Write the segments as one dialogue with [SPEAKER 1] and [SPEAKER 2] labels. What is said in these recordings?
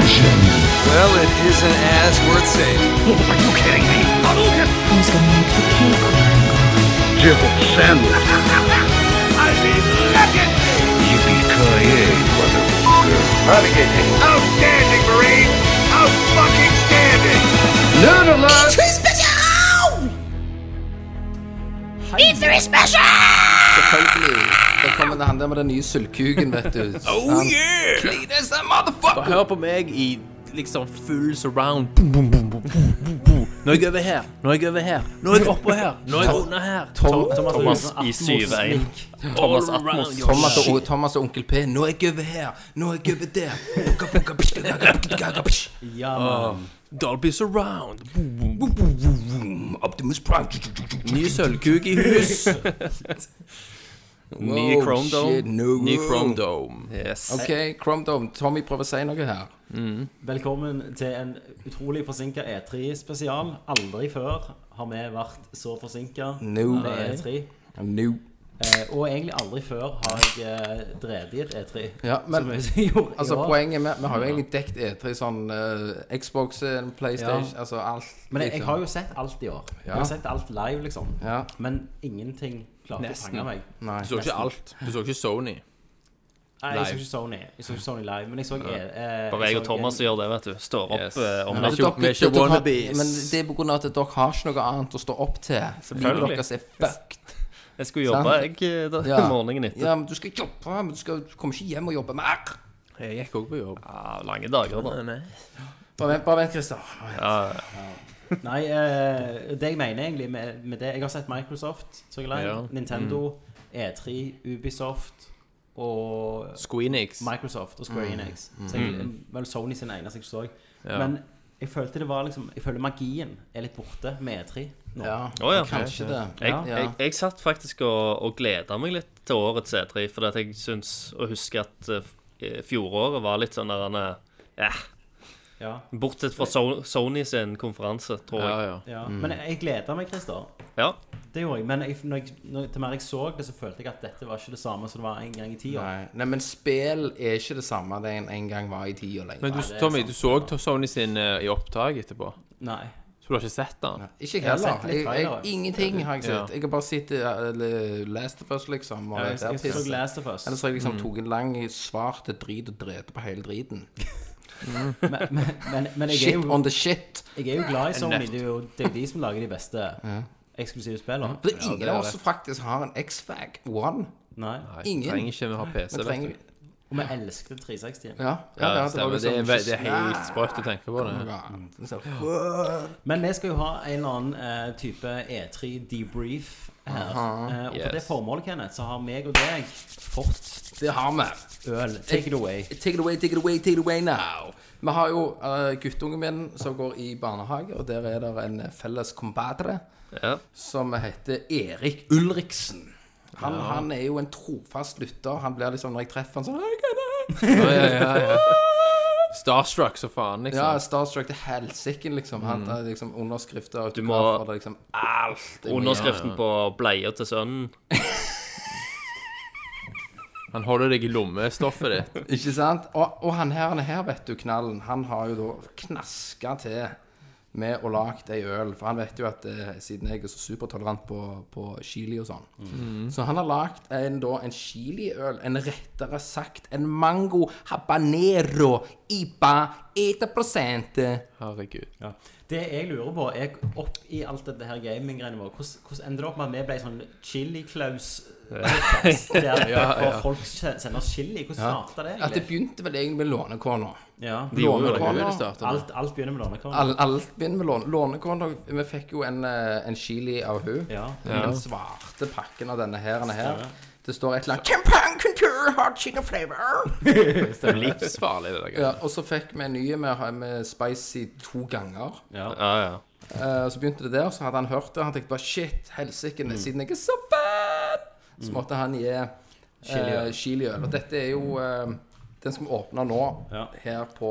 [SPEAKER 1] Well, it isn't as worth saving.
[SPEAKER 2] Who's gonna make the cake?
[SPEAKER 3] Outstanding, Marine! Out fucking standing!
[SPEAKER 4] Selvfølgelig. Da kommer det han der med den nye sølvkuken, vet du.
[SPEAKER 1] Oh,
[SPEAKER 4] Han-
[SPEAKER 5] Bare hør på meg i liksom full surround. Boom, boom, boom, boom, boom, boom, boom. Nå er jeg over her, nå er jeg over her, nå er jeg oppå her, nå er jeg under her. Tom-
[SPEAKER 6] Thomas
[SPEAKER 5] Thomas
[SPEAKER 6] i
[SPEAKER 5] Atmos.
[SPEAKER 6] 7-1.
[SPEAKER 5] Thomas
[SPEAKER 6] All around
[SPEAKER 5] Atmos.
[SPEAKER 6] your
[SPEAKER 4] Thomas og, Thomas og onkel P. Nå er jeg over her, nå er jeg over der. Bukka, bukka, bukka, bukka, bukka, bukka, bukka.
[SPEAKER 5] Ja, man. Dolby surround.
[SPEAKER 4] Optimus Prime.
[SPEAKER 5] Ny sølvkuk i hus.
[SPEAKER 6] Ny
[SPEAKER 4] Wow,
[SPEAKER 6] Chrome
[SPEAKER 4] shit,
[SPEAKER 6] Dome.
[SPEAKER 4] no.
[SPEAKER 5] Ny Chrome Dome.
[SPEAKER 6] Yes.
[SPEAKER 4] Ok, Chrome Dome. Tommy prøver å si noe her.
[SPEAKER 7] Velkommen til en utrolig forsinka E3-spesial. Aldri før har vi vært så forsinka
[SPEAKER 4] No.
[SPEAKER 7] med E3.
[SPEAKER 4] No.
[SPEAKER 7] Eh, og egentlig aldri før har jeg eh, drevet i et E3.
[SPEAKER 4] Ja, men-
[SPEAKER 7] som jeg gjorde i
[SPEAKER 4] Altså,
[SPEAKER 7] år.
[SPEAKER 4] poenget med Vi har jo egentlig dekt E3 sånn eh, Xbox, eh, PlayStation, altså alt.
[SPEAKER 7] Men jeg, jeg har jo sett alt i år. Jeg
[SPEAKER 4] Ja.
[SPEAKER 7] har sett alt live, liksom.
[SPEAKER 4] Ja.
[SPEAKER 7] Men ingenting klarte å
[SPEAKER 5] Nesten.
[SPEAKER 7] fange meg.
[SPEAKER 4] Nei.
[SPEAKER 5] Du så ikke alt. Du så ikke Sony.
[SPEAKER 7] Nei, jeg så
[SPEAKER 5] Live.
[SPEAKER 7] ikke Sony. Jeg så ikke Sony live, men jeg så eh, eh,
[SPEAKER 6] Bare jeg og
[SPEAKER 7] så
[SPEAKER 6] Thomas som
[SPEAKER 7] en-
[SPEAKER 6] gjør det, vet du. Står opp
[SPEAKER 5] Yes.
[SPEAKER 6] eh,
[SPEAKER 5] Men
[SPEAKER 6] om
[SPEAKER 4] Men
[SPEAKER 6] natten.
[SPEAKER 5] det er ikke- vi er ikke
[SPEAKER 4] dere- dere har-
[SPEAKER 5] wannabes.
[SPEAKER 4] Men det er på grunn av at dere har ikke noe annet å stå opp til. Livet
[SPEAKER 6] Selvfølgelig.
[SPEAKER 4] deres er fucked.
[SPEAKER 6] Jeg skulle jobbe, jeg, eh, da, morgenen etter.
[SPEAKER 4] Ja, men du skal jobbe, men du, skal, du kommer ikke hjem og jobber mer.
[SPEAKER 5] Jeg gikk også på jobb.
[SPEAKER 6] Ja, lange dager, da.
[SPEAKER 4] Bare vent, bare vent, Christer.
[SPEAKER 6] Ja,
[SPEAKER 7] Nei, eh, det jeg mener egentlig med, med det Jeg har sett Microsoft, så jeg live,
[SPEAKER 5] Ja.
[SPEAKER 7] Nintendo, E3, Ubisoft og
[SPEAKER 5] Squeenix.
[SPEAKER 7] Microsoft og Square Enix. Så jeg, vel Sony sin eneste jeg så.
[SPEAKER 5] Ja.
[SPEAKER 7] Men jeg følte det var liksom Jeg føler magien er litt borte med E3 nå.
[SPEAKER 4] Ja,
[SPEAKER 6] Å, ja.
[SPEAKER 4] kanskje det.
[SPEAKER 6] Jeg,
[SPEAKER 4] Ja.
[SPEAKER 6] jeg, jeg satt faktisk og, og gleda meg litt til årets E3, fordi at jeg syns å huske at eh, fjoråret var litt sånn der han er- eh,
[SPEAKER 7] Ja.
[SPEAKER 6] Bortsett fra so Sony sin konferanse, tror
[SPEAKER 5] Ja,
[SPEAKER 6] jeg.
[SPEAKER 5] ja.
[SPEAKER 7] Ja. Men jeg, jeg gleda meg, Christer.
[SPEAKER 6] Ja,
[SPEAKER 7] Det gjorde jeg. Men jeg, når jeg, når, til mer jeg så det, så følte jeg at dette var ikke det samme som det var en gang i tida.
[SPEAKER 4] Nei. Nei, men spill er ikke det samme det en, en gang var i tida lenger.
[SPEAKER 5] Men du, Tommy, du så Sony sin eh, i opptak etterpå.
[SPEAKER 7] Nei.
[SPEAKER 5] Så du har ikke sett den?
[SPEAKER 4] Ikke jeg
[SPEAKER 7] har
[SPEAKER 4] heller.
[SPEAKER 7] sett litt
[SPEAKER 4] Jeg, jeg,
[SPEAKER 7] trailere.
[SPEAKER 4] ingenting har jeg
[SPEAKER 5] Ja.
[SPEAKER 4] sett. Jeg har bare sett uh, Last of Us, liksom. Og
[SPEAKER 7] Jeg,
[SPEAKER 4] det der
[SPEAKER 7] jeg, jeg så
[SPEAKER 4] pisset.
[SPEAKER 7] Last of Us.
[SPEAKER 4] Ellers har jeg liksom tok en lang svart drit og drete på hele driten.
[SPEAKER 7] Men, men, men, men jeg, er
[SPEAKER 4] Shit
[SPEAKER 7] jo,
[SPEAKER 4] on the shit.
[SPEAKER 7] jeg er jo glad i Sony. Det er jo det er jo de som lager de beste eksklusive spillene.
[SPEAKER 4] Det er ingen
[SPEAKER 5] det er
[SPEAKER 4] av oss
[SPEAKER 5] det.
[SPEAKER 4] som faktisk har en X-Fag One.
[SPEAKER 7] Nei.
[SPEAKER 5] Nei,
[SPEAKER 4] Ingen.
[SPEAKER 5] Trenger ikke vi ha PC,
[SPEAKER 4] Vi
[SPEAKER 5] vet
[SPEAKER 4] trenger
[SPEAKER 5] du.
[SPEAKER 7] Og vi elsket 360-en.
[SPEAKER 4] Ja, ja, ja,
[SPEAKER 5] Ja,
[SPEAKER 4] det
[SPEAKER 5] stemmer.
[SPEAKER 4] var
[SPEAKER 2] sånn
[SPEAKER 5] Det er,
[SPEAKER 4] liksom
[SPEAKER 5] ve- det er helt sprøtt å tenke på det.
[SPEAKER 4] Ja.
[SPEAKER 7] Men vi skal jo ha en eller annen eh, type E3 debrief her. Eh, og for det
[SPEAKER 5] yes.
[SPEAKER 7] formålet, Kenneth, så har meg og deg fått
[SPEAKER 4] Det har vi.
[SPEAKER 7] øl. Take it away.
[SPEAKER 4] Take it away, take it away, take it away now. Vi har jo eh, guttungen min som går i barnehage, og der er det en felles compadre
[SPEAKER 6] ja.
[SPEAKER 4] som heter Erik Ulriksen. Han, han er jo en trofast lytter. Han blir liksom, når jeg treffer han sånn «Hei, hva er det?»
[SPEAKER 5] Ja, ja, ja, ja. Starstruck så faen,
[SPEAKER 4] Ja,
[SPEAKER 5] liksom.
[SPEAKER 4] Starstruck til helsikken, liksom.
[SPEAKER 5] Mm.
[SPEAKER 4] Han tar liksom underskrifter og
[SPEAKER 6] må-
[SPEAKER 4] autografer. det er Liksom, alt. Jeg må
[SPEAKER 6] Underskriften på bleia til sønnen.
[SPEAKER 5] Han holder deg i lommestoffet ditt.
[SPEAKER 4] Ikke sant? Og, og han her, han her, vet du, Knallen, han har jo da knaska til med å lage ei øl. For han vet jo at eh, siden jeg er så supertolerant på, på chili og sånn.
[SPEAKER 7] Mm.
[SPEAKER 4] Så han har lagd en, da, en chiliøl, en rettere sagt en mango habanero iba 1
[SPEAKER 5] Herregud.
[SPEAKER 7] Ja. Det jeg lurer på, er opp i alt dette her gaminggreiene våre Hvordan hvordan ender det opp med at vi ble sånn chili-klaus? Der og folk se- sender oss chili. Hvordan starta det
[SPEAKER 4] At det
[SPEAKER 7] egentlig?
[SPEAKER 4] begynte vel egentlig med lånekona.
[SPEAKER 7] Ja.
[SPEAKER 5] Låner kona det startet med.
[SPEAKER 7] Alt, alt begynner med lånekorn.
[SPEAKER 4] Alle all begynner med låne. Lånekona Vi fikk jo en, eh, en chili av hun
[SPEAKER 7] Ja.
[SPEAKER 4] Den svarte pakken av denne her, denne her. Det står et eller annet Champagne couture hot chicken flavor.
[SPEAKER 5] Det er livsfarlig, det der.
[SPEAKER 4] Ja,
[SPEAKER 5] greiene.
[SPEAKER 4] og så fikk vi en ny med, med spicy to ganger.
[SPEAKER 7] Ja.
[SPEAKER 6] Ja, ja.
[SPEAKER 4] Eh, så begynte det der, så hadde han hørt det. Han tenkte bare shit, helsike,
[SPEAKER 7] Mm.
[SPEAKER 4] siden jeg er så fat, så måtte han gi eh,
[SPEAKER 7] Chiliøl.
[SPEAKER 4] chiliøl. Og dette er jo eh, den som åpner nå,
[SPEAKER 7] Ja.
[SPEAKER 4] her på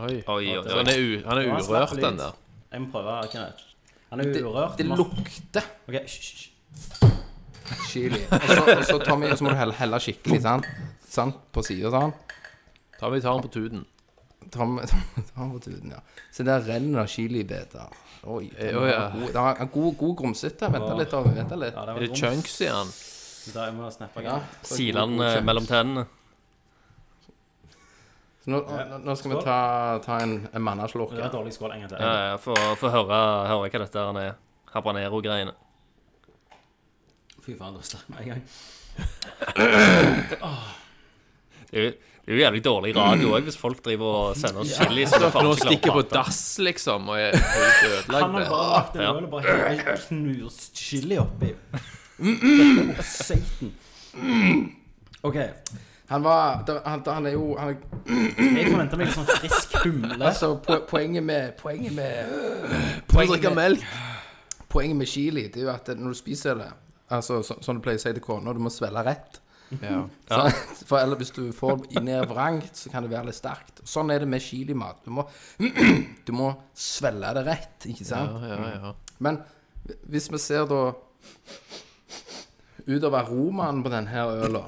[SPEAKER 5] Oi.
[SPEAKER 6] Oi, oi,
[SPEAKER 5] Så Han
[SPEAKER 6] oi.
[SPEAKER 5] er, u han er
[SPEAKER 7] Ja, han slapp
[SPEAKER 5] urørt,
[SPEAKER 7] litt.
[SPEAKER 5] den der.
[SPEAKER 7] Jeg må prøve, Kenneth. Han er
[SPEAKER 4] Det,
[SPEAKER 7] urørt.
[SPEAKER 4] det lukter
[SPEAKER 7] Ok, hysj.
[SPEAKER 4] chili. Og så, og så Tommy, og så må du helle, helle skikkelig, sant? sant? På sida sånn.
[SPEAKER 5] Ta vi tar den på tuten.
[SPEAKER 4] Tom, tom, tom på tuten, ja. Så der renner det chilibiter. Oi, den
[SPEAKER 5] Å, ja.
[SPEAKER 4] var god. Den har en god, god grumsete. Vent litt, da. Vent litt.
[SPEAKER 7] Ja, det
[SPEAKER 5] Er
[SPEAKER 7] var
[SPEAKER 5] det
[SPEAKER 7] dumt.
[SPEAKER 5] chunks i den?
[SPEAKER 7] Da jeg må snappe
[SPEAKER 4] Ja,
[SPEAKER 7] igjen.
[SPEAKER 4] så
[SPEAKER 6] Siler
[SPEAKER 4] god-
[SPEAKER 6] den
[SPEAKER 4] god
[SPEAKER 6] eh,
[SPEAKER 4] kjeks.
[SPEAKER 6] mellom tennene.
[SPEAKER 4] Så nå, nå, nå skal vi ta, ta en, en mannaslurk.
[SPEAKER 7] Det var dårlig skål en gang til.
[SPEAKER 6] Ja, ja, Få få høre, høre hva dette her er. Habanero-greiene.
[SPEAKER 7] Fy faen, da stakk meg en gang.
[SPEAKER 6] Det er jo- det er jo jævlig dårlig radio òg, hvis folk driver og sender oss chili. Så det
[SPEAKER 5] For
[SPEAKER 6] faen
[SPEAKER 5] nå
[SPEAKER 6] ikke klarer å
[SPEAKER 5] stikker jeg på
[SPEAKER 6] prate.
[SPEAKER 5] dass, liksom, og er helt
[SPEAKER 7] Han har
[SPEAKER 5] ødelagt.
[SPEAKER 7] bare lagt en
[SPEAKER 6] Ja.
[SPEAKER 7] øl og bare hevet knust chili oppi. Satan. OK.
[SPEAKER 4] Han var der, han, der, han er jo han er,
[SPEAKER 7] Jeg forventa meg en sånn frisk humle.
[SPEAKER 4] Altså, po- poenget med Poenget med
[SPEAKER 5] Må drikke melk.
[SPEAKER 4] Poenget med chili Det er jo at når du spiser det Altså, så, Som du pleier å si til kona, du må svelge rett.
[SPEAKER 5] Ja.
[SPEAKER 4] Så- For ellers hvis du får det i ned vrangt, så kan det være litt sterkt. Sånn er det med chilimat. Du må, du må svelge det rett, ikke sant?
[SPEAKER 5] Ja, ja.
[SPEAKER 4] Men hvis vi ser da utover aromaen på denne øla,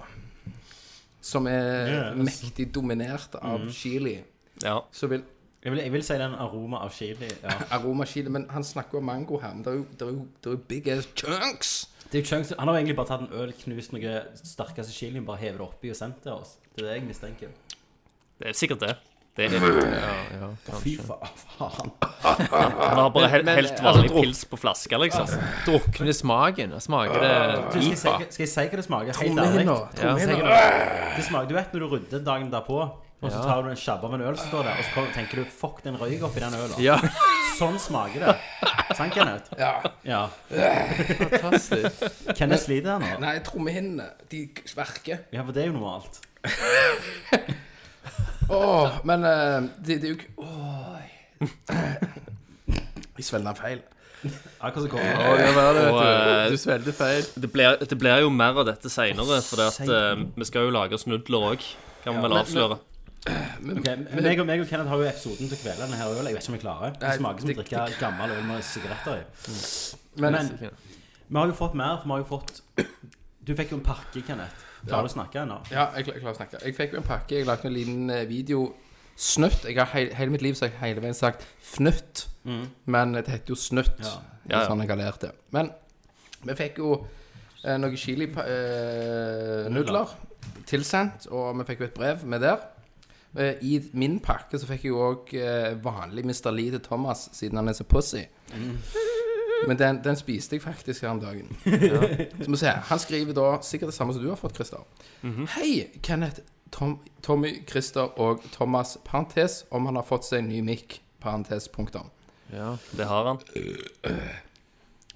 [SPEAKER 4] som er
[SPEAKER 7] Yes.
[SPEAKER 4] mektig dominert av
[SPEAKER 5] Mm.
[SPEAKER 4] chili,
[SPEAKER 6] Ja.
[SPEAKER 4] så vil
[SPEAKER 7] Jeg vil, jeg vil si den aroma av chili. Ja.
[SPEAKER 4] aroma chili Men han snakker om mango her, men det er jo, det er jo, det er jo big ass chunks!
[SPEAKER 7] Det er jo chunks. Han har egentlig bare tatt en øl, knust noe sterkeste chili, bare hevet det oppi og sendt det til oss. Det er det jeg mistenker.
[SPEAKER 6] Det er sikkert det. det er,
[SPEAKER 7] Fy faen. faen.
[SPEAKER 6] han har bare helt,
[SPEAKER 5] men,
[SPEAKER 6] helt
[SPEAKER 5] altså,
[SPEAKER 6] vanlig
[SPEAKER 5] drop-
[SPEAKER 6] pils på flaske, liksom.
[SPEAKER 5] Drukne smaken. Smaker
[SPEAKER 7] Du,
[SPEAKER 5] det
[SPEAKER 7] skal, jeg si,
[SPEAKER 5] IPA?
[SPEAKER 7] hva- skal jeg si hva det smaker? Helt ærlig.
[SPEAKER 4] Trommehinna! Trommehinna!
[SPEAKER 7] Det smaker, Du vet når du rydder dagen derpå, og så tar du en sjabb av en øl som står der, og så kommer- tenker du 'fuck, den røyk oppi den ølen'.
[SPEAKER 5] Ja,
[SPEAKER 7] Sånn smaker det. Sant, Kenneth?
[SPEAKER 4] Ja.
[SPEAKER 7] Ja.
[SPEAKER 5] fantastisk.
[SPEAKER 7] Kenneth sliter her nå.
[SPEAKER 4] Nei, trommehinnene, de sverker.
[SPEAKER 7] Ja, for det er jo normalt.
[SPEAKER 4] Åh, men eh, det, det er jo ikke Åh Jeg svelger den feil.
[SPEAKER 7] Akkurat som kommer.
[SPEAKER 5] Å, ja, hva er det,
[SPEAKER 6] Og,
[SPEAKER 5] vet
[SPEAKER 6] eh,
[SPEAKER 5] du. Du svelgte feil.
[SPEAKER 6] Det blir, det blir jo mer av dette seinere, for det at,
[SPEAKER 7] Satan.
[SPEAKER 6] eh, vi skal jo lage snudler òg. Kan vi vel avsløre.
[SPEAKER 7] Okay, men meg, og, meg og Kenneth har jo episoden til å kvele denne her ølen. Jeg vet ikke om jeg klarer. Det
[SPEAKER 4] Nei,
[SPEAKER 7] smaker som å
[SPEAKER 4] det-
[SPEAKER 7] drikke gammel øl med sigaretter i.
[SPEAKER 4] Men,
[SPEAKER 7] Men vi har jo fått mer, for vi har jo fått Du fikk jo en pakke, Kenneth. Klarer du å snakke ennå?
[SPEAKER 4] ja, jeg, klar- jeg klarer å snakke. Jeg fikk jo en pakke. Jeg lagde en liten eh, video. Snutt. Jeg har hei, hele mitt liv så har jeg hele veien sagt fnutt, men det heter jo snutt.
[SPEAKER 7] Ja.
[SPEAKER 4] Det er
[SPEAKER 6] Ja, ja.
[SPEAKER 4] Sånn jeg har lært det. Men vi fikk jo eh, noen chilinudler tilsendt, og vi fikk jo et brev med der. Eh, I min pakke så fikk jeg jo òg eh, vanlig Mr. Lee til Thomas, siden han er så pussy. Men den, den spiste jeg faktisk her om dagen. Så må vi se. Han skriver da sikkert det samme som du har fått, Christer. Hei, Kenneth, Tom, Tommy, Christer og Thomas, parentes, om han har fått seg en ny mic, parentes, punktum.
[SPEAKER 5] Ja.
[SPEAKER 6] Det har han.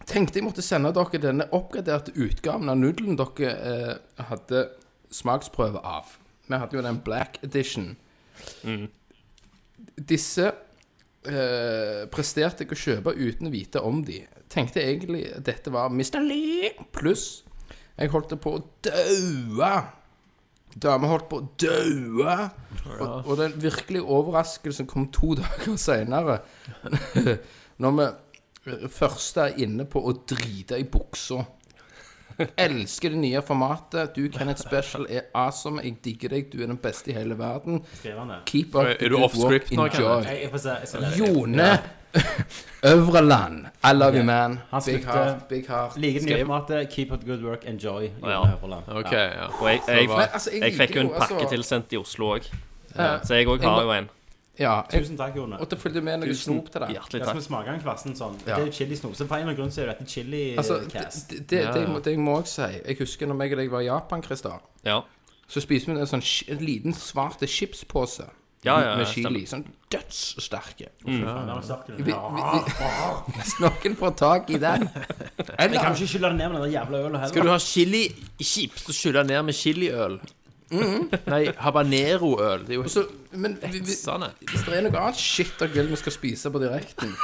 [SPEAKER 4] Tenkte jeg måtte sende dere denne oppgraderte utgaven av nudelen dere eh, hadde smaksprøve av. Vi hadde jo den black edition. Disse eh, presterte jeg å kjøpe uten å vite om de. Tenkte egentlig at dette var Mr. Lee pluss. Jeg holdt på å daue. Dama holdt på å daue. Og, og den virkelige overraskelsen kom to dager seinere. Når vi eh, Første er inne på å drite i buksa. Elsker det nye formatet. Du, Kenneth Special, er awesome. Jeg digger deg. Du er den beste i hele verden.
[SPEAKER 7] Skriver han det?
[SPEAKER 4] Keep up
[SPEAKER 5] Er
[SPEAKER 4] the
[SPEAKER 5] du
[SPEAKER 4] good
[SPEAKER 5] off script nå,
[SPEAKER 4] work. Enjoy.
[SPEAKER 7] Jeg, jeg får se. Jeg skal lese.
[SPEAKER 4] Jone Øvreland. I love you, man.
[SPEAKER 7] Han
[SPEAKER 4] Big
[SPEAKER 7] spilte-
[SPEAKER 4] heart, big heart.
[SPEAKER 7] Liker det nye
[SPEAKER 5] Skriv.
[SPEAKER 7] formatet. eh, Keep up the good work. Enjoy. Jone
[SPEAKER 6] ja.
[SPEAKER 7] Høverland.
[SPEAKER 5] OK, ja.
[SPEAKER 6] Og jeg, jeg,
[SPEAKER 4] Men, altså, jeg
[SPEAKER 6] jeg fikk jo en
[SPEAKER 4] liker jo,
[SPEAKER 6] pakke
[SPEAKER 4] altså-
[SPEAKER 6] tilsendt i Oslo òg,
[SPEAKER 4] Ja.
[SPEAKER 6] så jeg òg har jo en.
[SPEAKER 4] Ja.
[SPEAKER 7] Ja. Tusen takk, Jone.
[SPEAKER 4] Og det fulgte med noe snop til det.
[SPEAKER 6] Hjertelig
[SPEAKER 7] Jeg skal
[SPEAKER 6] takk.
[SPEAKER 7] vi smake en kvassen sånn.
[SPEAKER 4] Ja.
[SPEAKER 7] Det er jo chili-snop. Så for en eller annen grunn så er jo dette eh,
[SPEAKER 4] Altså,
[SPEAKER 7] chili-cast.
[SPEAKER 4] det, det, det, jeg må- det jeg må òg si Jeg husker når meg og deg var i Japan, Christer,
[SPEAKER 6] Ja.
[SPEAKER 4] så spiste vi en sånn sk- en liten, svart chipspose
[SPEAKER 6] Ja, ja, ja,
[SPEAKER 4] med
[SPEAKER 6] stemmer. Mm.
[SPEAKER 4] chili. Sånn dødssterke.
[SPEAKER 7] Vi,
[SPEAKER 4] Vi, vi, hvis noen får tak i den
[SPEAKER 7] jeg kan
[SPEAKER 4] Eller
[SPEAKER 7] ikke skylle det ned med den der jævla ølen heller.
[SPEAKER 5] Skal du ha chili-chips og skylle ned med chiliøl? Nei, habanero-øl. Det er jo
[SPEAKER 4] så, Men vi, vi,
[SPEAKER 5] hetsende.
[SPEAKER 4] hvis det er noe annet shit dere vil vi skal spise på direkten,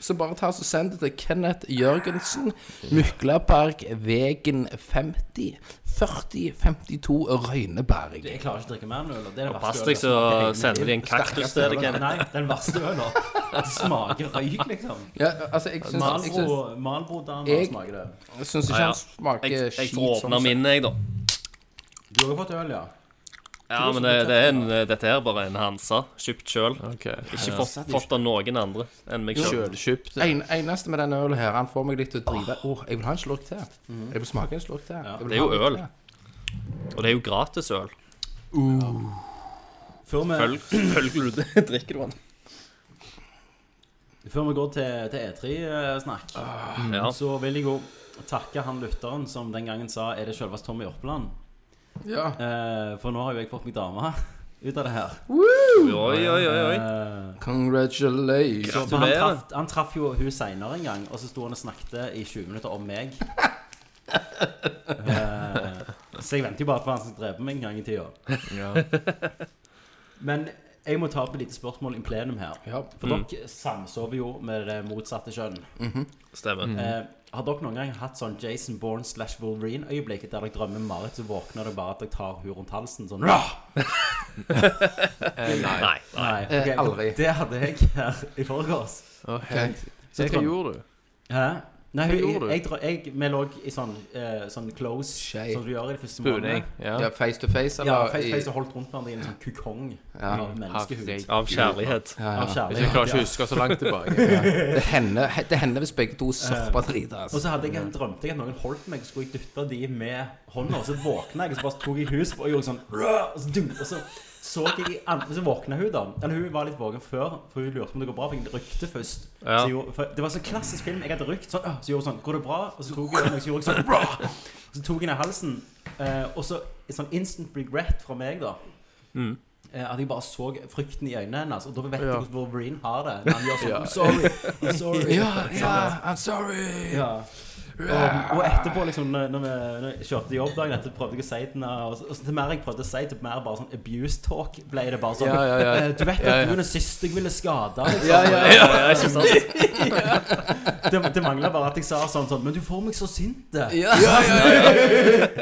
[SPEAKER 4] så bare ta oss og send det til Kenneth Jørgensen, Myklapark, Vegen 50, 4052 Røyneberg.
[SPEAKER 7] Jeg klarer ikke å drikke mer enn øl. og Det er den
[SPEAKER 6] Pass
[SPEAKER 7] verste
[SPEAKER 6] deg,
[SPEAKER 7] ølen.
[SPEAKER 6] så sender de en kaktus til deg. Ken.
[SPEAKER 7] Nei, den verste ølen. Det smaker røyk, liksom.
[SPEAKER 4] Ja, altså, jeg syns, jeg syns,
[SPEAKER 7] Malbro- Malbro-dama
[SPEAKER 4] Jeg-
[SPEAKER 7] smaker det.
[SPEAKER 4] jeg syns ikke
[SPEAKER 6] Ja, ja.
[SPEAKER 4] han smaker
[SPEAKER 6] Jeg, jeg
[SPEAKER 4] skit.
[SPEAKER 6] får åpne
[SPEAKER 4] sånn sett.
[SPEAKER 6] min, jeg, da.
[SPEAKER 7] Du har jo fått øl, ja.
[SPEAKER 6] Ja, men det, det er en, eh, dette her er bare en Hansa. Kjøpt sjøl.
[SPEAKER 5] Ok.
[SPEAKER 6] Ikke fått, fått av noen andre enn meg sjøl.
[SPEAKER 5] Kjølkjøpt.
[SPEAKER 4] En, eneste med denne ølen her, han får meg litt til å drive Åh, jeg vil ha en slurk til. Jeg vil smake en slurk til. Jeg vil
[SPEAKER 6] Mm. Det er
[SPEAKER 4] ha
[SPEAKER 6] jo
[SPEAKER 4] en
[SPEAKER 6] øl. Og det er jo gratis øl.
[SPEAKER 7] Før vi,
[SPEAKER 6] Følg- Følger du det, drikker du den.
[SPEAKER 7] før vi går til, E til E3-snakk,
[SPEAKER 6] Ja.
[SPEAKER 7] så vil jeg jo takke han lytteren som den gangen sa Er det selveste Tommy Jørpeland?
[SPEAKER 4] til. Ja.
[SPEAKER 7] Eh, for nå har jo jeg fått meg dame ut av det her.
[SPEAKER 6] Oi, oi, oi. oi.
[SPEAKER 7] Eh,
[SPEAKER 4] Congratulations.
[SPEAKER 7] så, for han,
[SPEAKER 6] Gratulerer.
[SPEAKER 7] traff, han traff jo hun seinere en gang, og så sto han og snakket i 20 minutter om meg. Eh, så jeg venter jo bare på han som dreper meg en gang i tida. Men jeg må ta opp et lite spørsmål in plenum her.
[SPEAKER 4] Ja.
[SPEAKER 7] For dere samsover jo med det motsatte kjønn.
[SPEAKER 6] Stemmer.
[SPEAKER 7] Eh, har dere noen gang hatt sånn Jason Bourne slash Wolverine-øyeblikk der dere drømmer Marit, så våkner det bare at dere tar hun rundt halsen sånn Rah!
[SPEAKER 6] Nei.
[SPEAKER 7] Nei,
[SPEAKER 4] Eh,
[SPEAKER 7] ok,
[SPEAKER 4] aldri.
[SPEAKER 7] Det hadde jeg her i forgårs.
[SPEAKER 5] Å, helt. Se, Hva
[SPEAKER 7] Trond-
[SPEAKER 5] gjorde du?
[SPEAKER 7] Hæ? Nei, hun, jeg,
[SPEAKER 5] gjorde du?
[SPEAKER 7] jeg, dra- jeg, vi lå i sånn, eh, sånn close,
[SPEAKER 4] Skei.
[SPEAKER 7] som du gjør i det første
[SPEAKER 5] Buning.
[SPEAKER 7] måneden.
[SPEAKER 4] Ja,
[SPEAKER 5] Ja.
[SPEAKER 4] face to face, eller?
[SPEAKER 7] Ja, face
[SPEAKER 4] i-
[SPEAKER 7] face og holdt rundt hverandre i en sånn kukong av menneskehud.
[SPEAKER 5] Ah, Herregud.
[SPEAKER 6] Av kjærlighet.
[SPEAKER 4] Ja,
[SPEAKER 7] Av
[SPEAKER 5] Jeg
[SPEAKER 4] ja.
[SPEAKER 5] klarer
[SPEAKER 7] kjærlighet.
[SPEAKER 5] ikke å
[SPEAKER 7] Ja.
[SPEAKER 5] huske så langt tilbake.
[SPEAKER 4] Det hender, det hender hvis begge to surfer driter.
[SPEAKER 7] Og
[SPEAKER 4] Altså.
[SPEAKER 7] så hadde jeg, drømte jeg at noen holdt meg, så skulle jeg dytte de med hånda. Og så våkna jeg, og så bare tok jeg hus og gjorde sånn «Røh!» Og så, dunk, og så så jeg i andre, Så våkna hun, da. Eller hun var litt våken før, for hun lurte på om det går bra. For jeg rykte først.
[SPEAKER 6] Ja.
[SPEAKER 7] Så jeg gjorde, for det var sånn klassisk film. Jeg hadde rykt sånn, «Åh», så gjorde hun sånn Går det bra? Og så tok jeg den, og så gjorde jeg sånn «Røh!» Så tok jeg ned halsen. eh, og så en sånn instant regret fra meg, da.
[SPEAKER 4] Mm.
[SPEAKER 7] eh, At jeg bare så frykten i øynene hennes. Og da vet
[SPEAKER 5] Ja.
[SPEAKER 7] jeg hvordan Wolverine har det. Når han gjør sånn I'm sorry. I'm sorry.
[SPEAKER 4] Ja, ja, I'm sorry!
[SPEAKER 7] Ja. Og, og etterpå, liksom, når, når, vi, når jeg kjørte jobb dagen etter, prøvde jeg å si til henne og, så- og så til mer jeg prøvde å si, til mer bare sånn abuse talk ble det bare sånn
[SPEAKER 5] Ja, ja, ja.
[SPEAKER 7] «Eh, Du vet at
[SPEAKER 5] Ja, ja.
[SPEAKER 7] du er den siste jeg ville skada, liksom.
[SPEAKER 6] Ja, ja, ikke sant?
[SPEAKER 7] Det, det mangla bare at jeg sa sånn sånn Men du får meg så sint. eh.»
[SPEAKER 4] Ja, ja, ja!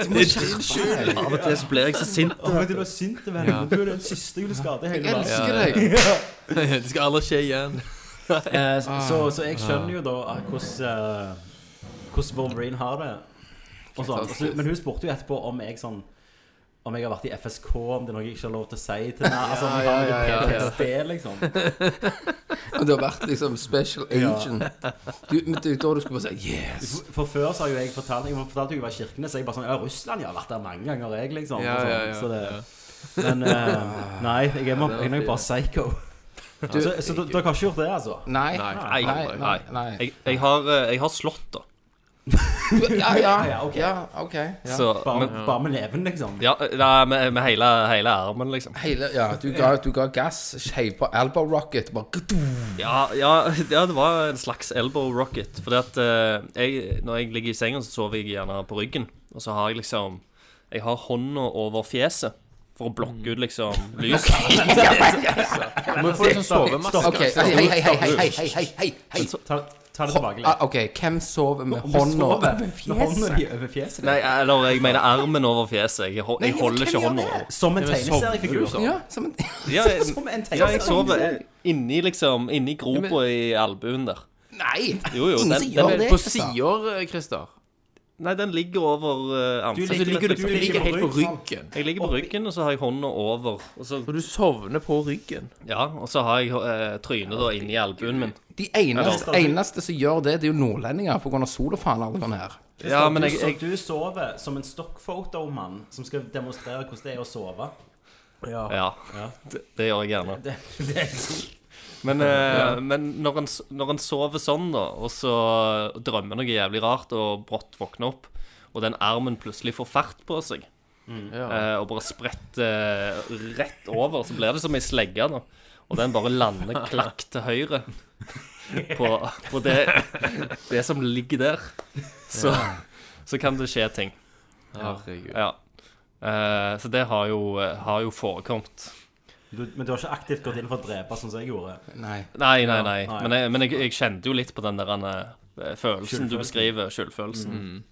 [SPEAKER 4] Du må skjerpe deg!
[SPEAKER 6] Av og til så blir jeg så sint.
[SPEAKER 7] «Å, men du er sint, venn.
[SPEAKER 5] Ja.
[SPEAKER 7] Du er den siste jeg ville skade i hele
[SPEAKER 4] Jeg
[SPEAKER 7] verden.
[SPEAKER 4] elsker
[SPEAKER 5] Ja, ja.
[SPEAKER 4] deg!
[SPEAKER 5] Det skal aldri skje igjen.
[SPEAKER 7] Eh, så, så,
[SPEAKER 4] Ah.
[SPEAKER 7] så jeg skjønner jo da eh, hvordan eh, hvordan Wolverine har det. Og sånn. Og så, men hun spurte jo etterpå om jeg sånn om jeg har vært i FSK, om det er noe jeg ikke har lov til å si til henne. Altså, om jeg har
[SPEAKER 4] ja, ja,
[SPEAKER 7] noe
[SPEAKER 4] ja.
[SPEAKER 7] PTSD, liksom.
[SPEAKER 4] Og Du har vært liksom special agent. Du, men du, da du skulle bare si yes!
[SPEAKER 7] For- For før så har jo jeg fortalt Jeg fortalte jo jeg var i Kirkenes, så jeg bare sånn Ja, Russland, jeg har vært der mange ganger, jeg, liksom.
[SPEAKER 5] Ja,
[SPEAKER 7] og
[SPEAKER 5] ja,
[SPEAKER 7] sånn,
[SPEAKER 5] ja,
[SPEAKER 7] så det, Men eh, nei, jeg er, må- jeg er nok bare psycho. så så dere dere har ikke gjort det, altså?
[SPEAKER 4] Nei.
[SPEAKER 5] Nei.
[SPEAKER 6] Nei,
[SPEAKER 4] Nei, nei, nei.
[SPEAKER 6] Jeg, jeg, har, eh, jeg har slått, da.
[SPEAKER 4] Ja, ja,
[SPEAKER 7] Ah, Ja, ok.
[SPEAKER 4] ja, ok. Ja.
[SPEAKER 6] Så,
[SPEAKER 7] Bare,
[SPEAKER 6] men,
[SPEAKER 7] bare med neven, liksom?
[SPEAKER 6] ja, eh, nei, med, med hele, hele armen, liksom.
[SPEAKER 4] Hele, ja, du ga, du ga gass, skeiv på elbow rocket, bare gdum.
[SPEAKER 6] Ja, ja, ja, det var en slags elbow rocket. Fordi at eh, jeg, når jeg ligger i senga, så sover jeg gjerne på ryggen. Og så har jeg liksom Jeg har hånda over fjeset for å blokke ut liksom lys.
[SPEAKER 5] Du må få en sånn sovemaske.
[SPEAKER 4] OK, hei, hei, hei, hei, hei, hei, hei, hei, hei.
[SPEAKER 7] Ta, ta det tilbake litt.
[SPEAKER 4] Ah, OK, hvem sover med
[SPEAKER 7] Om du
[SPEAKER 4] hånda
[SPEAKER 7] sover
[SPEAKER 4] over
[SPEAKER 7] med hånda
[SPEAKER 4] fjeset?
[SPEAKER 7] di over fjeset?
[SPEAKER 6] Nei, eller jeg mener armen over fjeset. Jeg, ho- jeg holder ikke hånda over.
[SPEAKER 7] Som en
[SPEAKER 5] men
[SPEAKER 7] tegneseriefigur.
[SPEAKER 5] sovner du
[SPEAKER 4] Ja, som en
[SPEAKER 6] Ja, jeg,
[SPEAKER 7] Som en
[SPEAKER 6] ja, jeg sover
[SPEAKER 7] tegneseriefigur.
[SPEAKER 6] eh, inni liksom Inni gropa i albuen der.
[SPEAKER 4] Nei!
[SPEAKER 6] Jo, jo,
[SPEAKER 4] Ingen som
[SPEAKER 6] den- den-
[SPEAKER 4] gjør
[SPEAKER 5] Men
[SPEAKER 4] det.
[SPEAKER 5] På
[SPEAKER 4] Christer.
[SPEAKER 5] sider, Christer.
[SPEAKER 6] Nei, den ligger over eh,
[SPEAKER 5] Altså, du
[SPEAKER 6] ansiktet.
[SPEAKER 5] ligger, du
[SPEAKER 6] liksom.
[SPEAKER 5] ligger helt på ryggen.
[SPEAKER 6] Jeg ligger på ryggen, og så har jeg hånda over. Og så,
[SPEAKER 5] Og du sovner på ryggen.
[SPEAKER 6] ja, og så har jeg eh, trynet da inni albuen min.
[SPEAKER 4] De eneste, eneste som gjør det, det er jo nordlendinger pga. solofanalderen her.
[SPEAKER 6] Ja, men
[SPEAKER 7] du,
[SPEAKER 6] jeg,
[SPEAKER 7] so-
[SPEAKER 6] jeg
[SPEAKER 7] du sover som en stockphoto-mann som skal demonstrere hvordan det er å sove.
[SPEAKER 6] Ja, det, det gjør jeg gjerne.
[SPEAKER 7] Det, det,
[SPEAKER 6] Men, eh, men når, en, s- når en sover sånn, da, og så drømmer noe jævlig rart, og brått våkner opp, og den armen plutselig får fart på seg, eh, og bare spretter eh, rett over, så blir det som ei slegge, da. Og den bare lander klakk til høyre på, på det, det som ligger der. Så, så kan det skje ting.
[SPEAKER 5] Herregud.
[SPEAKER 6] Ja. Eh, så det har jo, har jo forekommet.
[SPEAKER 7] du, men du har ikke aktivt gått inn for å drepe, sånn som jeg gjorde.
[SPEAKER 4] Nei.
[SPEAKER 6] Nei, nei, nei.
[SPEAKER 7] nei.
[SPEAKER 6] Men, jeg, men jeg, jeg kjente jo litt på den der eh, følelsen du beskriver. Skyldfølelsen.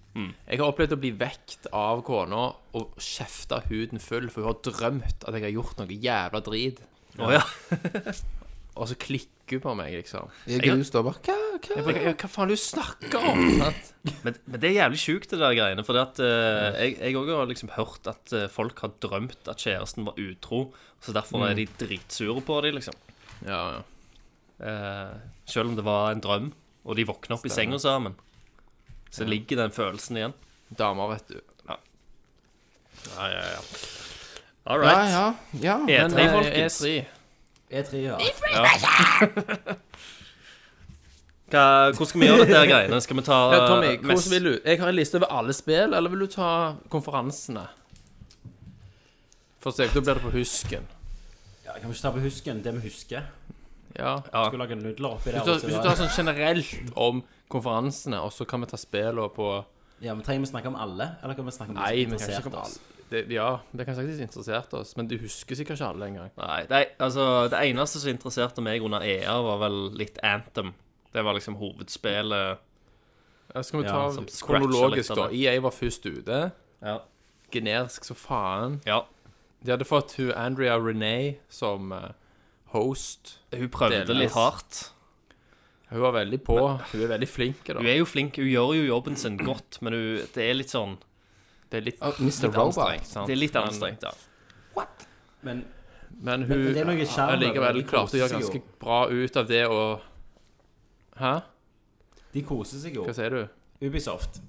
[SPEAKER 5] Jeg har opplevd å bli vekt av kona og
[SPEAKER 2] Mm.
[SPEAKER 5] kjefta huden full, for hun har drømt at jeg har gjort noe jævla drit.
[SPEAKER 6] Å ja.
[SPEAKER 2] og så klikker hun på meg, liksom.
[SPEAKER 4] Jeg er rust og bare Hva?
[SPEAKER 2] Jeg
[SPEAKER 4] hva?
[SPEAKER 2] bare, «Ja, Hva faen er det du snakker om? Sant?
[SPEAKER 6] Men, men det er jævlig sjukt, det der greiene. For at, eh, jeg, jeg også har liksom hørt at eh, folk har drømt at kjæresten var utro. Så derfor
[SPEAKER 2] Mm.
[SPEAKER 6] er de dritsure på dem, liksom.
[SPEAKER 2] Ja, ja.
[SPEAKER 6] Eh, selv om det var en drøm, og de våkner opp i senga sammen. Så ligger den følelsen igjen.
[SPEAKER 2] Damer, vet du.
[SPEAKER 6] Ja, ja, ja. All
[SPEAKER 4] Ja,
[SPEAKER 6] right.
[SPEAKER 4] ja. ja.
[SPEAKER 2] Men,
[SPEAKER 6] E3,
[SPEAKER 2] eh,
[SPEAKER 6] folkens.
[SPEAKER 2] E3.
[SPEAKER 7] E3, E ja.
[SPEAKER 6] Hva, hvordan skal vi gjøre dette her greiene? Skal vi ta
[SPEAKER 2] Ja, Tommy,
[SPEAKER 6] eh, mest-
[SPEAKER 2] hvordan vil du? Jeg har en liste over alle spill, eller vil du ta konferansene? For seg, da blir det på husken.
[SPEAKER 7] ja. Kan vi ikke ta på husken det vi husker?
[SPEAKER 2] Ja.
[SPEAKER 7] Skulle lage nudler oppi der.
[SPEAKER 2] Hvis du,
[SPEAKER 7] og så-
[SPEAKER 2] hvis du tar sånn generelt om konferansene, og så kan vi ta spillene på
[SPEAKER 7] Ja, men Trenger vi snakke om alle? Eller kan vi snakke om de som
[SPEAKER 2] Nei, vi kan ikke
[SPEAKER 7] interesserte
[SPEAKER 2] snakke om
[SPEAKER 7] oss?
[SPEAKER 2] alle. Det, ja, det kan sikkert interessert oss, men du husker sikkert ikke alle engang.
[SPEAKER 6] Nei, det, altså, det eneste som interesserte meg under EA, var vel litt Anthem. Det var liksom hovedspillet.
[SPEAKER 2] Ja, Skal vi
[SPEAKER 7] Ja,
[SPEAKER 2] ta
[SPEAKER 6] som scratcher litt
[SPEAKER 2] kronologisk,
[SPEAKER 6] av
[SPEAKER 2] da?
[SPEAKER 6] det.
[SPEAKER 2] EA var først ute.
[SPEAKER 6] Ja.
[SPEAKER 2] Generisk så faen.
[SPEAKER 6] ja.
[SPEAKER 2] De hadde fått hun Andrea Renee som eh, host.
[SPEAKER 6] Hun prøvde
[SPEAKER 2] Delvis.
[SPEAKER 6] litt hardt.
[SPEAKER 2] Hun var veldig på. Hun er veldig flink. da.
[SPEAKER 6] Hun er jo flink, hun gjør jo jobben sin godt, men hun, det er litt sånn
[SPEAKER 2] Det er litt,
[SPEAKER 4] Og Mr.
[SPEAKER 2] litt
[SPEAKER 4] Robot.
[SPEAKER 2] anstrengt. sant?
[SPEAKER 6] Det er litt
[SPEAKER 2] Men-
[SPEAKER 6] anstrengt, ja.
[SPEAKER 7] Men
[SPEAKER 2] Men hun
[SPEAKER 7] Men det er noe skjerm,
[SPEAKER 2] allikevel
[SPEAKER 7] de
[SPEAKER 2] klarte å
[SPEAKER 7] koser
[SPEAKER 2] gjøre
[SPEAKER 7] seg jo.
[SPEAKER 2] ganske bra ut av det og Hæ?
[SPEAKER 7] de koser seg jo.
[SPEAKER 2] Hva sier du?
[SPEAKER 7] Ubisoft.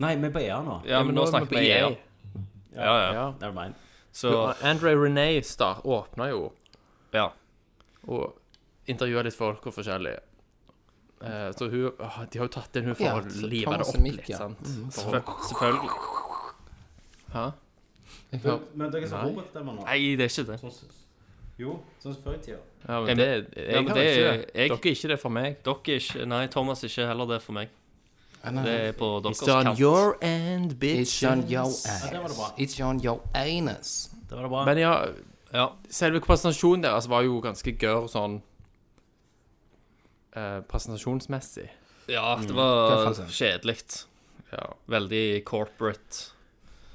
[SPEAKER 7] Nei, vi er på EA nå.
[SPEAKER 6] Ja, men nå
[SPEAKER 2] er vi
[SPEAKER 6] snakker
[SPEAKER 2] på E
[SPEAKER 6] vi EA. Ja, ja.
[SPEAKER 2] Ja.
[SPEAKER 7] Never mind.
[SPEAKER 6] Så
[SPEAKER 2] Hun- Andre Renee start, åpna jo
[SPEAKER 6] Ja.
[SPEAKER 2] og intervjua litt folk og forskjellig. Eh, så hun ah, De har jo tatt inn hun for
[SPEAKER 4] Ja,
[SPEAKER 2] å live det
[SPEAKER 4] Thomas
[SPEAKER 2] opp
[SPEAKER 4] og Mick,
[SPEAKER 2] litt,
[SPEAKER 4] ja.
[SPEAKER 2] sant?
[SPEAKER 6] selvføl- selvfølgelig.
[SPEAKER 2] Hæ?
[SPEAKER 4] Jeg
[SPEAKER 7] Men,
[SPEAKER 4] hører-
[SPEAKER 7] men dere er så
[SPEAKER 2] Nei.
[SPEAKER 7] robotstemmer nå.
[SPEAKER 6] Nei, det er ikke det.
[SPEAKER 7] Sånn, jo, sånn som før i tida.
[SPEAKER 2] Ja, men
[SPEAKER 6] Jeg-
[SPEAKER 2] det Jeg
[SPEAKER 6] Ja, men
[SPEAKER 2] har
[SPEAKER 6] det
[SPEAKER 2] ikke
[SPEAKER 6] er-
[SPEAKER 2] det.
[SPEAKER 6] jeg-
[SPEAKER 2] Dere er ikke det for meg.
[SPEAKER 6] Dere er ikke Nei, Thomas er ikke heller det for meg.
[SPEAKER 4] Nei,
[SPEAKER 6] Det
[SPEAKER 4] nei.
[SPEAKER 6] er på deres
[SPEAKER 2] It's on
[SPEAKER 6] kant.
[SPEAKER 2] your end,
[SPEAKER 4] It's
[SPEAKER 2] bitch.
[SPEAKER 4] on your
[SPEAKER 7] Ja, det var det bra.
[SPEAKER 4] ass. It's on your anus.
[SPEAKER 7] Det var det bra.
[SPEAKER 2] Men ja,
[SPEAKER 6] Ja.
[SPEAKER 2] selve presentasjonen deres var jo ganske gørr sånn eh, presentasjonsmessig.
[SPEAKER 6] ja,
[SPEAKER 4] Mm.
[SPEAKER 6] det
[SPEAKER 4] Det er
[SPEAKER 6] var
[SPEAKER 4] faktisk-
[SPEAKER 6] kjedelig.
[SPEAKER 2] Ja.
[SPEAKER 6] Veldig corporate.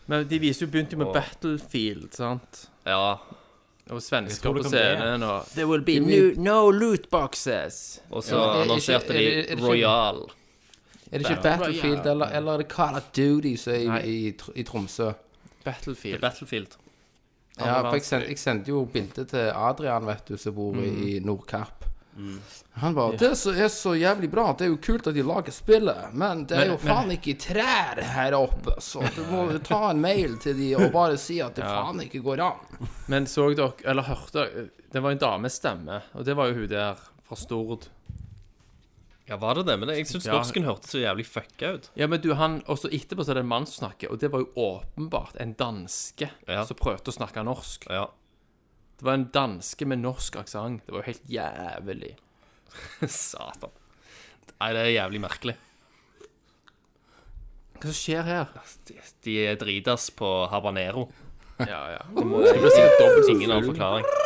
[SPEAKER 2] Men de viser jo begynte jo med
[SPEAKER 6] Og-
[SPEAKER 2] Battlefield, sant?
[SPEAKER 6] Ja.
[SPEAKER 2] Og
[SPEAKER 7] Jeg tror
[SPEAKER 2] svensker
[SPEAKER 7] det
[SPEAKER 2] på
[SPEAKER 7] kan bli det.
[SPEAKER 2] scenen og There will be
[SPEAKER 4] new-
[SPEAKER 2] no loot boxes.
[SPEAKER 6] Og så
[SPEAKER 4] Ja, men er- er
[SPEAKER 6] annonserte
[SPEAKER 4] ikke- er- er- er
[SPEAKER 6] de
[SPEAKER 4] det ikke-
[SPEAKER 6] Royal.
[SPEAKER 4] Er det ikke Battlefield eller, eller er det Call of Duty som er
[SPEAKER 2] Nei.
[SPEAKER 4] i, i, Tr- i Tromsø?
[SPEAKER 2] Battlefield.
[SPEAKER 6] Battlefield.
[SPEAKER 4] Ja, for jeg, send, jeg sendte jo bilde til Adrian, vet du, som bor
[SPEAKER 2] Mm.
[SPEAKER 4] i Nordkapp. Han bare 'Det som er så jævlig bra, det er jo kult at de lager spillet, men det er jo faen ikke trær her oppe', så du må jo ta en mail til de og bare si at det faen ikke går an.
[SPEAKER 2] Men så dere, eller hørte dere, det var en damestemme, og det var jo hun der fra Stord.
[SPEAKER 6] Ja, var det det? Men jeg syns
[SPEAKER 2] Ja.
[SPEAKER 6] norsken hørtes så jævlig fucka ut.
[SPEAKER 2] Ja, men du, han, og så etterpå så er det en mann som snakker, og det var jo åpenbart en danske
[SPEAKER 6] Ja.
[SPEAKER 2] som prøvde å snakke norsk.
[SPEAKER 6] Ja.
[SPEAKER 2] Det var en danske med norsk aksent. Det var jo helt jævlig.
[SPEAKER 6] Satan. Nei, det er jævlig merkelig.
[SPEAKER 2] Hva som skjer her?
[SPEAKER 6] De, de er dritas på habanero.
[SPEAKER 2] Ja, ja.
[SPEAKER 6] Ingen annen forklaring.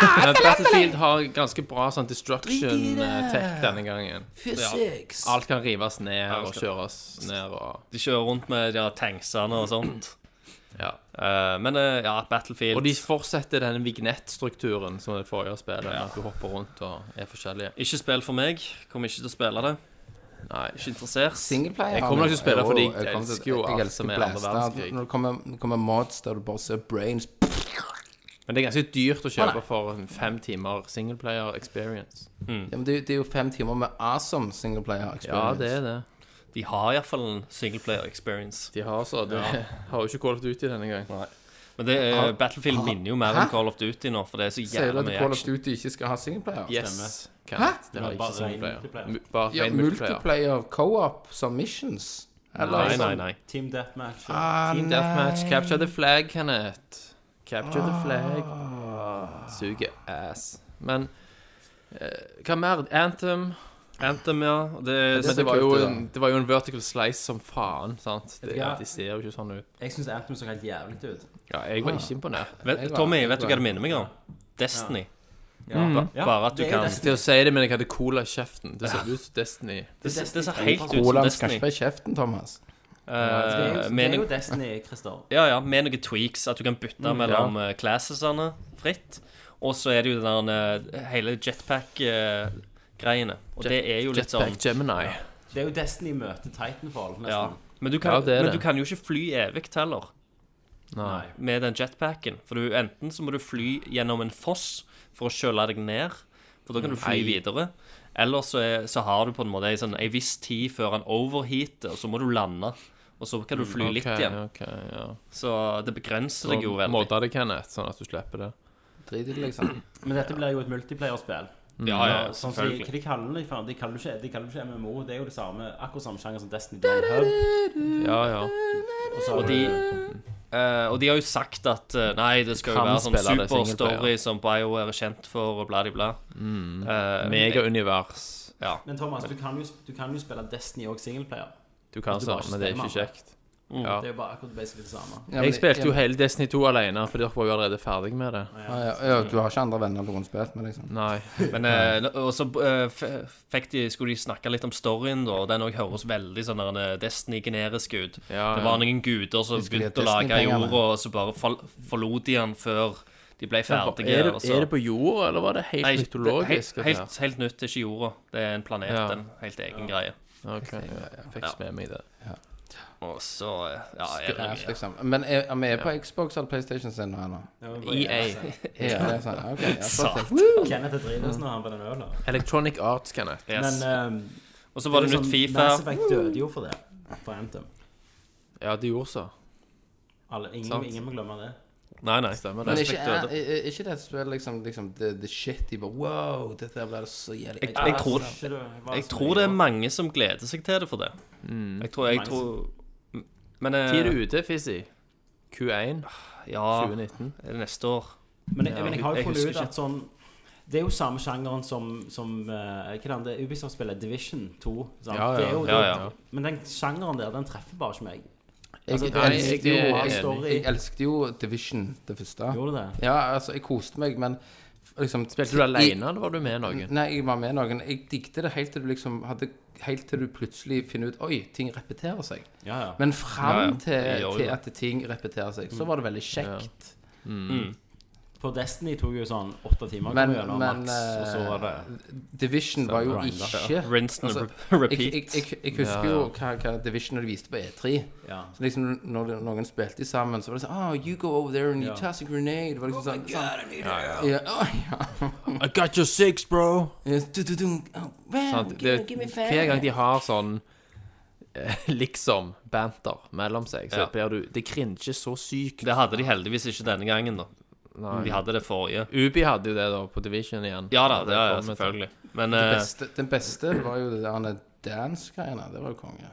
[SPEAKER 2] Men Battlefield har ganske bra sånn destruction-tech denne gangen.
[SPEAKER 4] Physics.
[SPEAKER 2] Alt kan rives ned og
[SPEAKER 6] skal-
[SPEAKER 2] kjøres ned og
[SPEAKER 6] De kjører rundt med de her tanksene og sånt.
[SPEAKER 2] Ja.
[SPEAKER 6] Eh, men eh, ja, Battlefield
[SPEAKER 2] Og de fortsetter denne vignettstrukturen som det forrige spillet, med at du hopper rundt og er forskjellige.
[SPEAKER 6] Ikke spill for meg. Kommer ikke til å spille det.
[SPEAKER 2] Nei.
[SPEAKER 6] Ikke interessert.
[SPEAKER 4] Singleplayer
[SPEAKER 2] Jeg kommer nok til å spille, fordi
[SPEAKER 4] Jo,
[SPEAKER 2] jeg
[SPEAKER 4] kommer til-
[SPEAKER 2] elsker jo
[SPEAKER 4] jeg
[SPEAKER 2] alt
[SPEAKER 4] elsker
[SPEAKER 2] som er andre
[SPEAKER 4] blaster.
[SPEAKER 2] verdenskrig. Mm.
[SPEAKER 4] Når det kommer, kommer mods der du bare ser brains
[SPEAKER 2] Men det er ganske dyrt å kjøpe for en fem timer singleplayer experience.
[SPEAKER 4] ja, men det, det er jo fem timer med awesome singleplayer
[SPEAKER 2] Ja,
[SPEAKER 4] experience.
[SPEAKER 2] det er det.
[SPEAKER 6] De har iallfall en singleplayer experience.
[SPEAKER 2] De har så Det har jo ikke Call of Duty denne gang.
[SPEAKER 6] Men det, eh, Battlefield minner jo mer om Call of Duty nå, for det er så
[SPEAKER 4] Sier du
[SPEAKER 6] jævla
[SPEAKER 4] at
[SPEAKER 6] mye
[SPEAKER 4] Call of
[SPEAKER 6] action.
[SPEAKER 4] Duty ikke skal ha singleplayer?
[SPEAKER 2] Yes.
[SPEAKER 4] Hæ?
[SPEAKER 2] Kenneth, det har
[SPEAKER 7] Men
[SPEAKER 2] ikke
[SPEAKER 7] bare ren
[SPEAKER 2] singleplayer.
[SPEAKER 7] multiplayer.
[SPEAKER 2] Mu- Bare
[SPEAKER 4] Ja,
[SPEAKER 2] ren multiplayer.
[SPEAKER 4] multiplayer, co-op som missions? Eller
[SPEAKER 6] Nei, nei,
[SPEAKER 4] sånn-
[SPEAKER 6] nei.
[SPEAKER 7] Team Deathmatch. og-
[SPEAKER 4] Ah,
[SPEAKER 2] Team
[SPEAKER 4] nei.
[SPEAKER 2] Deathmatch, capture the flag, Kenneth. Capture the flag.
[SPEAKER 7] Ah.
[SPEAKER 2] Suger ass. Men eh, hva mer? Anthem.
[SPEAKER 6] Anthem, ja. Det,
[SPEAKER 2] Eh, Men
[SPEAKER 4] så
[SPEAKER 2] det var,
[SPEAKER 4] kult,
[SPEAKER 2] jo
[SPEAKER 4] det da.
[SPEAKER 2] en, det var jo en vertical slice som faen, sant? Det,
[SPEAKER 7] Ja.
[SPEAKER 2] De ser jo ikke sånn ut.
[SPEAKER 7] Jeg syns Anthem så helt jævlig ut.
[SPEAKER 2] Ja, jeg
[SPEAKER 6] Ah.
[SPEAKER 2] var ikke imponert.
[SPEAKER 6] vet, Tommy, vet du hva det minner meg om? Destiny.
[SPEAKER 2] Mm.
[SPEAKER 7] Ja.
[SPEAKER 6] Bare at du
[SPEAKER 7] det er
[SPEAKER 6] kan
[SPEAKER 7] Destiny.
[SPEAKER 2] Til å si det, men jeg hadde cola i kjeften. Det ser ut som Destiny.
[SPEAKER 6] Det, ser- det ser
[SPEAKER 7] Destiny.
[SPEAKER 6] helt ut som
[SPEAKER 4] Olav skal ikke
[SPEAKER 6] Destiny.
[SPEAKER 4] få i kjeften, Thomas.
[SPEAKER 7] Det er jo,
[SPEAKER 6] Eh,
[SPEAKER 7] det
[SPEAKER 6] med,
[SPEAKER 7] er jo Mm,
[SPEAKER 6] noen-
[SPEAKER 7] Destiny, Christer.
[SPEAKER 6] ja, ja, med noen tweaks. At du kan bytte mellom eh, classesene fritt. Og så er det jo den der eh, hele jetpack-greiene. Og det er jo litt sånn
[SPEAKER 2] Jetpack Gemini.
[SPEAKER 7] Det er jo Destiny møter Titanfall, nesten.
[SPEAKER 6] ja. Men, du kan,
[SPEAKER 2] Ja, det er
[SPEAKER 6] men
[SPEAKER 2] det.
[SPEAKER 6] du kan jo ikke fly evig heller.
[SPEAKER 2] Nei.
[SPEAKER 6] med den jetpacken. For du, enten så må du fly gjennom en foss for å kjøle deg ned, for da kan du fly videre. Eller så, er, så har du på en måte ei sånn, ei viss tid før han overheater, og så må du lande. Og så kan du fly litt
[SPEAKER 2] Mm, Ok,
[SPEAKER 6] igjen.
[SPEAKER 2] ok, ja.
[SPEAKER 6] Så det begrenser deg jo
[SPEAKER 2] Så
[SPEAKER 6] veldig.
[SPEAKER 2] modder det Kenneth, sånn at du slipper det.
[SPEAKER 4] Drit i det, liksom.
[SPEAKER 7] Men dette blir jo et multiplayerspill.
[SPEAKER 6] Mm. Ja, Ah, ja,
[SPEAKER 2] Mm,
[SPEAKER 7] Sånn som de,
[SPEAKER 6] selvfølgelig.
[SPEAKER 7] hva de kaller det, faen, de kaller det ikke, de kaller det ikke MMO. Det er jo det samme, akkurat samme sjanger som Destiny. Det er en hub,
[SPEAKER 2] Ja, ja.
[SPEAKER 7] og så har
[SPEAKER 6] Og
[SPEAKER 7] du-
[SPEAKER 6] de, eh, og de har jo sagt at eh, nei, det skal jo være sånn
[SPEAKER 2] Framspiller det
[SPEAKER 6] superstory
[SPEAKER 2] singleplayer.
[SPEAKER 6] som BioWare er kjent for, og bla, bla, bla.
[SPEAKER 2] Mm.
[SPEAKER 6] Eh,
[SPEAKER 2] Megaunivers.
[SPEAKER 6] Ja.
[SPEAKER 7] Men Thomas, du kan jo, sp- du kan jo spille Destiny og singleplayer.
[SPEAKER 2] Du kan
[SPEAKER 7] Du bare
[SPEAKER 2] sånn, men det er ikke
[SPEAKER 7] stemmer.
[SPEAKER 2] kjekt.
[SPEAKER 6] Mm.
[SPEAKER 2] Ja.
[SPEAKER 7] Det er jo bare akkurat basically det samme.
[SPEAKER 4] Ja, men
[SPEAKER 2] Jeg
[SPEAKER 4] det-
[SPEAKER 2] spilte jo hele Destiny 2 alene, fordi dere var jo allerede ferdig med det.
[SPEAKER 4] ja, Ah, ja, ja, Du har ikke andre venner du kunne spilt med, liksom.
[SPEAKER 2] Nei.
[SPEAKER 6] Men eh, nå- og så eh, f- fikk de, skulle de snakke litt om storyen, da, og den òg høres veldig sånn der, eh, Destiny-generisk ut.
[SPEAKER 2] Ja,
[SPEAKER 6] Det
[SPEAKER 2] ja.
[SPEAKER 6] var noen guder som
[SPEAKER 4] skulle
[SPEAKER 6] begynte å
[SPEAKER 4] ha
[SPEAKER 6] lage
[SPEAKER 4] Destiny-pengene.
[SPEAKER 6] jorda, og så bare fall, forlot de den før de ble ferdige.
[SPEAKER 2] Er det,
[SPEAKER 6] og så-
[SPEAKER 2] er det på jorda, eller var det helt
[SPEAKER 6] altså. Nei, det-
[SPEAKER 2] mytologisk?
[SPEAKER 6] Helt, helt, helt nytt, det er ikke jorda. Det er en planet,
[SPEAKER 2] Ja.
[SPEAKER 6] en helt egen greie.
[SPEAKER 2] Ok, ja, jeg fikk ikke med meg det.
[SPEAKER 6] Og så eh, Ja, er det,
[SPEAKER 4] Skræs, liksom. Men er er vi på Xbox eller PlayStation sin nå ennå?
[SPEAKER 6] E
[SPEAKER 2] EA.
[SPEAKER 4] Ja, det er sånn. Ok, ja, så
[SPEAKER 6] Satan.
[SPEAKER 4] kult.
[SPEAKER 7] Kenneth er drivende når han på den ølen.
[SPEAKER 2] Electronic Arts, Kenneth.
[SPEAKER 6] yes.
[SPEAKER 7] Men um,
[SPEAKER 6] Og så var det,
[SPEAKER 7] er jo
[SPEAKER 6] nytt
[SPEAKER 7] sånn,
[SPEAKER 6] Fifa.
[SPEAKER 7] Mass Effect døde jo for det. For Anthem.
[SPEAKER 2] Ja, de gjorde så.
[SPEAKER 7] Alle, ingen,
[SPEAKER 2] Sant.
[SPEAKER 7] ingen må glemme det.
[SPEAKER 6] Nei, nei.
[SPEAKER 2] Stemmer
[SPEAKER 4] Men
[SPEAKER 2] det.
[SPEAKER 4] ikke, er, er ikke det et spill liksom, liksom the, the shit de bare Wow, dette her blir så jævlig
[SPEAKER 6] Jeg, jeg, tror,
[SPEAKER 7] Ikke det var
[SPEAKER 6] jeg
[SPEAKER 7] så mye
[SPEAKER 6] tror det er
[SPEAKER 7] bra.
[SPEAKER 6] mange som gleder seg til det for det.
[SPEAKER 2] Mm.
[SPEAKER 6] Jeg tror, jeg
[SPEAKER 7] Mange
[SPEAKER 6] tror Men eh,
[SPEAKER 2] Tid er ute, Fizzy. Q1
[SPEAKER 6] Ja,
[SPEAKER 2] 2019.
[SPEAKER 6] er det neste år.
[SPEAKER 7] Men jeg, men jeg har jo
[SPEAKER 6] Jeg
[SPEAKER 7] funnet
[SPEAKER 6] husker
[SPEAKER 7] ut at sånn Det er jo samme sjangeren som, som eh, Hva er det andre Ubisoft-spillet? Division 2. Sant?
[SPEAKER 2] Ja, ja.
[SPEAKER 7] Det er jo,
[SPEAKER 6] Ja, ja.
[SPEAKER 7] Men den sjangeren der, den treffer bare ikke meg.
[SPEAKER 4] Jeg,
[SPEAKER 7] Altså,
[SPEAKER 4] jeg,
[SPEAKER 7] det
[SPEAKER 2] nei,
[SPEAKER 4] elsket
[SPEAKER 2] jeg
[SPEAKER 4] jo,
[SPEAKER 2] er
[SPEAKER 4] jeg,
[SPEAKER 7] enig.
[SPEAKER 4] elsket jo Division, det første.
[SPEAKER 7] Gjorde det?
[SPEAKER 4] Ja, altså, jeg koste meg, men liksom
[SPEAKER 2] Spilte du
[SPEAKER 4] i-
[SPEAKER 2] alene, eller var du med noen?
[SPEAKER 4] Nei, jeg var med noen. Jeg digget det helt til du liksom hadde Helt til du plutselig finner ut Oi, ting repeterer seg.
[SPEAKER 7] Ja, ja.
[SPEAKER 4] Men fram
[SPEAKER 6] Ja, ja. Det gjør
[SPEAKER 4] til,
[SPEAKER 6] jo
[SPEAKER 4] til
[SPEAKER 6] det.
[SPEAKER 4] at ting repeterer seg, så var det veldig kjekt.
[SPEAKER 7] For Destiny tok jo sånn åtte timer å
[SPEAKER 4] Men,
[SPEAKER 7] komme gjennom
[SPEAKER 4] men
[SPEAKER 7] maks, og så var det
[SPEAKER 4] eh, Division var jo
[SPEAKER 7] grinder.
[SPEAKER 4] ikke
[SPEAKER 6] Rinse and
[SPEAKER 4] Altså,
[SPEAKER 6] re- repeat.
[SPEAKER 4] jeg, jeg, jeg, jeg husker jo hva, hva Division de viste på E3.
[SPEAKER 6] eh,
[SPEAKER 7] Ja.
[SPEAKER 4] Så liksom Når det- noen spilte sammen, så var det sånn Oh, you go over there and you
[SPEAKER 7] Ja.
[SPEAKER 4] toss a grenade. Det var liksom sånn, sånn ja, oh, ja.
[SPEAKER 2] I got your six, bro!
[SPEAKER 4] Yes, du, du, du. Oh, wow,
[SPEAKER 2] Sant?
[SPEAKER 4] give,
[SPEAKER 2] Det,
[SPEAKER 4] me- give me five.
[SPEAKER 2] hver gang de har sånn eh, liksom banter mellom seg, så
[SPEAKER 6] Ja.
[SPEAKER 2] blir du Det kringer så sykt.
[SPEAKER 6] Det hadde de heldigvis ikke denne gangen, da.
[SPEAKER 2] Nei.
[SPEAKER 6] De hadde det forrige.
[SPEAKER 2] Ubi hadde jo det da på Division igjen.
[SPEAKER 6] Ja da,
[SPEAKER 2] Hadde
[SPEAKER 6] det er
[SPEAKER 2] kommet.
[SPEAKER 6] selvfølgelig. Men
[SPEAKER 4] Den
[SPEAKER 6] eh,
[SPEAKER 4] beste, den beste var jo det der dance-greiene. Det var jo konge.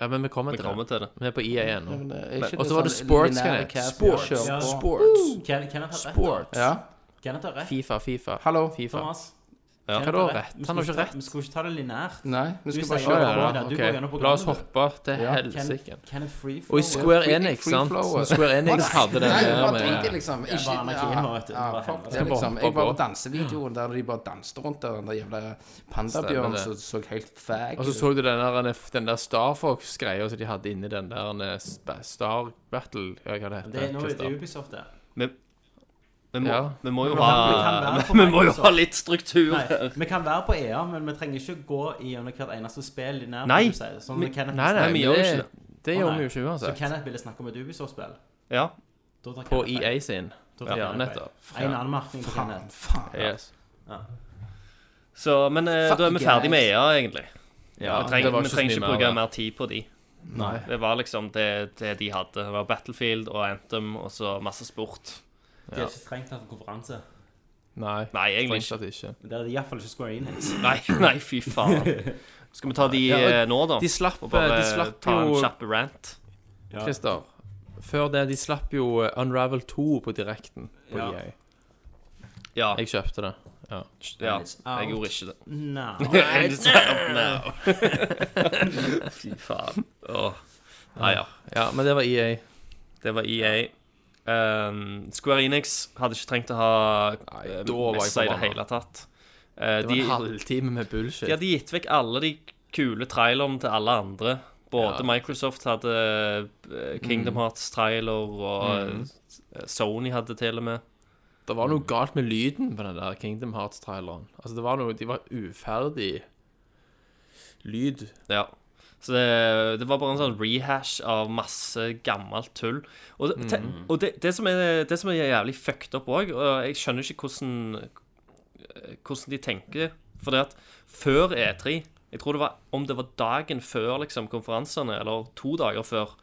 [SPEAKER 2] Ja, men vi kommer
[SPEAKER 6] vi
[SPEAKER 2] til det.
[SPEAKER 6] kommer til det.
[SPEAKER 2] Vi er på E EA ennå.
[SPEAKER 4] Men det er ikke
[SPEAKER 2] Og så var det
[SPEAKER 4] sånn
[SPEAKER 2] sports,
[SPEAKER 4] lineære
[SPEAKER 2] kan jeg.
[SPEAKER 4] cast-
[SPEAKER 2] Sports.
[SPEAKER 4] Kjør på.
[SPEAKER 2] Sports.
[SPEAKER 7] Ken, Kenneth har rett.
[SPEAKER 2] Sports.
[SPEAKER 4] Ja.
[SPEAKER 7] Kenneth har rett.
[SPEAKER 2] Fifa, Fifa.
[SPEAKER 4] Hallo.
[SPEAKER 2] FIFA.
[SPEAKER 7] Thomas.
[SPEAKER 6] Ja.
[SPEAKER 7] Kenneth
[SPEAKER 2] Hva da,
[SPEAKER 7] har
[SPEAKER 2] rett?
[SPEAKER 7] Vi
[SPEAKER 2] Han
[SPEAKER 7] skulle
[SPEAKER 2] har ikke
[SPEAKER 7] ta-
[SPEAKER 2] rett.
[SPEAKER 7] Vi skulle ikke ta det linært.
[SPEAKER 4] Nei, vi
[SPEAKER 7] Du
[SPEAKER 4] skal bare
[SPEAKER 7] sier
[SPEAKER 2] Å,
[SPEAKER 4] kjøre
[SPEAKER 2] ja,
[SPEAKER 4] på.
[SPEAKER 2] ja.
[SPEAKER 7] Du går gjennom
[SPEAKER 2] Ok, La oss
[SPEAKER 7] programmet.
[SPEAKER 2] hoppe til
[SPEAKER 4] Ja.
[SPEAKER 2] helsike.
[SPEAKER 7] Kenneth, Kenneth Free
[SPEAKER 2] Og i
[SPEAKER 7] Flow.
[SPEAKER 2] Square
[SPEAKER 4] Free-
[SPEAKER 2] Enix,
[SPEAKER 4] free
[SPEAKER 2] sant?
[SPEAKER 4] flow, eh.
[SPEAKER 2] Så Square Enix hadde det
[SPEAKER 4] Nei, jeg
[SPEAKER 2] der
[SPEAKER 4] bare drinker,
[SPEAKER 2] med
[SPEAKER 4] liksom.
[SPEAKER 7] Jeg
[SPEAKER 4] Ikke,
[SPEAKER 7] var anarkien nå, vet du.
[SPEAKER 4] ja,
[SPEAKER 7] Bare
[SPEAKER 4] fuck
[SPEAKER 7] helvete.
[SPEAKER 4] det, liksom. Jeg
[SPEAKER 2] Bare
[SPEAKER 4] var på
[SPEAKER 2] hoppe.
[SPEAKER 4] dansevideoen der de bare danste rundt der, den der jævla
[SPEAKER 2] Stemmer
[SPEAKER 4] pandabjørnen
[SPEAKER 2] det.
[SPEAKER 4] som så helt fag
[SPEAKER 2] Og så så du den der, den der Star Fox-greia som de hadde inni den der eh, sp- Star Battle ja, Hva det
[SPEAKER 7] Det er nå
[SPEAKER 2] heter
[SPEAKER 7] det
[SPEAKER 2] det?
[SPEAKER 7] er Ubisoft, det.
[SPEAKER 6] Vi, vi, må,
[SPEAKER 2] Ja.
[SPEAKER 6] vi må jo
[SPEAKER 7] Men
[SPEAKER 6] ha
[SPEAKER 7] vi kan være på
[SPEAKER 6] Vi må jo
[SPEAKER 7] Microsoft.
[SPEAKER 6] ha litt struktur her.
[SPEAKER 7] Nei, vi kan være på EA, men vi trenger ikke gå gjennom hvert eneste spill i nærheten.
[SPEAKER 6] Nei.
[SPEAKER 7] du sier, Sånn
[SPEAKER 6] Men-
[SPEAKER 7] som Kenneth
[SPEAKER 2] Nei, nei,
[SPEAKER 6] Nei, vi
[SPEAKER 2] men
[SPEAKER 6] gjør jo
[SPEAKER 2] det,
[SPEAKER 6] ikke
[SPEAKER 2] det
[SPEAKER 7] Å,
[SPEAKER 2] gjør
[SPEAKER 7] nei.
[SPEAKER 2] vi jo ikke
[SPEAKER 7] Så
[SPEAKER 2] uansett.
[SPEAKER 7] Kenneth ville snakke om et Ubisoft-spill.
[SPEAKER 6] Ja.
[SPEAKER 7] Da tar
[SPEAKER 2] På
[SPEAKER 7] Kenneth feil.
[SPEAKER 2] EA sin.
[SPEAKER 7] Da tar
[SPEAKER 2] Ja,
[SPEAKER 7] Kenneth
[SPEAKER 2] nettopp.
[SPEAKER 7] feil. En anmerkning på Kenneth.
[SPEAKER 4] Faen.
[SPEAKER 2] Yes.
[SPEAKER 6] Så, men eh, da er vi ferdig med EA, egentlig.
[SPEAKER 2] Ja,
[SPEAKER 6] vi
[SPEAKER 2] det
[SPEAKER 6] trenger,
[SPEAKER 2] var
[SPEAKER 6] vi
[SPEAKER 2] ikke så
[SPEAKER 6] trenger
[SPEAKER 2] mye E
[SPEAKER 6] ikke
[SPEAKER 2] mer
[SPEAKER 6] bruke
[SPEAKER 2] av det.
[SPEAKER 6] mer tid på de. Det var liksom det, det de hadde. Det var Battlefield og Anthem og så masse sport.
[SPEAKER 7] De har ikke trengt den for konferanse.
[SPEAKER 2] Nei,
[SPEAKER 6] Nei, egentlig
[SPEAKER 2] strengt tatt
[SPEAKER 6] ikke.
[SPEAKER 2] ikke.
[SPEAKER 7] Men Det er iallfall ikke Square Enix.
[SPEAKER 6] Nei, nei, fy faen. Skal vi ta de
[SPEAKER 2] Ja, og
[SPEAKER 6] eh, nå, da?
[SPEAKER 2] De slapp,
[SPEAKER 6] Og bare
[SPEAKER 2] de slapp
[SPEAKER 6] ta en
[SPEAKER 2] jo
[SPEAKER 6] kjapp rant?
[SPEAKER 7] Ja.
[SPEAKER 2] Christer, før det, de slapp jo eh, Unravel 2 på direkten på
[SPEAKER 7] Ja.
[SPEAKER 2] EA.
[SPEAKER 6] Ja.
[SPEAKER 2] Jeg kjøpte det. Ja.
[SPEAKER 6] ja.
[SPEAKER 7] It's out.
[SPEAKER 6] Jeg gjorde ikke det.
[SPEAKER 7] Nei.
[SPEAKER 6] And it's out now. Fy faen. Åh. Nei ja.
[SPEAKER 2] ja, men det var E EA.
[SPEAKER 6] Det var EA. Um, Square Enix hadde ikke trengt å ha
[SPEAKER 2] Nei,
[SPEAKER 6] eh,
[SPEAKER 2] da var jeg
[SPEAKER 6] messa i det
[SPEAKER 2] forbanna.
[SPEAKER 6] hele tatt. Eh,
[SPEAKER 2] Det var
[SPEAKER 6] de,
[SPEAKER 2] en halvtime med
[SPEAKER 6] de
[SPEAKER 2] bullshit.
[SPEAKER 6] hadde gitt vekk alle de kule trailerne til alle andre. Både
[SPEAKER 2] Ja.
[SPEAKER 6] Microsoft hadde Mm. eh, Kingdom Hearts-trailer, og eh, Sony hadde til og med.
[SPEAKER 2] Det var noe galt med lyden på den der Kingdom Hearts-traileren. Altså, det var noe De var uferdig lyd.
[SPEAKER 6] Ja. Så det, det var bare en sånn rehash av masse gammelt tull. Og, det, te, og det, det, som er, det som er jævlig fucked up òg, og jeg skjønner ikke hvordan, eh, hvordan de tenker For det at før E3 Jeg tror det var om det var dagen før liksom, konferansene, eller to dager før,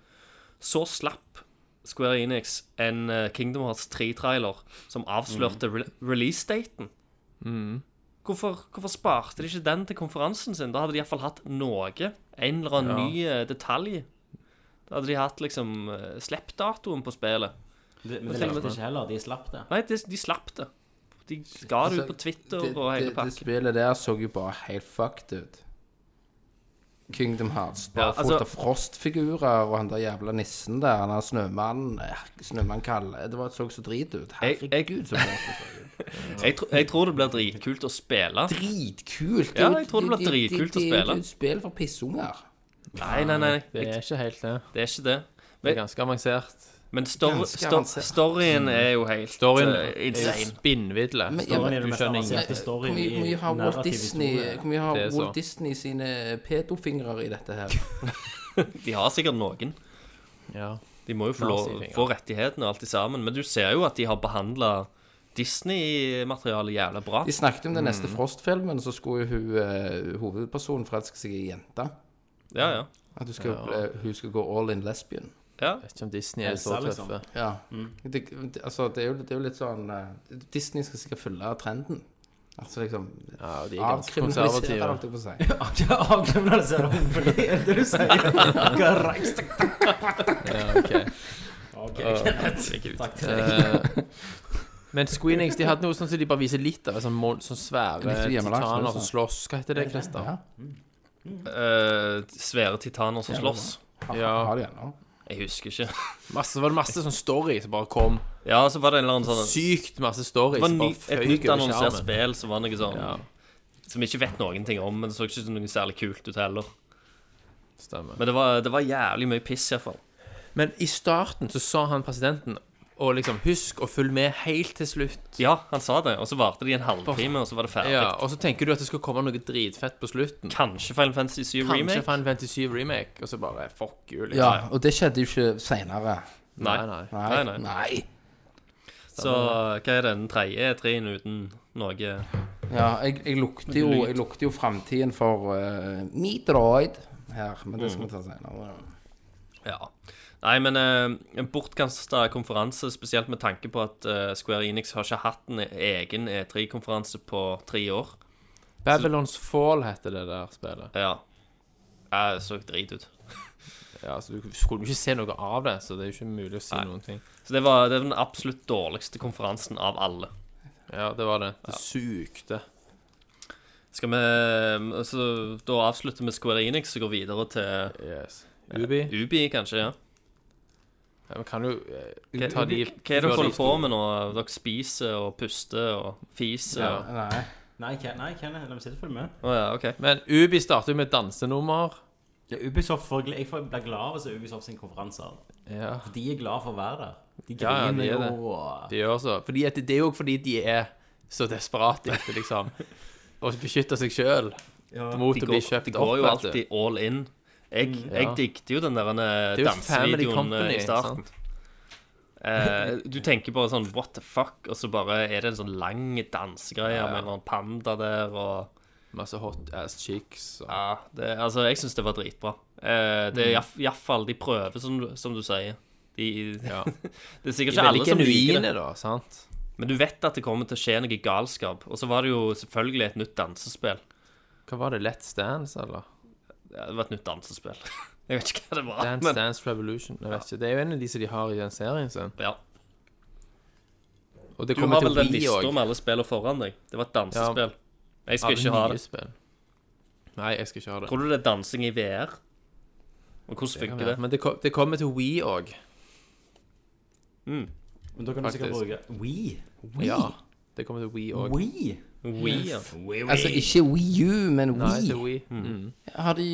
[SPEAKER 6] så slapp Square Enix en eh, Kingdom Hearts 3-trailer som avslørte re release-daten. Hvorfor, hvorfor sparte de ikke den til konferansen sin? Da hadde de iallfall hatt noe. En eller annen ny eh, detalj. Da hadde de hatt liksom eh, slippdatoen på spillet.
[SPEAKER 7] Det, men
[SPEAKER 6] Og
[SPEAKER 7] det
[SPEAKER 6] til og med-
[SPEAKER 7] leste ikke heller. De slapp det.
[SPEAKER 6] Nei, de, de slapp det. De ga det ut på Twitter
[SPEAKER 4] Altså, det,
[SPEAKER 6] og
[SPEAKER 4] det,
[SPEAKER 6] hele
[SPEAKER 4] det
[SPEAKER 6] pakken.
[SPEAKER 4] spillet der så jo bare helt fucked ut. Kingdom Hearts. Bare
[SPEAKER 6] Ja, altså-
[SPEAKER 4] fullt av frostfigurer og han der jævla nissen der. Han der snømannen eh, Snømann Kalle. Det var, så så drit ut.
[SPEAKER 6] Jeg,
[SPEAKER 4] Herregud,
[SPEAKER 6] jeg,
[SPEAKER 4] så flott det så ut.
[SPEAKER 6] jeg, tro, jeg tror det blir dritkult å spille.
[SPEAKER 4] Dritkult.
[SPEAKER 6] Ja, jeg tror det blir
[SPEAKER 4] De- de- de-
[SPEAKER 6] dritkult å
[SPEAKER 4] de- de-
[SPEAKER 6] spille.
[SPEAKER 4] de- de- Spill for pissunger.
[SPEAKER 6] Nei, nei, nei.
[SPEAKER 2] Det
[SPEAKER 6] Jeg,
[SPEAKER 2] er ikke helt det.
[SPEAKER 6] det er ikke det.
[SPEAKER 2] Det er ganske avansert.
[SPEAKER 6] Men story,
[SPEAKER 4] Ganske
[SPEAKER 6] sto,
[SPEAKER 4] avansert.
[SPEAKER 6] storyen er jo helt
[SPEAKER 2] Storyen
[SPEAKER 6] eh,
[SPEAKER 2] er
[SPEAKER 6] insane.
[SPEAKER 2] spinnvidle.
[SPEAKER 4] Men-
[SPEAKER 2] Storyen
[SPEAKER 7] Det er
[SPEAKER 2] du
[SPEAKER 7] det mest
[SPEAKER 2] skjønner ingen.
[SPEAKER 7] avanserte
[SPEAKER 4] Altså, eh, Hvor
[SPEAKER 7] story
[SPEAKER 4] mye- hvor mye har
[SPEAKER 7] i
[SPEAKER 4] Walt
[SPEAKER 7] narrativ
[SPEAKER 4] Disney,
[SPEAKER 7] historie.
[SPEAKER 4] hvor mye har
[SPEAKER 2] Det er så.
[SPEAKER 4] Walt Disney sine pedofingre i dette her?
[SPEAKER 6] De har sikkert noen.
[SPEAKER 2] Ja.
[SPEAKER 6] De må jo få, lov,
[SPEAKER 2] Nazifinger.
[SPEAKER 6] få rettighetene og alt i sammen. Men du ser jo at de har behandla Disney-materialet jævla bra.
[SPEAKER 4] De snakket om den
[SPEAKER 6] Mm.
[SPEAKER 4] neste Frost-filmen, så skulle jo hun, eh, hovedpersonen forelske seg i ei jente.
[SPEAKER 6] Ja, ja.
[SPEAKER 4] At du skal, eh, hun skal gå all in lesbian.
[SPEAKER 6] ja.
[SPEAKER 2] Vet ikke om Disney er
[SPEAKER 7] Elsa,
[SPEAKER 2] så
[SPEAKER 7] liksom.
[SPEAKER 2] tøffe.
[SPEAKER 4] Ja. Det, det, altså, det, er jo, det er jo litt sånn eh, Disney skal sikkert følge trenden. Altså liksom
[SPEAKER 2] Ja, de er ganske
[SPEAKER 4] Avkriminalisere,
[SPEAKER 2] konservative.
[SPEAKER 4] holdt jeg på å si.
[SPEAKER 7] Ja, Avkriminalisere homofili, er det du sier? Garangst.
[SPEAKER 2] Ja, ok.
[SPEAKER 7] Ok, Kenneth. Takk til deg.
[SPEAKER 2] Eh, Men Squeenix de hadde noe sånn som de bare viser litt av. Sånn, mon- sånn
[SPEAKER 4] Litt
[SPEAKER 2] svære
[SPEAKER 4] hjemmelagt,
[SPEAKER 2] titaner
[SPEAKER 4] sånn.
[SPEAKER 2] som slåss. Hva heter det, Christer?
[SPEAKER 4] Ja.
[SPEAKER 6] Eh, svære titaner som slåss.
[SPEAKER 4] Har,
[SPEAKER 2] Ja.
[SPEAKER 4] har de ennå?
[SPEAKER 6] Jeg husker ikke.
[SPEAKER 2] Masse, var det masse sånn story som bare kom.
[SPEAKER 6] Ja, så var det en eller annen sånn
[SPEAKER 2] Sykt masse
[SPEAKER 6] Det
[SPEAKER 2] stories.
[SPEAKER 6] var ny,
[SPEAKER 2] Bare
[SPEAKER 6] et
[SPEAKER 2] føyk
[SPEAKER 6] nytt
[SPEAKER 2] over
[SPEAKER 6] annonsert
[SPEAKER 2] skjermen.
[SPEAKER 6] spill som var noe sånn
[SPEAKER 2] Ja.
[SPEAKER 6] Som vi ikke vet noen ting om, men det så ikke ut som noe særlig kult ut heller.
[SPEAKER 2] Stemmer.
[SPEAKER 6] Men det var, det var jævlig mye piss, iallfall.
[SPEAKER 2] Men i starten så sa han presidenten og liksom Husk å følge med helt til slutt.
[SPEAKER 6] Ja, han sa det, og så varte de en halvtime, og så var det ferdig.
[SPEAKER 2] Ja, Og så tenker du at det skal komme noe dritfett på slutten.
[SPEAKER 6] Kanskje Final Fantasy 7
[SPEAKER 2] Kanskje
[SPEAKER 6] Remake?
[SPEAKER 2] Final 27 Remake, og så bare fuck you, liksom.
[SPEAKER 4] Ja, og det skjedde jo ikke seinere.
[SPEAKER 6] Nei.
[SPEAKER 2] nei. nei.
[SPEAKER 4] Nei,
[SPEAKER 6] Nei, nei.
[SPEAKER 4] nei.
[SPEAKER 6] Så hva er den tredje E3-en uten noe
[SPEAKER 4] Ja, jeg, jeg lukter jo, jeg lukter jo framtiden for uh, Meatroid her, men det skal vi ta senere.
[SPEAKER 6] Ja. Nei, men eh, en bortkasta konferanse, spesielt med tanke på at eh, Square Enix har ikke hatt en egen E3-konferanse på tre år.
[SPEAKER 2] Babylons Fall heter det der spillet.
[SPEAKER 6] Ja. Jeg så drit ut.
[SPEAKER 2] Ja, så Du skulle jo ikke se noe av det, så det er jo ikke mulig å si
[SPEAKER 6] Nei.
[SPEAKER 2] noen ting.
[SPEAKER 6] Så det var, det var den absolutt dårligste konferansen av alle.
[SPEAKER 2] Ja, det var det. Det sugde.
[SPEAKER 6] Skal vi eh, Så da avslutter vi Square Enix og går videre til
[SPEAKER 2] Yes. Ubi.
[SPEAKER 6] Ubi, kanskje? ja
[SPEAKER 2] Ja, vi kan jo eh,
[SPEAKER 6] Hva,
[SPEAKER 2] ta de
[SPEAKER 6] hva er det dere
[SPEAKER 2] før de
[SPEAKER 6] holder på med nå? Dere spiser og puster og fiser.
[SPEAKER 2] Ja.
[SPEAKER 6] og-
[SPEAKER 4] Nei.
[SPEAKER 7] Nei, Ken- nei, Kenneth, la meg sitte og følge med.
[SPEAKER 6] Å ja, OK.
[SPEAKER 2] Men Ubi starter jo med dansenummer.
[SPEAKER 7] Ja, Ubisoft får, jeg får blir glad av å se Ubisoft sin konferanser.
[SPEAKER 2] Ja,
[SPEAKER 7] De er glad for å være der. De
[SPEAKER 2] Ja, ja, de
[SPEAKER 7] griner
[SPEAKER 2] er det.
[SPEAKER 7] jo og
[SPEAKER 2] de gjør så. Fordi at det er jo fordi de er så desperate etter liksom å beskytte seg sjøl mot
[SPEAKER 6] De
[SPEAKER 2] å bli
[SPEAKER 6] går,
[SPEAKER 2] kjøpt
[SPEAKER 6] de går jo
[SPEAKER 2] opp. vet du.
[SPEAKER 6] alltid all in. Jeg, jeg
[SPEAKER 2] Ja.
[SPEAKER 6] digte jo den der eh,
[SPEAKER 2] Det er jo Family
[SPEAKER 6] dansevideoen eh,
[SPEAKER 2] Company.
[SPEAKER 6] i starten.
[SPEAKER 2] sant?
[SPEAKER 6] Eh, du tenker bare sånn what the fuck, og så bare er det en sånn lang dansegreie med en eller annen panda der og
[SPEAKER 2] Masse hot ass cheeks. Og...
[SPEAKER 6] Ja, det, altså, jeg syns det var dritbra. Eh, det
[SPEAKER 2] Mm.
[SPEAKER 6] er iallfall De prøver, som, du- som du sier. De,
[SPEAKER 2] Ja.
[SPEAKER 6] Det er sikkert
[SPEAKER 2] De er
[SPEAKER 6] ikke
[SPEAKER 2] veldig
[SPEAKER 6] alle som liker det.
[SPEAKER 2] genuine, da. sant?
[SPEAKER 6] Men du vet at det kommer til å skje noe galskap. Og så var det jo selvfølgelig et nytt dansespill.
[SPEAKER 2] Hva var det? Let's Dance, eller?
[SPEAKER 6] Ja, det var et nytt dansespill. Jeg vet ikke hva det var.
[SPEAKER 2] Dance
[SPEAKER 6] Ah, men,
[SPEAKER 2] Dance Revolution. Jeg vet ikke. Det er jo en av de som de har i den serien sin.
[SPEAKER 6] ja.
[SPEAKER 2] Og det
[SPEAKER 6] Du har
[SPEAKER 2] kommer
[SPEAKER 6] vel
[SPEAKER 2] til å
[SPEAKER 6] den
[SPEAKER 2] bli
[SPEAKER 6] lista
[SPEAKER 2] òg.
[SPEAKER 6] med alle spillene foran deg. Det var et dansespill. Jeg skal ikke ha det.
[SPEAKER 2] Nei, jeg skal ikke ha det.
[SPEAKER 6] Tror du det er dansing i VR? Og hvordan
[SPEAKER 2] Det kan
[SPEAKER 6] funker
[SPEAKER 2] være.
[SPEAKER 6] det?
[SPEAKER 2] Men det, ko- det kommer til Wii òg.
[SPEAKER 7] Men da kan du sikkert bruke We.
[SPEAKER 2] Ja. Det kommer til Wii òg.
[SPEAKER 7] We.
[SPEAKER 6] Wii, ja.
[SPEAKER 4] Altså ikke Wii U, men
[SPEAKER 2] Nei,
[SPEAKER 4] Wii.
[SPEAKER 2] til Wii.
[SPEAKER 6] Hmm.
[SPEAKER 2] Mm.
[SPEAKER 4] Har de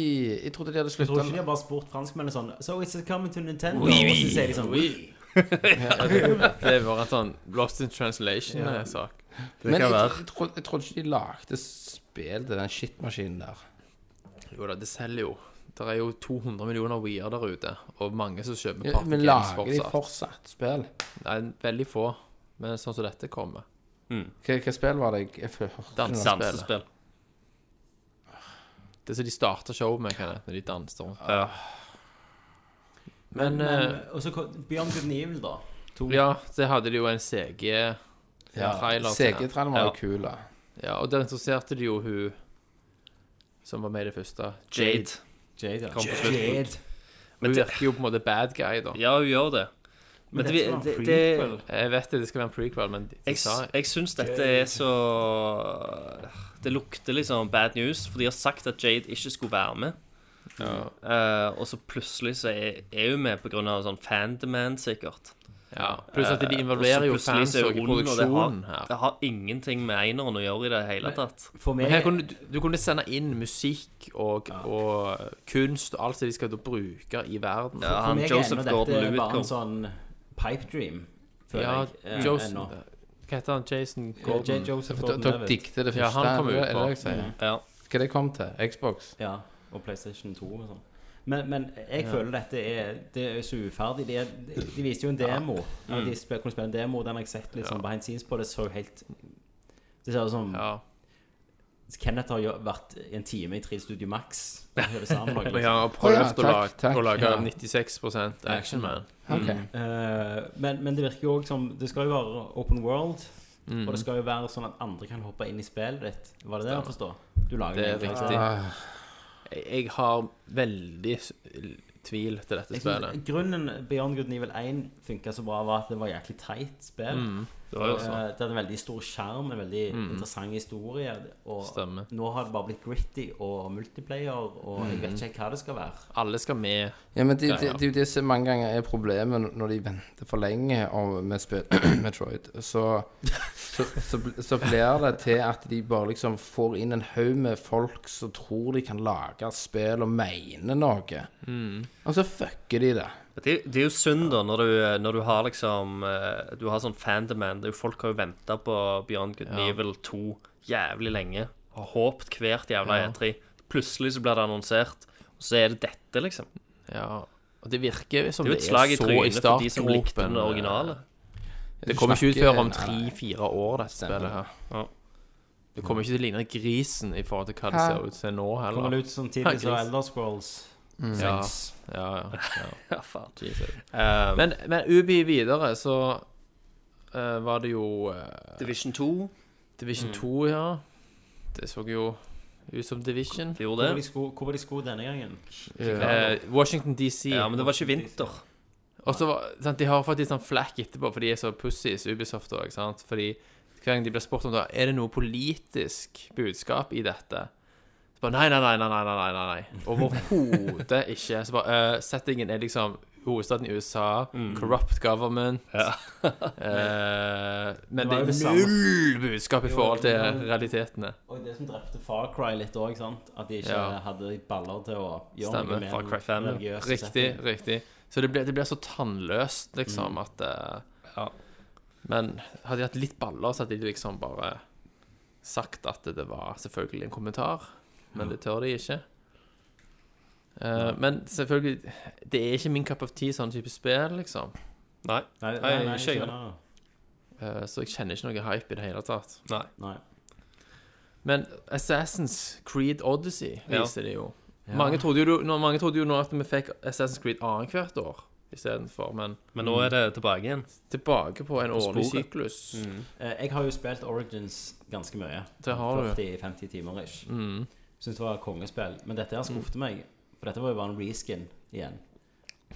[SPEAKER 4] Jeg trodde de hadde
[SPEAKER 7] Jeg tror
[SPEAKER 4] slutta
[SPEAKER 7] ikke de har bare spurt franskmennene sånn So it's coming to Nintendo. Og så sier de sånn We.
[SPEAKER 2] Det er bare en sånn Lost in eh, translation-sak.
[SPEAKER 6] Det
[SPEAKER 4] Men
[SPEAKER 6] kan
[SPEAKER 4] jeg,
[SPEAKER 6] være.
[SPEAKER 4] jeg, trodde, jeg trodde ikke de lagde spill til den shitmaskinen der.
[SPEAKER 2] Jo da, det selger jo. Det er jo 200 millioner Wii-er der ute, og mange som kjøper
[SPEAKER 4] Ja,
[SPEAKER 2] Party
[SPEAKER 4] men
[SPEAKER 2] Games
[SPEAKER 4] lager de
[SPEAKER 2] fortsatt.
[SPEAKER 4] fortsatt spill?
[SPEAKER 2] Nei, veldig få. Men sånn som dette kommer.
[SPEAKER 4] Hva, hva spill var det jeg, jeg hørte?
[SPEAKER 2] Dans.
[SPEAKER 4] noe?
[SPEAKER 6] Dansespill.
[SPEAKER 2] Det er som de starter showet med, kan jeg, når de danser rundt.
[SPEAKER 6] Ja.
[SPEAKER 2] Men,
[SPEAKER 7] Men,
[SPEAKER 2] eh,
[SPEAKER 7] og så kom Beyond Good and Evil, da.
[SPEAKER 2] ja, så hadde de jo en CG
[SPEAKER 4] Ja,
[SPEAKER 2] Trailer til den.
[SPEAKER 4] CG-traileren var jo
[SPEAKER 6] Ja.
[SPEAKER 4] kul. da.
[SPEAKER 2] Ja, og der interesserte de jo hun som var med i det første.
[SPEAKER 6] Jade.
[SPEAKER 7] Jade, ja.
[SPEAKER 6] Kom på slutten.
[SPEAKER 2] Hun virker jo på en måte bad guy, da.
[SPEAKER 6] Ja, hun gjør det. Men det,
[SPEAKER 7] dette var en
[SPEAKER 6] det, det
[SPEAKER 7] prequel.
[SPEAKER 2] Jeg vet det, det skal være en prequel, men de
[SPEAKER 6] Jeg,
[SPEAKER 2] sa
[SPEAKER 6] s- jeg syns dette er så Det lukter liksom bad news, for de har sagt at Jade ikke skulle være med. Eh, og så plutselig så er, er hun med pga. sånn fan-demand, sikkert.
[SPEAKER 2] ja. Eh, Pluss at de
[SPEAKER 6] Og
[SPEAKER 2] involverer
[SPEAKER 6] så
[SPEAKER 2] jo
[SPEAKER 6] plutselig
[SPEAKER 2] fans
[SPEAKER 6] så er
[SPEAKER 2] også i
[SPEAKER 6] hun ond, og det har-
[SPEAKER 2] produksjonen her.
[SPEAKER 6] Det har ingenting med eineren å gjøre i det hele tatt.
[SPEAKER 7] For
[SPEAKER 2] Men
[SPEAKER 7] meg
[SPEAKER 2] her kunne, du- du kunne sende inn musikk og, og kunst og alt som de skal da bruke i verden.
[SPEAKER 6] Ja,
[SPEAKER 7] For
[SPEAKER 6] han
[SPEAKER 7] meg er
[SPEAKER 6] Joseph
[SPEAKER 7] ennå dette bare en
[SPEAKER 6] Gordon-Lewitt
[SPEAKER 7] sånn pipe dream, føler
[SPEAKER 2] Ja,
[SPEAKER 7] jeg. eh,
[SPEAKER 2] Joseph-
[SPEAKER 7] ennå.
[SPEAKER 2] Hva heter han? Jason
[SPEAKER 7] Eh, J.
[SPEAKER 2] Gordon?
[SPEAKER 7] Joseph
[SPEAKER 4] D- Dere
[SPEAKER 7] Gordon-Levitt.
[SPEAKER 4] digget det første?
[SPEAKER 2] Ja, han kom
[SPEAKER 4] er
[SPEAKER 2] jo
[SPEAKER 4] det- er det
[SPEAKER 2] på.
[SPEAKER 4] jeg sier?
[SPEAKER 6] Ja.
[SPEAKER 4] Hva det kom til? Xbox?
[SPEAKER 7] Ja, og PlayStation 2 og sånn. Men, men jeg føler dette er Det er så uferdig. De, er, de viste jo en demo.
[SPEAKER 2] Mm.
[SPEAKER 7] De spil, kunne spille en demo. Den har jeg sett litt sånn behind scenes på. Det så jo helt Det ser ut som
[SPEAKER 2] Ja.
[SPEAKER 7] Kenneth har jo vært i en time i Tre Studio Max. og hører sammen noe,
[SPEAKER 2] Men
[SPEAKER 7] Liksom.
[SPEAKER 2] han har
[SPEAKER 4] Å
[SPEAKER 2] prøvd
[SPEAKER 4] ja, takk,
[SPEAKER 2] å lage,
[SPEAKER 4] takk.
[SPEAKER 2] å lage
[SPEAKER 4] Ja.
[SPEAKER 2] 96 Action Man.
[SPEAKER 6] Mm.
[SPEAKER 4] Ok.
[SPEAKER 7] Eh, men, men det virker jo òg som Det skal jo være open world.
[SPEAKER 2] Mm.
[SPEAKER 7] Og det skal jo være sånn at andre kan hoppe inn i spillet ditt. Var det det jeg forstår? Du lager
[SPEAKER 2] Det er
[SPEAKER 7] en egen karakter.
[SPEAKER 2] riktig. Jeg, jeg har veldig s- tvil til dette
[SPEAKER 7] Jeg synes,
[SPEAKER 2] spillet.
[SPEAKER 7] grunnen Beyond Good and Evil 1 funka så bra, var at det var jæklig teit spill.
[SPEAKER 2] Mm.
[SPEAKER 6] Det var jo
[SPEAKER 7] Eh,
[SPEAKER 6] sånn.
[SPEAKER 7] det hadde en veldig stor skjerm, en veldig interessant historie. Og
[SPEAKER 2] Mhm. Stemmer.
[SPEAKER 7] nå har det bare blitt gritty og multiplayer, og
[SPEAKER 2] Mhm.
[SPEAKER 7] jeg vet ikke hva det skal være.
[SPEAKER 2] Alle skal med.
[SPEAKER 4] Ja, men det,
[SPEAKER 2] Ja,
[SPEAKER 4] det,
[SPEAKER 2] ja.
[SPEAKER 4] det er jo det som mange ganger er problemet når de venter for lenge om- med spill Metroid. Så, så, så, bl- så blir det til at de bare liksom får inn en haug med folk som tror de kan lage spill og mene noe.
[SPEAKER 6] Mm.
[SPEAKER 4] Og så fucker de det.
[SPEAKER 6] Det, det er jo synd, da, når du, når du har liksom eh, Du har sånn fan-demand. Det er jo- Folk har jo venta på Beyond Good and Evil 2 jævlig lenge. Har håpt hvert jævla E3. Plutselig så blir det annonsert, og så er det dette, liksom.
[SPEAKER 2] Ja. Og det virker som
[SPEAKER 6] Det er
[SPEAKER 2] det er,
[SPEAKER 6] jo et slag i
[SPEAKER 2] så i
[SPEAKER 6] trynet for de som likte
[SPEAKER 2] startgropen.
[SPEAKER 6] den originale.
[SPEAKER 2] Det kommer ikke ut før om
[SPEAKER 4] Snakker- nei, nei.
[SPEAKER 2] tre-fire år, dette
[SPEAKER 4] Stemmer.
[SPEAKER 2] spillet her.
[SPEAKER 6] Ja.
[SPEAKER 2] Det kommer ikke til å ligne grisen i forhold til hva det
[SPEAKER 4] Hæ?
[SPEAKER 2] ser ut til nå
[SPEAKER 7] Kommer
[SPEAKER 2] heller.
[SPEAKER 7] det ut samtidig som
[SPEAKER 2] Gris.
[SPEAKER 7] Elder Scrolls? Mm.
[SPEAKER 2] Ja,
[SPEAKER 7] Seks.
[SPEAKER 2] ja, ja, ja.
[SPEAKER 6] Ja, faen.
[SPEAKER 2] Jesus.
[SPEAKER 6] Eh,
[SPEAKER 2] Men, men Ubi videre, så eh, var det jo eh,
[SPEAKER 6] Division 2
[SPEAKER 2] Division 2, ja. Det så jo ut som Division.
[SPEAKER 6] det gjorde
[SPEAKER 7] Hvor var
[SPEAKER 6] det.
[SPEAKER 7] de sko, hvor var de sko denne gangen?
[SPEAKER 2] Eh, Washington DC.
[SPEAKER 6] Ja, men det var ikke vinter.
[SPEAKER 2] Og så var- sant, De har fått litt sånn flakk etterpå, for de er så pussies, Ubisoft òg. Fordi hver gang de blir spurt om det, er det noe politisk budskap i dette, så bare nei, nei, nei, nei, nei, nei, nei, nei. Overhodet ikke. Så bare eh, Settingen er liksom hovedstaden i USA,
[SPEAKER 7] Mm.
[SPEAKER 2] corrupt government eh, Men
[SPEAKER 7] Det var jo
[SPEAKER 2] det,
[SPEAKER 7] det
[SPEAKER 2] er
[SPEAKER 7] samme.
[SPEAKER 2] null budskap i
[SPEAKER 7] Jo,
[SPEAKER 2] forhold til
[SPEAKER 7] men-
[SPEAKER 2] realitetene.
[SPEAKER 7] Og det som drepte Far Cry litt òg, sant? At de ikke
[SPEAKER 2] Ja.
[SPEAKER 7] hadde baller til å gjøre
[SPEAKER 2] Stemmer,
[SPEAKER 7] noe med
[SPEAKER 6] Far Cry
[SPEAKER 7] den
[SPEAKER 6] 5.
[SPEAKER 7] religiøse
[SPEAKER 2] Riktig,
[SPEAKER 7] settingen.
[SPEAKER 2] riktig. Så det blir, det blir så tannløst, liksom, at eh,
[SPEAKER 6] Mm. Ja.
[SPEAKER 2] Men hadde de hatt litt baller, så hadde de liksom bare sagt at det var selvfølgelig en kommentar. Men det tør de ikke. Eh, men selvfølgelig Det er ikke min cup of tea, sånn type spill, liksom.
[SPEAKER 6] Nei.
[SPEAKER 7] Nei, nei,
[SPEAKER 6] Nei,
[SPEAKER 7] nei,
[SPEAKER 6] ikke jeg.
[SPEAKER 7] ikke det.
[SPEAKER 2] Eh, så jeg kjenner ikke noe hype i det hele tatt.
[SPEAKER 7] Nei.
[SPEAKER 2] Men Assassin's Creed Odyssey
[SPEAKER 6] Ja.
[SPEAKER 2] viser det jo.
[SPEAKER 6] Eh,
[SPEAKER 2] Mange, trodde jo nå, mange trodde jo nå at vi fikk Assassin's Creed annethvert år istedenfor, men
[SPEAKER 6] Men nå er det tilbake igjen.
[SPEAKER 2] tilbake på Mm. en årlig
[SPEAKER 6] sporet.
[SPEAKER 2] syklus.
[SPEAKER 6] Mm.
[SPEAKER 7] Eh, Jeg har jo spilt Origins ganske mye.
[SPEAKER 2] Det har du.
[SPEAKER 7] 40-50 timer ish.
[SPEAKER 2] Mm.
[SPEAKER 7] Syns det var kongespill. Men dette her skuffet meg. For dette var jo bare en reskin igjen.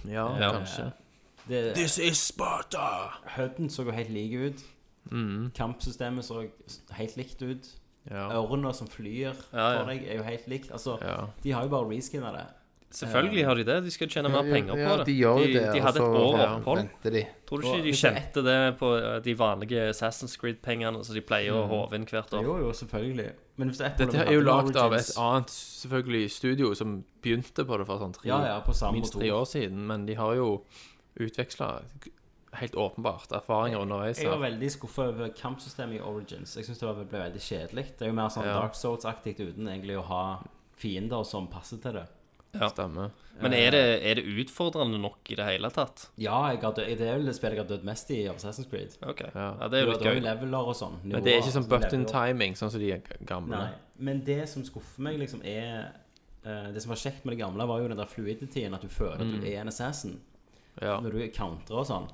[SPEAKER 2] Ja,
[SPEAKER 6] Ja.
[SPEAKER 2] kanskje.
[SPEAKER 7] Det,
[SPEAKER 2] This is Sparta!
[SPEAKER 7] Huden så jo helt like ut. Kampsystemet så helt likt ut.
[SPEAKER 2] Mm. Ja.
[SPEAKER 7] Ørna som flyr
[SPEAKER 6] Ja, ja.
[SPEAKER 7] for deg, er jo helt likt. Altså,
[SPEAKER 2] Ja.
[SPEAKER 7] de har jo bare reskinna det.
[SPEAKER 6] Selvfølgelig
[SPEAKER 4] Eh,
[SPEAKER 6] har de det. De skal tjene mer penger på det.
[SPEAKER 4] de gjør jo
[SPEAKER 6] de,
[SPEAKER 4] det.
[SPEAKER 6] de hadde
[SPEAKER 4] og
[SPEAKER 6] et
[SPEAKER 4] så,
[SPEAKER 6] år
[SPEAKER 4] ja,
[SPEAKER 6] opphold.
[SPEAKER 4] venter de.
[SPEAKER 6] Tror du ikke de kjente det på eh, de vanlige Assassin's Creed-pengene som de pleier
[SPEAKER 4] Mm.
[SPEAKER 6] å håve inn hvert år?
[SPEAKER 7] Jo, jo, selvfølgelig. Men hvis det er et
[SPEAKER 2] Dette
[SPEAKER 7] problem
[SPEAKER 2] er jo
[SPEAKER 7] med
[SPEAKER 2] lagd av et
[SPEAKER 7] Origins-
[SPEAKER 2] annet selvfølgelig studio som begynte på det for sånn tre,
[SPEAKER 7] Ja, ja, på samme
[SPEAKER 2] minst tre
[SPEAKER 7] motor.
[SPEAKER 2] år siden, men de har jo utveksla helt åpenbart erfaringer underveis.
[SPEAKER 7] Jeg var
[SPEAKER 2] her.
[SPEAKER 7] veldig skuffa over kampsystemet i Origins. Jeg synes det var- ble veldig kjedelig. Det er jo mer sånn
[SPEAKER 2] Ja.
[SPEAKER 7] Dark Souls-aktig uten egentlig å ha fiender som passer til det.
[SPEAKER 6] Ja.
[SPEAKER 2] Stemmer.
[SPEAKER 6] Men er det, er det utfordrende nok i det hele tatt?
[SPEAKER 7] Ja, jeg har død, det er vel det spillet jeg har dødd mest i i Assassin's Creed.
[SPEAKER 6] Ok, ja,
[SPEAKER 2] Ja.
[SPEAKER 6] Det er jo
[SPEAKER 7] Du har
[SPEAKER 6] litt
[SPEAKER 7] dødd
[SPEAKER 6] gøy.
[SPEAKER 7] i leveler og sånn.
[SPEAKER 2] Men det er ikke sånn
[SPEAKER 7] nivåer,
[SPEAKER 2] button
[SPEAKER 7] leveler.
[SPEAKER 2] timing, sånn som de g- gamle.
[SPEAKER 7] Nei. Men det som skuffer meg, liksom, er eh, Det som var kjekt med det gamle, var jo den der fluidityen, at du føler at du er en assassin
[SPEAKER 2] Ja.
[SPEAKER 7] når du counterer og sånn.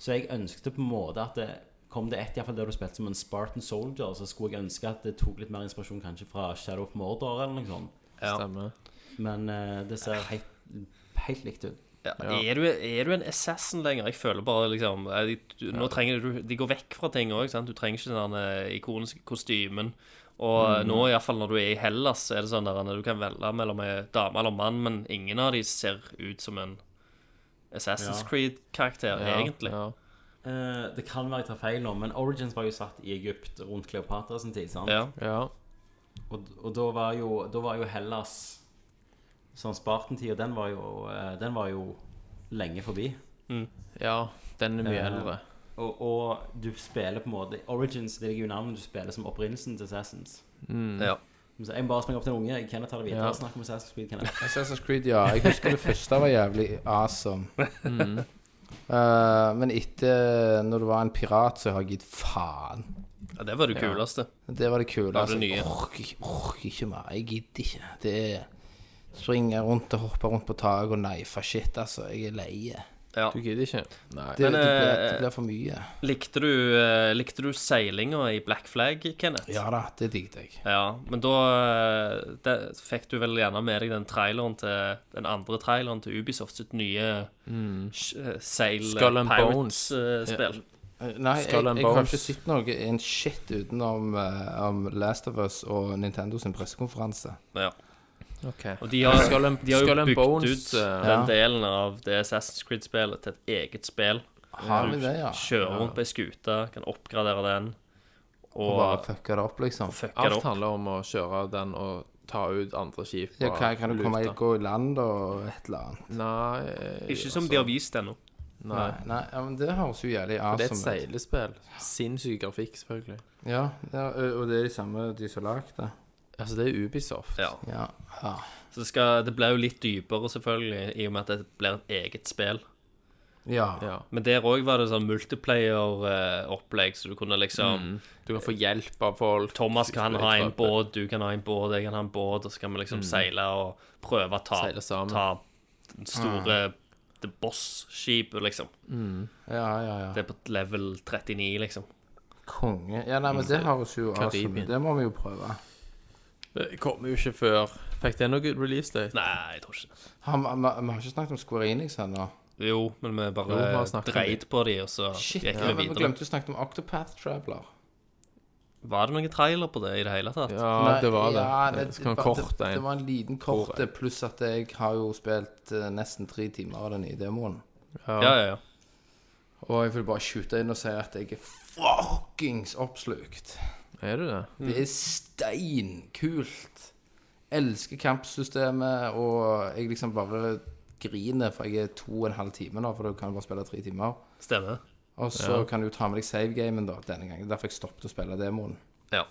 [SPEAKER 7] Så jeg ønskte på en måte at det kom det ett, iallfall der du spilte som en Spartan soldier, så skulle jeg ønske at det tok litt mer inspirasjon kanskje fra Shadow of Mordor eller noe sånt.
[SPEAKER 2] Stemmer.
[SPEAKER 7] Men eh, det ser helt, helt likt ut.
[SPEAKER 6] Ja, er, du, er du en assassin lenger? Jeg føler bare liksom eh, de, du, Nå trenger du De går vekk fra ting òg. Du trenger ikke den der eh, ikoniske kostymen. Og mm. nå, iallfall når du er i Hellas, er det sånn der eh, du kan velge mellom en dame eller mann, men ingen av de ser ut som en Assassin's
[SPEAKER 7] Ja.
[SPEAKER 6] Creed-karakter,
[SPEAKER 2] Ja,
[SPEAKER 6] egentlig.
[SPEAKER 2] Ja.
[SPEAKER 7] Eh, det kan være jeg tar feil nå, men Origins var jo satt i Egypt rundt Kleopatra sin tid, sant?
[SPEAKER 6] Ja.
[SPEAKER 2] ja.
[SPEAKER 7] Og, og da, var jo, da var jo Hellas sånn Spartentida, den var jo eh, Den var jo lenge forbi.
[SPEAKER 2] ja. Den er mye
[SPEAKER 7] Eh,
[SPEAKER 2] eldre.
[SPEAKER 7] Og, og du spiller på en måte Origins det ligger jo i navnet du spiller som opprinnelsen til Assassins.
[SPEAKER 6] Ja.
[SPEAKER 7] Så jeg må bare springer opp til en unge. Jeg kan ta det videre
[SPEAKER 2] Ja.
[SPEAKER 7] og snakke om Assassin's Creed. Kan jeg?
[SPEAKER 4] Assassin's Creed, ja. Jeg husker det første var jævlig awesome.
[SPEAKER 6] Mm.
[SPEAKER 4] Eh, men etter, når du var en pirat, så har jeg gitt faen.
[SPEAKER 6] ja, det var det kuleste.
[SPEAKER 4] Det var det kule.
[SPEAKER 6] Av det
[SPEAKER 4] altså.
[SPEAKER 6] nye.
[SPEAKER 4] Jeg orker ikke- orker ikke mer. Jeg gidder ikke. Det er springe rundt og hoppe rundt på taket og neife shit, altså. Jeg er lei.
[SPEAKER 6] Ja.
[SPEAKER 2] Du gidder ikke?
[SPEAKER 4] Det, det,
[SPEAKER 6] Men,
[SPEAKER 4] blir-
[SPEAKER 6] eh,
[SPEAKER 4] det blir for mye.
[SPEAKER 6] Likte du, eh, likte du seilinga i Black Flag, Kenneth?
[SPEAKER 4] Ja da, det digget jeg.
[SPEAKER 6] Ja, men da eh, det, fikk du vel gjerne med deg den traileren til Den andre traileren til Ubisoft sitt nye sh- eh, Sail
[SPEAKER 2] Mm. Skull and Bones.
[SPEAKER 6] Pirates-spill.
[SPEAKER 4] Eh, Nei, jeg,
[SPEAKER 2] Skull and
[SPEAKER 4] jeg har
[SPEAKER 2] Bones.
[SPEAKER 4] ikke sett noe en shit utenom eh, om Last of Us og Nintendo sin pressekonferanse.
[SPEAKER 6] ja.
[SPEAKER 2] OK.
[SPEAKER 6] Og de har,
[SPEAKER 2] Skull and-
[SPEAKER 6] de har jo
[SPEAKER 2] Skull and
[SPEAKER 6] bygd
[SPEAKER 2] Bones,
[SPEAKER 6] ut
[SPEAKER 2] eh,
[SPEAKER 6] den
[SPEAKER 4] ja.
[SPEAKER 6] delen av det Assassin's Creed-spillet til et eget spill.
[SPEAKER 4] Har vi
[SPEAKER 2] Ah,
[SPEAKER 4] det, ja?
[SPEAKER 6] Kjører rundt på ei skute, kan oppgradere den,
[SPEAKER 4] Og bare
[SPEAKER 6] og
[SPEAKER 4] fucka det opp, liksom.
[SPEAKER 6] fucke det
[SPEAKER 2] Alt
[SPEAKER 6] opp.
[SPEAKER 2] handler om å kjøre den og ta ut andre skip.
[SPEAKER 4] Ja,
[SPEAKER 2] fra
[SPEAKER 4] hva, kan du komme
[SPEAKER 2] lufta.
[SPEAKER 4] og gå i land og et eller annet?
[SPEAKER 2] Nei eh,
[SPEAKER 6] Ikke som de har vist ennå.
[SPEAKER 2] Nei.
[SPEAKER 4] Nei, nei ja, men det høres jo jævlig
[SPEAKER 2] Det er et
[SPEAKER 4] awesome ut.
[SPEAKER 2] seilespill. Sinnssyk grafikk, selvfølgelig.
[SPEAKER 4] Ja, ja, ø- og det er de samme de som har lagd det.
[SPEAKER 2] Altså, det er Ubisoft.
[SPEAKER 6] Ja.
[SPEAKER 4] Ja. ja.
[SPEAKER 6] Så det, skal, det blir jo litt dypere, selvfølgelig, i og med at det blir et eget spill.
[SPEAKER 4] ja.
[SPEAKER 2] Ja.
[SPEAKER 6] Men der òg var det sånn multiplayer-opplegg, så du kunne liksom
[SPEAKER 2] Du kan få hjelp av folk.
[SPEAKER 6] Thomas kan ha en
[SPEAKER 2] Fløytrappe.
[SPEAKER 6] båt, du kan ha en båt, jeg kan ha en båt, og så kan vi liksom seile og prøve å ta,
[SPEAKER 2] Mm. Seile sammen.
[SPEAKER 6] ta den store The Boss-skipet, liksom.
[SPEAKER 4] ja, ja, ja.
[SPEAKER 6] Det er på level 39, liksom.
[SPEAKER 4] Konge. Ja, nei,
[SPEAKER 2] Mm.
[SPEAKER 4] men det høres jo awesome
[SPEAKER 2] Karibien.
[SPEAKER 4] ut. Det må vi jo prøve.
[SPEAKER 2] Det kommer jo ikke før Fikk det noe release date?
[SPEAKER 6] Nei, jeg tror ikke det.
[SPEAKER 4] Har Vi vi- vi har ikke snakket om Square Enix ennå.
[SPEAKER 6] Jo, men vi
[SPEAKER 2] Jo, vi
[SPEAKER 6] bare
[SPEAKER 2] har snakket om
[SPEAKER 6] dreit på de, og så
[SPEAKER 4] Shit,
[SPEAKER 6] gikk
[SPEAKER 4] ja,
[SPEAKER 6] vi
[SPEAKER 4] men vi
[SPEAKER 6] videre.
[SPEAKER 4] glemte jo å snakke om Octopath Traveler.
[SPEAKER 6] Var det noen trailer på det i det hele tatt?
[SPEAKER 2] Ja,
[SPEAKER 4] Nei,
[SPEAKER 2] det var det.
[SPEAKER 4] ja,
[SPEAKER 2] det, det, det,
[SPEAKER 4] var-
[SPEAKER 2] kort,
[SPEAKER 4] det, det
[SPEAKER 2] en.
[SPEAKER 4] var en liten kort, pluss at jeg har jo spilt eh, nesten tre timer av den nye demoen.
[SPEAKER 6] Ja, ja, ja.
[SPEAKER 4] Og jeg vil bare skyte inn og si at jeg er fuckings oppslukt.
[SPEAKER 2] Er du det?
[SPEAKER 4] Det er steinkult. Elsker kampsystemet, og jeg liksom bare griner, for jeg er to og en halv time nå, for du kan bare spille tre timer.
[SPEAKER 6] Stemmer.
[SPEAKER 4] Og så kan du jo ta med deg savegamen da, denne gangen. Derfor jeg stoppet å spille demoen.
[SPEAKER 6] Ja.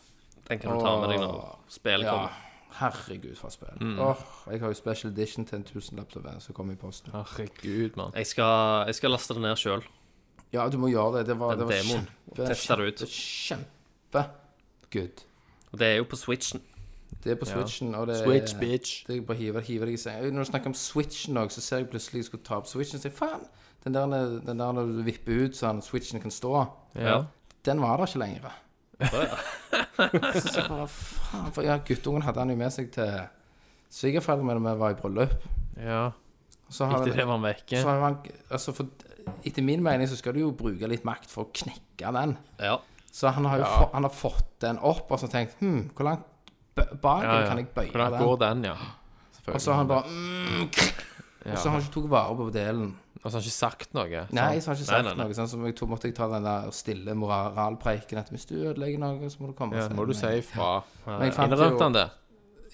[SPEAKER 6] Den kan du ta med deg når
[SPEAKER 4] Åh,
[SPEAKER 6] spillet
[SPEAKER 4] Ja,
[SPEAKER 6] kommer.
[SPEAKER 4] herregud for et spill.
[SPEAKER 6] Mm.
[SPEAKER 4] Åh, jeg har jo special edition til en tusenlapp som vent- som kom i posten.
[SPEAKER 2] Herregud, mann.
[SPEAKER 6] Jeg skal, jeg skal laste det ned sjøl.
[SPEAKER 4] Ja, du må gjøre det. Det var,
[SPEAKER 6] Den
[SPEAKER 4] det var
[SPEAKER 6] demoen.
[SPEAKER 4] kjempe...
[SPEAKER 6] Tester det ut.
[SPEAKER 4] Kjempe... Good.
[SPEAKER 6] Og det er jo på Switchen.
[SPEAKER 4] Det er på Switchen, og det er-
[SPEAKER 2] Switch, bitch.
[SPEAKER 4] Det er bare å hive, hive deg i sengen. Når du snakker om Switchen òg, så ser jeg plutselig jeg skulle ta opp Switchen, og sier faen, den der, den der når du vipper ut sånn at Switchen kan stå,
[SPEAKER 6] Ja.
[SPEAKER 4] den var der ikke lenger. så jeg bare faen, for ja, guttungen hadde han jo med seg til svigerforeldrene mine da vi var i bryllup.
[SPEAKER 2] Ja.
[SPEAKER 4] Så har
[SPEAKER 2] Etter
[SPEAKER 4] den-
[SPEAKER 2] det var han vekke.
[SPEAKER 4] så har han, altså for, etter min mening så skal du jo bruke litt makt for å knekke den.
[SPEAKER 6] Ja.
[SPEAKER 4] Så han har jo få, han har fått den opp og så tenkt hm, hvor langt b- bak
[SPEAKER 2] Ja, ja.
[SPEAKER 4] kan jeg bøye
[SPEAKER 2] Hvordan
[SPEAKER 4] den?
[SPEAKER 2] går den, ja?
[SPEAKER 4] Og så har han bare mm, Og så har han ikke tatt vare på delen.
[SPEAKER 2] Og så har Altså, han ikke sagt noe.
[SPEAKER 4] Nei, så har han ikke
[SPEAKER 6] Nei,
[SPEAKER 4] sagt
[SPEAKER 6] nei, nei.
[SPEAKER 4] noe. Sånn som jeg tror måtte jeg ta den der stille moralpreiken at hvis du ødelegger noe, så må du komme
[SPEAKER 2] Ja,
[SPEAKER 4] og si
[SPEAKER 2] må du
[SPEAKER 4] meg.
[SPEAKER 2] si ifra.
[SPEAKER 4] Men jeg fant
[SPEAKER 2] Innrømte
[SPEAKER 4] jo-
[SPEAKER 2] han det?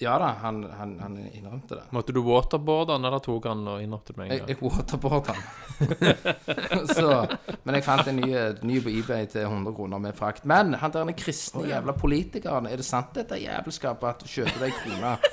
[SPEAKER 4] Ja da, han, han, han innrømte det.
[SPEAKER 2] Måtte du waterboarde han, eller tok han og innrømte det med en
[SPEAKER 4] Jeg,
[SPEAKER 2] gang?
[SPEAKER 4] jeg waterboardet han. så, men jeg fant en ny, ny på eBay til 100 kroner med frakt. Men han der den kristne jævla politikeren, er det sant dette jævelskapet at du kjøper deg kroner?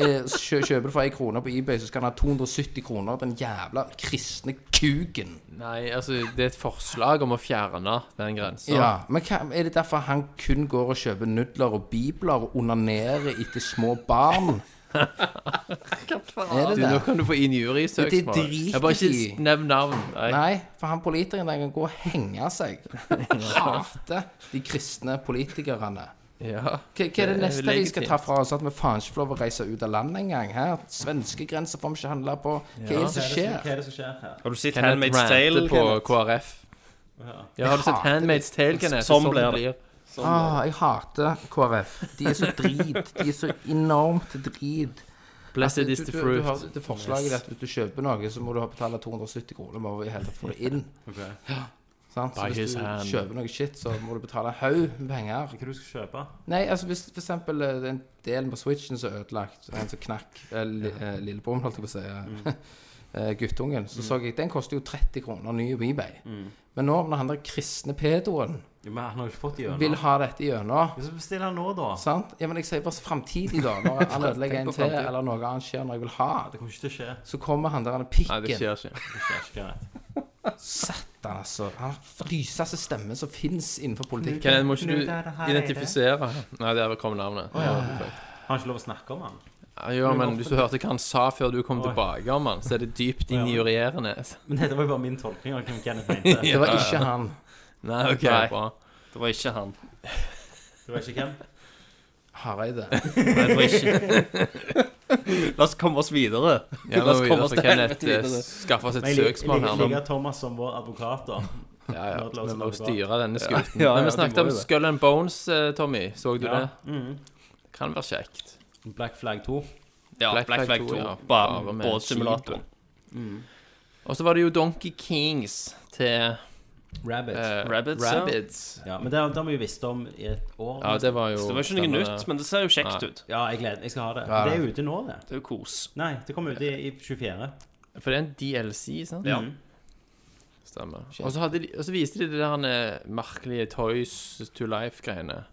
[SPEAKER 4] Eh, kjø, kjøper du for ei krone på eBay, så skal han ha 270 kroner. Den jævla kristne kuken.
[SPEAKER 2] Nei, altså, det er et forslag om å fjerne den grensa.
[SPEAKER 4] Ja, men hva, Er det derfor han kun går og kjøper nudler og bibler og onanerer etter små barn? hva faen? Er
[SPEAKER 2] Du,
[SPEAKER 4] det
[SPEAKER 2] nå
[SPEAKER 4] det?
[SPEAKER 2] kan du få
[SPEAKER 4] Det er
[SPEAKER 2] injuriesøksmål.
[SPEAKER 4] drit
[SPEAKER 2] Jeg bare
[SPEAKER 4] i.
[SPEAKER 2] ikke nevn navn.
[SPEAKER 4] Nei, for han politikeren der kan gå og henge seg. Hater de kristne politikerne.
[SPEAKER 2] Ja.
[SPEAKER 4] Hva, hva er det
[SPEAKER 2] Det er
[SPEAKER 4] neste vi skal
[SPEAKER 2] legitimt.
[SPEAKER 4] ta fra oss? At vi faen ikke får lov å reise ut av landet engang? Her, Svenskegrenser får vi ikke handle på. Hva er det som
[SPEAKER 7] Hva
[SPEAKER 4] skjer?
[SPEAKER 7] er det som skjer her?
[SPEAKER 6] Har du sett
[SPEAKER 2] Kenneth
[SPEAKER 6] Handmaid's Tale?
[SPEAKER 2] ranter på
[SPEAKER 6] Kenneth?
[SPEAKER 2] KrF. Ja, har du sett Handmaid's Tale, Kenneth?
[SPEAKER 6] Sånn blir det.
[SPEAKER 4] Ah, jeg hater KrF. De er så drit. De er så enormt drit. Altså,
[SPEAKER 2] Blessed is
[SPEAKER 4] du,
[SPEAKER 2] the
[SPEAKER 4] du, du har
[SPEAKER 2] fruit.
[SPEAKER 4] det forslaget at hvis du kjøper noe, så må du ha betale 270 kroner bare for i hele tatt å få det inn. Ja, sant? Så
[SPEAKER 2] By
[SPEAKER 4] hvis
[SPEAKER 2] his
[SPEAKER 4] du
[SPEAKER 2] hand.
[SPEAKER 4] kjøper noe shit, så må du betale en haug med penger.
[SPEAKER 7] Hva du skal kjøpe?
[SPEAKER 4] Nei, altså hvis for eksempel eh, den delen på switchen som er ødelagt, en som knakk eh, li- eh, lillebroren, holdt jeg på å si,
[SPEAKER 2] Mm.
[SPEAKER 4] eh, eh, guttungen, så så jeg den koster jo 30 kroner ny på eBay.
[SPEAKER 2] Mm.
[SPEAKER 4] Men nå, når han der kristne pedoen
[SPEAKER 7] Jo, men han har jo ikke fått
[SPEAKER 4] vil
[SPEAKER 7] gjennom.
[SPEAKER 4] ha dette gjennom
[SPEAKER 7] Hvis du bestiller han nå, da
[SPEAKER 4] Sant? Ja, men jeg sier bare framtidig, da. Når han ødelegger en til, eller noe annet skjer når jeg vil ha.
[SPEAKER 7] Det kommer ikke til å skje.
[SPEAKER 4] Så kommer han der han
[SPEAKER 2] Nei, det
[SPEAKER 4] pikken.
[SPEAKER 2] skjer ikke.
[SPEAKER 7] Det skjer ikke greit.
[SPEAKER 4] Satan, altså. Han har ryseste stemme som fins innenfor politikken.
[SPEAKER 2] Kenneth, må ikke du identifisere Nei, der kom navnet.
[SPEAKER 7] Han har ikke lov å snakke om han.
[SPEAKER 2] Ja, jo, men hvis du hørte hva han sa før du kom tilbake om han, så er det dypt injurierende.
[SPEAKER 7] Men dette var jo bare min tolkning av hvem Kenneth mente.
[SPEAKER 2] Mm.
[SPEAKER 4] Det var ikke han.
[SPEAKER 2] Nei, OK,
[SPEAKER 6] Nei.
[SPEAKER 2] bra.
[SPEAKER 6] Det var ikke han.
[SPEAKER 7] Det var ikke hvem.
[SPEAKER 4] Hareide.
[SPEAKER 6] Nei, det var ikke. La oss komme oss videre.
[SPEAKER 2] Ja,
[SPEAKER 6] La
[SPEAKER 2] nå
[SPEAKER 6] oss
[SPEAKER 2] videre,
[SPEAKER 6] komme oss
[SPEAKER 2] så
[SPEAKER 6] til
[SPEAKER 2] Kenneth
[SPEAKER 6] helvete
[SPEAKER 2] eh,
[SPEAKER 6] videre.
[SPEAKER 2] skaffe oss et
[SPEAKER 7] Men jeg lik-
[SPEAKER 2] søksmål
[SPEAKER 7] jeg
[SPEAKER 2] her nå.
[SPEAKER 7] liker Thomas som vår advokat, da.
[SPEAKER 2] Ja, ja.
[SPEAKER 7] Nå er det
[SPEAKER 2] Vi
[SPEAKER 7] altså
[SPEAKER 2] må
[SPEAKER 7] bra.
[SPEAKER 2] styre denne skuten.
[SPEAKER 6] Ja, ja,
[SPEAKER 2] Men
[SPEAKER 6] de
[SPEAKER 2] vi snakket
[SPEAKER 6] må
[SPEAKER 2] om
[SPEAKER 6] jo det.
[SPEAKER 2] Skull and Bones, eh, Tommy. Så du det?
[SPEAKER 7] Mm.
[SPEAKER 2] Kan være kjekt.
[SPEAKER 7] Black Flag 2.
[SPEAKER 6] Ja, Black Flag Mm. 2.
[SPEAKER 2] ja.
[SPEAKER 6] Bare
[SPEAKER 2] Bare med
[SPEAKER 6] båtsimulatoren. Mm.
[SPEAKER 2] Og så var det jo Donkey Kings til
[SPEAKER 7] Rabbit.
[SPEAKER 2] eh,
[SPEAKER 6] Rabbids, ja.
[SPEAKER 2] Rabbids.
[SPEAKER 7] Ja, men det har det har vi jo visst om i et år.
[SPEAKER 2] Ja, det var jo
[SPEAKER 6] Det var ikke noe
[SPEAKER 2] denne-
[SPEAKER 6] nytt, men det ser jo kjekt
[SPEAKER 2] Nei.
[SPEAKER 6] ut.
[SPEAKER 7] Ja, jeg gleder Jeg skal ha det.
[SPEAKER 4] Ja.
[SPEAKER 7] Det er jo ute nå, det.
[SPEAKER 6] Det er jo kos.
[SPEAKER 7] Nei, det kommer ut i, Mm. i 24.
[SPEAKER 2] For det er en DLC, sant?
[SPEAKER 6] Ja.
[SPEAKER 2] Stemmer. Og så, hadde de, og så viste de det der eh, merkelige Toys to Life-greiene.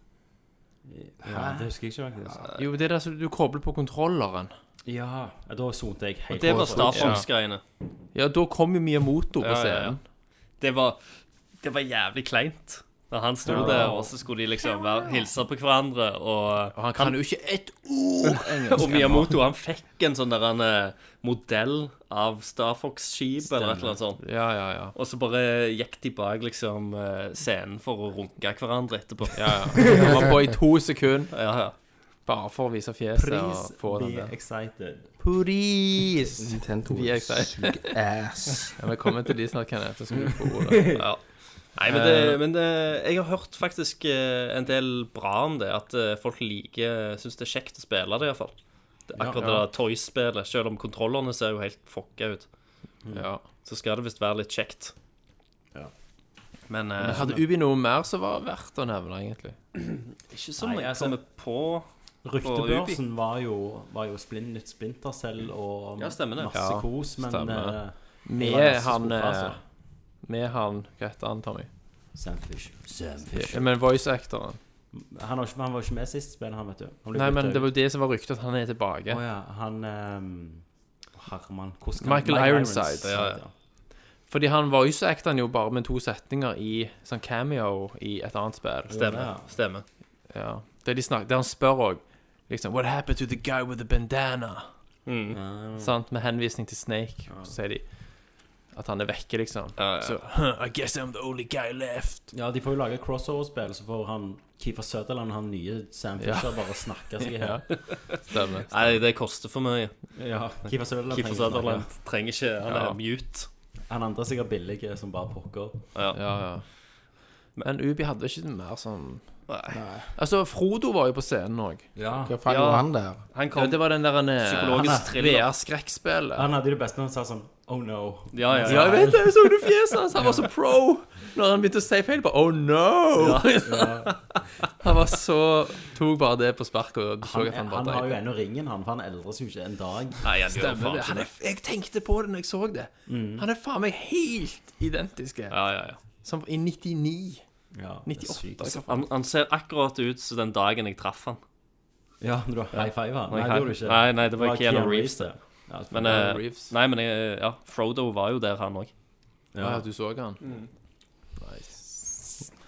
[SPEAKER 7] Ja, det husker jeg ikke. faktisk.
[SPEAKER 6] Eh.
[SPEAKER 2] Jo, det er der som du kobler på kontrolleren.
[SPEAKER 7] Ja, ja, da sonte jeg helt
[SPEAKER 6] Det var
[SPEAKER 7] på.
[SPEAKER 6] Star Fox-greiene.
[SPEAKER 2] Ja, da kom jo Miyamoto på
[SPEAKER 6] Ja, ja, ja.
[SPEAKER 2] scenen.
[SPEAKER 6] Det var, det var jævlig kleint. Da han sto der, og så skulle de liksom være, hilse på hverandre, og
[SPEAKER 2] Og han kan jo ikke ett ord engelsk.
[SPEAKER 6] Og Miyamoto han fikk en sånn der han, eh, modell av Star Fox-skip eller et eller annet sånt.
[SPEAKER 2] Ja, ja, ja.
[SPEAKER 6] Og så bare gikk de bak liksom eh, scenen for å runke hverandre etterpå.
[SPEAKER 2] ja, ja. Han var på i to sekunder
[SPEAKER 6] Ja, ja.
[SPEAKER 2] bare for å vise fjeset
[SPEAKER 7] Please
[SPEAKER 2] og få den
[SPEAKER 7] be
[SPEAKER 2] der.
[SPEAKER 7] excited.
[SPEAKER 2] Please!
[SPEAKER 4] Nintendo
[SPEAKER 2] Vi er excited.
[SPEAKER 4] suger ass.
[SPEAKER 2] Ja, Velkommen til de snart, Kenneth. Så skal du få ordet.
[SPEAKER 6] ja. Nei, men, det, men det, jeg har hørt faktisk eh, en del bra om det. At eh, folk liker Syns det er kjekt å spille det, iallfall. Akkurat det der Toys-spillet. Selv om kontrollerne ser jo helt fucka ut,
[SPEAKER 2] Ja.
[SPEAKER 6] så skal det visst være litt kjekt. Men eh,
[SPEAKER 2] Hadde Ubi noe mer som var verdt å nevne, egentlig?
[SPEAKER 6] ikke som
[SPEAKER 7] Nei,
[SPEAKER 6] jeg
[SPEAKER 7] altså-
[SPEAKER 6] kommer på
[SPEAKER 7] Ryktebørsen var jo, var jo splin, nytt splintercell og
[SPEAKER 6] Ja, stemmer det.
[SPEAKER 7] masse
[SPEAKER 2] Ja,
[SPEAKER 7] kos, men
[SPEAKER 2] stemmer.
[SPEAKER 7] eh, det var
[SPEAKER 2] Med
[SPEAKER 7] masse
[SPEAKER 2] han
[SPEAKER 7] skuffer,
[SPEAKER 2] eh,
[SPEAKER 7] altså.
[SPEAKER 2] Med han Hva heter han, Tommy?
[SPEAKER 7] Sam Fish. Sam Fish.
[SPEAKER 2] Ja, Men voice actoren.
[SPEAKER 7] Han, var ikke, han var ikke med sist spill, han, vet du. Han ble
[SPEAKER 2] Nei,
[SPEAKER 7] byttet
[SPEAKER 2] men det
[SPEAKER 7] ut.
[SPEAKER 2] var jo det som var ryktet, at han er
[SPEAKER 7] Å
[SPEAKER 2] tilbake.
[SPEAKER 7] ja, han ehm, Herman hvordan kan-
[SPEAKER 2] Michael
[SPEAKER 7] Mike
[SPEAKER 2] Ironside,
[SPEAKER 7] Irons,
[SPEAKER 6] ja, ja.
[SPEAKER 7] heter han.
[SPEAKER 2] Fordi han voice acta jo bare med to setninger i sånn cameo i et annet spill.
[SPEAKER 6] Stemmer.
[SPEAKER 7] Ja.
[SPEAKER 6] stemmer.
[SPEAKER 2] Ja. Der, de snak, der han spør òg liksom What happened to the guy with the bandana?
[SPEAKER 6] Mm.
[SPEAKER 2] Sant? Med henvisning til Snake. Og så sier de at han er vekke, liksom.
[SPEAKER 6] Ja, ja.
[SPEAKER 2] Så huh, I guess I'm the only guy left.
[SPEAKER 7] Ja, de får jo lage crossover-spill, så får han Keefer Sutherland, han nye Sam Fisher, bare snakke seg i hjel.
[SPEAKER 2] Stemmer.
[SPEAKER 6] Nei, det koster for mye.
[SPEAKER 7] Ja, Keefer Sutherland
[SPEAKER 6] Keefer
[SPEAKER 7] trenger ikke
[SPEAKER 6] Sutherland trenger ikke Han er
[SPEAKER 2] Ja.
[SPEAKER 6] mute.
[SPEAKER 7] snakke. Han andre er sikkert billige som bare pokker.
[SPEAKER 2] Ja, ja. Men Ubi hadde ikke mer som
[SPEAKER 6] Nei.
[SPEAKER 2] Altså, Frodo var jo på scenen òg.
[SPEAKER 7] Ja.
[SPEAKER 4] Hva faen
[SPEAKER 6] Ja.
[SPEAKER 4] gjorde han der?
[SPEAKER 6] Han
[SPEAKER 2] Ja,
[SPEAKER 6] kom
[SPEAKER 2] det var den der
[SPEAKER 6] psykologisk thriller.
[SPEAKER 2] VR-skrekkspillet.
[SPEAKER 7] Han hadde jo det beste når han sa sånn Oh no.
[SPEAKER 6] Ja, ja,
[SPEAKER 2] Ja,
[SPEAKER 6] ja.
[SPEAKER 2] jeg vet det! Jeg så du fjeset hans! Han var så pro når han begynte å si feil. Bare, oh no! Han var så Tok bare det på sparket, og du så
[SPEAKER 7] Han,
[SPEAKER 2] at han
[SPEAKER 7] han
[SPEAKER 2] bare
[SPEAKER 7] har
[SPEAKER 2] dreit.
[SPEAKER 7] jo ennå ringen, han, for han eldres jo ikke en dag.
[SPEAKER 6] Nei, jeg gjør
[SPEAKER 2] Stemmer
[SPEAKER 6] faen
[SPEAKER 2] det. Mm.
[SPEAKER 6] ikke
[SPEAKER 2] Han
[SPEAKER 6] det.
[SPEAKER 2] er, jeg tenkte på det når jeg så det. Han er faen meg helt identiske.
[SPEAKER 6] Ja, ja, ja.
[SPEAKER 2] Som i 99.
[SPEAKER 7] Ja, det er
[SPEAKER 2] 98.
[SPEAKER 7] sykt.
[SPEAKER 2] hva faen?
[SPEAKER 6] Han, han ser akkurat ut som den dagen jeg traff han.
[SPEAKER 7] Ja, når du har high five han. Nei,
[SPEAKER 6] Når jeg-
[SPEAKER 7] det gjorde du ikke.
[SPEAKER 6] Nei, nei, det var Keanu Reeves,
[SPEAKER 7] det. Ja,
[SPEAKER 6] Men,
[SPEAKER 2] Keanu
[SPEAKER 6] eh,
[SPEAKER 2] Reeves.
[SPEAKER 6] Nei, men eh, ja, Frodo var jo der, han òg.
[SPEAKER 2] Ja,
[SPEAKER 7] ja.
[SPEAKER 2] du så han.
[SPEAKER 7] Mm.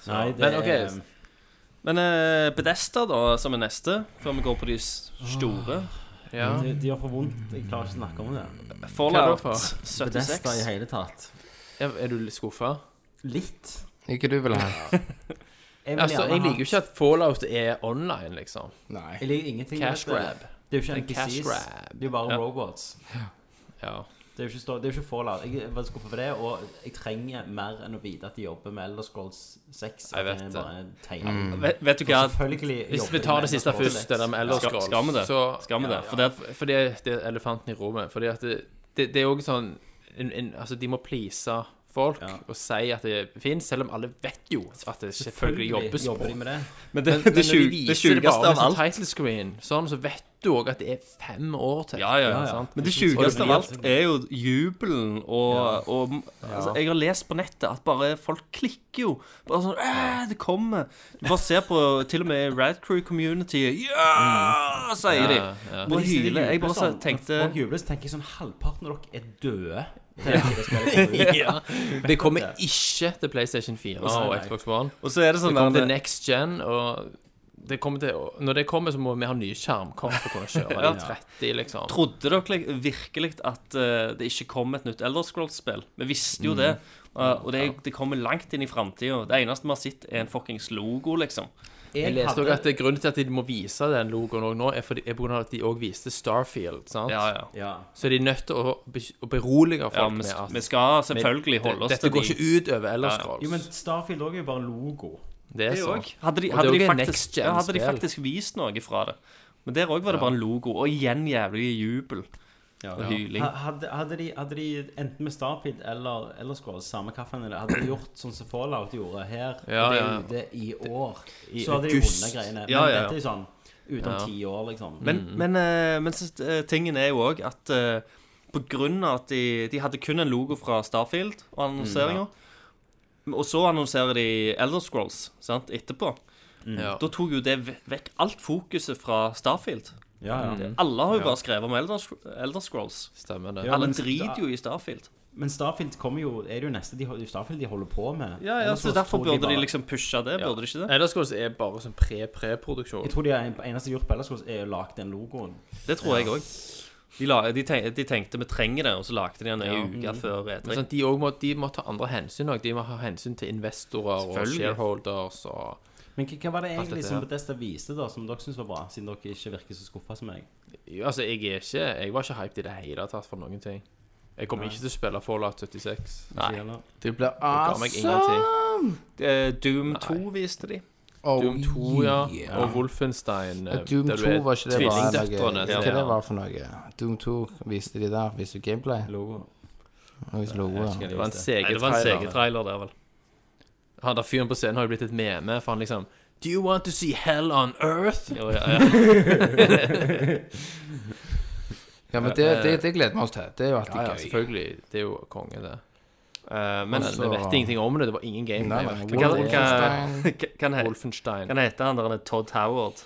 [SPEAKER 7] Nei, det
[SPEAKER 2] Men, ok,
[SPEAKER 7] er-
[SPEAKER 2] så-
[SPEAKER 6] Men eh, Bedesta, da, som er neste, før vi går på de s- store
[SPEAKER 2] Ja.
[SPEAKER 7] de, de har for vondt. Jeg klarer ikke å snakke om det.
[SPEAKER 6] Fallout
[SPEAKER 2] Hva er det
[SPEAKER 6] 76.
[SPEAKER 7] Bedesta i hele tatt.
[SPEAKER 2] Er er du litt skuffa?
[SPEAKER 7] Litt.
[SPEAKER 4] Ikke du vil ha?
[SPEAKER 7] Jeg, vil
[SPEAKER 2] Altså,
[SPEAKER 7] gjerne
[SPEAKER 2] jeg
[SPEAKER 7] ha-
[SPEAKER 2] liker jo ikke at fallout er online, liksom.
[SPEAKER 4] Nei.
[SPEAKER 7] Jeg liker ingenting.
[SPEAKER 2] Cash
[SPEAKER 7] med det.
[SPEAKER 2] grab.
[SPEAKER 7] Det er jo ikke
[SPEAKER 2] En cash
[SPEAKER 7] NPCs.
[SPEAKER 2] grab.
[SPEAKER 7] Det er jo bare
[SPEAKER 6] Ja.
[SPEAKER 7] robots.
[SPEAKER 2] Ja.
[SPEAKER 7] Det er jo ikke, stå, det er jo ikke Fallout. Jeg var skuffet over det, og jeg trenger mer enn å vite at de jobber med Elder Scrolls 6.
[SPEAKER 2] Jeg vet
[SPEAKER 7] det.
[SPEAKER 2] det. Mm.
[SPEAKER 7] Bare tegner.
[SPEAKER 6] Vet, vet du
[SPEAKER 7] Og
[SPEAKER 6] hva?
[SPEAKER 7] Selvfølgelig
[SPEAKER 2] Hvis
[SPEAKER 7] jobber
[SPEAKER 2] vi
[SPEAKER 7] de
[SPEAKER 2] tar
[SPEAKER 7] med
[SPEAKER 2] det siste
[SPEAKER 7] Elder Scrolls
[SPEAKER 2] først, det der med Elder
[SPEAKER 6] Skal-
[SPEAKER 2] Scrolls
[SPEAKER 6] skal vi det?
[SPEAKER 2] Så,
[SPEAKER 6] Skal vi det? For
[SPEAKER 2] For det, for det, det er elefanten i rommet. Fordi at det, det, det er òg sånn en, en, Altså, de må please folk
[SPEAKER 7] Ja.
[SPEAKER 2] og si at det fins, selv om alle vet jo at det selvfølgelig jobbes på.
[SPEAKER 7] Jobber de med det?
[SPEAKER 2] Men,
[SPEAKER 6] Men
[SPEAKER 2] men når de
[SPEAKER 6] skjul-
[SPEAKER 2] viser det
[SPEAKER 6] skjuleste
[SPEAKER 2] bare med sånn title screen, sånn, så vet du òg at det er fem år til.
[SPEAKER 6] Ja,
[SPEAKER 7] Ja,
[SPEAKER 6] ja, ja.
[SPEAKER 7] ja.
[SPEAKER 6] Men det sjukeste av alt er jo jubelen og, og altså, Jeg har lest på nettet at bare folk klikker jo. Bare sånn «Æ, Det kommer. Du bare ser på til og med Rad Crew Community. Ja! sier de.
[SPEAKER 2] Mm. Ja, ja.
[SPEAKER 6] Bare
[SPEAKER 7] Hvis de
[SPEAKER 6] hyler. Jeg
[SPEAKER 7] jubler
[SPEAKER 6] bare så
[SPEAKER 7] sånn,
[SPEAKER 6] tenkte
[SPEAKER 7] Når folk jubler, så tenker jeg sånn Halvparten av dere er døde. Det er det spillet kommer ut.
[SPEAKER 2] Det kommer ikke til PlayStation 4 og
[SPEAKER 7] nei.
[SPEAKER 2] Xbox One.
[SPEAKER 6] Og så er det
[SPEAKER 2] Det
[SPEAKER 6] sånn
[SPEAKER 2] kommer til
[SPEAKER 6] der-
[SPEAKER 2] next gen, og det kommer til, og når det kommer, så må vi ha nye skjermkort for å kunne kjøre de 30, liksom.
[SPEAKER 6] Trodde dere li- virkelig at eh, det ikke kom et nytt Elder Scrolls-spill? Vi visste
[SPEAKER 2] Mm.
[SPEAKER 6] jo det. eh, og det, det kommer langt inn i framtida. Det eneste vi har sett, er en fuckings logo, liksom.
[SPEAKER 2] Jeg
[SPEAKER 7] Jeg
[SPEAKER 2] leste
[SPEAKER 7] hadde
[SPEAKER 2] også at det- grunnen til at de må vise den logoen også nå, er, fordi, er på grunn av at de også viste Starfield. sant?
[SPEAKER 6] Ja, ja.
[SPEAKER 7] ja.
[SPEAKER 2] Så er de nødt til å, be- å berolige folk
[SPEAKER 6] ja vi,
[SPEAKER 2] med
[SPEAKER 6] sk-
[SPEAKER 2] at
[SPEAKER 6] vi skal selvfølgelig holde oss
[SPEAKER 2] dette
[SPEAKER 6] til
[SPEAKER 2] går
[SPEAKER 6] de.
[SPEAKER 2] ikke ut over Elder
[SPEAKER 6] Ja, ja.
[SPEAKER 2] Scrolls.
[SPEAKER 7] Jo, men Starfield også er jo bare logo.
[SPEAKER 2] det er
[SPEAKER 6] Det
[SPEAKER 2] sånn.
[SPEAKER 6] òg. Hadde, de,
[SPEAKER 2] Og det
[SPEAKER 6] hadde,
[SPEAKER 2] er jo
[SPEAKER 6] de
[SPEAKER 2] ikke
[SPEAKER 6] faktisk-
[SPEAKER 2] next
[SPEAKER 6] ja, hadde de
[SPEAKER 2] gen-spill.
[SPEAKER 6] faktisk vist noe fra det. Men der òg var det bare en logo, og igjen jævlig jubel og hyling.
[SPEAKER 7] Ha- Hadde, hadde, de, hadde de enten med Starfield eller Elder Scrolls, samme kaffen eller Hadde de gjort sånn som Fallout gjorde her, og
[SPEAKER 2] Ja,
[SPEAKER 7] det
[SPEAKER 2] ja, ja.
[SPEAKER 7] er ute i år,
[SPEAKER 2] i
[SPEAKER 7] så hadde de
[SPEAKER 2] august.
[SPEAKER 7] vunnet greiene. Men
[SPEAKER 6] Ja, ja, ja.
[SPEAKER 7] dette er jo sånn utom
[SPEAKER 2] Ja.
[SPEAKER 7] ti år, liksom.
[SPEAKER 6] Men, men, eh, men så, eh, tingen er jo òg at eh, på grunn av at de, de hadde kun en logo fra Starfield og annonseringa, og så annonserer de Elder Scrolls sant, etterpå,
[SPEAKER 2] Ja.
[SPEAKER 7] Mm.
[SPEAKER 6] da tok jo det ve- vekk alt fokuset fra Starfield.
[SPEAKER 7] ja, ja.
[SPEAKER 6] Alle har jo bare skrevet om Elder, Sc- Elder Scrolls.
[SPEAKER 2] Stemmer det.
[SPEAKER 7] Ja,
[SPEAKER 6] Alle
[SPEAKER 7] men-
[SPEAKER 6] driter jo i Starfield.
[SPEAKER 7] Men Starfield kommer jo Er det jo neste de, det er jo Starfield de holder på med?
[SPEAKER 6] Ja, ja,
[SPEAKER 7] Ellers
[SPEAKER 6] så Derfor
[SPEAKER 7] tror
[SPEAKER 6] burde de
[SPEAKER 7] bare-
[SPEAKER 6] liksom pushe det, burde de ikke det?
[SPEAKER 2] Elder Scrolls er bare sånn pre-pre-produksjon.
[SPEAKER 7] Jeg tror de er, eneste de har gjort på Elder Scrolls, er å lage den logoen.
[SPEAKER 6] Det tror jeg òg. De, la- de, tenk- de tenkte vi trenger det, og så lagde de den ei uke før E
[SPEAKER 2] Men
[SPEAKER 6] E3.
[SPEAKER 2] sånn, de, også må, de må ta andre hensyn òg. De må ha hensyn til investorer og
[SPEAKER 6] Selvfølgelig.
[SPEAKER 2] shareholders og
[SPEAKER 7] Men hva- hva var det egentlig
[SPEAKER 2] dette,
[SPEAKER 7] som
[SPEAKER 2] ja.
[SPEAKER 7] Bethesda viste, da, som dere syns var bra? Siden dere ikke virker så skuffa som meg.
[SPEAKER 2] Jo, Altså, jeg er ikke Jeg var ikke hyped i det hele tatt for noen ting. Jeg kommer ikke til å spille Fallout 76.
[SPEAKER 6] Nei.
[SPEAKER 7] Sier det.
[SPEAKER 4] Det blir
[SPEAKER 2] Det ga meg ingenting.
[SPEAKER 4] awesome!
[SPEAKER 6] Eh, Doom 2 viste de.
[SPEAKER 4] Oh,
[SPEAKER 2] Doom 2, ja.
[SPEAKER 4] yeah.
[SPEAKER 2] Og Wolfenstein. eh,
[SPEAKER 4] Doom
[SPEAKER 2] der du
[SPEAKER 4] 2
[SPEAKER 2] er
[SPEAKER 4] var ikke det bare
[SPEAKER 2] Tvillingdøtrene.
[SPEAKER 4] Hva
[SPEAKER 2] til-
[SPEAKER 4] det var for noe? Doom 2 viste de der, viste du gameplay?
[SPEAKER 7] Logo.
[SPEAKER 4] Og viste logo, ja.
[SPEAKER 2] Det var en
[SPEAKER 6] Nei, det var en
[SPEAKER 2] CG-trailer.
[SPEAKER 6] CG-trailer der, vel.
[SPEAKER 2] Han der fyren på scenen har jo blitt et meme, for han liksom Do you want to see hell on earth?
[SPEAKER 6] Jo, ja, ja.
[SPEAKER 4] Ja, men det, det, det gleder vi oss til. Det er jo
[SPEAKER 2] Eh, Ja, ja,
[SPEAKER 4] alltid gøy.
[SPEAKER 2] selvfølgelig. Det er jo konge, det.
[SPEAKER 6] Eh,
[SPEAKER 2] Men
[SPEAKER 6] men
[SPEAKER 4] Altså-
[SPEAKER 2] vi vet ingenting om det. Det var ingen game.
[SPEAKER 4] Nei,
[SPEAKER 2] det
[SPEAKER 4] nei,
[SPEAKER 2] var-
[SPEAKER 6] hva, hva,
[SPEAKER 4] Wolfenstein.
[SPEAKER 6] hva- kan, he,
[SPEAKER 2] Wolfenstein.
[SPEAKER 6] kan hete han der Todd Howard?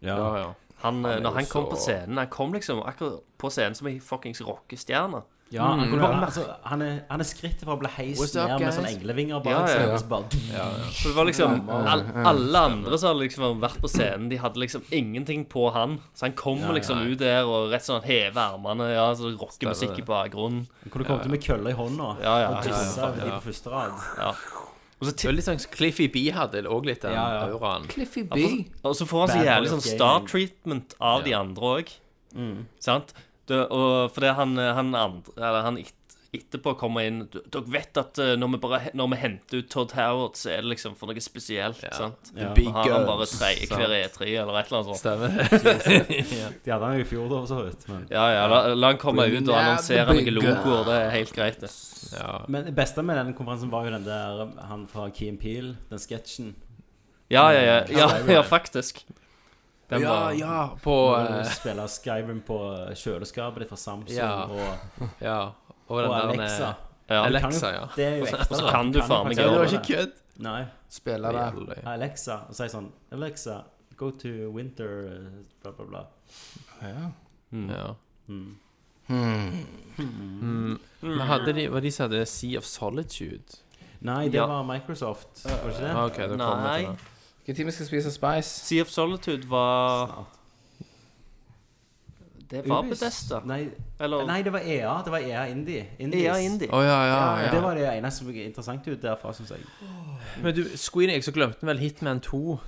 [SPEAKER 2] Ja, ja.
[SPEAKER 6] Han, eh,
[SPEAKER 2] er
[SPEAKER 6] når
[SPEAKER 2] jo
[SPEAKER 6] han kom
[SPEAKER 2] så-
[SPEAKER 6] på scenen Han kom liksom akkurat på scenen som ei fuckings rockestjerne.
[SPEAKER 7] Ja, han, kunne være, altså, han, er, han er skrittet fra å bli heist
[SPEAKER 2] What's up,
[SPEAKER 7] ned med
[SPEAKER 2] guys?
[SPEAKER 7] sånn englevinger bak
[SPEAKER 6] Ja, ja,
[SPEAKER 7] seg.
[SPEAKER 6] ja.
[SPEAKER 7] og så bare-
[SPEAKER 6] For det var liksom all, Alle andre som hadde liksom vært på scenen, de hadde liksom ingenting på han. Så han kommer liksom ut der og rett sånn hever armene, ja, så rocker musikk i bakgrunnen.
[SPEAKER 7] Han kunne kommet med kølla i hånda
[SPEAKER 6] Ja, ja,
[SPEAKER 7] og
[SPEAKER 6] ja, ja.
[SPEAKER 7] jizza over de på første rad.
[SPEAKER 6] Og så,
[SPEAKER 2] Det
[SPEAKER 6] til,
[SPEAKER 2] var litt sånn Cliffy B hadde også litt den
[SPEAKER 7] Ja, ja.
[SPEAKER 2] auraen.
[SPEAKER 4] Cliffy B.
[SPEAKER 6] og så får han så
[SPEAKER 7] Bad
[SPEAKER 6] jævlig
[SPEAKER 7] boy of
[SPEAKER 6] sånn
[SPEAKER 7] gaming.
[SPEAKER 6] star-treatment
[SPEAKER 7] Mm.
[SPEAKER 6] av de andre òg. Sant? Det, og fordi han, han andre Eller han et- etterpå kommer inn D- Dere vet at eh, når vi, bare, he- når vi henter ut Todd Howard, så er det liksom for noe spesielt. sant?
[SPEAKER 7] Ja.
[SPEAKER 6] Da har han bare tre, hver E3 eller et eller annet sånt.
[SPEAKER 7] De hadde han jo i fjor, da, for så vidt. Men,
[SPEAKER 6] Ja, ja, la, la han komme ut og annonsere
[SPEAKER 4] the big
[SPEAKER 6] noen logoer. Det er helt greit, det.
[SPEAKER 7] men det beste med den konferansen var jo den der han fra Key and Peel, den sketsjen.
[SPEAKER 6] Ja, ja, ja, ja, ja faktisk. Den
[SPEAKER 2] Ja,
[SPEAKER 6] var,
[SPEAKER 2] ja, på
[SPEAKER 7] Når
[SPEAKER 2] eh,
[SPEAKER 7] du spiller Skyrim på eh, kjøleskapet ditt fra Samsung
[SPEAKER 2] Ja.
[SPEAKER 7] og,
[SPEAKER 2] Ja. Og
[SPEAKER 7] og
[SPEAKER 2] den der eh,
[SPEAKER 7] Alexa.
[SPEAKER 6] ja.
[SPEAKER 2] Alexa, ja.
[SPEAKER 7] Det er jo ekte.
[SPEAKER 6] Og så
[SPEAKER 7] da.
[SPEAKER 6] kan du faen
[SPEAKER 7] faktisk
[SPEAKER 6] meg gjøre
[SPEAKER 2] Det
[SPEAKER 7] gjøre
[SPEAKER 2] var ikke kødd.
[SPEAKER 7] Nei.
[SPEAKER 4] Spille det.
[SPEAKER 7] Alexa, og sier sånn Alexa, go to winter eh, Bla, bla, bla.
[SPEAKER 4] Ja.
[SPEAKER 2] Ja. Mm. Men hadde de, var de som hadde Sea of Solitude?
[SPEAKER 7] Nei, det
[SPEAKER 6] Ja.
[SPEAKER 7] var Microsoft, var det ikke
[SPEAKER 2] Ah,
[SPEAKER 7] det?
[SPEAKER 2] ok, da kom vi
[SPEAKER 6] Nei.
[SPEAKER 2] til det.
[SPEAKER 4] Hvilken time skal vi spise Spice?
[SPEAKER 6] Sea of Solitude var Det var
[SPEAKER 7] Ubisoft.
[SPEAKER 6] Bethesda.
[SPEAKER 7] Nei,
[SPEAKER 6] Eller
[SPEAKER 7] nei, det var EA. Det var EA E Indie. Indies.
[SPEAKER 6] EA Indie.
[SPEAKER 2] Å ja,
[SPEAKER 7] Ja,
[SPEAKER 2] ja,
[SPEAKER 7] Det
[SPEAKER 2] Ah, ja.
[SPEAKER 7] var det eneste som gikk interessant ut derfra, syns jeg.
[SPEAKER 2] Men du, Squeen Egg, så glemte vi vel Hitman 2,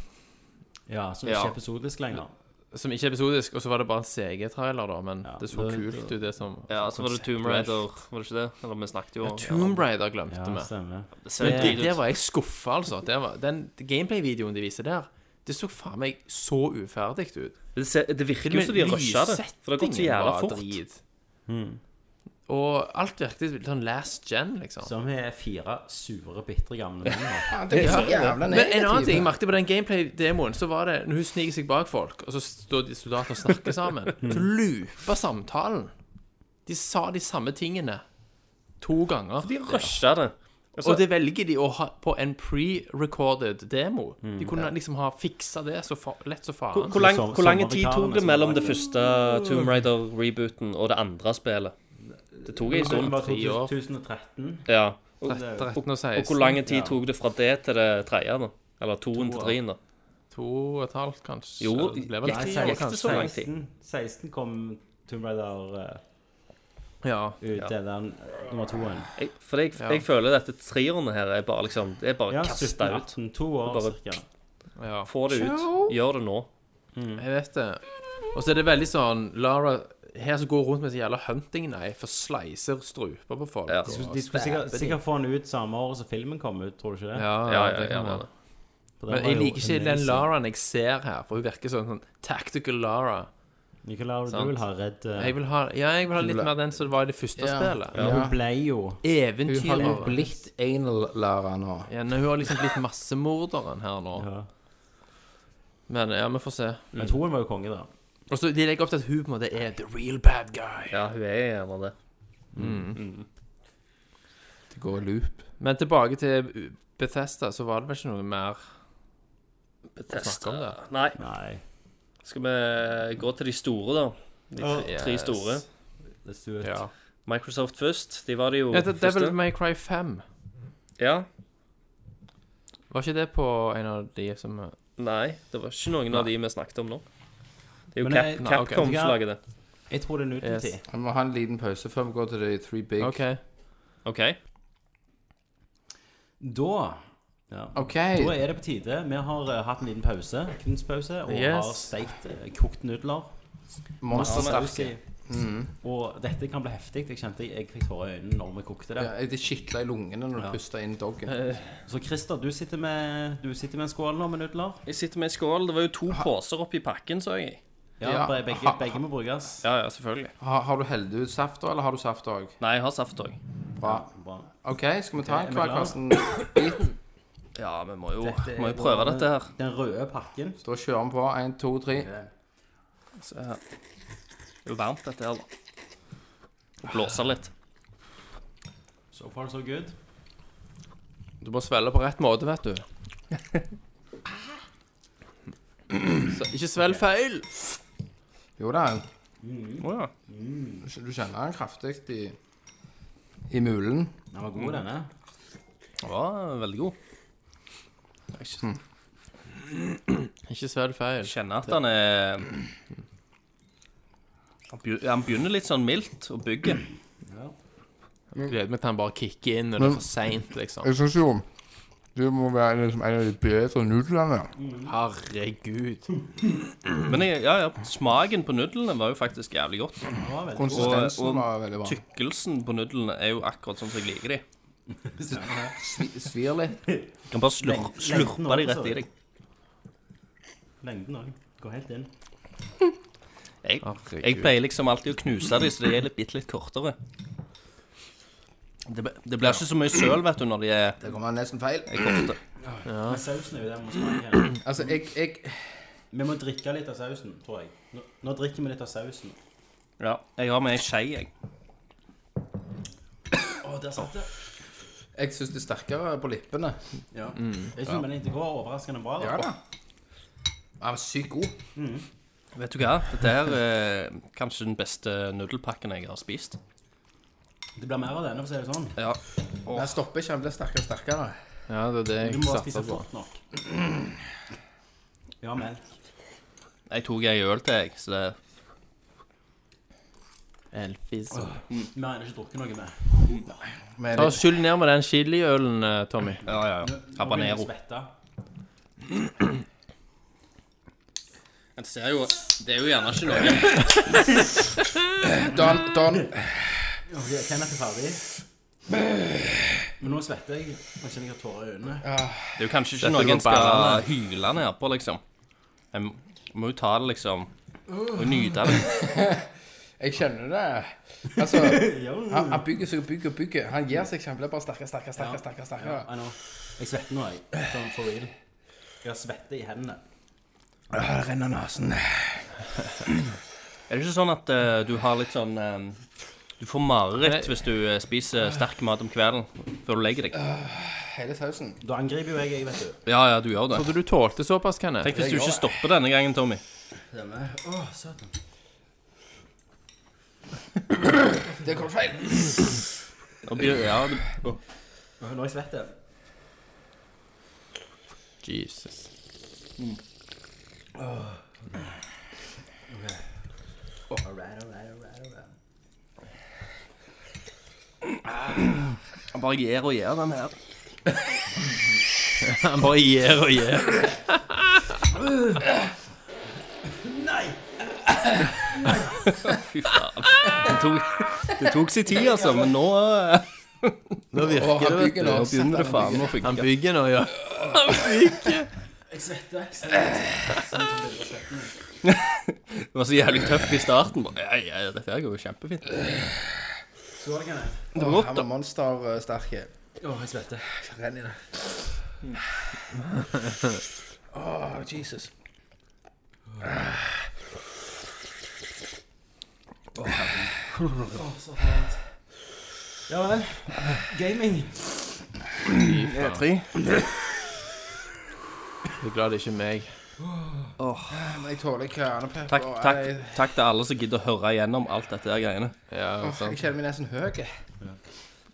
[SPEAKER 7] Ja, Som
[SPEAKER 6] Ja.
[SPEAKER 7] ikke er episodisk lenger.
[SPEAKER 2] som ikke er episodisk, og så var det bare en CG-trailer, da, men
[SPEAKER 7] Ja,
[SPEAKER 2] det så
[SPEAKER 7] det-
[SPEAKER 2] kult ut, det som
[SPEAKER 6] Ja, så var det Tomb Raider, var det ikke det? Eller vi snakket jo om
[SPEAKER 2] Tomb Raider glemte
[SPEAKER 7] Ja,
[SPEAKER 2] vi.
[SPEAKER 7] stemmer.
[SPEAKER 6] Det
[SPEAKER 2] Men
[SPEAKER 6] ser
[SPEAKER 2] det,
[SPEAKER 6] drit
[SPEAKER 2] der
[SPEAKER 6] ut.
[SPEAKER 2] var jeg skuffa, altså. Det var, den gameplay-videoen de viser der, det så faen meg så uferdig ut.
[SPEAKER 6] Det, ser, det virker jo som de rusha det. For det har gått så jævla fort.
[SPEAKER 7] Hmm.
[SPEAKER 2] Og alt virket sånn last gen, liksom.
[SPEAKER 7] Som er fire sure, bitre gamle menn. nå.
[SPEAKER 4] Ja, det er så jævla
[SPEAKER 2] Men en annen
[SPEAKER 4] negativt.
[SPEAKER 2] ting jeg merket på den gameplay-demoen, så var det når hun sniker seg bak folk, og så står de soldatene og snakker sammen,
[SPEAKER 6] Mm.
[SPEAKER 2] så loopa samtalen. De sa de samme tingene to ganger.
[SPEAKER 6] De rusha det.
[SPEAKER 2] og det velger de å ha på en pre-recorded demo. De kunne liksom ha fiksa det så fa lett så faen.
[SPEAKER 6] Mm. Hvor, hvor, lang,
[SPEAKER 7] Som-
[SPEAKER 6] hvor lang tid
[SPEAKER 7] sommervikarene
[SPEAKER 6] tok det
[SPEAKER 7] som
[SPEAKER 6] mellom
[SPEAKER 7] var
[SPEAKER 6] det
[SPEAKER 7] i-
[SPEAKER 6] første Tomb Raider-rebooten og det andre spillet? Det tok en
[SPEAKER 7] Det
[SPEAKER 6] stund.
[SPEAKER 7] var
[SPEAKER 2] tre år.
[SPEAKER 7] 2013.
[SPEAKER 6] Ja. Og, og,
[SPEAKER 2] 13 og 16.
[SPEAKER 6] og hvor lang tid tok det fra det til det tredje? da? Eller toen til treen, da?
[SPEAKER 2] To og et halvt, kanskje.
[SPEAKER 6] Jo,
[SPEAKER 2] det ble vel
[SPEAKER 6] gikk
[SPEAKER 2] et
[SPEAKER 6] det-
[SPEAKER 2] år,
[SPEAKER 6] gikk det
[SPEAKER 2] kanskje.
[SPEAKER 6] så lang tid?
[SPEAKER 7] 16, 16 kom Tomb Raider eh,
[SPEAKER 2] Ja.
[SPEAKER 7] ut, det er den eh, nummer toen.
[SPEAKER 6] Jeg, for jeg, jeg føler dette treerne her er bare liksom Det er bare
[SPEAKER 7] Ja,
[SPEAKER 6] kasta
[SPEAKER 7] 17,
[SPEAKER 6] ut.
[SPEAKER 7] 18, to år
[SPEAKER 6] Bare-
[SPEAKER 7] cirka.
[SPEAKER 2] ja.
[SPEAKER 6] Få det ut. Gjør det nå. Mm.
[SPEAKER 2] Jeg vet det. Og så er det veldig sånn Lara her som går rundt med en jævla hunting knife og slicer struper på folk.
[SPEAKER 6] Ja.
[SPEAKER 2] og
[SPEAKER 7] De skulle sikkert,
[SPEAKER 2] stabber
[SPEAKER 7] sikkert få den ut samme år som filmen kom ut, tror du ikke det?
[SPEAKER 2] de. ja,
[SPEAKER 6] Ja,
[SPEAKER 2] ja,
[SPEAKER 6] ja,
[SPEAKER 2] det
[SPEAKER 6] ja,
[SPEAKER 2] kan
[SPEAKER 6] ja.
[SPEAKER 2] være. Men jeg liker ikke den Laraen jeg ser her, for hun virker sånn, sånn tactical Lara.
[SPEAKER 7] Nicolai, du
[SPEAKER 2] Sant.
[SPEAKER 7] vil ha Red eh,
[SPEAKER 2] Jeg vil ha, ja, jeg vil ha litt mer den som var i det første
[SPEAKER 4] Ja.
[SPEAKER 2] spillet.
[SPEAKER 7] Hun
[SPEAKER 4] Ja.
[SPEAKER 7] ble jo
[SPEAKER 4] Hun har jo
[SPEAKER 2] Eventyret.
[SPEAKER 4] blitt anal-lærer nå.
[SPEAKER 2] Ja, nei, hun har liksom blitt massemorderen her nå.
[SPEAKER 7] Ja.
[SPEAKER 2] Men ja, vi får se.
[SPEAKER 7] Men toen var jo konge, da.
[SPEAKER 2] Og så De legger opp til at hun på en måte er the real bad guy.
[SPEAKER 6] Ja, hun er gjerne det.
[SPEAKER 4] Mm. Det går i loop.
[SPEAKER 2] Men tilbake til Bethesda, så var det vel ikke noe mer
[SPEAKER 6] Bethesda.
[SPEAKER 2] om det.
[SPEAKER 6] Nei.
[SPEAKER 7] Nei.
[SPEAKER 6] Skal vi gå til de store, da? De tre, tre
[SPEAKER 2] Yes.
[SPEAKER 6] store.
[SPEAKER 7] Let's do it.
[SPEAKER 2] Ja.
[SPEAKER 6] Microsoft først. De var det jo
[SPEAKER 2] ja det,
[SPEAKER 6] første.
[SPEAKER 2] Devil May Cry 5.
[SPEAKER 6] Ja.
[SPEAKER 2] Var ikke det på en av de som
[SPEAKER 6] Nei, det var ikke noen av de vi snakket om nå. Det er jo
[SPEAKER 7] Men
[SPEAKER 6] Cap
[SPEAKER 7] jeg-
[SPEAKER 2] Nei, ok.
[SPEAKER 6] Capcom som lager det.
[SPEAKER 7] Jeg tror det er Newton
[SPEAKER 2] Yes.
[SPEAKER 7] tid.
[SPEAKER 4] Vi må ha en liten pause før vi går til de three big.
[SPEAKER 2] OK.
[SPEAKER 6] OK.
[SPEAKER 7] Da ja.
[SPEAKER 4] Ok.
[SPEAKER 7] Da er det på tide. Vi har eh, hatt en liten pause, kunstpause, og
[SPEAKER 2] Yes.
[SPEAKER 7] har steikt eh, kokt nudler.
[SPEAKER 4] Monster
[SPEAKER 7] Masse saus
[SPEAKER 4] sterke.
[SPEAKER 7] i. Og dette kan bli heftig. Jeg kjente jeg, jeg fikk tårer i øynene når vi kokte det.
[SPEAKER 4] Ja, det kitler i lungene når du puster inn doggen.
[SPEAKER 7] Så Christer, du sitter med, du sitter med en skål nå med nudler.
[SPEAKER 6] Jeg sitter med en skål. Det var jo to poser oppi pakken, så jeg.
[SPEAKER 7] Ja,
[SPEAKER 4] Ja.
[SPEAKER 7] Begge, begge, begge må brukes.
[SPEAKER 6] Ja, ja, selvfølgelig.
[SPEAKER 4] Har, har du heldig ut saft da, eller har du saft òg?
[SPEAKER 6] Nei, jeg har saft òg.
[SPEAKER 4] Bra.
[SPEAKER 7] Bra.
[SPEAKER 4] OK, skal vi ta en
[SPEAKER 7] vi
[SPEAKER 4] hver,
[SPEAKER 7] klar?
[SPEAKER 4] Karsten?
[SPEAKER 6] Ja, vi må jo,
[SPEAKER 7] Dette er
[SPEAKER 6] må jo prøve
[SPEAKER 7] vår-
[SPEAKER 6] dette her.
[SPEAKER 7] Den røde pakken.
[SPEAKER 4] Da kjører vi på. Én, to, tre.
[SPEAKER 6] Se her. Det er jo varmt, dette her, da. Blåse litt.
[SPEAKER 7] So far, so good.
[SPEAKER 2] Du må svelge på rett måte, vet du. Ah. Så, ikke svelg feil.
[SPEAKER 4] Jo da,
[SPEAKER 6] Å ja.
[SPEAKER 4] du kj- du kjenner den kraftig i, i mulen.
[SPEAKER 7] Den var god, denne.
[SPEAKER 6] Den var veldig god.
[SPEAKER 2] Ikke svelg feil.
[SPEAKER 6] Jeg kjenner at han er Han begy- Han begynner litt sånn mildt å bygge.
[SPEAKER 2] Gleder meg til han bare kicker inn når det er for seint, liksom.
[SPEAKER 4] Jeg syns jo
[SPEAKER 8] Det må være liksom en av de bedre nudlene.
[SPEAKER 2] Herregud.
[SPEAKER 6] Men jeg, ja, ja, smaken på nudlene var jo faktisk jævlig godt. Og- og
[SPEAKER 8] Konsistensen var veldig bra.
[SPEAKER 6] Tykkelsen på nudlene er jo akkurat sånn som jeg liker de.
[SPEAKER 4] Svir litt.
[SPEAKER 6] Du kan bare slur,
[SPEAKER 7] Lengden også,
[SPEAKER 6] slurpe de rett i deg.
[SPEAKER 7] Lengden òg. Går helt inn.
[SPEAKER 6] Jeg, jeg pleier liksom alltid å knuse de, så de er litt, bitte litt kortere. Det, be- det blir ikke så mye søl, vet du, når de er
[SPEAKER 4] Det kommer nesten feil.
[SPEAKER 6] er korte.
[SPEAKER 7] Men sausen er jo der vi må smake. her.
[SPEAKER 4] Altså, jeg, jeg
[SPEAKER 7] Vi må drikke litt av sausen, tror jeg. Nå, nå drikker vi litt av sausen.
[SPEAKER 6] Ja, jeg har med ei skje, jeg.
[SPEAKER 7] Å, der satt det.
[SPEAKER 4] jeg syns det er sterkere på lippene.
[SPEAKER 7] Ja. Jeg synes men det går overraskende bra. da.
[SPEAKER 4] Ja da. Den var sykt god.
[SPEAKER 6] Vet du hva? Dette her er kanskje den beste nudelpakken jeg har spist.
[SPEAKER 7] Det blir mer av denne, for å si det sånn.
[SPEAKER 6] Ja.
[SPEAKER 4] Den stopper ikke, den blir sterkere og sterkere.
[SPEAKER 2] Ja, det er det
[SPEAKER 7] Du
[SPEAKER 2] jeg
[SPEAKER 7] må bare spise
[SPEAKER 2] satser på.
[SPEAKER 7] fort nok. Ja, melk.
[SPEAKER 6] Jeg tok ei øl til, jeg, så det
[SPEAKER 2] Elfis.
[SPEAKER 7] Vi har ennå ikke drukket noe med.
[SPEAKER 4] Men
[SPEAKER 2] Ta
[SPEAKER 4] jeg,
[SPEAKER 2] og Skyll ned med den chiliølen, eh, Tommy.
[SPEAKER 6] Ja, ja, ja. Habanero. En ser jo Det er jo gjerne ikke noe
[SPEAKER 4] Don, Don,
[SPEAKER 7] Ok, Kenneth er ferdig. Men nå svetter jeg. Jeg kjenner jeg har tårer i øynene.
[SPEAKER 6] Det er jo kanskje ikke
[SPEAKER 2] Dette
[SPEAKER 6] noe
[SPEAKER 2] går
[SPEAKER 6] en skal
[SPEAKER 2] bærende.
[SPEAKER 6] hyle ned på, liksom. Jeg må- må jo ta det, liksom. Og nyte det.
[SPEAKER 4] jeg kjenner det. Altså, han,
[SPEAKER 7] Ja,
[SPEAKER 4] han bygger seg og bygger og bygger. Han gir seg ikke, han blir bare sterkere, sterkere, sterkere. sterkere, sterkere.
[SPEAKER 7] I know. Jeg svetter nå, jeg. Sånn for real. Jeg har svette i hendene.
[SPEAKER 4] Ah, det renner nesen.
[SPEAKER 6] Er det ikke sånn at eh, du har litt sånn eh, Du får mareritt hvis du eh, spiser sterk mat om kvelden før du legger deg.
[SPEAKER 4] Hele sausen.
[SPEAKER 7] Da angriper jo jeg, jeg, vet du.
[SPEAKER 6] Ja, ja, du gjør det.
[SPEAKER 2] Trodde du tålte såpass, Kenneth?
[SPEAKER 6] Tenk hvis du ikke stopper denne gangen, Tommy.
[SPEAKER 4] Det kom feil.
[SPEAKER 6] Da blir, ja, du,
[SPEAKER 7] Nå er jeg svett. jeg.
[SPEAKER 2] Jesus.
[SPEAKER 7] Alright, alright, alright, alright.
[SPEAKER 6] Han bare gir og gir den her.
[SPEAKER 2] Han bare gir og gir.
[SPEAKER 6] Fy faen. Det tok, det tok sin tid, altså, men nå, eh,
[SPEAKER 2] Nå virker
[SPEAKER 4] Og han
[SPEAKER 2] det, vet
[SPEAKER 4] bygger
[SPEAKER 2] du.
[SPEAKER 4] nå.
[SPEAKER 6] nå begynner det faen å
[SPEAKER 2] Han
[SPEAKER 6] funke.
[SPEAKER 2] bygger nå, ja.
[SPEAKER 7] Jeg svetter. jeg svetter.
[SPEAKER 6] Det var så jævlig tøft i starten. Bare, ja, ja, dette her går jo kjempefint.
[SPEAKER 7] Så var det Kenneth.
[SPEAKER 4] Åh, Han var monstersterk.
[SPEAKER 7] Å, jeg svetter.
[SPEAKER 4] Renn i det. Åh, Jesus.
[SPEAKER 7] Ja vel. Gaming.
[SPEAKER 2] Jeg er glad det ikke er meg.
[SPEAKER 4] Men jeg tåler kranepepper.
[SPEAKER 6] Takk, takk,
[SPEAKER 4] Jeg,
[SPEAKER 6] takk til alle som gidder å høre igjennom alt dette her greiene.
[SPEAKER 2] Ja,
[SPEAKER 4] jeg
[SPEAKER 2] sant.
[SPEAKER 4] kjenner meg nesten høy.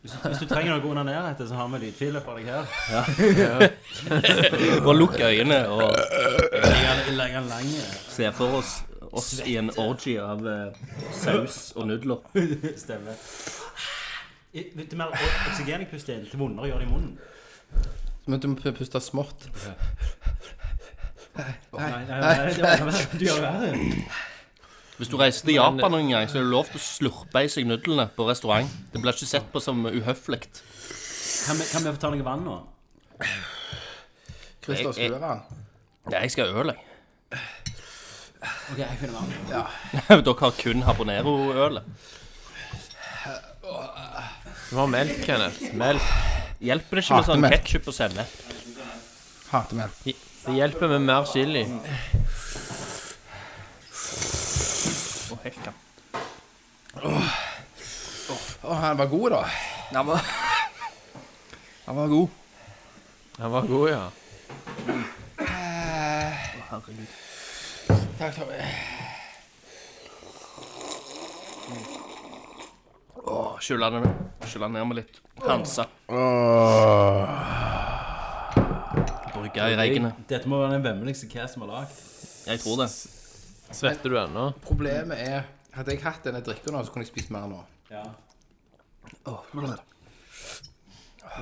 [SPEAKER 7] Hvis du trenger noe under nærheten, så har vi lydfiler for deg her.
[SPEAKER 6] Bare lukk øynene og
[SPEAKER 7] Legge den lang.
[SPEAKER 6] se for oss oss i en orgy av eh, saus og nudler.
[SPEAKER 7] Stemmer. I- Vet du mer o- oksygen jeg puster inn, til vondere gjør det i munnen.
[SPEAKER 4] Men du må pu- puste smått.
[SPEAKER 7] Nei, nei, nei, det var- det var- du gjør det verre.
[SPEAKER 6] Hvis du reiser til Japan noen gang, så er det lov til å slurpe i seg nudlene på restaurant. Det blir ikke sett på som uhøflig.
[SPEAKER 7] Kan vi, kan vi få ta noe vann nå?
[SPEAKER 4] Christer
[SPEAKER 6] Jeg- jeg-
[SPEAKER 4] skrur han.
[SPEAKER 6] Ja, jeg skal ha øl, jeg.
[SPEAKER 7] Ok, jeg finner vann.
[SPEAKER 6] Dere har kun habanero-ølet.
[SPEAKER 2] Du må ha melk, Kenneth. Melk.
[SPEAKER 6] Hjelper det ikke med sånn
[SPEAKER 4] Hatemelk.
[SPEAKER 6] ketsjup og sennep?
[SPEAKER 4] Hater meg.
[SPEAKER 2] Det hjelper med mer chili.
[SPEAKER 6] Å, hekka.
[SPEAKER 4] Åh, han var god, da.
[SPEAKER 6] Han var, han var god.
[SPEAKER 2] Han var god, ja.
[SPEAKER 4] Takk, Tommy.
[SPEAKER 6] Å, Skyll han skyll han ned med litt Hansa. Brygge i reggene.
[SPEAKER 7] Dette må være den vemmeligste cast vi har lagd.
[SPEAKER 6] Jeg tror det.
[SPEAKER 2] Svetter du ennå?
[SPEAKER 4] Problemet er Hadde jeg hatt denne drikken nå, så kunne jeg spist mer nå.
[SPEAKER 7] Ja.
[SPEAKER 4] Åh,
[SPEAKER 7] Men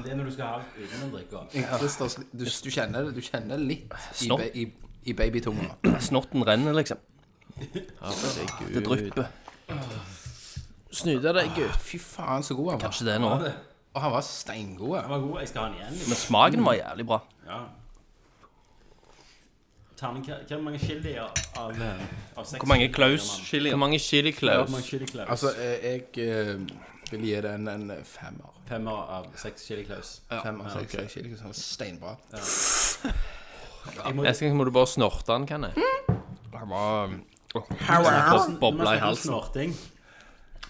[SPEAKER 7] det er når du skal ha alt uten den drikka.
[SPEAKER 4] Christer, du, du kjenner det du kjenner det litt i,
[SPEAKER 6] Snopp.
[SPEAKER 4] ba- i, i babytunga.
[SPEAKER 6] Snotten renner, liksom. Det drypper.
[SPEAKER 5] Snyte deg, gutt.
[SPEAKER 4] Fy faen, så god han var.
[SPEAKER 6] Kanskje det er nå.
[SPEAKER 4] Og han var steingod.
[SPEAKER 7] Den var god. Jeg skal ha den igjen. Liksom.
[SPEAKER 6] Men smaken var jævlig bra.
[SPEAKER 7] Ja. Terning, hva- hvor mange chili av, av, eh, av seks?
[SPEAKER 6] Hvor mange Klaus
[SPEAKER 7] Hvor
[SPEAKER 6] chili?
[SPEAKER 2] Hvor mange chili claus?
[SPEAKER 7] mange chili klaus?
[SPEAKER 4] Altså, jeg, jeg eh, vil gi den en femmer.
[SPEAKER 7] Femmer av seks chili klaus.
[SPEAKER 4] Femmer, seks, seks, ikke sånn steinbra.
[SPEAKER 2] Neste gang må du Hm? bare snorte den, kan jeg.
[SPEAKER 4] Han
[SPEAKER 6] um,
[SPEAKER 4] var
[SPEAKER 7] Hvordan-
[SPEAKER 6] Bobla
[SPEAKER 7] når man
[SPEAKER 6] i halsen.
[SPEAKER 7] snakker om Snorting.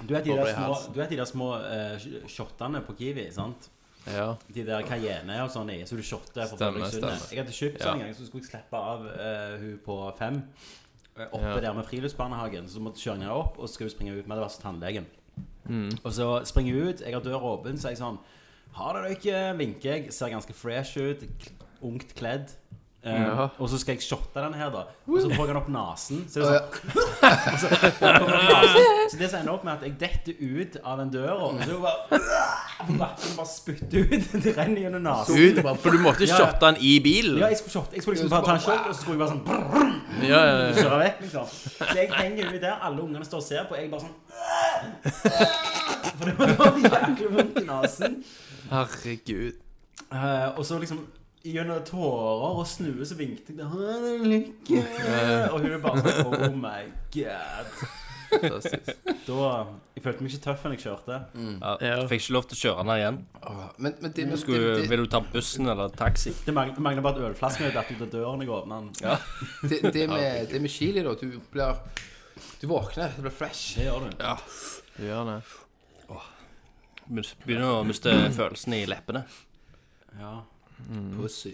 [SPEAKER 7] Du vet de der små, du vet de der små eh, sh- shottene på Kiwi, sant?
[SPEAKER 2] Ja.
[SPEAKER 7] De der cayenne og sånn i, så du shotter for
[SPEAKER 2] Stemmer,
[SPEAKER 7] Fredriksundet.
[SPEAKER 2] stemmer.
[SPEAKER 7] Jeg hadde kjøpt
[SPEAKER 2] Ja.
[SPEAKER 7] sånn en gang, så skulle jeg slippe av eh, hun på fem. eh, Oppe
[SPEAKER 2] Ja.
[SPEAKER 7] der med friluftsbarnehagen. Så måtte jeg kjøre henne opp, og så skulle hun springe ut. Vi hadde vært hos tannlegen.
[SPEAKER 2] Mm.
[SPEAKER 7] Og så springer hun ut, jeg har døra åpen, så er jeg sånn Ha det, dere, vinker jeg. Ser ganske fresh ut. k- Ungt kledd. Eh,
[SPEAKER 2] Ja.
[SPEAKER 7] Og så skal jeg shotte den her, da. Og så får jeg den opp nesen. Så er det sånn så det som ender opp med at jeg detter ut av den døra, og så bare Vatten bare spytter ut. Det renner gjennom nesen.
[SPEAKER 2] Ut, for du måtte
[SPEAKER 7] Ja.
[SPEAKER 2] shotte den i bilen.
[SPEAKER 7] Ja, jeg skulle shotte. Jeg skulle liksom bare ta en shot, og så skulle jeg bare sånn brrr,
[SPEAKER 2] Ja, ja, ja.
[SPEAKER 7] kjøre vekk, liksom. Så jeg henger ut der, alle ungene står og ser på, og jeg bare sånn For det var- det var jæklig vondt i nesen.
[SPEAKER 2] Herregud.
[SPEAKER 7] Eh, og så liksom Gjennom tårer og snue så vinket jeg til henne. Lykke! Og hun bare sånn Oh my god.
[SPEAKER 2] Fantastisk.
[SPEAKER 7] Da Jeg følte meg ikke tøff når jeg kjørte.
[SPEAKER 6] Ja, fikk ikke lov til å kjøre den her igjen.
[SPEAKER 4] Men, men det, men det,
[SPEAKER 6] Skulle,
[SPEAKER 4] det,
[SPEAKER 6] vil du ta bussen eller taxi?
[SPEAKER 7] Det mang- det mangler bare at ølflasken hadde datt ut av døren jeg åpna den. Ja,
[SPEAKER 4] det, det, med, det med chili, da. Du blir Du våkner, du blir fresh.
[SPEAKER 7] det gjør du.
[SPEAKER 2] Du gjør det.
[SPEAKER 6] Mus- Begynner å miste følelsen i leppene.
[SPEAKER 7] Ja.
[SPEAKER 4] Pussy.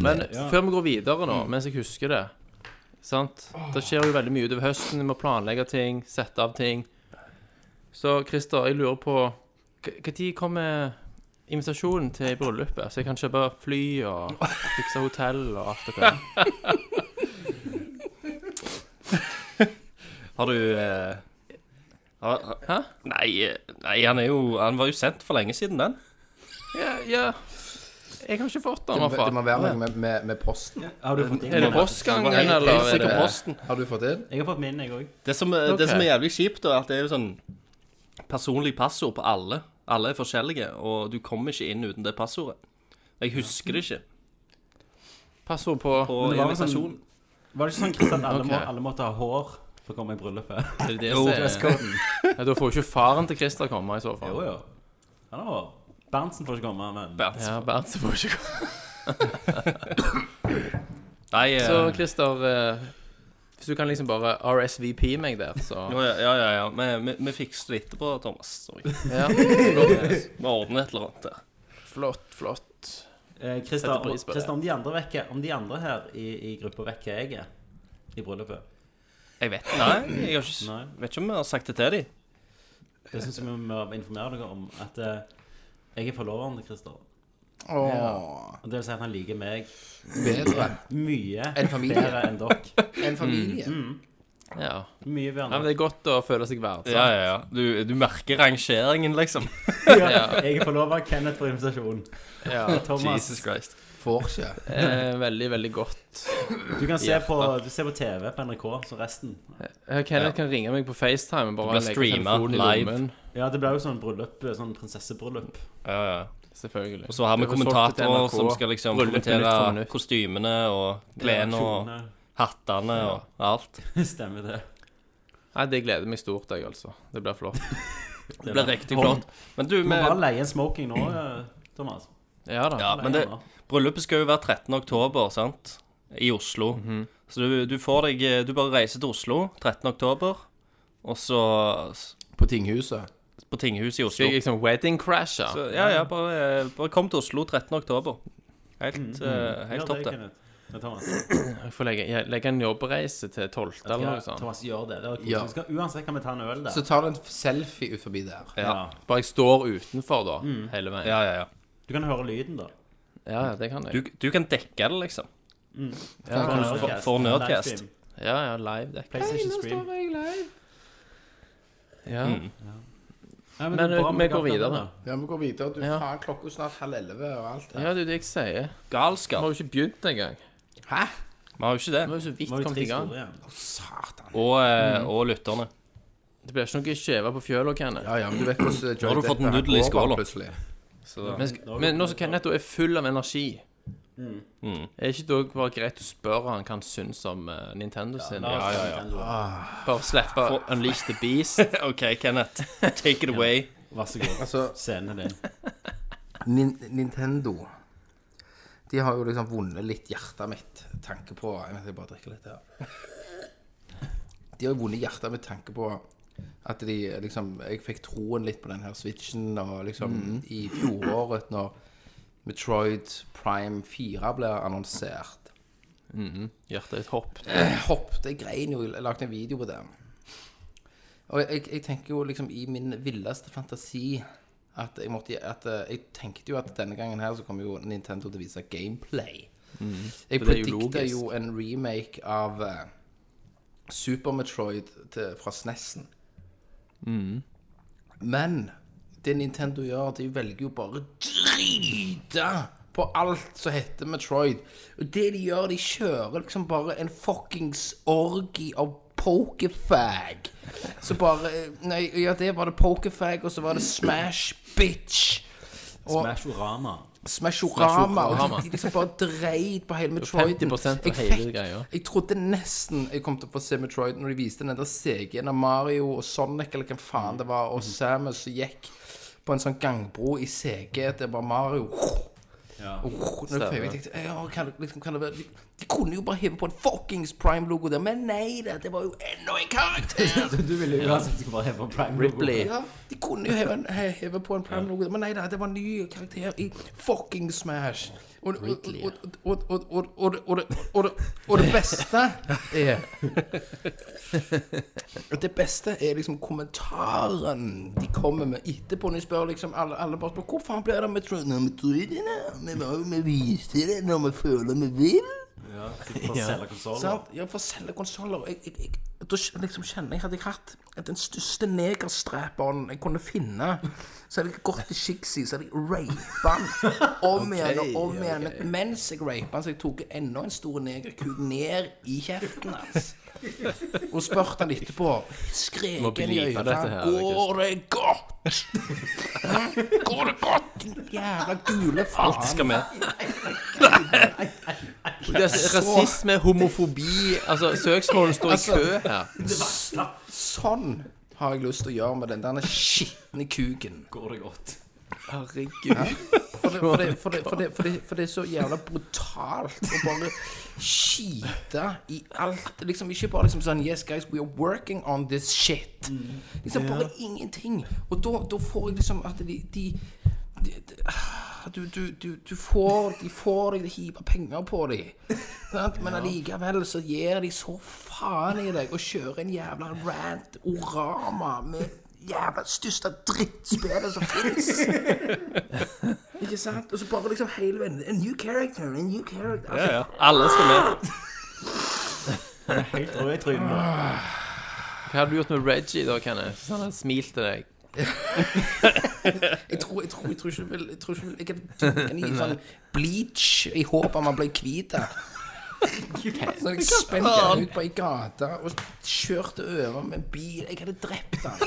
[SPEAKER 2] Men før vi går videre nå, mens jeg husker det Sant? Det skjer jo veldig mye utover høsten. Vi må planlegge ting, sette av ting. Så Christer, jeg lurer på Når kommer invitasjonen til bryllupet? Så jeg kan kjøpe fly og fikse hotell og alt det der.
[SPEAKER 6] Har du eh, har, har,
[SPEAKER 2] Hæ?
[SPEAKER 6] Nei, eh, nei han, er jo, han var jo sendt for lenge siden, den.
[SPEAKER 2] Ja, ja. Jeg har ikke fått den, i
[SPEAKER 4] Det,
[SPEAKER 2] hvert
[SPEAKER 4] det må
[SPEAKER 2] fall.
[SPEAKER 4] være noe med, med, med posten.
[SPEAKER 7] Har du fått din?
[SPEAKER 2] Er det
[SPEAKER 7] Lennart?
[SPEAKER 2] postgangen,
[SPEAKER 6] Helt- helt
[SPEAKER 2] eller? Er
[SPEAKER 6] sikkert
[SPEAKER 2] det...
[SPEAKER 6] posten.
[SPEAKER 4] Har du fått inn?
[SPEAKER 7] Jeg har fått min, jeg òg.
[SPEAKER 6] Det som, er-
[SPEAKER 2] Ok.
[SPEAKER 6] det som er jævlig kjipt, da, er at det er jo sånn personlig passord på alle. Alle er forskjellige, og du kommer ikke inn uten det passordet. Jeg husker det ikke.
[SPEAKER 2] Passord på
[SPEAKER 6] På
[SPEAKER 7] Men det var vel sånn-
[SPEAKER 6] invitasjonen.
[SPEAKER 7] Var det ikke sånn Kristian, at alle, må,
[SPEAKER 2] Ok.
[SPEAKER 7] alle måtte ha hår for å komme i bryllupet?
[SPEAKER 2] Er det det som er ja, Da får jo ikke faren til Christer komme, i så fall.
[SPEAKER 7] Jo, jo. Han har hår. Berntsen får ikke komme, men
[SPEAKER 2] Ja, Bernt så får ikke komme.
[SPEAKER 6] Nei, eh,
[SPEAKER 2] Så Christer, eh, hvis du kan liksom bare RSVP meg der, så
[SPEAKER 6] Å, ja, ja, ja, ja. Vi, vi, vi fikser det etterpå, Thomas. Sorry.
[SPEAKER 2] Ja, flott,
[SPEAKER 6] Vi ordner et eller annet der.
[SPEAKER 2] flott. flott.
[SPEAKER 7] eh,
[SPEAKER 2] Setter
[SPEAKER 7] Kristian,
[SPEAKER 2] pris på det.
[SPEAKER 7] Kristian, om de andre vekker Om de andre her i, i gruppa vekker jeg er i bryllupet
[SPEAKER 6] Jeg vet Nei, jeg har ikke,
[SPEAKER 7] Nei.
[SPEAKER 6] vet ikke om vi har sagt det til dem.
[SPEAKER 7] Det syns jeg vi må informere dere om. At eh, jeg er forloveren til Christer.
[SPEAKER 4] Åh,
[SPEAKER 7] Og det vil si at han liker meg
[SPEAKER 4] bedre
[SPEAKER 7] mye
[SPEAKER 4] En familie.
[SPEAKER 7] bedre enn dere.
[SPEAKER 6] Mm.
[SPEAKER 4] enn familie.
[SPEAKER 2] Ja.
[SPEAKER 7] Mye bedre
[SPEAKER 2] ja, men
[SPEAKER 7] enn dere.
[SPEAKER 2] det er godt å føle seg verdt.
[SPEAKER 6] Ja, ja, ja. Du, du merker rangeringen, liksom.
[SPEAKER 2] ja.
[SPEAKER 7] Jeg er forlover. Kenneth får invitasjon.
[SPEAKER 2] Ja.
[SPEAKER 7] Thomas,
[SPEAKER 6] Jesus Christ.
[SPEAKER 4] Får ikke.
[SPEAKER 2] Eh, veldig, veldig godt.
[SPEAKER 7] du kan se på, du ser på TV på NRK, så resten.
[SPEAKER 2] Eh, Kenneth kan ringe meg på FaceTime og bare
[SPEAKER 6] Du blir
[SPEAKER 2] legge
[SPEAKER 6] streamet
[SPEAKER 2] telefonen i
[SPEAKER 6] live.
[SPEAKER 2] lommen.
[SPEAKER 7] Ja, det blir jo sånn bryllup, sånn prinsessebryllup.
[SPEAKER 6] Ja, ja.
[SPEAKER 2] Selvfølgelig.
[SPEAKER 6] Og så har vi
[SPEAKER 2] Det var solgt til
[SPEAKER 6] kommentatorer
[SPEAKER 2] NRK.
[SPEAKER 6] som skal liksom
[SPEAKER 2] Bryllup minutt for
[SPEAKER 6] kommentere
[SPEAKER 2] minutt.
[SPEAKER 6] kostymene og klærne og
[SPEAKER 7] Kjolene.
[SPEAKER 6] hattene og alt.
[SPEAKER 7] Stemmer det.
[SPEAKER 2] Nei, det gleder meg stort, jeg, altså. Det blir flott.
[SPEAKER 6] Det blir riktig
[SPEAKER 7] Hold-
[SPEAKER 6] flott. Men du,
[SPEAKER 7] Du må bare
[SPEAKER 6] med,
[SPEAKER 7] leie en smoking nå, eh, Thomas.
[SPEAKER 2] Ja da.
[SPEAKER 6] ja, men det, bryllupet skal jo være 13. oktober, sant? I Oslo.
[SPEAKER 2] Mhm.
[SPEAKER 6] Så du, du får deg Du bare reiser til Oslo 13. oktober, og så s-
[SPEAKER 4] På tinghuset.
[SPEAKER 6] på tinghuset i Oslo.
[SPEAKER 2] Skal jeg liksom wedding crasher?
[SPEAKER 6] Så, ja, ja, bare, bare kom til Oslo 13. oktober. Helt,
[SPEAKER 2] Mm,
[SPEAKER 6] eh, helt topp, det.
[SPEAKER 7] Ja, Thomas.
[SPEAKER 2] Jeg får legge, jeg legger en jobbreise til 12. eller noe
[SPEAKER 7] Skal,
[SPEAKER 2] sånt.
[SPEAKER 7] Thomas, gjør det. det er koselig.
[SPEAKER 4] Ja.
[SPEAKER 7] Vi skal, uansett kan vi ta en øl der.
[SPEAKER 4] Så tar du en selfie ut forbi der.
[SPEAKER 7] Ja.
[SPEAKER 2] Bare jeg står utenfor, da, hele veien.
[SPEAKER 6] Mm. Ja, ja, ja.
[SPEAKER 7] Du kan høre lyden, da.
[SPEAKER 2] Ja, ja, det kan jeg.
[SPEAKER 6] Du, du kan dekke det, liksom.
[SPEAKER 2] ja,
[SPEAKER 7] Kan
[SPEAKER 2] ja.
[SPEAKER 7] du høre
[SPEAKER 6] for-
[SPEAKER 7] podcasten?
[SPEAKER 6] for Nerdcast.
[SPEAKER 7] Livestream.
[SPEAKER 2] ja, ja, live dekker.
[SPEAKER 7] PlayStation Stream.
[SPEAKER 2] Ja.
[SPEAKER 7] Ja,
[SPEAKER 2] Men eh,
[SPEAKER 7] det er bra
[SPEAKER 2] vi
[SPEAKER 7] med
[SPEAKER 2] går
[SPEAKER 7] alt det
[SPEAKER 2] videre.
[SPEAKER 7] der.
[SPEAKER 4] Ja, vi går videre. Du,
[SPEAKER 2] Ja.
[SPEAKER 4] faen, klokka er snart halv elleve og alt det.
[SPEAKER 2] Ja, det er det jeg sier. Vi
[SPEAKER 6] Galskap.
[SPEAKER 2] har jo ikke begynt engang.
[SPEAKER 6] Vi har jo ikke
[SPEAKER 2] Vi
[SPEAKER 6] det.
[SPEAKER 2] har jo så vidt
[SPEAKER 7] Nå er det
[SPEAKER 2] kommet
[SPEAKER 7] tre
[SPEAKER 2] i gang.
[SPEAKER 7] store igjen.
[SPEAKER 4] Satan.
[SPEAKER 6] Og, eh,
[SPEAKER 2] Mm.
[SPEAKER 6] og lytterne.
[SPEAKER 2] Det blir ikke noe skjeve på fjøla, Kenneth.
[SPEAKER 4] Ja, ja, men du vet hvordan Johnny
[SPEAKER 6] Nå har du fått
[SPEAKER 4] Depp er.
[SPEAKER 6] nudel i
[SPEAKER 4] Han går bare
[SPEAKER 6] skåla.
[SPEAKER 4] Plutselig.
[SPEAKER 2] Men, sk- men nå som Kenneth da er full av energi Er ikke da bare greit å spørre han hva han syns om eh, Nintendo sin?
[SPEAKER 7] La oss
[SPEAKER 6] ja,
[SPEAKER 7] ta
[SPEAKER 6] ja.
[SPEAKER 7] Nintendo.
[SPEAKER 2] Bare slippe Unleash the Beast.
[SPEAKER 6] OK, Kenneth. Take it away.
[SPEAKER 7] Vær så god.
[SPEAKER 4] Altså,
[SPEAKER 7] Scenen din.
[SPEAKER 4] Nin Nintendo De har jo liksom vunnet litt hjertet mitt Tanke på Jeg vet jeg bare drikker litt her De har jo vunnet hjertet mitt tanke på At de liksom Jeg fikk troen litt på den her Switchen Og liksom i fjoråret Når Metroid Prime 4 ble annonsert
[SPEAKER 2] Hjertet ditt hopp.
[SPEAKER 4] Eh, hoppet, jeg grein jo, jeg lagde en video på det. Og jeg, jeg tenker jo liksom i min villeste fantasi at jeg måtte at eh, Jeg tenkte jo at denne gangen her så kommer jo Nintendo til å vise gameplay. Jeg
[SPEAKER 2] for Mm. det er jo
[SPEAKER 4] predikta
[SPEAKER 2] logisk.
[SPEAKER 4] jo, en remake av eh, Super Metroid til, fra SNES-en. Men det Nintendo gjør, de velger jo bare å drite på alt som heter Metroid. Og det de gjør, de kjører liksom bare en fuckings orgi av pokefag. Så bare eh, Nei, ja, det var det pokefag, og så var det Smash Bitch. Og
[SPEAKER 7] Smashorama.
[SPEAKER 4] Smashorama.
[SPEAKER 2] Smashorama.
[SPEAKER 4] Og de liksom bare dreit på hele Metroid.
[SPEAKER 2] 50% av
[SPEAKER 4] Jeg
[SPEAKER 2] hele
[SPEAKER 4] fikk-
[SPEAKER 2] greia.
[SPEAKER 4] Jeg trodde nesten jeg kom til å få se Metroid når de viste den der CG-en av Mario og Sonic eller hvem faen det
[SPEAKER 2] Mm.
[SPEAKER 4] var, og Samus som gikk på en sånn gangbro i CG.
[SPEAKER 2] Mm.
[SPEAKER 4] Det var Mario.
[SPEAKER 7] Ja.
[SPEAKER 4] Og når jeg fikk- jeg tenkte, ja, kan, det- liksom, kan det være de, de kunne jo bare heve på en fuckings Prime-logo der, men nei da, det var jo enda en karakter!
[SPEAKER 7] Altså, Du ville jo uansett skulle bare heve på Prime
[SPEAKER 2] Ripley.
[SPEAKER 4] Ja, de kunne jo heve, en- he- heve på en plan logo, men nei da, det var en ny karakter i fucking Smash. Og, og, og, og, og, og, og, og, og, og, og det beste er Det beste er liksom kommentaren de kommer med etterpå. Når de spør liksom alle, alle bare spør hvor faen blir det med Trondheim-metroidene? Vi må jo vi viser det når vi føler vi vil.
[SPEAKER 7] Ja, for å selge konsoler.
[SPEAKER 4] Sant? Ja, for å selge konsoller. Jeg, jeg, jeg, da kj- liksom kjenner jeg hadde jeg hatt den største negerstraperen jeg kunne finne, så hadde jeg gått til Shigsy, så hadde jeg rapet han om igjen og om igjen. Mens jeg rapet han, så jeg tok enda en stor negerkuk ned i kjeften hans. Og spurte han etterpå.
[SPEAKER 2] Må
[SPEAKER 4] Skrek han i
[SPEAKER 2] bleepe
[SPEAKER 4] øynene.
[SPEAKER 2] dette her,
[SPEAKER 4] Går det godt? Hæ? Går det godt? din Jævla gule faen.
[SPEAKER 6] Alt skal med.
[SPEAKER 2] Det er altså Rasisme, homofobi Altså, søksmålen står i kø her.
[SPEAKER 4] Sånn har jeg lyst til å gjøre med den der skitne kuken.
[SPEAKER 7] Går det godt?
[SPEAKER 2] Herregud.
[SPEAKER 4] For det, for, det, for, det, for, det, for, det, for det er så jævla brutalt å bare skite i alt. Liksom Ikke bare liksom sånn Yes, guys, we are working on this shit.
[SPEAKER 7] Mm.
[SPEAKER 4] Liksom bare ingenting. Og da, da får jeg liksom at de, de, de, de ah, du, du, du, du får De får deg til å hive penger på dem. Men allikevel så gir de så faen i deg og kjører en jævla rant orama med jævla største drittspillet som fins. Ikke sant? Og så bare liksom hele veien A new character, a new character. Altså,
[SPEAKER 6] Ja, ja. Alle skal med.
[SPEAKER 7] Helt rød i trynet. nå.
[SPEAKER 2] Hva hadde du gjort med Reggie da, Kenneth? Hvis han hadde smilt til deg?
[SPEAKER 4] jeg, tror, jeg, tror, jeg tror ikke du vil Jeg tror ikke du vil Jeg kan dunke den i sånn bleach i håp om han ble hvit. Så jeg spente han ut på ei gate og kjørte over med en bil. Jeg hadde drept han.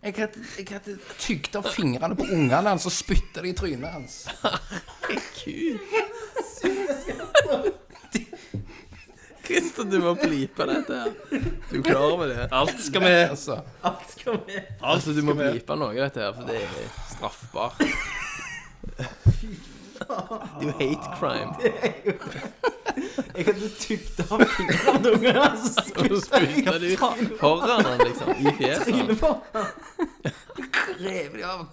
[SPEAKER 4] Jeg hadde, jeg hadde tygd av fingrene på ungene hans og spytta det i trynet hans.
[SPEAKER 2] Christian, du må bleepe dette her. Du er klar over det?
[SPEAKER 6] Alt skal med.
[SPEAKER 4] Altså
[SPEAKER 2] Altså, du må bleepe noe av dette her, for det er straffbart. Det er jo hate crime.
[SPEAKER 7] Jeg hadde tygd av Altså, fingrene noen ganger. Så
[SPEAKER 2] Og så spytter du foran han, liksom, i fjeset.
[SPEAKER 4] rev de av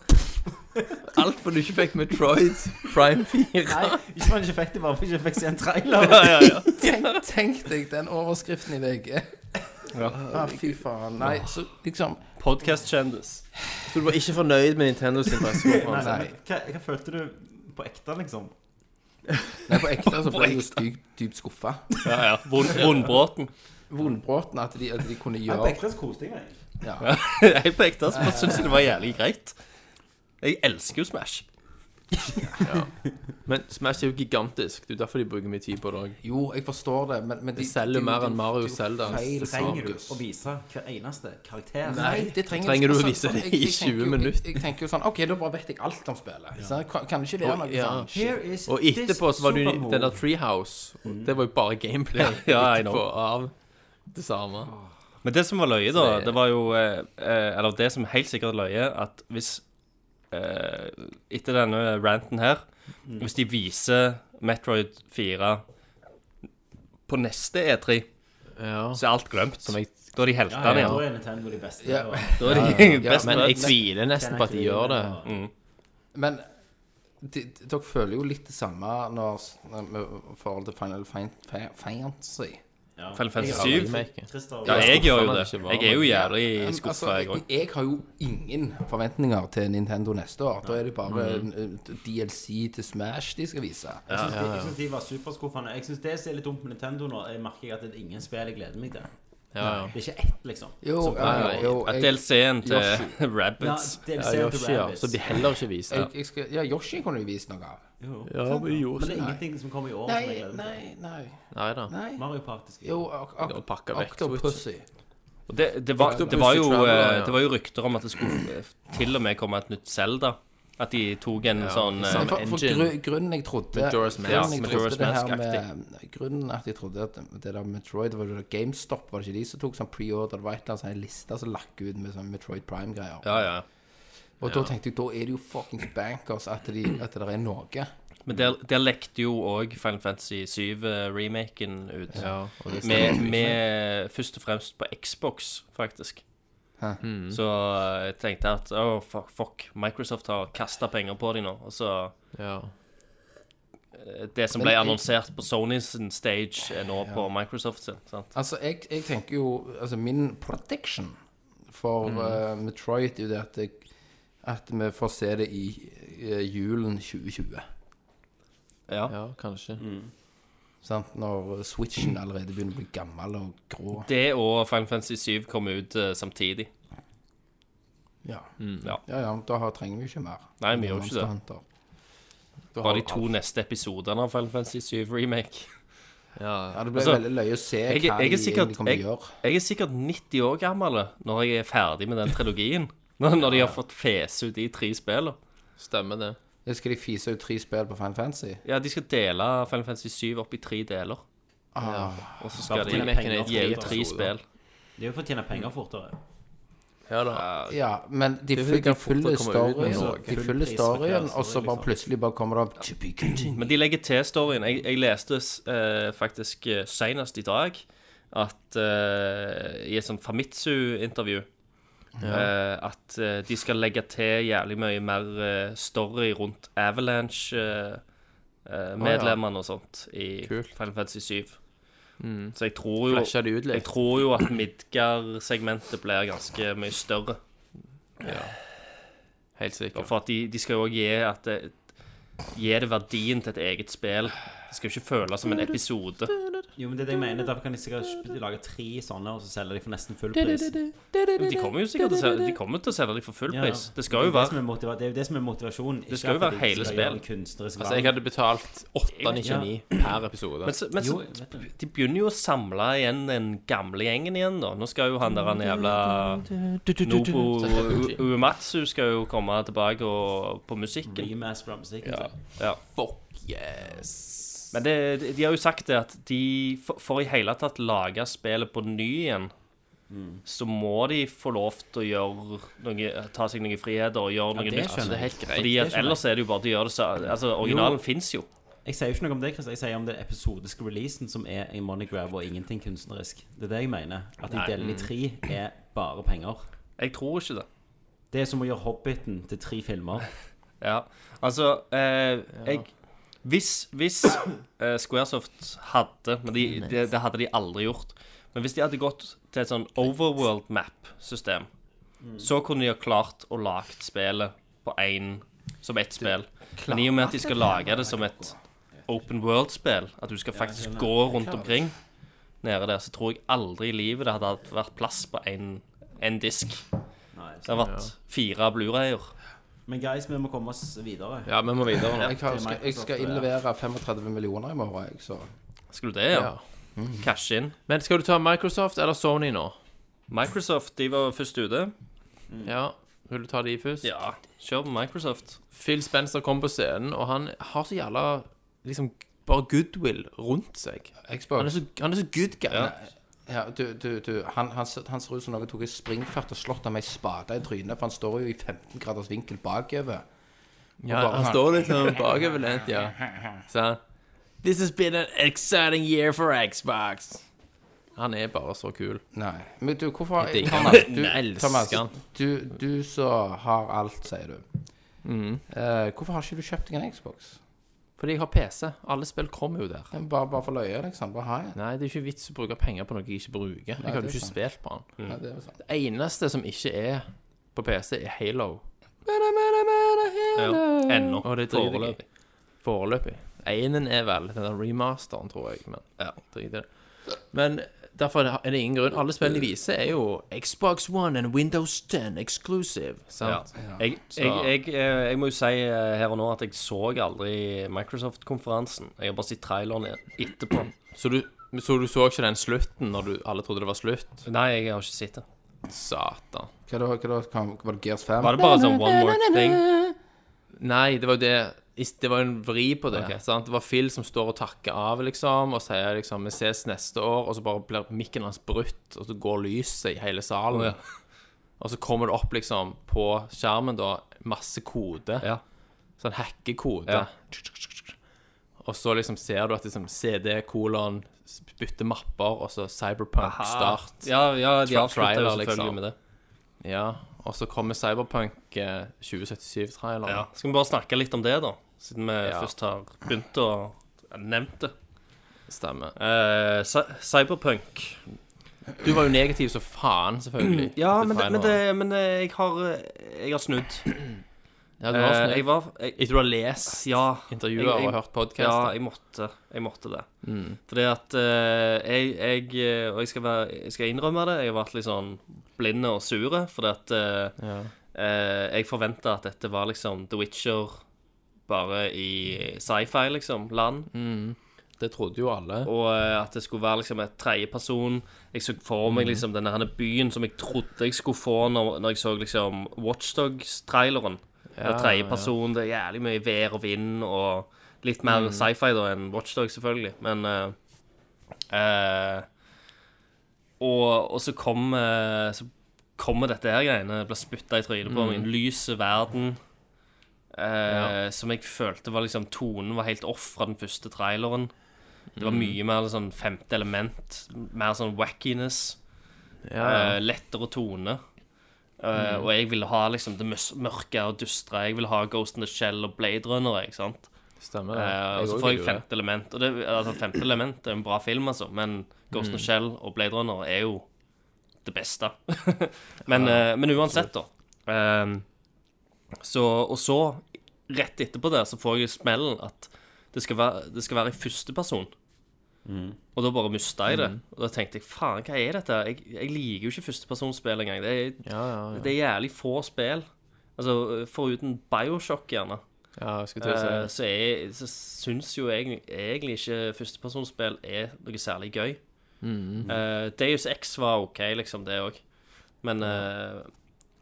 [SPEAKER 2] Alt for du ikke fikk Metroid Prime 4.
[SPEAKER 7] Nei, ikke man ikke fikk det, bare for ikke jeg fikk se en trailer.
[SPEAKER 4] tenk, tenk deg den overskriften i VG. Ah, fy faen. Nei, så liksom
[SPEAKER 6] Podkast-kjendis.
[SPEAKER 2] Så du var ikke fornøyd med Nintendo sin
[SPEAKER 7] Nei,
[SPEAKER 2] pressekonferanse?
[SPEAKER 7] men Hva, hva følte du på ekte, liksom?
[SPEAKER 4] Nei, på ekte så ble jeg jo dypt, dypt skuffa.
[SPEAKER 6] Ja, ja. Rund- Rundbråten.
[SPEAKER 4] Vonbråten at de, at de kunne
[SPEAKER 7] Men
[SPEAKER 4] gjøre
[SPEAKER 7] på ekte så koste jeg meg.
[SPEAKER 6] Jeg på ekte altså, bare syns jeg det var jævlig greit. Jeg elsker jo Smash.
[SPEAKER 2] Men Smash er jo gigantisk. Det er jo derfor de bruker mye tid på det òg.
[SPEAKER 4] Jo, jeg forstår det, men, men
[SPEAKER 2] De selger mer enn Mario
[SPEAKER 4] det er jo
[SPEAKER 2] Zelda.
[SPEAKER 4] feil
[SPEAKER 2] Det
[SPEAKER 4] fokus.
[SPEAKER 7] Trenger du å vise hver eneste karakter?
[SPEAKER 4] Nei, det trenger,
[SPEAKER 2] Trenger
[SPEAKER 4] ikke-
[SPEAKER 2] du å vise det
[SPEAKER 4] jeg- jeg
[SPEAKER 2] i
[SPEAKER 4] tenker jo-
[SPEAKER 2] 20 minutter?
[SPEAKER 4] Jeg, jeg tenker jo sånn OK, da bare vet jeg alt om spillet. Så jeg kan, kan ikke være noe
[SPEAKER 2] ja.
[SPEAKER 4] sånn
[SPEAKER 7] Here is
[SPEAKER 2] Og etterpå så var det jo
[SPEAKER 7] this
[SPEAKER 2] den der Treehouse. og Det var jo bare gameplay
[SPEAKER 6] Mm. ja, I know. Ah.
[SPEAKER 2] etterpå av det samme.
[SPEAKER 6] Men det som var løye, da,
[SPEAKER 2] Det-
[SPEAKER 6] det var jo eh, eh, Eller det som helt sikkert er løye, at hvis eh, Etter denne ranten her,
[SPEAKER 2] Mm.
[SPEAKER 6] hvis de viser Metroid 4 på neste E3,
[SPEAKER 2] Ja.
[SPEAKER 6] så er alt glemt.
[SPEAKER 2] Som jeg,
[SPEAKER 6] Da er de
[SPEAKER 7] Ja,
[SPEAKER 6] heltene
[SPEAKER 7] ja, da
[SPEAKER 6] igjen.
[SPEAKER 7] er Nintendo de beste.
[SPEAKER 4] Ja.
[SPEAKER 7] og-
[SPEAKER 6] Da er de
[SPEAKER 2] ja,
[SPEAKER 6] best
[SPEAKER 2] men jeg
[SPEAKER 6] nødt.
[SPEAKER 2] tviler nesten på at de gjør det.
[SPEAKER 4] Men de, de, dere føler jo litt det samme når, når, i forhold til Final Fan- Fan- Fantasy.
[SPEAKER 7] Ja.
[SPEAKER 6] Final Fantasy 7.
[SPEAKER 2] Remaken.
[SPEAKER 7] Christer,
[SPEAKER 6] Ja, jeg gjør jo
[SPEAKER 2] skuffende
[SPEAKER 6] det.
[SPEAKER 2] at det ikke var
[SPEAKER 6] Jeg er jo
[SPEAKER 4] Men,
[SPEAKER 6] jævlig
[SPEAKER 4] altså,
[SPEAKER 6] skuffa, jeg
[SPEAKER 4] jeg,
[SPEAKER 6] òg.
[SPEAKER 4] jeg har jo ingen forventninger til Nintendo neste år. Da er det bare
[SPEAKER 2] Mhm.
[SPEAKER 4] en, eh, DLC til Smash de skal vise.
[SPEAKER 7] Jeg syns de, jeg synes de var superskuffende. Jeg synes Det som er litt dumt med Nintendo nå, jeg merker jeg at det er ingen spill jeg gleder meg til.
[SPEAKER 2] Ja, ja.
[SPEAKER 7] Det er ikke ett, liksom.
[SPEAKER 4] Jo,
[SPEAKER 7] Som-
[SPEAKER 4] ja,
[SPEAKER 2] nei,
[SPEAKER 4] jo,
[SPEAKER 6] At
[SPEAKER 4] jeg,
[SPEAKER 6] DLC-en til
[SPEAKER 7] Ja,
[SPEAKER 6] Rabbits
[SPEAKER 7] DLC
[SPEAKER 2] Ja,
[SPEAKER 7] til
[SPEAKER 2] Yoshi, ja.
[SPEAKER 7] Rabbids.
[SPEAKER 2] Så blir heller ikke vist.
[SPEAKER 4] jeg, jeg skal, ja, Yoshi kunne de vist noe av.
[SPEAKER 7] Jo.
[SPEAKER 2] Ja,
[SPEAKER 7] Men
[SPEAKER 2] men
[SPEAKER 7] det er
[SPEAKER 2] Yoshi
[SPEAKER 7] ingenting som kommer i år som jeg
[SPEAKER 4] Sånn, Nei,
[SPEAKER 7] gleder meg til.
[SPEAKER 4] nei, nei.
[SPEAKER 2] Nei da.
[SPEAKER 4] nei.
[SPEAKER 7] Mario Party skal
[SPEAKER 4] Jo, ok- ok-
[SPEAKER 2] Og pakke vekk
[SPEAKER 4] Octopussy.
[SPEAKER 6] Og Det, det, var,
[SPEAKER 2] Octopus
[SPEAKER 6] det, var jo,
[SPEAKER 2] Traveler,
[SPEAKER 6] eh,
[SPEAKER 2] ja.
[SPEAKER 6] det var jo rykter om at det skulle eh, til og med komme et nytt Zelda. At de tok en sånn eh,
[SPEAKER 2] sant.
[SPEAKER 4] For, for
[SPEAKER 2] Engine.
[SPEAKER 4] gru, grunnen jeg trodde
[SPEAKER 2] Majora's
[SPEAKER 4] grunnen jeg
[SPEAKER 2] Mask.
[SPEAKER 6] Ja,
[SPEAKER 4] trodde
[SPEAKER 6] Majora's
[SPEAKER 4] det her
[SPEAKER 6] Mask-aktig.
[SPEAKER 4] med- Grunnen at jeg trodde at det der Metroid var det GameStop, var det ikke de som tok sånn pre-order right down, sånn en liste som lakk ut med sånn Metroid Prime-greier.
[SPEAKER 6] Ja, ja.
[SPEAKER 4] Og da tenkte jeg, da er det jo fuckings bankers at, de, at det der er noe.
[SPEAKER 6] Men der, der lekte jo òg Final Fantasy 7-remaken ut.
[SPEAKER 2] og det
[SPEAKER 6] Med, med eh, først og fremst på Xbox, faktisk.
[SPEAKER 4] Hmm.
[SPEAKER 6] Så eh, jeg tenkte at å, fuck, fuck. Microsoft har kasta penger på dem nå. Og så
[SPEAKER 2] Ja.
[SPEAKER 6] eh, Det som
[SPEAKER 4] Men
[SPEAKER 6] ble
[SPEAKER 4] jeg-
[SPEAKER 6] annonsert på Sony sin stage, er nå på Microsoft sin. sant?
[SPEAKER 4] Altså, jeg, jeg tenker jo Altså, min prediction for
[SPEAKER 6] Mm.
[SPEAKER 4] eh, Metroid er jo det at, jeg, at vi får se det i, eh, julen 2020.
[SPEAKER 6] Ja.
[SPEAKER 2] ja, kanskje.
[SPEAKER 6] Mm.
[SPEAKER 4] Sant? Når Switchen allerede begynner å bli gammel og grå.
[SPEAKER 6] Det og Final Fantasy 7 kom ut eh, samtidig.
[SPEAKER 4] Ja.
[SPEAKER 6] Mm, Ja.
[SPEAKER 4] ja, ja, da har, trenger vi ikke mer.
[SPEAKER 6] Nei, vi gjør jo ikke det.
[SPEAKER 4] Monster Hunter.
[SPEAKER 6] Bare de to neste episodene av Final Fantasy 7 Remake.
[SPEAKER 4] Ja, det blir
[SPEAKER 6] Altså,
[SPEAKER 4] veldig løye å se
[SPEAKER 6] Jeg,
[SPEAKER 4] hva
[SPEAKER 6] jeg, er
[SPEAKER 4] de
[SPEAKER 6] sikkert,
[SPEAKER 4] egentlig kommer
[SPEAKER 6] jeg,
[SPEAKER 4] til å gjøre.
[SPEAKER 6] jeg er sikkert 90 år gammel eh, når jeg er ferdig med den trilogien. Når, når de har fått fese ut de tre spillene.
[SPEAKER 2] Stemmer det.
[SPEAKER 4] Det Skal de fise ut tre spill på Final Fantasy?
[SPEAKER 6] Ja, de skal dele Final Fantasy 7 opp i tre deler. Og så skal de
[SPEAKER 2] Remaken er i
[SPEAKER 6] gi
[SPEAKER 2] tre
[SPEAKER 6] ut tre
[SPEAKER 2] episoder.
[SPEAKER 6] spill.
[SPEAKER 7] Det er jo for å tjene penger fortere.
[SPEAKER 2] Ja da.
[SPEAKER 4] Ja, men de, fyller- de
[SPEAKER 2] kan fort
[SPEAKER 4] følger
[SPEAKER 2] komme ut med
[SPEAKER 4] storyen,
[SPEAKER 2] noe.
[SPEAKER 4] de
[SPEAKER 7] Full
[SPEAKER 4] følger
[SPEAKER 7] pris på
[SPEAKER 4] storyen
[SPEAKER 7] hver
[SPEAKER 4] og så
[SPEAKER 7] story,
[SPEAKER 4] bare
[SPEAKER 7] liksom.
[SPEAKER 4] plutselig bare kommer det opp To be continued.
[SPEAKER 6] Men de legger til storyen. Jeg, jeg leste eh, faktisk eh, senest i dag at eh, I et sånt Famitsu-intervju eh, At eh, de skal legge til jævlig mye mer eh, story rundt Avalanche-medlemmene og sånt i
[SPEAKER 2] Kult.
[SPEAKER 6] Final Fantasy 7. Så jeg tror jo
[SPEAKER 2] Flasha Mm. de ut
[SPEAKER 6] jeg
[SPEAKER 2] litt.
[SPEAKER 6] tror jo at Midgar-segmentet blir ganske mye større.
[SPEAKER 2] Helt
[SPEAKER 6] Og
[SPEAKER 2] sikkert.
[SPEAKER 6] For at de, de skal jo også gi at det, Gi det verdien til et eget spill. Det skal jo ikke føles som en episode.
[SPEAKER 7] Jo, men det er det jeg mener. Derfor kan de sikkert sp- lage tre sånne, og så selger de for nesten full pris.
[SPEAKER 6] De kommer jo sikkert til å selge, de kommer til å selge dem for full
[SPEAKER 7] Ja, ja.
[SPEAKER 6] pris. Det skal jo
[SPEAKER 7] Det er det som
[SPEAKER 6] være
[SPEAKER 7] er motiva- det er jo det som er motivasjonen. ikke
[SPEAKER 6] skal jo
[SPEAKER 7] at de
[SPEAKER 6] være
[SPEAKER 7] skal
[SPEAKER 6] hele
[SPEAKER 7] gjøre
[SPEAKER 6] spill.
[SPEAKER 7] en kunstnerisk
[SPEAKER 2] Altså, jeg
[SPEAKER 7] valg.
[SPEAKER 2] hadde betalt 899 per episode.
[SPEAKER 6] men så, men
[SPEAKER 7] Jo,
[SPEAKER 6] så,
[SPEAKER 7] jeg vet det.
[SPEAKER 6] de begynner jo å samle igjen den gamle gjengen igjen, da. Nå skal jo han der han jævla Nobo U- Uematsu skal jo komme tilbake og, på musikken.
[SPEAKER 7] Remaster av musikken.
[SPEAKER 6] Ja.
[SPEAKER 7] så.
[SPEAKER 6] ja.
[SPEAKER 2] Fuck yes!
[SPEAKER 6] Men det, de- de har jo sagt det at de for, for i hele tatt lage spillet på ny igjen, så må de få lov til å gjøre noe, ta seg noen friheter og gjøre noe
[SPEAKER 7] det
[SPEAKER 6] nytt.
[SPEAKER 7] skjønner jeg.
[SPEAKER 2] Det er helt greit.
[SPEAKER 6] Fordi at Ellers er det jo bare til å gjøre det så, Altså, originalen fins jo.
[SPEAKER 7] Jeg sier jo ikke noe om det, Chris. Jeg sier om den episodiske releasen som er en monograb og ingenting kunstnerisk. Det er det jeg mener. At de deler i tre er bare penger.
[SPEAKER 6] Jeg tror ikke det.
[SPEAKER 7] Det er som å gjøre Hobbiten til tre filmer.
[SPEAKER 6] Ja. Altså, eh, jeg Hvis, hvis eh, Squaresoft hadde Men de, det, det hadde de aldri gjort. Men hvis de hadde gått til et sånn overworld map-system, så kunne de ha klart å lage spillet på én som ett spill. Men i og med at de skal lage det som et open world-spill, at du skal faktisk gå rundt omkring nede der, så tror jeg aldri i livet det hadde vært plass på en, en disk.
[SPEAKER 7] Nei, så-
[SPEAKER 6] Det har vært fire Blu-rayer.
[SPEAKER 7] Men guys, vi må komme oss videre.
[SPEAKER 2] Ja, vi må videre nå.
[SPEAKER 4] Jeg, har,
[SPEAKER 7] til
[SPEAKER 4] skal, jeg skal
[SPEAKER 7] Microsoft, ja.
[SPEAKER 4] innlevere 35 millioner i morgen, jeg, så
[SPEAKER 6] Skulle det, ja. Cash in.
[SPEAKER 2] Men skal du ta Microsoft eller Sony nå?
[SPEAKER 6] Microsoft de var først ute.
[SPEAKER 2] Ja, vil du ta de først?
[SPEAKER 6] Ja, kjør på Microsoft.
[SPEAKER 2] Phil Spencer kom på scenen, og han har så jævla liksom bare goodwill rundt seg.
[SPEAKER 4] Xbox
[SPEAKER 2] Han er så, han er så good guy.
[SPEAKER 6] Ja.
[SPEAKER 4] ja, du, du, du, han, han, ser- han ser ut som noen tok en springfart og slått ham med ei spade i trynet, for han står jo i 15 graders vinkel bakover.
[SPEAKER 2] Ja,
[SPEAKER 4] bare
[SPEAKER 2] han
[SPEAKER 4] han-
[SPEAKER 2] står liksom bakoverlent, ja. Så han, This has been an exciting year for Xbox. Han er bare så kul.
[SPEAKER 4] Nei. Men du, hvorfor
[SPEAKER 2] Jeg digger
[SPEAKER 4] Thomas,
[SPEAKER 2] han.
[SPEAKER 4] du,
[SPEAKER 2] Jeg elsker
[SPEAKER 4] Thomas,
[SPEAKER 2] han.
[SPEAKER 4] du, du som har alt, sier du. Eh, hvorfor har ikke du kjøpt deg en Xbox?
[SPEAKER 2] Mm. Fordi jeg har PC. Alle spill kommer jo der.
[SPEAKER 4] Den Bare, bare for løye, liksom. Bare ha en.
[SPEAKER 2] Nei, det er ikke vits å bruke penger på noe jeg ikke bruker. Jeg har jo
[SPEAKER 4] det er
[SPEAKER 2] ikke
[SPEAKER 4] sant.
[SPEAKER 2] spilt på den.
[SPEAKER 4] Nei, det er jo sant.
[SPEAKER 2] Det eneste som ikke er på PC, er Halo.
[SPEAKER 6] Ja, Ennå.
[SPEAKER 2] Og det driter jeg i.
[SPEAKER 6] Foreløpig.
[SPEAKER 2] Foreløpig. Einen er vel den der remasteren, tror jeg. Men ja. drit i det. Men derfor er det ingen grunn. Alle spillene de viser, er jo Xbox One and Windows 10 exclusive.
[SPEAKER 6] Ja.
[SPEAKER 2] Sant?
[SPEAKER 6] Jeg, jeg, jeg, eh, jeg må jo si eh, her og nå at jeg så aldri Microsoft-konferansen. Jeg har bare sett traileren etterpå.
[SPEAKER 2] Så, du, så du så ikke den slutten når du, alle trodde det var slutt?
[SPEAKER 6] Nei, jeg har ikke sett det.
[SPEAKER 2] Satan.
[SPEAKER 4] Hva da? Hva da? Hva- Var det Gears 5?
[SPEAKER 6] Var det bare sånn one more thing?
[SPEAKER 2] Nei, det var jo det is- Det var jo en vri på det. Sant? Det var Phil som står og takker av, liksom, og sier liksom 'Vi ses neste år', og så bare blir mikken hans brutt, og så går lyset i hele salen.
[SPEAKER 6] Å, ja.
[SPEAKER 2] Og så kommer det opp liksom på skjermen, da, masse kode.
[SPEAKER 6] Ja.
[SPEAKER 2] Sånn hackekode.
[SPEAKER 6] Ja.
[SPEAKER 2] Og så liksom ser du at liksom CD, kolon, bytte mapper, og så Cyberpunk start.
[SPEAKER 6] Ja, ja de
[SPEAKER 2] Tra-
[SPEAKER 6] avslutta jo
[SPEAKER 2] trailer,
[SPEAKER 6] selvfølgelig
[SPEAKER 2] liksom.
[SPEAKER 6] med det.
[SPEAKER 2] Ja, og så kommer Cyberpunk eh, 2077-traileren.
[SPEAKER 6] Ja. Skal vi bare snakke litt om det, da? Siden vi
[SPEAKER 2] Ja.
[SPEAKER 6] først har begynt å nevnt det.
[SPEAKER 2] Stemmer.
[SPEAKER 6] Eh, Cy- Cyberpunk.
[SPEAKER 2] Du var jo negativ så faen, selvfølgelig.
[SPEAKER 6] Ja,
[SPEAKER 2] til
[SPEAKER 6] men, det, men,
[SPEAKER 2] traileren.
[SPEAKER 6] det, men eh, jeg har, eh, jeg har snudd.
[SPEAKER 2] ja, du har
[SPEAKER 6] Eh,
[SPEAKER 2] snudd.
[SPEAKER 6] Jeg var jeg,
[SPEAKER 2] Etter du har lest
[SPEAKER 6] Ja.
[SPEAKER 2] intervjuer
[SPEAKER 6] jeg- jeg-
[SPEAKER 2] og hørt
[SPEAKER 6] Ja,
[SPEAKER 2] podkaster.
[SPEAKER 6] jeg måtte, jeg måtte det. Fordi at eh, jeg, jeg eh, Og jeg skal, være, jeg skal innrømme det, jeg har vært litt sånn blind og sur. Fordi at eh, eh, jeg forventa at dette var liksom The Witcher bare i sci-fi, liksom, land.
[SPEAKER 2] det trodde jo alle.
[SPEAKER 6] Og eh, at det skulle være liksom et tredjeperson. Jeg så for meg liksom denne her byen som jeg trodde jeg skulle få når, når jeg så liksom Watchdogs-traileren. Ja, tredjeperson, det er jævlig mye vær og vind og litt mer sci-fi da enn Watchdog, selvfølgelig. Men eh, eh, og, og så kom eh, Så kommer dette her greiene. Blir spytta i trynet på meg. En lys verden. eh, Som jeg følte var liksom Tonen var helt off fra den første traileren. Det var mye mer sånn femte element. Mer sånn wackiness. eh, lettere tone. Eh, Og jeg ville ha liksom det møs- mørke og dystre. Jeg ville ha Ghost in the Shell og Blade Runner. Ikke sant?
[SPEAKER 2] Stemmer det.
[SPEAKER 6] Eh, og så
[SPEAKER 2] også
[SPEAKER 6] får jeg
[SPEAKER 2] liker det.
[SPEAKER 6] Femte Element. Og det, altså, femte Element er en bra film, altså, men Ghost
[SPEAKER 2] Mm.
[SPEAKER 6] in the Shell og Blade Runner er jo det beste. men, eh, men uansett, da. Eh, så, og så, rett etterpå der, så får jeg smellen at det skal være, det skal være i første person.
[SPEAKER 2] Mm.
[SPEAKER 6] Og da bare mista jeg det. Og da tenkte jeg faen, hva er dette? Jeg, jeg liker jo ikke førstepersonsspill engang. Det er,
[SPEAKER 2] Ja, ja, ja.
[SPEAKER 6] det er jævlig få spill. Altså foruten Bioshock, gjerne.
[SPEAKER 2] ja jeg skulle til å si
[SPEAKER 6] Eh,
[SPEAKER 2] det.
[SPEAKER 6] så jeg så syns jo egentlig, egentlig ikke førstepersonsspill er noe særlig gøy.
[SPEAKER 2] Mm.
[SPEAKER 6] Eh, Deus X var OK, liksom, det òg. Men, eh,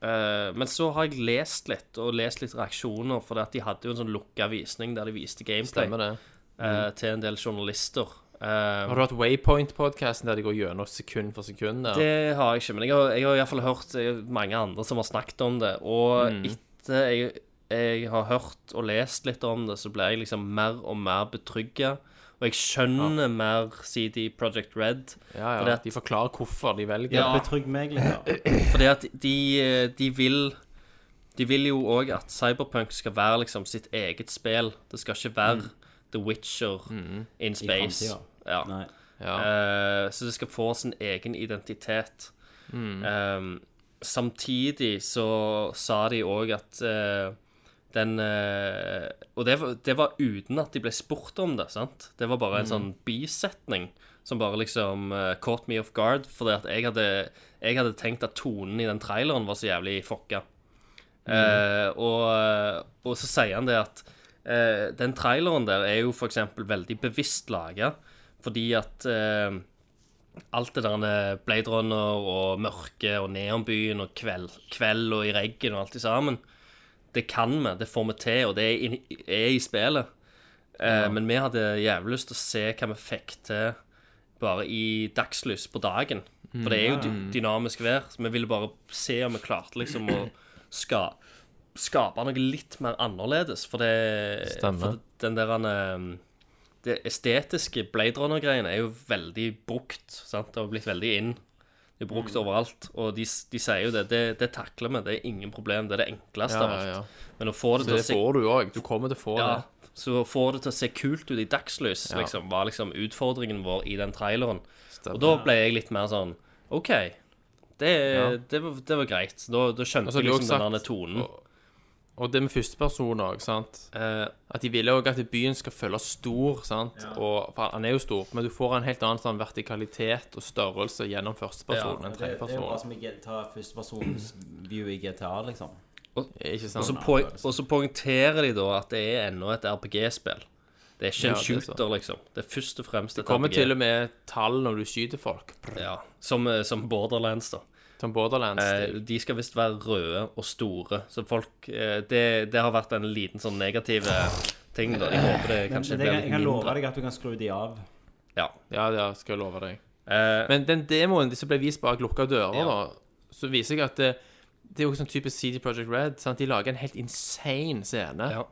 [SPEAKER 6] eh, men så har jeg lest litt, og lest litt reaksjoner, for at de hadde jo en sånn lukka visning der de viste gameplay
[SPEAKER 2] Stemmer det.
[SPEAKER 6] eh, til en del journalister. Eh,
[SPEAKER 2] Har du hatt Waypoint-podkasten der de går gjennom sekund for sekund? Der?
[SPEAKER 6] Det har jeg ikke, men jeg har, jeg har i hvert fall hørt eh, mange andre som har snakket om det. Og etter jeg, jeg har hørt og lest litt om det, så ble jeg liksom mer og mer betrygga. Og jeg skjønner mer CD Project Red.
[SPEAKER 2] ja,
[SPEAKER 6] fordi
[SPEAKER 2] ja.
[SPEAKER 6] at-
[SPEAKER 2] De forklarer hvorfor de velger.
[SPEAKER 6] Ja.
[SPEAKER 7] Betrygg meg litt, da.
[SPEAKER 6] Fordi at de, eh, de vil De vil jo òg at Cyberpunk skal være liksom sitt eget spill. Det skal ikke være The Witcher in space.
[SPEAKER 7] fremtiden.
[SPEAKER 6] ja.
[SPEAKER 7] Nei.
[SPEAKER 2] Ja.
[SPEAKER 6] Eh, så det skal få sin egen identitet. Ehm, Eh, samtidig så sa de òg at eh, den eh, Og det, var- det var uten at de ble spurt om det, sant? Det var bare en sånn bisetning som bare liksom eh, caught me off guard, fordi at jeg hadde, jeg hadde tenkt at tonen i den traileren var så jævlig fucka. Eh, og, og så sier han det at eh, den traileren der er jo for eksempel veldig bevisst laga, fordi at eh, alt det der med Blade Runner og mørke og neonbyen og kveld, kveld og i reggen og alt i sammen, det kan vi, det får vi til, og det er, inn- er i spillet. Eh, Men vi hadde jævlig lyst til å se hva vi fikk til bare i dagslys på dagen. For det er jo dy- dynamisk vær. Så vi ville bare se om vi klarte liksom å ska, skape noe litt mer annerledes. For det
[SPEAKER 2] Stemmer.
[SPEAKER 6] For den der eh, Det estetiske Blade Runner-greiene er jo veldig brukt. sant? Det har blitt veldig inn. Det er
[SPEAKER 2] Mm.
[SPEAKER 6] brukt overalt. Og de, s- de sier jo det, det. Det takler vi. Det er ingen problem. Det er det enkleste
[SPEAKER 2] Ja,
[SPEAKER 6] av alt.
[SPEAKER 2] ja, ja.
[SPEAKER 6] Men å få
[SPEAKER 2] Så
[SPEAKER 6] det til
[SPEAKER 2] det
[SPEAKER 6] å se
[SPEAKER 2] får du òg. Du kommer til å få
[SPEAKER 6] ja,
[SPEAKER 2] det.
[SPEAKER 6] så få det til å se kult ut i dagslys,
[SPEAKER 2] Ja.
[SPEAKER 6] liksom, var liksom utfordringen vår i den traileren. Og da ble jeg litt mer sånn OK, det, det, var, det var greit. Da, da skjønte
[SPEAKER 2] Altså,
[SPEAKER 6] jeg
[SPEAKER 2] de har
[SPEAKER 6] liksom
[SPEAKER 2] også
[SPEAKER 6] den der
[SPEAKER 2] sagt-
[SPEAKER 6] tonen.
[SPEAKER 2] Og det med førsteperson òg, sant.
[SPEAKER 6] Eh,
[SPEAKER 2] At de ville òg at byen skal føles stor, sant. Og, for han er jo stor, men du får en helt annen sånn vertikalitet og størrelse gjennom førsteperson enn
[SPEAKER 7] Det, det er jo bare
[SPEAKER 2] tredjeperson.
[SPEAKER 7] som i GTA, førstepersons view i GTA, liksom.
[SPEAKER 2] Eh, Ikke
[SPEAKER 6] og, så
[SPEAKER 2] sant?
[SPEAKER 6] poeng- og så poengterer de da at det er ennå et RPG-spill. Det er ikke
[SPEAKER 2] Ja,
[SPEAKER 6] en
[SPEAKER 2] det er så.
[SPEAKER 6] shooter, liksom. Det er først og fremst et
[SPEAKER 2] Kommer
[SPEAKER 6] RPG.
[SPEAKER 2] til og med tall når du skyter folk,
[SPEAKER 6] ja, som, eh, som Borderlands, da.
[SPEAKER 2] som Borderlands.
[SPEAKER 6] Eh, de skal visst være røde og store, så folk eh, det, det har vært en liten sånn negativ eh, ting, da. Jeg håper det
[SPEAKER 7] Men
[SPEAKER 6] kanskje
[SPEAKER 7] det,
[SPEAKER 6] blir
[SPEAKER 7] jeg, jeg
[SPEAKER 6] litt
[SPEAKER 7] kan love
[SPEAKER 6] mindre.
[SPEAKER 7] deg at du kan skru de av.
[SPEAKER 6] Ja.
[SPEAKER 2] Ja, ja, skal jeg love deg.
[SPEAKER 6] Eh,
[SPEAKER 2] Men den demoen som ble vist bak lukka dører,
[SPEAKER 6] Ja.
[SPEAKER 2] da, så viser jeg at det, det er jo sånn typisk CD Projekt Red. Sant? De lager en helt insane scene
[SPEAKER 6] Ja.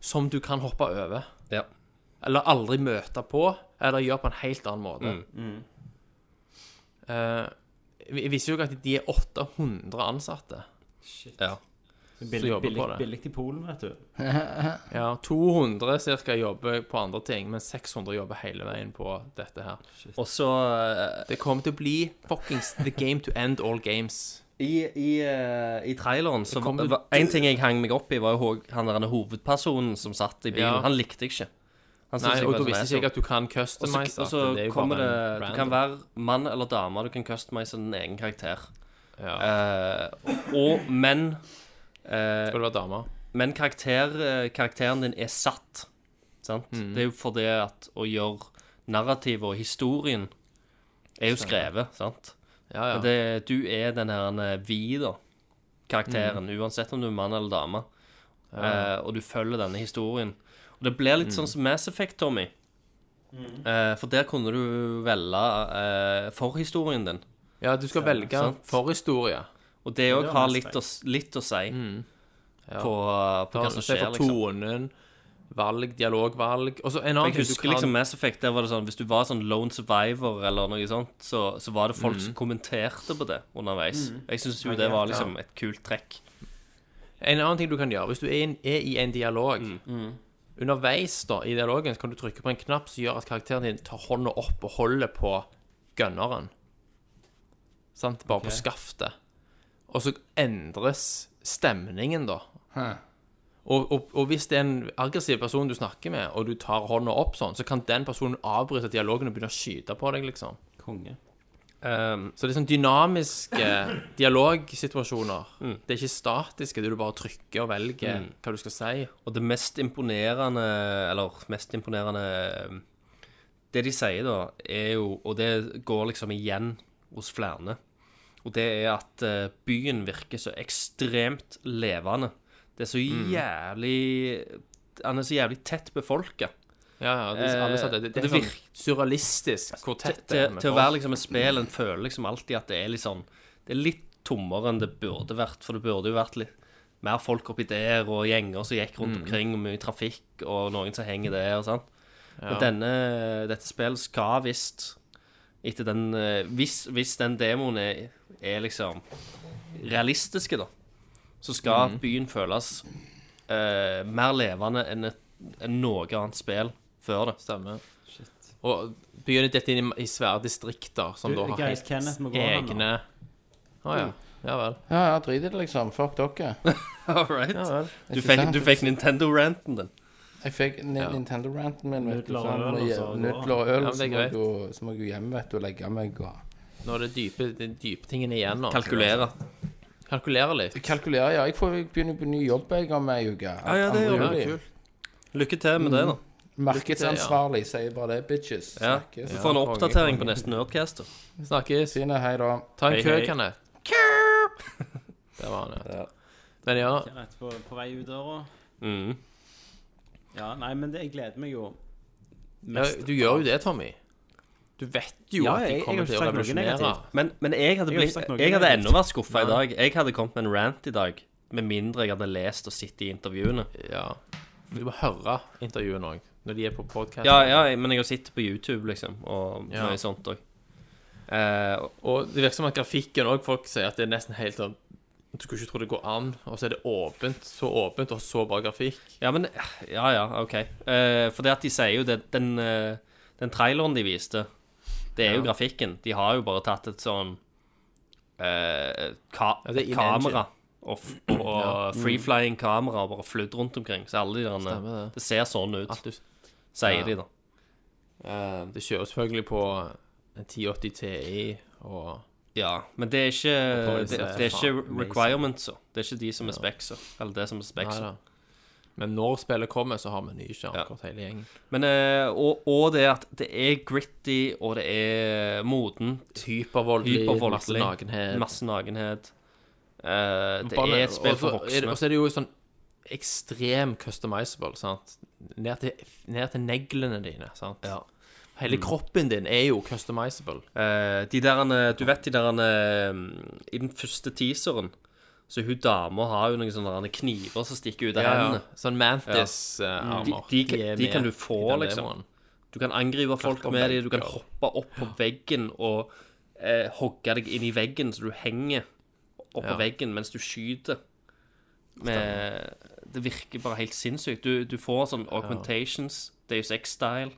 [SPEAKER 2] som du kan hoppe over.
[SPEAKER 6] ja.
[SPEAKER 2] Eller aldri møte på, eller gjøre på en helt annen måte.
[SPEAKER 6] Mm.
[SPEAKER 2] Eh, vi vi viser jo at de er 800 ansatte.
[SPEAKER 6] ja.
[SPEAKER 7] Billig,
[SPEAKER 2] jobber
[SPEAKER 7] billig,
[SPEAKER 2] på det.
[SPEAKER 7] billig til Polen, vet du.
[SPEAKER 2] Ja, 200 cirka jobber på andre ting, men 600 jobber hele veien på dette her.
[SPEAKER 6] Og så eh,
[SPEAKER 2] Det kommer til å bli fuckings the game to end all games.
[SPEAKER 6] i, i, eh, I traileren så
[SPEAKER 2] kommer-
[SPEAKER 6] var En ting jeg hang meg opp i, var jo ho- han der hovedpersonen som satt i bilen.
[SPEAKER 2] Ja.
[SPEAKER 6] Han likte jeg ikke. Han syntes
[SPEAKER 2] Nei,
[SPEAKER 6] jeg
[SPEAKER 2] og
[SPEAKER 6] var
[SPEAKER 2] da
[SPEAKER 6] sånn
[SPEAKER 2] visste ikke jeg
[SPEAKER 6] asshole.
[SPEAKER 2] at du kan
[SPEAKER 6] Og
[SPEAKER 2] customize
[SPEAKER 6] så-
[SPEAKER 2] at
[SPEAKER 6] Og så
[SPEAKER 2] er jo
[SPEAKER 6] kommer
[SPEAKER 2] bare
[SPEAKER 6] det
[SPEAKER 2] en
[SPEAKER 6] Du
[SPEAKER 2] random.
[SPEAKER 6] kan være mann eller dame, du kan customize din egen karakter.
[SPEAKER 2] Ja,
[SPEAKER 6] Eh, og men eh,
[SPEAKER 2] skal du være dame?
[SPEAKER 6] Men karakter, eh, karakteren din er satt. Sant?
[SPEAKER 2] Mm.
[SPEAKER 6] Det er jo fordi at å gjøre narrativet og historien er jo skrevet, sant?
[SPEAKER 2] Ja, ja.
[SPEAKER 6] Men det, du er den her eh, vi, da. Karakteren.
[SPEAKER 2] Mm.
[SPEAKER 6] Uansett om du er mann eller dame. Eh, og du følger denne historien. Og det blir
[SPEAKER 2] Mm.
[SPEAKER 6] litt sånn som Mass Effect, Tommy. Eh, for der kunne du velge eh, forhistorien din.
[SPEAKER 2] ja, du skal velge
[SPEAKER 6] sant.
[SPEAKER 2] forhistorie.
[SPEAKER 6] Og det
[SPEAKER 7] det
[SPEAKER 6] òg
[SPEAKER 7] var
[SPEAKER 6] har
[SPEAKER 7] Mass
[SPEAKER 6] litt å, s- litt å si på, på
[SPEAKER 2] Ta-
[SPEAKER 6] hva som
[SPEAKER 2] Mm. Se
[SPEAKER 6] skjer,
[SPEAKER 2] for
[SPEAKER 6] liksom.
[SPEAKER 2] tonen, valg, dialogvalg Og så en annen ting
[SPEAKER 6] Jeg
[SPEAKER 2] du
[SPEAKER 6] husker
[SPEAKER 2] kan
[SPEAKER 6] liksom Mass Effect, der var det sånn Hvis du var sånn lone survivor eller noe sånt, så, så var det folk
[SPEAKER 2] Mm.
[SPEAKER 6] som kommenterte på det underveis. Jeg syns jo det var liksom et kult trekk.
[SPEAKER 2] En annen ting du kan gjøre, hvis du er, i en- er i en dialog Underveis da, i dialogen så kan du trykke på en knapp som gjør at karakteren din tar hånda opp og holder på gønneren. Sant? Bare på skaftet. Og så endres stemningen, da. Og, og, og hvis det er en aggressiv person du snakker med, og du tar hånda opp sånn, så kan den personen avbryte dialogen og begynne å skyte på deg, liksom.
[SPEAKER 7] Konge.
[SPEAKER 6] Ehm,
[SPEAKER 2] Så det er sånn dynamiske dialogsituasjoner. Det er ikke statiske, det er du bare trykker og velger hva du skal si.
[SPEAKER 6] og det mest imponerende Eller mest imponerende eh, Det de sier, da, er jo Og det går liksom igjen hos flere. Og det er at eh, byen virker så ekstremt levende. Det er så
[SPEAKER 2] Mm.
[SPEAKER 6] jævlig Han er så jævlig tett befolka.
[SPEAKER 2] Ja, ja, det, alle sa det, det, det er
[SPEAKER 6] Eh, det
[SPEAKER 2] sånn surrealistisk hvor tett det er
[SPEAKER 6] til,
[SPEAKER 2] med
[SPEAKER 6] til å
[SPEAKER 2] folk.
[SPEAKER 6] være liksom et spill En føler liksom alltid at det er litt sånn Det er litt tommere enn det burde vært For det burde jo vært litt mer folk oppi der Og gjenger som gikk
[SPEAKER 2] Mm.
[SPEAKER 6] rundt omkring Og mye trafikk og noen som henger der og sånn Men denne, dette spillet skal visst Etter den eh, hvis, hvis den demoen er, er liksom Realistiske da Så skal
[SPEAKER 2] Mm.
[SPEAKER 6] byen føles eh, Mer levende enn, et, enn noe annet spill Før det
[SPEAKER 2] Stemmer. Og begynner dette inn i, i svære distrikter som
[SPEAKER 7] Du,
[SPEAKER 2] da har
[SPEAKER 7] guys,
[SPEAKER 2] helt
[SPEAKER 7] Kenneth må gå
[SPEAKER 2] egne Å ja. Ja vel.
[SPEAKER 4] Ja, ja, drit i det, liksom. Fuck dere.
[SPEAKER 6] All right.
[SPEAKER 2] Ja vel.
[SPEAKER 6] Du fikk, du fikk Nintendo-ranten din.
[SPEAKER 4] Jeg fikk Ni- Nintendo-ranten min. vet du,
[SPEAKER 7] Nudler og øl,
[SPEAKER 4] sånn, og
[SPEAKER 7] altså,
[SPEAKER 4] jæv-
[SPEAKER 7] og-
[SPEAKER 4] Nudler og øl.
[SPEAKER 2] Ja, men
[SPEAKER 4] så
[SPEAKER 2] det er
[SPEAKER 4] må jeg
[SPEAKER 2] greit.
[SPEAKER 4] jo- Så må jeg jo hjem vet du, og legge meg og
[SPEAKER 2] Nå er det dype, de dype tingene igjen nå.
[SPEAKER 6] Kalkulere.
[SPEAKER 2] Kalkulere litt.
[SPEAKER 4] Kalkulere, ja. Jeg får begynne på ny jobb jeg om ei uke. Ja,
[SPEAKER 6] ja, det gjør du. Lykke til med det, da.
[SPEAKER 4] Markedsansvarlig, sier bare det, bitches.
[SPEAKER 6] Ja.
[SPEAKER 4] Snakkes.
[SPEAKER 6] Du får en oppdatering på neste Nerdcaster.
[SPEAKER 2] Vi Snakkes.
[SPEAKER 4] Fine, hei da.
[SPEAKER 2] Ta en
[SPEAKER 6] Hei,
[SPEAKER 2] kø,
[SPEAKER 6] hei.
[SPEAKER 2] Kenneth. Der var han, ja.
[SPEAKER 6] Ja.
[SPEAKER 2] Men ja,
[SPEAKER 7] Kenneth på, på vei ut døra.
[SPEAKER 6] Mm.
[SPEAKER 7] Ja, nei, men det, jeg gleder meg jo
[SPEAKER 2] ja,
[SPEAKER 7] mest.
[SPEAKER 2] du gjør jo det, Tommy. Du vet jo
[SPEAKER 7] Ja,
[SPEAKER 2] at
[SPEAKER 7] jeg- jeg
[SPEAKER 2] de
[SPEAKER 7] har
[SPEAKER 2] kommer
[SPEAKER 7] ikke
[SPEAKER 2] til å
[SPEAKER 7] sagt noe
[SPEAKER 2] revolusjonere.
[SPEAKER 7] negativt.
[SPEAKER 6] Men, men jeg hadde,
[SPEAKER 7] Jeg har
[SPEAKER 6] blitt,
[SPEAKER 7] ikke sagt noe
[SPEAKER 6] jeg hadde
[SPEAKER 7] negativt.
[SPEAKER 6] enda vært skuffa i dag. Jeg hadde kommet med en rant i dag. Med mindre jeg hadde lest og sett i intervjuene.
[SPEAKER 2] Ja. Du må høre intervjuene òg, når de er på podkast.
[SPEAKER 6] Ja, ja, men jeg har sett på YouTube, liksom, og
[SPEAKER 2] Ja.
[SPEAKER 6] mye sånt òg. Eh, og-
[SPEAKER 2] Og det virker som at grafikken òg Folk sier at det er nesten helt sånn Du skulle ikke tro det går an, og så er det åpent, så åpent, og så bra grafikk.
[SPEAKER 6] ja, men Ja, ja, OK. Eh, for det at de sier jo det Den, eh, den traileren de viste, det er jo grafikken. De har jo bare tatt et sånn eh, ka
[SPEAKER 2] Ja, det er in-engine. Mm.
[SPEAKER 6] kamera. Og, f- og free-flying kamera og bare flydd rundt omkring. Så alle de der eh,
[SPEAKER 2] Stemmer det.
[SPEAKER 6] Det ser sånn ut,
[SPEAKER 2] Alt du
[SPEAKER 6] sier
[SPEAKER 2] Ja.
[SPEAKER 6] de, da.
[SPEAKER 2] Det kjører selvfølgelig på en 1080 Ti og
[SPEAKER 6] Ja, men det er ikke,
[SPEAKER 2] på
[SPEAKER 6] det,
[SPEAKER 2] disse
[SPEAKER 6] det er
[SPEAKER 2] faen,
[SPEAKER 6] ikke
[SPEAKER 2] amazing.
[SPEAKER 6] requirements. så. Det er ikke de som er specs. så. Eller det som er specs.
[SPEAKER 2] Nei
[SPEAKER 6] så.
[SPEAKER 2] da. Men når spillet kommer, så har vi nye skjermkort, hele gjengen.
[SPEAKER 6] Men, eh, og, og det at det er gritty, og det er modent.
[SPEAKER 2] Hypervoldelig,
[SPEAKER 6] Hypervoldelig.
[SPEAKER 2] masse nakenhet.
[SPEAKER 6] Masse nakenhet. Eh, det
[SPEAKER 2] Bare-
[SPEAKER 6] er et spill
[SPEAKER 2] og så
[SPEAKER 6] for
[SPEAKER 2] er det-
[SPEAKER 6] voksne.
[SPEAKER 2] Og så er det jo sånn ekstrem customizable, sant. Ned til, ned til neglene dine, sant. Hele
[SPEAKER 6] Mm.
[SPEAKER 2] kroppen din er jo customizable.
[SPEAKER 6] Eh, de derene- du vet de der eh, I den første teaseren så hun dama har jo noen sånne derene kniver som stikker ut av hendene.
[SPEAKER 2] Sånn eh, Mantis-armer.
[SPEAKER 6] De- de kan- de kan du få, liksom. Du kan angrive folk
[SPEAKER 2] Klatre
[SPEAKER 6] med
[SPEAKER 2] vegger.
[SPEAKER 6] dem, du kan hoppe opp på veggen og eh, hogge deg inn i veggen, så du henger oppå
[SPEAKER 2] Ja.
[SPEAKER 6] veggen mens du skyter. Med, det virker bare helt sinnssykt. Du, du får sånn augmentations, Eh, det er jo sex-style.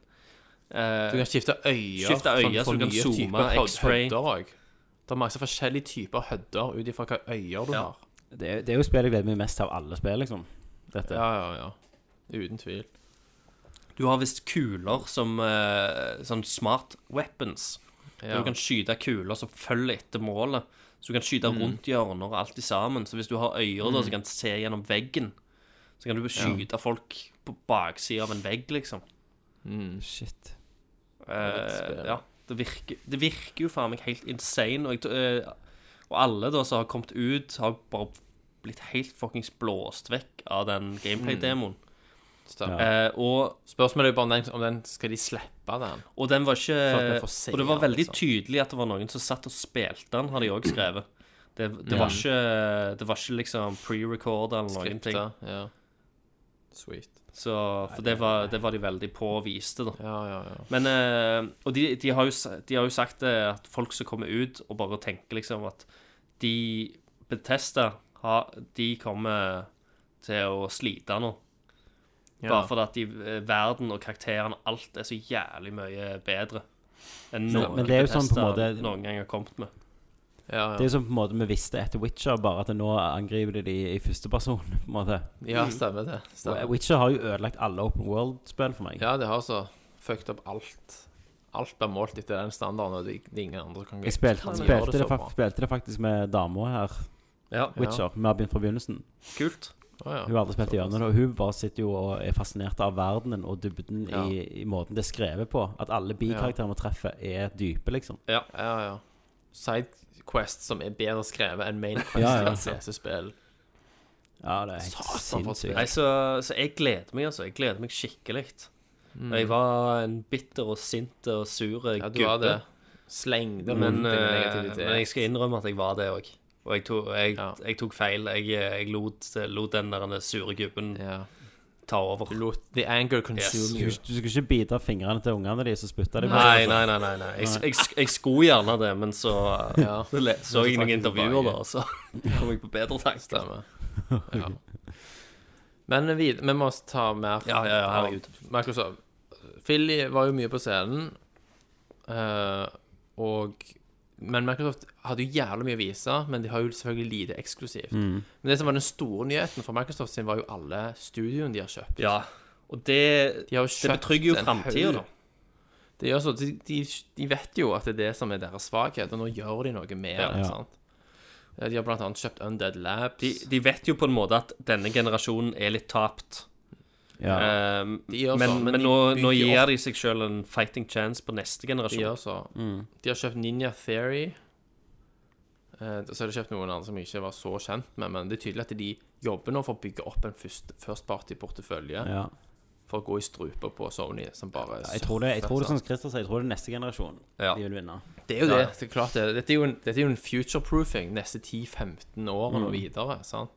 [SPEAKER 2] Du kan skifte øyer.
[SPEAKER 6] Skifte øyer,
[SPEAKER 2] sånn,
[SPEAKER 6] så
[SPEAKER 2] for
[SPEAKER 6] du kan
[SPEAKER 2] nye
[SPEAKER 6] zoome,
[SPEAKER 2] typer hød-
[SPEAKER 6] x-ray.
[SPEAKER 2] hødder også. Det er masse forskjellige typer hødder ut ifra hva øyer du
[SPEAKER 6] Ja.
[SPEAKER 2] har.
[SPEAKER 7] Det, er- det er jo spillet jeg gleder meg mest av alle spill, liksom. Dette.
[SPEAKER 2] Ja, ja, ja. Uten tvil.
[SPEAKER 6] Du har visst kuler som eh, sånn smart weapons.
[SPEAKER 2] Ja.
[SPEAKER 6] Du kan skyte kuler som følger etter målet. Så du kan skyte rundt hjørner og alt i sammen. Så hvis du har øyer da, som kan se gjennom veggen, så kan du skyte folk på baksida av en vegg, liksom.
[SPEAKER 2] Mm,
[SPEAKER 7] Shit.
[SPEAKER 6] Eh, ja, det virker, det virker jo faen meg helt insane. Og, jeg, t- eh, og alle da som har kommet ut, har bare blitt helt fuckings blåst vekk av den gameplay-demoen.
[SPEAKER 2] Stemmer.
[SPEAKER 6] Eh, og
[SPEAKER 2] Spørsmålet er jo bare om den, om den skal de slippe den.
[SPEAKER 6] Og den var
[SPEAKER 2] at vi
[SPEAKER 6] ikke
[SPEAKER 2] får se
[SPEAKER 6] Eh, Og det var
[SPEAKER 2] den,
[SPEAKER 6] veldig
[SPEAKER 2] liksom.
[SPEAKER 6] tydelig at det var noen som satt og spilte den, har de òg skrevet. Det, det, var ikke, det var ikke liksom pre-recorda eller noen ting.
[SPEAKER 2] Skripta. Ja. Sweet.
[SPEAKER 6] Så, for det var, det var de veldig på og viste, da.
[SPEAKER 2] Ja, ja, ja.
[SPEAKER 6] Men, eh, og de, de, har jo, s- de har jo sagt det at folk som kommer ut og bare tenker liksom at de Betesta, de kommer til å slite nå. Bare fordi at de, eh, verden og karakterene, alt er så jævlig mye bedre enn noe
[SPEAKER 7] men det er jo sånn på en
[SPEAKER 6] Bethesda
[SPEAKER 7] måte-
[SPEAKER 6] noen gang har kommet med.
[SPEAKER 2] ja,
[SPEAKER 7] Det
[SPEAKER 2] ja.
[SPEAKER 7] er som på en måte vi visste etter Witcher, bare at nå angriper de de i første person. på en måte.
[SPEAKER 2] ja stemmer det.
[SPEAKER 7] Og
[SPEAKER 2] Stemmer.
[SPEAKER 7] Witcher har jo ødelagt alle Open World-spill for meg.
[SPEAKER 2] Ja, det har så fucked opp alt. Alt blir målt etter den standarden, og det det er ingen andre som kan
[SPEAKER 7] Jeg spilte,
[SPEAKER 2] kan gjøre
[SPEAKER 7] spilte, det,
[SPEAKER 2] så
[SPEAKER 7] fa
[SPEAKER 2] bra.
[SPEAKER 7] spilte det faktisk med dama her,
[SPEAKER 6] Ja,
[SPEAKER 7] Witcher. Vi har begynt fra begynnelsen.
[SPEAKER 6] kult.
[SPEAKER 2] Å, ja.
[SPEAKER 7] Hun har aldri spilt gjennom det, og hun bare sitter jo og er fascinert av verdenen og dybden
[SPEAKER 2] Ja.
[SPEAKER 7] i, i måten det er skrevet på. At alle bikarakterene vi treffer, er dype, liksom.
[SPEAKER 2] Ja, ja. Sidequest som er bedre skrevet enn main quest
[SPEAKER 7] Ja,
[SPEAKER 2] i
[SPEAKER 7] ja.
[SPEAKER 2] et PC-spill.
[SPEAKER 7] Ja, det er helt
[SPEAKER 2] Satan, for et
[SPEAKER 7] sinnssykt.
[SPEAKER 6] Nei, så, så jeg gleder meg, altså. Jeg gleder meg skikkelig.
[SPEAKER 7] Mm.
[SPEAKER 6] Jeg var en bitter og sint og sur
[SPEAKER 2] Mm.
[SPEAKER 6] eh,
[SPEAKER 2] Ja, du
[SPEAKER 6] gubbe.
[SPEAKER 2] har det. Slengde
[SPEAKER 6] Men,
[SPEAKER 2] rundt din
[SPEAKER 6] eh,
[SPEAKER 2] negativitet.
[SPEAKER 6] men jeg skal innrømme at jeg var det òg. Og jeg tok, jeg,
[SPEAKER 2] Ja.
[SPEAKER 6] jeg tok feil. Jeg, eh, jeg lot, lot den der sure gubben
[SPEAKER 2] ja.
[SPEAKER 6] ta over.
[SPEAKER 2] Du lot the anger consume
[SPEAKER 7] Du,
[SPEAKER 2] you.
[SPEAKER 7] du skal ikke bite fingrene til ungene de som spytter dem.
[SPEAKER 6] Nei, nei, nei. nei, nei. Jeg, jeg, jeg, skulle gjerne det, men så
[SPEAKER 2] Ja.
[SPEAKER 6] så le- så jeg noen intervjuer, da, og så kom jeg på bedre tanker.
[SPEAKER 2] Stemmer. Ja. Men vi, vi må ta mer
[SPEAKER 6] Ja, ja, ja, herregud.
[SPEAKER 2] Microsoft. Philly var jo mye på scenen, eh, og Men Microsoft hadde jo jævlig mye å vise, men de har jo selvfølgelig lite eksklusivt.
[SPEAKER 6] Mm.
[SPEAKER 2] Men det som var den store nyheten for Microsoft sin, var jo alle studioene de har kjøpt.
[SPEAKER 6] Ja. Og det,
[SPEAKER 2] De har jo
[SPEAKER 6] det
[SPEAKER 2] kjøpt
[SPEAKER 6] betrygger jo
[SPEAKER 2] en
[SPEAKER 6] framtida,
[SPEAKER 2] haug.
[SPEAKER 6] da.
[SPEAKER 2] Det gjør så, de, de, de vet jo at det er det som er deres svakhet, og nå gjør de noe med
[SPEAKER 6] Ja.
[SPEAKER 2] det. sant? Ja, De har blant annet kjøpt Undead Labs.
[SPEAKER 6] De, de vet jo på en måte at denne generasjonen er litt tapt.
[SPEAKER 5] Ja.
[SPEAKER 6] Eh,
[SPEAKER 2] gjør
[SPEAKER 6] men,
[SPEAKER 2] sånn, men
[SPEAKER 6] men
[SPEAKER 2] de
[SPEAKER 6] nå, nå
[SPEAKER 2] bygger
[SPEAKER 6] gir de seg sjøl en fighting chance på neste
[SPEAKER 2] De,
[SPEAKER 6] generasjon.
[SPEAKER 2] gjør så.
[SPEAKER 5] Mm.
[SPEAKER 2] de har kjøpt Ninja Theory. Eh, så har de kjøpt noen andre som jeg ikke var så kjent med, men det er tydelig at de jobber nå for å bygge opp en først- first party-portefølje
[SPEAKER 5] ja.
[SPEAKER 2] for å gå i struper på Sony, som bare
[SPEAKER 5] Jeg tror det, jeg tror det
[SPEAKER 2] sånn
[SPEAKER 5] som Christer sier, jeg tror det er sånn- neste generasjon
[SPEAKER 6] Ja.
[SPEAKER 5] de vil vinne.
[SPEAKER 2] Det er jo det. det er klart det. Dette er jo en, dette er jo en future-proofing neste 10-15 årene
[SPEAKER 5] Mm.
[SPEAKER 2] og videre. sant?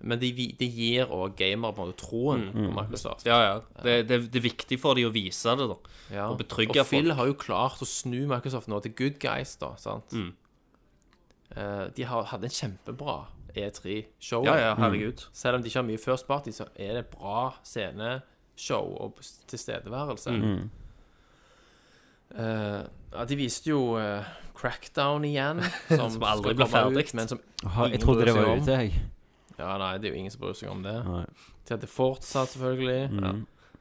[SPEAKER 2] Men det vi- det gir òg gamer på en måte troen
[SPEAKER 5] Mm.
[SPEAKER 2] på Microsoft.
[SPEAKER 6] Ja, ja. Det, det, det er viktig for de å vise det, da.
[SPEAKER 2] Ja.
[SPEAKER 6] Og betrygge
[SPEAKER 2] Og Phil
[SPEAKER 6] folk.
[SPEAKER 2] har jo klart å snu Microsoft nå til good guys, da. sant?
[SPEAKER 6] Mm.
[SPEAKER 2] Eh, de har, hadde en kjempebra E3-show.
[SPEAKER 6] Ja, ja, herregud.
[SPEAKER 2] Selv om de ikke har mye first party, så er det bra sceneshow og s- tilstedeværelse.
[SPEAKER 6] Mm.
[SPEAKER 2] Eh, ja, de viste jo eh, Crackdown igjen, som, skal
[SPEAKER 6] aldri ble
[SPEAKER 2] komme
[SPEAKER 6] ferdigt.
[SPEAKER 2] Ut, men som
[SPEAKER 5] jeg
[SPEAKER 2] Ingen
[SPEAKER 5] trodde
[SPEAKER 2] bryr
[SPEAKER 5] det
[SPEAKER 2] seg
[SPEAKER 5] var
[SPEAKER 2] om.
[SPEAKER 5] ute, jeg.
[SPEAKER 2] Ja, nei, det er jo ingen som bryr seg om det.
[SPEAKER 5] Nei.
[SPEAKER 2] De hadde Forza, selvfølgelig.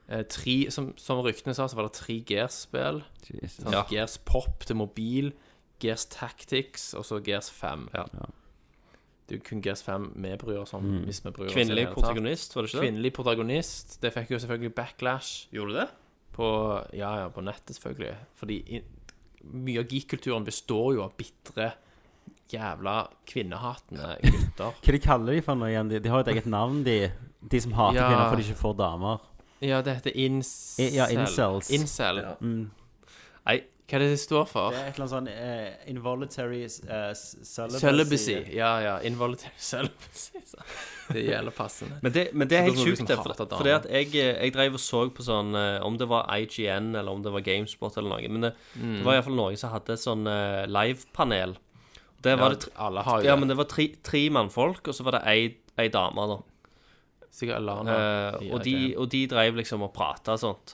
[SPEAKER 2] Eh, tre, som, som ryktene sa, så var det tre Gears-spill.
[SPEAKER 5] Jesus.
[SPEAKER 2] Sånn, Gears Pop til mobil, Gears Tactics og så Gears 5.
[SPEAKER 6] Ja.
[SPEAKER 2] Det er jo kun Gears 5 vi bryr oss om. Hvis vi bryr oss i det
[SPEAKER 6] Kvinnelig
[SPEAKER 2] hele tatt.
[SPEAKER 6] protagonist, var altså, det ikke det?
[SPEAKER 2] Kvinnelig protagonist. Det fikk jo selvfølgelig backlash
[SPEAKER 6] Gjorde du det?
[SPEAKER 2] på, ja, ja, på nettet, selvfølgelig. Fordi i, mye av geek-kulturen består jo av bitre, jævla kvinnehatende gutter.
[SPEAKER 5] Hva de kaller de for noe igjen? De, de har jo et eget navn, de. De som hater
[SPEAKER 2] Ja.
[SPEAKER 5] kvinner fordi de ikke får damer.
[SPEAKER 2] Ja, det heter incel.
[SPEAKER 5] I- ja, incels.
[SPEAKER 2] Incel.
[SPEAKER 5] Mm.
[SPEAKER 2] Nei, hva er det det står for?
[SPEAKER 7] Det er et eller annet sånn eh, involuntary eh, celibacy.
[SPEAKER 2] Celibacy. Ja, ja. Involuntary celibacy. så. Det gjelder passende.
[SPEAKER 6] Men det, men det er helt
[SPEAKER 2] Så da må du liksom
[SPEAKER 6] sjukt, det. For,
[SPEAKER 2] hate damer.
[SPEAKER 6] fordi at jeg, jeg drev og så på sånn eh, Om det var IGN eller om det var Gamespot eller noe. Men det, det var iallfall noen som hadde sånn eh, livepanel. Der
[SPEAKER 2] Ja,
[SPEAKER 6] var det tre,
[SPEAKER 2] alle har jo
[SPEAKER 6] ja,
[SPEAKER 2] det.
[SPEAKER 6] men det var tre, tre mannfolk, og så var det ei, ei dame, da.
[SPEAKER 2] Sikkert Alana.
[SPEAKER 6] Eh, og, de, og de drev liksom og prata og sånt.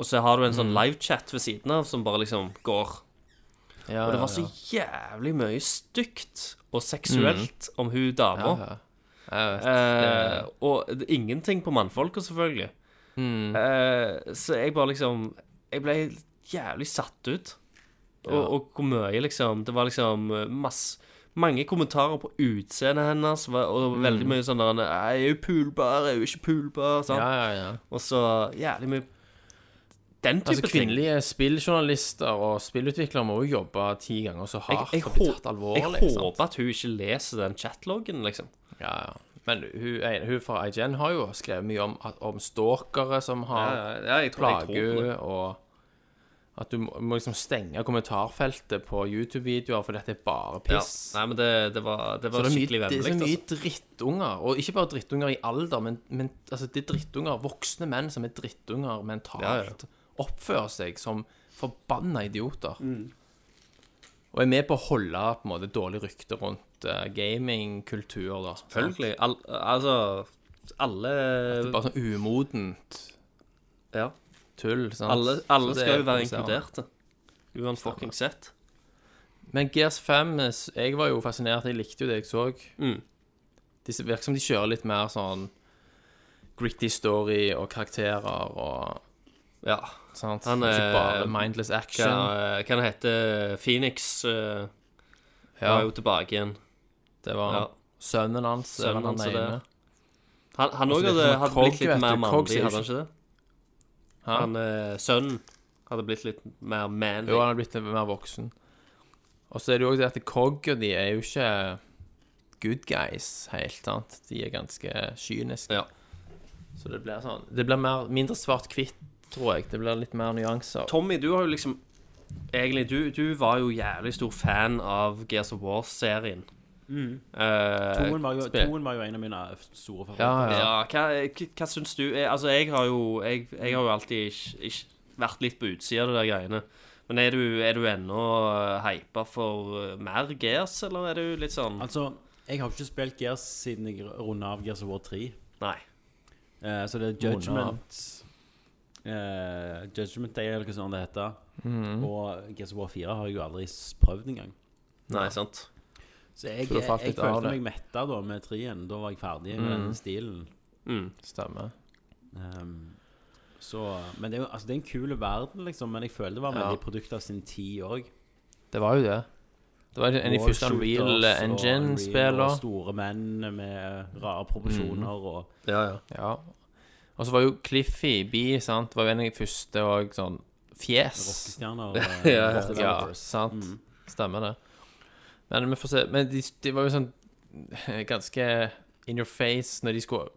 [SPEAKER 6] Og så har du en sånn livechat ved siden av som bare liksom går.
[SPEAKER 2] ja, ja,
[SPEAKER 6] Og det
[SPEAKER 2] Mm.
[SPEAKER 6] var så jævlig mye stygt og seksuelt om hun dama.
[SPEAKER 2] ja. Jeg vet.
[SPEAKER 6] Eh, og det, er ingenting på mannfolka, selvfølgelig.
[SPEAKER 2] Mm.
[SPEAKER 6] Eh, så jeg bare liksom Jeg ble jævlig satt ut. Og, og hvor mye, liksom. Det var liksom masse mange kommentarer på utseendet hennes, var- og veldig
[SPEAKER 2] Mm.
[SPEAKER 6] mye sånn der 'Jeg er jo pulbar, jeg er jo ikke pulbar', sant?
[SPEAKER 2] Ja, ja, ja.
[SPEAKER 6] Og så jævlig mye Den type
[SPEAKER 2] Altså,
[SPEAKER 6] ting.
[SPEAKER 2] kvinnelige spilljournalister og spillutviklere må jo jobbe ti ganger så
[SPEAKER 6] Jeg,
[SPEAKER 2] hardt
[SPEAKER 6] jeg,
[SPEAKER 2] for å bli
[SPEAKER 6] hå-
[SPEAKER 2] tatt alvorlig.
[SPEAKER 6] jeg
[SPEAKER 2] sant?
[SPEAKER 6] håper at hun ikke leser den chatloggen, liksom.
[SPEAKER 2] Ja, ja. Men hun, en- hun fra IGN har jo skrevet mye om, at- om stalkere som har
[SPEAKER 6] jeg
[SPEAKER 2] plager, og at du må, må liksom stenge kommentarfeltet på YouTube-videoer, for dette er bare
[SPEAKER 6] Ja.
[SPEAKER 2] piss.
[SPEAKER 6] Nei, men det, det var, det
[SPEAKER 2] Så
[SPEAKER 6] var
[SPEAKER 2] det er mye,
[SPEAKER 6] skikkelig altså.
[SPEAKER 2] det er
[SPEAKER 6] vemmelig.
[SPEAKER 2] så mye drittunger, og ikke bare drittunger i alder, men, men altså, det er drittunger, voksne menn som er drittunger mentalt,
[SPEAKER 6] Ja, ja.
[SPEAKER 2] oppfører seg som forbanna idioter.
[SPEAKER 6] Mm.
[SPEAKER 2] Og er med på å holde på en måte dårlig rykte rundt eh, gamingkultur, da.
[SPEAKER 6] Selvfølgelig. Al altså Alle
[SPEAKER 2] Bare sånn umodent
[SPEAKER 6] ja.
[SPEAKER 2] tull. Sant?
[SPEAKER 6] Alle,
[SPEAKER 2] Så
[SPEAKER 6] alle
[SPEAKER 2] det
[SPEAKER 6] skal
[SPEAKER 2] er
[SPEAKER 6] jo være
[SPEAKER 2] provoserende.
[SPEAKER 6] inkluderte. Uansett.
[SPEAKER 2] Men Gears 5 eh, s- Jeg var jo fascinert. Jeg likte jo det jeg så.
[SPEAKER 6] Mm.
[SPEAKER 2] De s- virker som de kjører litt mer sånn gritty story og karakterer og
[SPEAKER 6] Ja.
[SPEAKER 2] sant?
[SPEAKER 6] Han,
[SPEAKER 2] Ikke
[SPEAKER 6] eh,
[SPEAKER 2] bare mindless
[SPEAKER 6] Hva,
[SPEAKER 2] action.
[SPEAKER 6] hva det heter Phoenix eh,
[SPEAKER 2] Ja,
[SPEAKER 6] var jo tilbake igjen.
[SPEAKER 2] det var
[SPEAKER 6] Ja.
[SPEAKER 2] sønnen hans. eh,
[SPEAKER 6] Sønnen
[SPEAKER 2] Sønnen
[SPEAKER 6] hans
[SPEAKER 2] hans
[SPEAKER 6] er
[SPEAKER 2] er
[SPEAKER 6] det. Han, han
[SPEAKER 2] Altså,
[SPEAKER 6] også
[SPEAKER 2] det er
[SPEAKER 6] hadde,
[SPEAKER 2] sånn
[SPEAKER 6] hadde
[SPEAKER 2] Cog,
[SPEAKER 6] blitt
[SPEAKER 2] vet
[SPEAKER 6] litt
[SPEAKER 2] du.
[SPEAKER 6] mer
[SPEAKER 2] Cogs er
[SPEAKER 6] mannlig,
[SPEAKER 2] jo
[SPEAKER 6] hadde han ikke det? Han eh, sønnen hadde blitt litt mer manly.
[SPEAKER 2] Jo, han er blitt mer voksen. Og så er det jo også det at Cogger de er jo ikke good guys helt, sant. De er ganske kyniske.
[SPEAKER 6] Ja.
[SPEAKER 2] Så det blir sånn Det blir mer, mindre svart-hvitt, tror jeg. Det blir litt mer nyanser.
[SPEAKER 6] Tommy, du har jo liksom Egentlig, du, du var jo jævlig stor fan av Gears of War-serien. Eh,
[SPEAKER 7] Mm. Toen var, jo,
[SPEAKER 2] Spill.
[SPEAKER 7] toen var jo en av mine eh, store
[SPEAKER 2] Ja,
[SPEAKER 7] favoritter.
[SPEAKER 2] ja.
[SPEAKER 6] Ja, hva, hva, hva syns du? Jeg, altså, jeg har jo, jeg, jeg har jo alltid ikke, ikke vært litt på utsida av de der greiene. Men er du, er du ennå eh, hypa for eh, mer Gears, eller er du litt sånn
[SPEAKER 7] Altså, jeg har jo ikke spilt Gears siden jeg runda av Gears of War 3.
[SPEAKER 6] Nei.
[SPEAKER 7] Eh, så det er
[SPEAKER 2] Rundet av.
[SPEAKER 7] Judgment
[SPEAKER 2] Mm.
[SPEAKER 7] eh, Judgment Day, eller hva sånn det heter. Og Gears of War 4 har jeg jo aldri s- prøvd engang.
[SPEAKER 6] Nei, sant.
[SPEAKER 7] Så jeg,
[SPEAKER 2] Så da
[SPEAKER 7] jeg,
[SPEAKER 2] falt litt av
[SPEAKER 7] følte
[SPEAKER 2] det.
[SPEAKER 7] meg metta da med trien. Da var jeg ferdig med den stilen.
[SPEAKER 6] Mm.
[SPEAKER 2] Stemmer.
[SPEAKER 7] Ehm, så, men det er jo altså, det er en kul verden, liksom. Men jeg føler det var
[SPEAKER 2] Ja.
[SPEAKER 7] veldig produkt av sin tid òg.
[SPEAKER 2] Det var jo det. Det var en av de første Unreal Engine-spillene.
[SPEAKER 7] Store menn med rare
[SPEAKER 2] Mm.
[SPEAKER 7] proporsjoner og
[SPEAKER 6] Ja, ja.
[SPEAKER 2] Ja. Og så var jo Cliffy B, sant, var jo en av de første og sånn fjes.
[SPEAKER 7] rockestjerner. og- eh,
[SPEAKER 6] Ja, ja.
[SPEAKER 7] rockestjerner.
[SPEAKER 2] Ja, sant.
[SPEAKER 7] Mm.
[SPEAKER 2] Stemmer det. Men vi får se. Men de, de var jo sånn ganske in your face når de skulle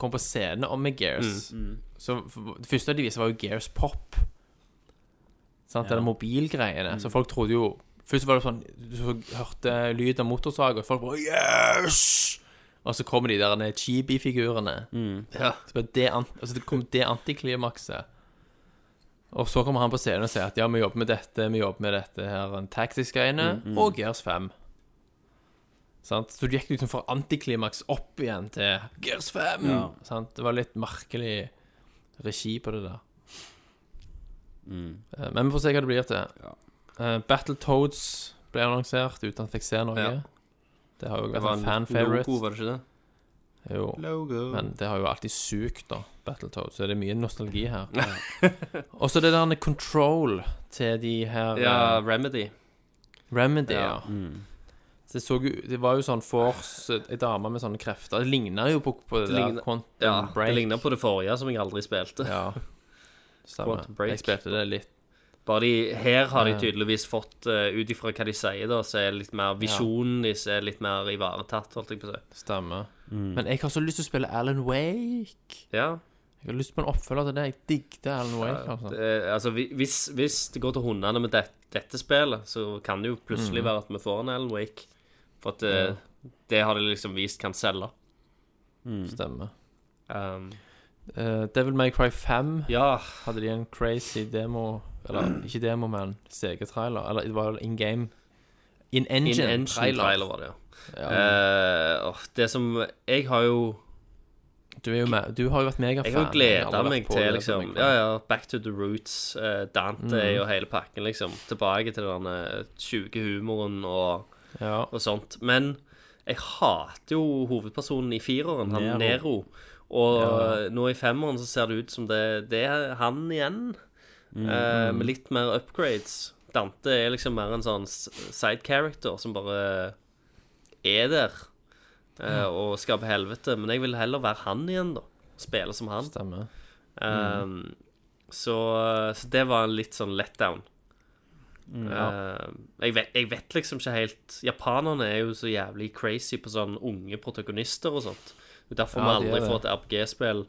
[SPEAKER 2] komme på scenen om med Gears. Så f- det første de viste, var jo Gears Pop. Sant,
[SPEAKER 7] Ja.
[SPEAKER 2] Eller mobilgreiene. Så folk trodde jo Først var det sånn Du så- hørte lyd av motorsag, og folk bare Yes! Og så kommer de der ned chibi-figurene.
[SPEAKER 7] Mm.
[SPEAKER 2] Ja. Så bare det, an- altså det kom det antiklimakset. Og så kommer han på scenen og sier at ja, vi jobber med dette, vi jobber med dette her, en Tactics-greiene,
[SPEAKER 7] Mm,
[SPEAKER 2] og Gears 5. Sant? Så du gikk liksom fra antiklimaks opp igjen til Gears 5.
[SPEAKER 7] Ja.
[SPEAKER 2] Sant? Det var litt merkelig regi på det der.
[SPEAKER 7] Mm.
[SPEAKER 2] Eh, Men vi får se hva det blir til. Eh, Battletoads ble annonsert uten at jeg se noe.
[SPEAKER 6] Ja.
[SPEAKER 2] Det har jo
[SPEAKER 6] Det
[SPEAKER 2] vært
[SPEAKER 6] var
[SPEAKER 2] en
[SPEAKER 6] en
[SPEAKER 2] fan-favorite.
[SPEAKER 6] logo, var det ikke det?
[SPEAKER 2] Jo. Men det har jo alltid sukt, da, Battletoads. Så det er mye nostalgi her. Og så det der med control til de her
[SPEAKER 6] Ja,
[SPEAKER 2] eh,
[SPEAKER 6] Remedy.
[SPEAKER 2] Remedy,
[SPEAKER 6] Ja.
[SPEAKER 2] ja.
[SPEAKER 7] Mm.
[SPEAKER 2] Så Det, så, jo- det var jo sånn Force, ei dame med sånne krefter. Det ligna jo på, på det,
[SPEAKER 6] Det ligner-
[SPEAKER 2] der Quantum
[SPEAKER 6] Ja, Det
[SPEAKER 2] Break.
[SPEAKER 6] ligner på det forrige, som jeg aldri spilte.
[SPEAKER 2] Ja. Stemmer.
[SPEAKER 6] Quantum Break.
[SPEAKER 2] Jeg spilte det litt.
[SPEAKER 6] Bare de, her har de
[SPEAKER 2] Ja.
[SPEAKER 6] tydeligvis fått, eh, ut ifra hva de sier, da, så er litt mer visjonen deres er litt mer ivaretatt, holdt jeg på å si.
[SPEAKER 2] Stemmer.
[SPEAKER 7] Mm.
[SPEAKER 6] Mm.
[SPEAKER 2] Men jeg har så lyst til å spille Alan Wake.
[SPEAKER 6] Ja.
[SPEAKER 2] Jeg har lyst på en oppfølger til det. Jeg digget Alan Wake. Altså.
[SPEAKER 6] Det, er- altså, vi- hvis, hvis det går til hundene med det, dette spillet, så kan det jo plutselig være at vi får en Alan Wake. For at eh, det har de liksom vist kan selge.
[SPEAKER 7] Mm.
[SPEAKER 2] Stemmer.
[SPEAKER 6] Um,
[SPEAKER 2] Mm. Eh, Devil May Cry 5
[SPEAKER 6] ja,
[SPEAKER 2] hadde de en crazy demo Eller ikke demo, men CG-trailer. Eller det var in game. In
[SPEAKER 6] In
[SPEAKER 2] engine-trailer.
[SPEAKER 6] Engine Trailer var det, ja. Eh, åh, det som Jeg har jo
[SPEAKER 2] Du, er jo med, du har jo vært megafan.
[SPEAKER 6] Jeg har gleda
[SPEAKER 2] har vært
[SPEAKER 6] meg
[SPEAKER 2] på
[SPEAKER 6] til
[SPEAKER 2] Devil May
[SPEAKER 6] liksom
[SPEAKER 2] Cry.
[SPEAKER 6] Ja, ja, Back to the Roots, eh, Dante og hele pakken, liksom. Tilbake til den eh, sjuke humoren og,
[SPEAKER 2] ja.
[SPEAKER 6] og sånt. Men jeg hater jo hovedpersonen i fireren, han
[SPEAKER 7] Nero.
[SPEAKER 6] Nero. Og eh, nå i femmeren så ser det ut som det, det er han igjen, eh, med litt mer upgrades. Dante er liksom mer en sånn s- side character som bare er der eh, og skaper helvete. Men jeg vil heller være han igjen, da. Spille som han.
[SPEAKER 2] Stemmer. Mm.
[SPEAKER 6] Um, så, så det var en litt sånn letdown.
[SPEAKER 2] Mm,
[SPEAKER 6] Um, jeg, vet, jeg vet liksom ikke helt Japanerne er jo så jævlig crazy på sånn unge protagonister og sånt. Det er Derfor
[SPEAKER 2] Ja, de
[SPEAKER 6] vi
[SPEAKER 2] er
[SPEAKER 6] aldri
[SPEAKER 2] det.
[SPEAKER 6] får et RPG-spill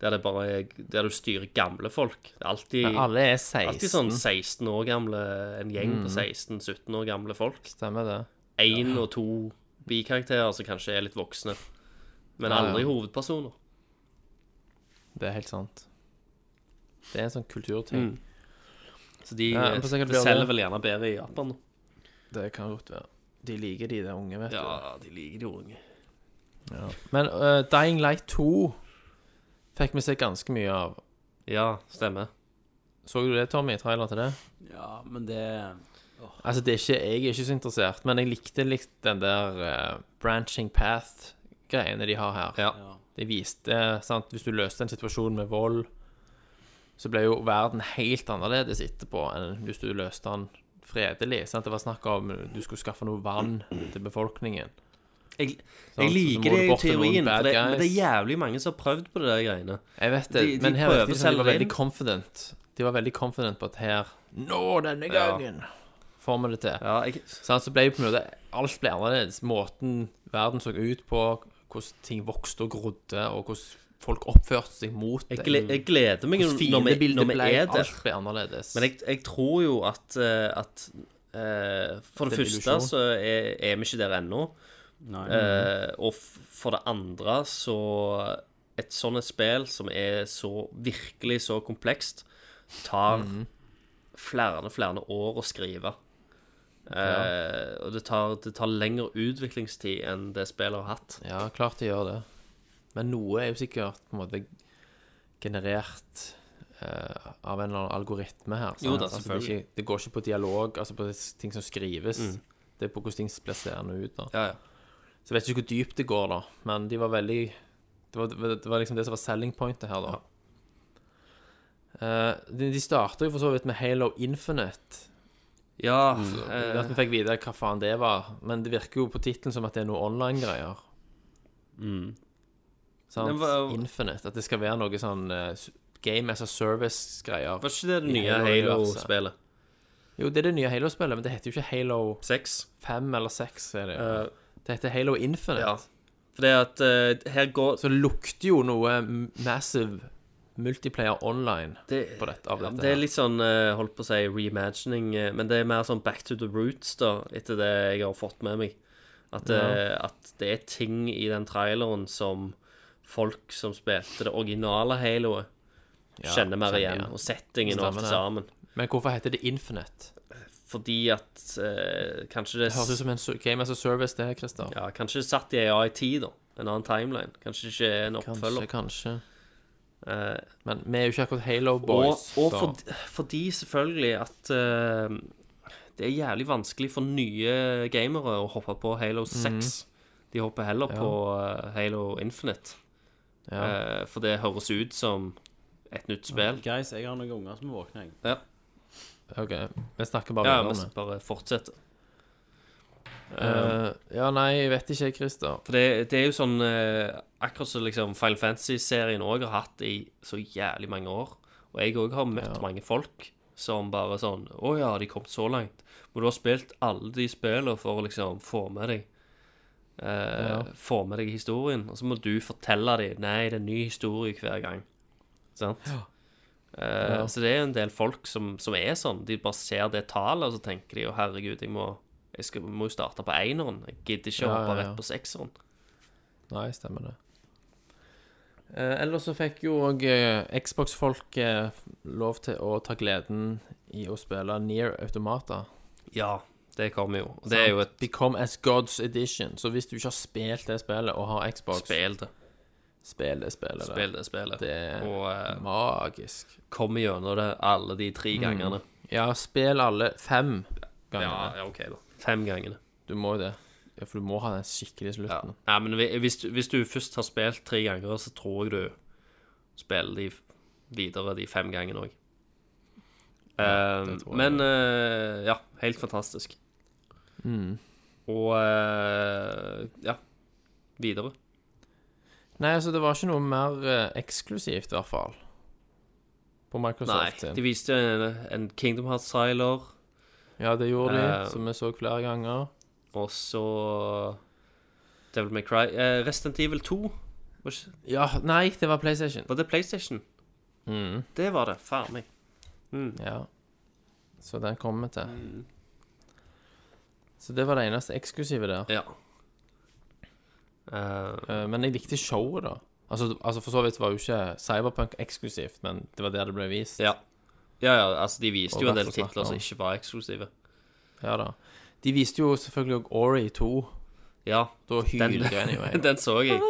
[SPEAKER 6] der, det bare er, der du styrer gamle folk. Det er alltid,
[SPEAKER 2] Men alle er Mm. 16.
[SPEAKER 6] alltid sånn 16 år gamle En gjeng på 16-17 år gamle folk.
[SPEAKER 2] Stemmer det.
[SPEAKER 6] Én og to bikarakterer som kanskje er litt voksne, men
[SPEAKER 2] Ja, ja.
[SPEAKER 6] aldri hovedpersoner.
[SPEAKER 2] Det er helt sant. Det er en sånn
[SPEAKER 6] Mm.
[SPEAKER 2] kulturting.
[SPEAKER 6] Så de,
[SPEAKER 2] Ja, vi får se hva det
[SPEAKER 6] de
[SPEAKER 2] blir av
[SPEAKER 6] selger
[SPEAKER 2] det.
[SPEAKER 6] vel gjerne bedre i Japan. da.
[SPEAKER 2] Det kan godt være. De liker de der unge, vet du.
[SPEAKER 6] Ja, de liker de unge.
[SPEAKER 2] Men eh, Dying Light 2 fikk vi se ganske mye av.
[SPEAKER 6] Ja, stemmer.
[SPEAKER 2] Så du det, Tommy? Trailer til det?
[SPEAKER 7] Ja, men det
[SPEAKER 2] Altså, det er ikke, jeg er ikke så interessert, men jeg likte litt den der eh, branching path-greiene de har her.
[SPEAKER 6] Ja.
[SPEAKER 7] Ja.
[SPEAKER 2] Det viste, eh, sant, hvis du løste en situasjon med vold, så ble jo verden helt annerledes etterpå enn hvis du løste den fredelig. Sant? Det var snakk om eh, du skulle skaffe noe vann til befolkningen.
[SPEAKER 6] Jeg,
[SPEAKER 2] Sant?
[SPEAKER 6] jeg
[SPEAKER 2] Så
[SPEAKER 6] liker
[SPEAKER 2] må
[SPEAKER 6] det
[SPEAKER 2] du
[SPEAKER 6] i
[SPEAKER 2] bort til noen
[SPEAKER 6] teorien,
[SPEAKER 2] bad
[SPEAKER 6] for det, men det er
[SPEAKER 2] guys.
[SPEAKER 6] jævlig mange som har prøvd på det der greiene.
[SPEAKER 2] Jeg vet det,
[SPEAKER 6] De- de
[SPEAKER 2] men her virket
[SPEAKER 6] prøver
[SPEAKER 2] det som de var
[SPEAKER 6] selv
[SPEAKER 2] veldig
[SPEAKER 6] inn.
[SPEAKER 2] confident. De var veldig confident på at her Nå, denne
[SPEAKER 6] Ja.
[SPEAKER 2] gangen! Får vi det til.
[SPEAKER 6] Ja, jeg,
[SPEAKER 2] Sant, så altså, ble jo på en måte Alt ble annerledes. Måten verden så ut på, hvordan ting vokste og grodde, og hvordan folk oppførte seg mot
[SPEAKER 6] jeg,
[SPEAKER 2] det.
[SPEAKER 6] gle- jeg gleder meg
[SPEAKER 2] Hvordan
[SPEAKER 6] når vi,
[SPEAKER 2] fiendebildet
[SPEAKER 6] når vi
[SPEAKER 2] ble,
[SPEAKER 6] er der.
[SPEAKER 2] alt ble annerledes.
[SPEAKER 6] Men jeg, jeg tror jo at, eh, at eh, For det,
[SPEAKER 2] Det er en
[SPEAKER 6] første
[SPEAKER 2] illusjon.
[SPEAKER 6] så er, er vi ikke der ennå.
[SPEAKER 7] Nei.
[SPEAKER 6] Eh, og f- for det andre så Et sånt et spill som er så virkelig så komplekst, tar flere flere år å skrive. Eh, Og det tar, det tar lengre utviklingstid enn det spillet har hatt.
[SPEAKER 2] Ja, klart de gjør det. Men noe er jo sikkert på en måte generert eh, av en eller annen algoritme her. sant?
[SPEAKER 6] Jo da,
[SPEAKER 2] Altså, det, er
[SPEAKER 6] selvfølgelig. Mm.
[SPEAKER 2] ikke, det går ikke på dialog, altså på ting som skrives. Det er på hvordan ting blir seende ut. da
[SPEAKER 6] Ja, ja.
[SPEAKER 2] Så jeg vet ikke hvor dypt det går, da. Men de var veldig Det var, det var liksom det som var selling pointet her, da. Eh, de de starta jo for så vidt med Halo Infinite.
[SPEAKER 6] ja
[SPEAKER 2] Det
[SPEAKER 6] eh,
[SPEAKER 2] at vi fikk vite hva faen det var. Men det virker jo på tittelen som at det er noe online-greier.
[SPEAKER 7] Mm.
[SPEAKER 2] Sant?
[SPEAKER 6] Men hva-
[SPEAKER 2] Infinite. At det skal være noe sånn eh, s- Game as a Service-greier.
[SPEAKER 6] Var ikke det det
[SPEAKER 2] I
[SPEAKER 6] nye
[SPEAKER 2] Halo-universet.
[SPEAKER 6] Halo-spillet?
[SPEAKER 2] Jo, det er det nye Halo-spillet, men det heter jo ikke Halo
[SPEAKER 6] 6?
[SPEAKER 2] 5 eller 6. Er det, jo.
[SPEAKER 6] Eh,
[SPEAKER 2] det heter Halo Infinite.
[SPEAKER 6] ja. Fordi at eh, her går
[SPEAKER 2] Så det lukter jo noe m- massive multiplayer online
[SPEAKER 6] det,
[SPEAKER 2] på dette, av
[SPEAKER 6] ja,
[SPEAKER 2] dette.
[SPEAKER 6] det er
[SPEAKER 2] her.
[SPEAKER 6] litt sånn, eh, holdt på å si, reimagining, eh, men det er mer sånn back to the roots, da, etter det jeg har fått med meg. At, eh, at det er ting i den traileren som folk som spilte det originale Haloet,
[SPEAKER 2] Ja,
[SPEAKER 6] kjenner mer
[SPEAKER 2] kjenner
[SPEAKER 6] igjen.
[SPEAKER 2] igjen.
[SPEAKER 6] Og settingen og alt
[SPEAKER 2] Stemmer
[SPEAKER 6] det
[SPEAKER 2] det.
[SPEAKER 6] sammen.
[SPEAKER 2] Men hvorfor heter det Infinite?
[SPEAKER 6] Fordi at eh, kanskje det
[SPEAKER 2] Det høres ut som en so- Game as a Service, det, Christer.
[SPEAKER 6] ja, Kanskje det satt i AI-tid, da. En annen timeline. Kanskje det ikke er en
[SPEAKER 2] kanskje,
[SPEAKER 6] oppfølger.
[SPEAKER 2] kanskje.
[SPEAKER 6] Eh,
[SPEAKER 2] Men vi er jo ikke akkurat Halo Boys.
[SPEAKER 6] Og, og
[SPEAKER 2] så-
[SPEAKER 6] fordi, fordi selvfølgelig at eh, det er jævlig vanskelig for nye gamere å hoppe på
[SPEAKER 2] Mhm.
[SPEAKER 6] Halo 6. De hopper heller på eh, Halo Infinite,
[SPEAKER 2] ja.
[SPEAKER 6] eh, for det høres ut som et nytt spill.
[SPEAKER 7] Guys, jeg har noen unger som er våkne. jeg.
[SPEAKER 2] OK, vi snakker bare
[SPEAKER 6] Ja,
[SPEAKER 2] videre
[SPEAKER 6] vi
[SPEAKER 2] om det.
[SPEAKER 6] skal bare fortsette.
[SPEAKER 2] Eh, ja, nei, jeg vet ikke, Christer.
[SPEAKER 6] For det, det er jo sånn eh, Akkurat som liksom Final Fantasy-serien òg har hatt i så jævlig mange år. Og jeg òg har møtt mange folk som bare sånn Å ja, de kom så langt. Må du ha spilt alle de spillene for å liksom få med deg eh, Få med deg historien. Og så må du fortelle dem Nei, det er en ny historie hver gang. Sant? Eh,
[SPEAKER 2] Ja.
[SPEAKER 6] Så det er jo en del folk som, som er sånn. De bare ser det tallet, og så tenker de Å, herregud, jeg må jeg skal, må jo starte på eneren. Jeg gidder ikke å
[SPEAKER 2] Ja,
[SPEAKER 6] hoppe
[SPEAKER 2] ja, ja.
[SPEAKER 6] rett på sekseren.
[SPEAKER 2] Nei, stemmer det. Eh, ellers så fikk jo òg eh, Xbox-folk eh, lov til å ta gleden i å spille Near Automata.
[SPEAKER 6] Ja, det kommer jo. Og det er jo et
[SPEAKER 2] Become as Gods Edition. Så hvis du ikke har spilt det spillet og har Xbox,
[SPEAKER 6] spill, det.
[SPEAKER 2] spill det spillet. der.
[SPEAKER 6] Spill det spillet.
[SPEAKER 2] Det er
[SPEAKER 6] Og eh,
[SPEAKER 2] magisk.
[SPEAKER 6] kom gjennom det alle de tre
[SPEAKER 2] Mm,
[SPEAKER 6] gangene.
[SPEAKER 2] Ja, spill alle fem
[SPEAKER 6] Ja,
[SPEAKER 2] ganger.
[SPEAKER 6] ja, OK, da. Fem gangene.
[SPEAKER 2] Du må jo det. Ja, for du må ha den skikkelige
[SPEAKER 6] Ja.
[SPEAKER 2] slutten.
[SPEAKER 6] Nei, men vi- hvis, du- hvis du først har spilt tre ganger, så tror jeg du spiller de f- videre de fem gangene òg.
[SPEAKER 2] det tror jeg.
[SPEAKER 6] men eh, ja, helt fantastisk.
[SPEAKER 2] Mm.
[SPEAKER 6] Og eh, ja, videre.
[SPEAKER 2] Nei, altså, det var ikke noe mer eh, eksklusivt, i hvert fall. På
[SPEAKER 6] Nei,
[SPEAKER 2] Microsoft sin.
[SPEAKER 6] de viste en, en Kingdom Hearts-seiler,
[SPEAKER 2] Ja, det gjorde de,
[SPEAKER 6] Eh,
[SPEAKER 2] som vi så flere ganger.
[SPEAKER 6] og så Devil May Cry eh, Resident Evil 2. Var ikke-
[SPEAKER 2] Ja, nei, det var PlayStation.
[SPEAKER 6] Var det PlayStation? Det var det. Faen meg.
[SPEAKER 2] Ja. Så den kommer vi til.
[SPEAKER 6] Mm.
[SPEAKER 2] Så det var det eneste eksklusive der.
[SPEAKER 6] Ja. Eh,
[SPEAKER 2] Eh, Men jeg likte showet, da. Altså, altså for så vidt var jo ikke Cyberpunk eksklusivt, men det var der det ble vist.
[SPEAKER 6] ja. ja, ja, altså de viste
[SPEAKER 2] Og
[SPEAKER 6] jo en del
[SPEAKER 2] derfor snakker
[SPEAKER 6] titler som
[SPEAKER 2] vi om.
[SPEAKER 6] ikke var eksklusive.
[SPEAKER 2] Ja da. De viste jo selvfølgelig òg Ori 2.
[SPEAKER 6] Ja,
[SPEAKER 2] Da hylgreiene jo jeg.
[SPEAKER 6] den så jeg.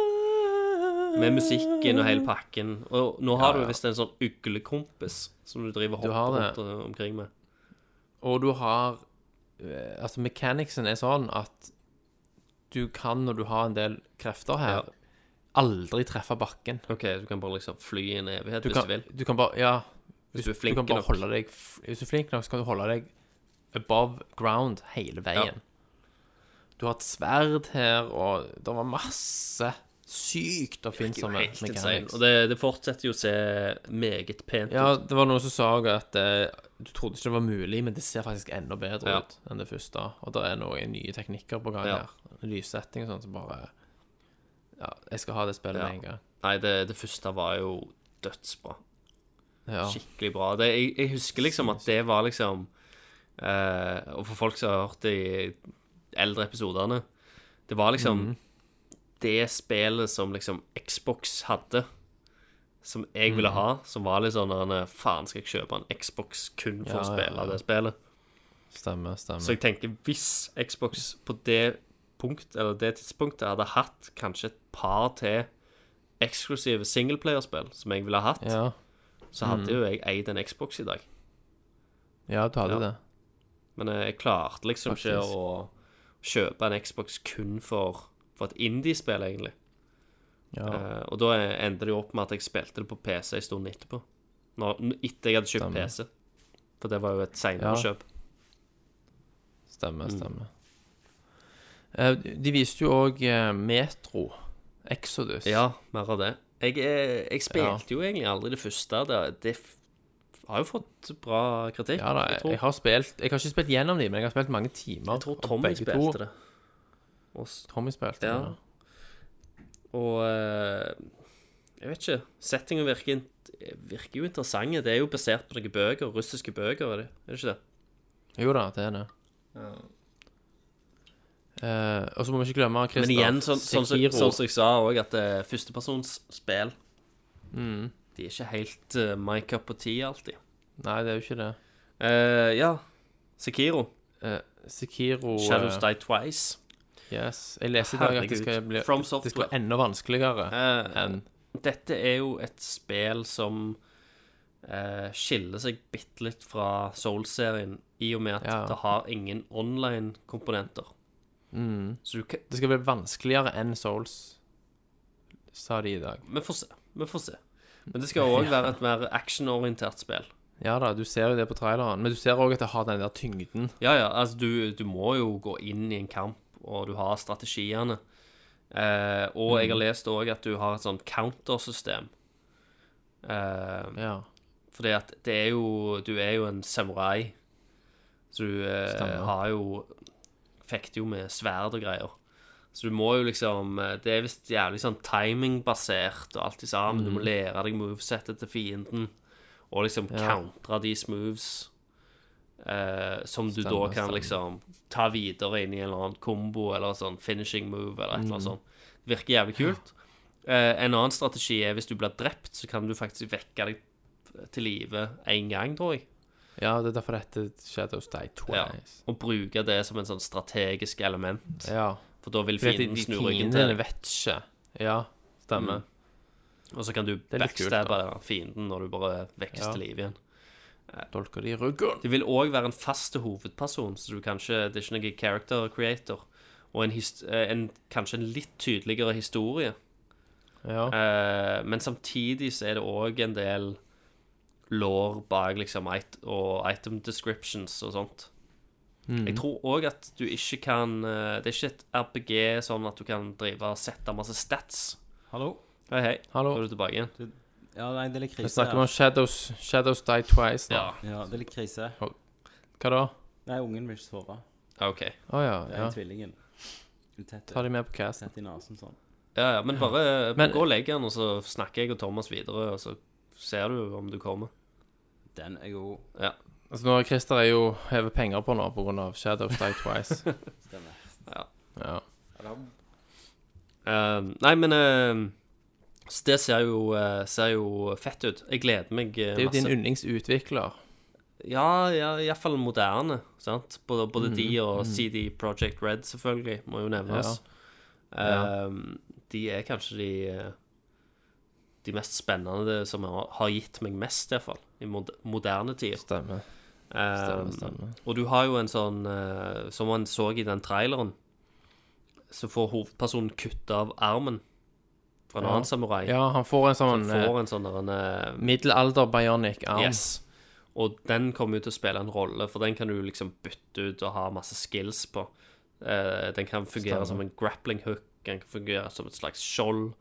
[SPEAKER 6] Med musikken og hele pakken. Og nå har du visst en sånn uglekompis som du driver og
[SPEAKER 2] Du har
[SPEAKER 6] hopper
[SPEAKER 2] det.
[SPEAKER 6] rundt og- omkring med.
[SPEAKER 2] Og du har eh, Altså, mechanicsen er sånn at du kan, når du har en del krefter her,
[SPEAKER 6] Ja.
[SPEAKER 2] aldri treffe bakken.
[SPEAKER 6] OK, du kan bare liksom fly i en evighet
[SPEAKER 2] Du
[SPEAKER 6] hvis
[SPEAKER 2] kan,
[SPEAKER 6] du vil.
[SPEAKER 2] du kan bare Ja.
[SPEAKER 6] Hvis du er flink
[SPEAKER 2] kan bare
[SPEAKER 6] nok.
[SPEAKER 2] holde deg f- Hvis du er flink nok, så kan du holde deg above ground hele veien. Du har et sverd her, og det var masse sykt
[SPEAKER 6] Det er jo
[SPEAKER 2] oppfinnsomme
[SPEAKER 6] helt insane.
[SPEAKER 2] mechanics.
[SPEAKER 6] Og det, det fortsetter jo å se meget pent
[SPEAKER 2] Ja,
[SPEAKER 6] ut.
[SPEAKER 2] det var noen som sa også at eh, du trodde ikke det var mulig, men det ser faktisk enda bedre
[SPEAKER 6] Ja.
[SPEAKER 2] ut enn det første. Og det er noen nye teknikker på gang
[SPEAKER 6] Ja.
[SPEAKER 2] her. Lyssetting og sånn som bare Ja, jeg skal ha det spillet
[SPEAKER 6] Ja.
[SPEAKER 2] med en gang.
[SPEAKER 6] Nei, det, det første var jo dødsbra.
[SPEAKER 2] Ja.
[SPEAKER 6] skikkelig bra. Det, jeg, jeg husker liksom at det var liksom eh, Og for folk som har hørt de eldre episodene Det var liksom
[SPEAKER 2] Mhm.
[SPEAKER 6] det spillet som liksom Xbox hadde, som jeg
[SPEAKER 2] Mhm.
[SPEAKER 6] ville ha, som var litt sånn der, Faen, skal jeg kjøpe en Xbox kun for å
[SPEAKER 2] Ja, ja,
[SPEAKER 6] spille
[SPEAKER 2] ja.
[SPEAKER 6] det spillet?
[SPEAKER 2] Stemmer, stemmer.
[SPEAKER 6] Så jeg tenker, hvis Xbox på det punkt, eller det tidspunktet hadde hatt kanskje et par til eksklusive singleplayerspill som jeg ville ha hatt,
[SPEAKER 2] ja. Mm.
[SPEAKER 6] så hadde jo jeg eid en Xbox i dag.
[SPEAKER 2] ja, du hadde
[SPEAKER 6] Ja.
[SPEAKER 2] det.
[SPEAKER 6] Men eh, jeg klarte liksom ikke
[SPEAKER 2] Faktisk.
[SPEAKER 6] å kjøpe en Xbox kun for, for et indie-spill, egentlig. Eh, og da endte det jo opp med at jeg spilte det på PC en stund etterpå. Når, etter jeg hadde kjøpt
[SPEAKER 2] Stemmer.
[SPEAKER 6] PC. For det var jo et senere
[SPEAKER 2] Ja.
[SPEAKER 6] kjøp.
[SPEAKER 2] Stemmer,
[SPEAKER 6] Mm.
[SPEAKER 2] stemmer. Eh, De viste jo òg Metro, Exodus.
[SPEAKER 6] Ja, mer av det. Jeg, er- jeg spilte jo egentlig aldri det første. Det, det f- har jo fått bra kritikk.
[SPEAKER 2] Ja da, jeg,
[SPEAKER 6] tror,
[SPEAKER 2] jeg har spilt Jeg har ikke spilt gjennom de, men jeg har spilt mange timer.
[SPEAKER 6] jeg tror Tommy spilte det. Og, s-
[SPEAKER 2] Tommy spilte
[SPEAKER 6] Ja.
[SPEAKER 2] det. ja.
[SPEAKER 6] og eh, jeg vet ikke. Settingen virker, in- virker jo interessant. Det er jo basert på noen bøker, russiske bøker, er det, er det ikke det?
[SPEAKER 2] Jo da, det er det. Eh, og så må vi ikke glemme Christer.
[SPEAKER 6] Men igjen, sånn sånn som
[SPEAKER 2] Sekiro.
[SPEAKER 6] sånn som jeg sa òg, at det er førstepersonsspill
[SPEAKER 2] Mm.
[SPEAKER 6] De er ikke helt eh, my cup of tea alltid.
[SPEAKER 2] Nei, det er jo ikke det. Eh,
[SPEAKER 6] Eh, ja. Sekiro.
[SPEAKER 2] Sikiro
[SPEAKER 6] Shadows
[SPEAKER 2] eh,
[SPEAKER 6] Die Twice.
[SPEAKER 2] Yes. Jeg leste i dag at det skal
[SPEAKER 6] Herregud.
[SPEAKER 2] bli
[SPEAKER 6] From
[SPEAKER 2] Det skal
[SPEAKER 6] Software.
[SPEAKER 2] være enda vanskeligere
[SPEAKER 6] Eh,
[SPEAKER 2] enn
[SPEAKER 6] dette er jo et spill som eh, skiller seg bitte litt fra Soul-serien, i og med at
[SPEAKER 2] Ja.
[SPEAKER 6] det har ingen online-komponenter. Så du kan
[SPEAKER 2] Mm. Det skal bli vanskeligere enn Souls, sa de i dag.
[SPEAKER 6] Vi får se. Vi får se. Men det skal òg være et mer actionorientert spill.
[SPEAKER 2] Ja da, du ser jo det på traileren, men du ser òg at det har den der tyngden.
[SPEAKER 6] Ja, ja, altså du, du må jo gå inn i en kamp, og du har strategiene. Eh, og
[SPEAKER 2] Mhm.
[SPEAKER 6] jeg har lest òg at du har et sånt countersystem. Eh,
[SPEAKER 2] Ja.
[SPEAKER 6] fordi at det er jo Du er jo en samurai, så du eh,
[SPEAKER 2] Stemmer.
[SPEAKER 6] har jo Fekter jo med sverd og greier. Så du må jo liksom eh, Det er visst jævlig sånn timingbasert og alt i sammen.
[SPEAKER 2] Mm.
[SPEAKER 6] Du må lære deg movesettet til fienden, og liksom countre deres moves. Eh, som du da
[SPEAKER 2] Stemmer,
[SPEAKER 6] kan
[SPEAKER 2] stemmer.
[SPEAKER 6] liksom ta videre inn i en eller annen kombo eller sånn finishing move eller et eller
[SPEAKER 2] Mm.
[SPEAKER 6] annet sånt. Det virker jævlig kult. Eh, en annen strategi er hvis du blir drept, så kan du faktisk vekke deg til live én gang, tror jeg.
[SPEAKER 2] ja, det er derfor det heter Shadows Die
[SPEAKER 6] Ja.
[SPEAKER 2] Twice.
[SPEAKER 6] Og bruke det som en sånn strategisk element.
[SPEAKER 2] Ja.
[SPEAKER 6] For da vil
[SPEAKER 2] Fordi at de,
[SPEAKER 6] fienden
[SPEAKER 2] de
[SPEAKER 6] snu
[SPEAKER 2] fiendene
[SPEAKER 6] ryggen til deg.
[SPEAKER 2] vet ikke. Ja, stemmer.
[SPEAKER 6] Mm. Og så kan du
[SPEAKER 2] er litt kult,
[SPEAKER 6] backstabbe fienden når du bare vekkes
[SPEAKER 2] Ja.
[SPEAKER 6] til live igjen.
[SPEAKER 2] Dolker de i ryggen.
[SPEAKER 6] Det vil òg være en fast hovedperson, så du kan ikke, det er ikke noen character creator. Og en, hist- eh, en, kanskje en litt tydeligere historie.
[SPEAKER 2] Ja.
[SPEAKER 6] Eh, men samtidig så er det òg en del lår bak liksom it og item descriptions og sånt.
[SPEAKER 2] Mm.
[SPEAKER 6] Jeg tror òg at du ikke kan eh, Det er ikke et RPG sånn at du kan drive og sette masse stats.
[SPEAKER 7] Hallo?
[SPEAKER 6] Hei, hei.
[SPEAKER 2] Hallo.
[SPEAKER 6] Nå er du tilbake igjen.
[SPEAKER 7] Ja, nei, det er litt
[SPEAKER 2] Vi
[SPEAKER 7] krise.
[SPEAKER 2] snakker om Shadows, Shadows Die Twice nå.
[SPEAKER 6] Ja,
[SPEAKER 7] Ja, det er litt krise.
[SPEAKER 2] Hva da?
[SPEAKER 7] Nei, ungen vil ikke sove.
[SPEAKER 6] OK.
[SPEAKER 2] Å ja,
[SPEAKER 7] Det er
[SPEAKER 2] ja.
[SPEAKER 7] tvillingen. Hun tett,
[SPEAKER 2] Ta de med på cast.
[SPEAKER 7] tett i nasen sånn.
[SPEAKER 6] Ja, ja, men bare eh,
[SPEAKER 2] Men-
[SPEAKER 6] gå og legg den, og så snakker jeg og Thomas videre, og så ser du om du kommer.
[SPEAKER 7] Den er god.
[SPEAKER 6] Ja.
[SPEAKER 2] Altså nå, Christer er jo hever penger på nå på grunn av Shadows Die Twice.
[SPEAKER 7] Stemmer.
[SPEAKER 2] Ja.
[SPEAKER 6] Eh, nei, men eh, det ser jo, eh, ser jo fett ut. Jeg gleder meg eh, masse.
[SPEAKER 2] Det er jo din yndlingsutvikler.
[SPEAKER 6] Ja, ja iallfall moderne. sant? Både, både
[SPEAKER 2] Mhm,
[SPEAKER 6] de og CD Project Red, selvfølgelig, må jo nevnes.
[SPEAKER 2] Ja.
[SPEAKER 6] Ehm, de er kanskje de eh, De mest spennende som har, har gitt meg mest, iallfall. I mod moderne tid.
[SPEAKER 2] Stemmer.
[SPEAKER 6] Ehm,
[SPEAKER 2] Stemmer, stemmer.
[SPEAKER 6] og du har jo en sånn eh, Som man så i den traileren, så får hovedpersonen kutte av armen fra en
[SPEAKER 2] Ja.
[SPEAKER 6] annen samurai.
[SPEAKER 2] Ja, han får en sånn
[SPEAKER 6] Han får en sånn der en, eh,
[SPEAKER 2] eh, middelalder-bionic-arm.
[SPEAKER 6] Yes. Og den kommer jo til å spille en rolle, for den kan du liksom bytte ut og ha masse skills på. Eh, den kan fungere
[SPEAKER 2] Stemmer.
[SPEAKER 6] som en grappling hook, den kan fungere som et slags skjold.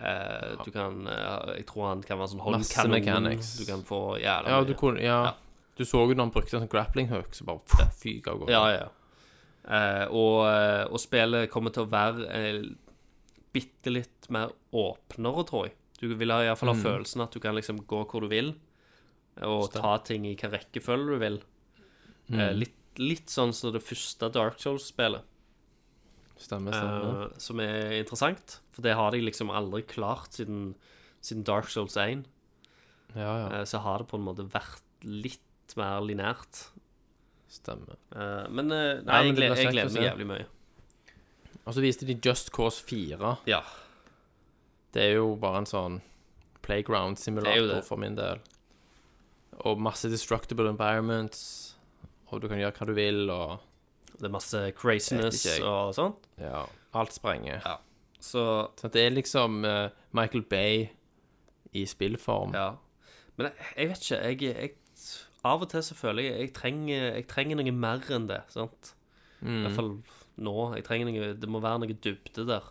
[SPEAKER 6] Eh, Du kan eh, Jeg tror han kan være sånn
[SPEAKER 2] Masse
[SPEAKER 6] håndkanon.
[SPEAKER 2] mechanics.
[SPEAKER 6] Du kan få jævla
[SPEAKER 2] Ja,
[SPEAKER 6] mye.
[SPEAKER 2] du kunne Ja.
[SPEAKER 6] Ja.
[SPEAKER 2] Du så jo når han brukte en sånn grappling hook, så bare fyk av gårde.
[SPEAKER 6] Ja, ja. Eh, og, eh, og spillet kommer til å være eh, bitte litt mer åpnere, tror jeg. Du vil ha- i hvert fall
[SPEAKER 2] Mm.
[SPEAKER 6] ha følelsen at du kan liksom gå hvor du vil, og ta ting i hvilken rekkefølge du vil. Eh,
[SPEAKER 2] Mm.
[SPEAKER 6] litt, litt sånn som det første Dark Souls-spillet,
[SPEAKER 2] Stemmer,
[SPEAKER 6] eh,
[SPEAKER 2] stemmer.
[SPEAKER 6] som er interessant. For det har de liksom aldri klart siden, siden Dark Souls 1.
[SPEAKER 2] ja, ja.
[SPEAKER 6] eh, så har det på en måte vært litt mer linært.
[SPEAKER 2] Stemmer.
[SPEAKER 6] Eh, men eh,
[SPEAKER 2] Nei,
[SPEAKER 6] nei,
[SPEAKER 2] men
[SPEAKER 6] jeg,
[SPEAKER 2] det blir
[SPEAKER 6] gleder,
[SPEAKER 2] kjekt
[SPEAKER 6] jeg
[SPEAKER 2] å
[SPEAKER 6] gleder meg
[SPEAKER 2] se.
[SPEAKER 6] jævlig mye.
[SPEAKER 2] Og så viste de Just Cause 4.
[SPEAKER 6] Ja.
[SPEAKER 2] Det er jo bare en sånn playground
[SPEAKER 6] Det er jo
[SPEAKER 2] simulator
[SPEAKER 6] det.
[SPEAKER 2] for min del. Og masse destructible environments, og du kan gjøre hva du vil, og
[SPEAKER 6] Det er masse craziness
[SPEAKER 2] Vet ikke jeg.
[SPEAKER 6] og sånt.
[SPEAKER 2] Ja, alt sprenger.
[SPEAKER 6] Så
[SPEAKER 2] Så det er liksom eh, Michael Bay i spillform.
[SPEAKER 6] ja. Men jeg, jeg vet ikke. Jeg, jeg, av og til så føler jeg jeg trenger, jeg trenger noe mer enn det. sant?
[SPEAKER 2] Mm.
[SPEAKER 6] I
[SPEAKER 2] Mhm.
[SPEAKER 6] hvert fall nå. Jeg trenger noe, Det må være noe dybde der.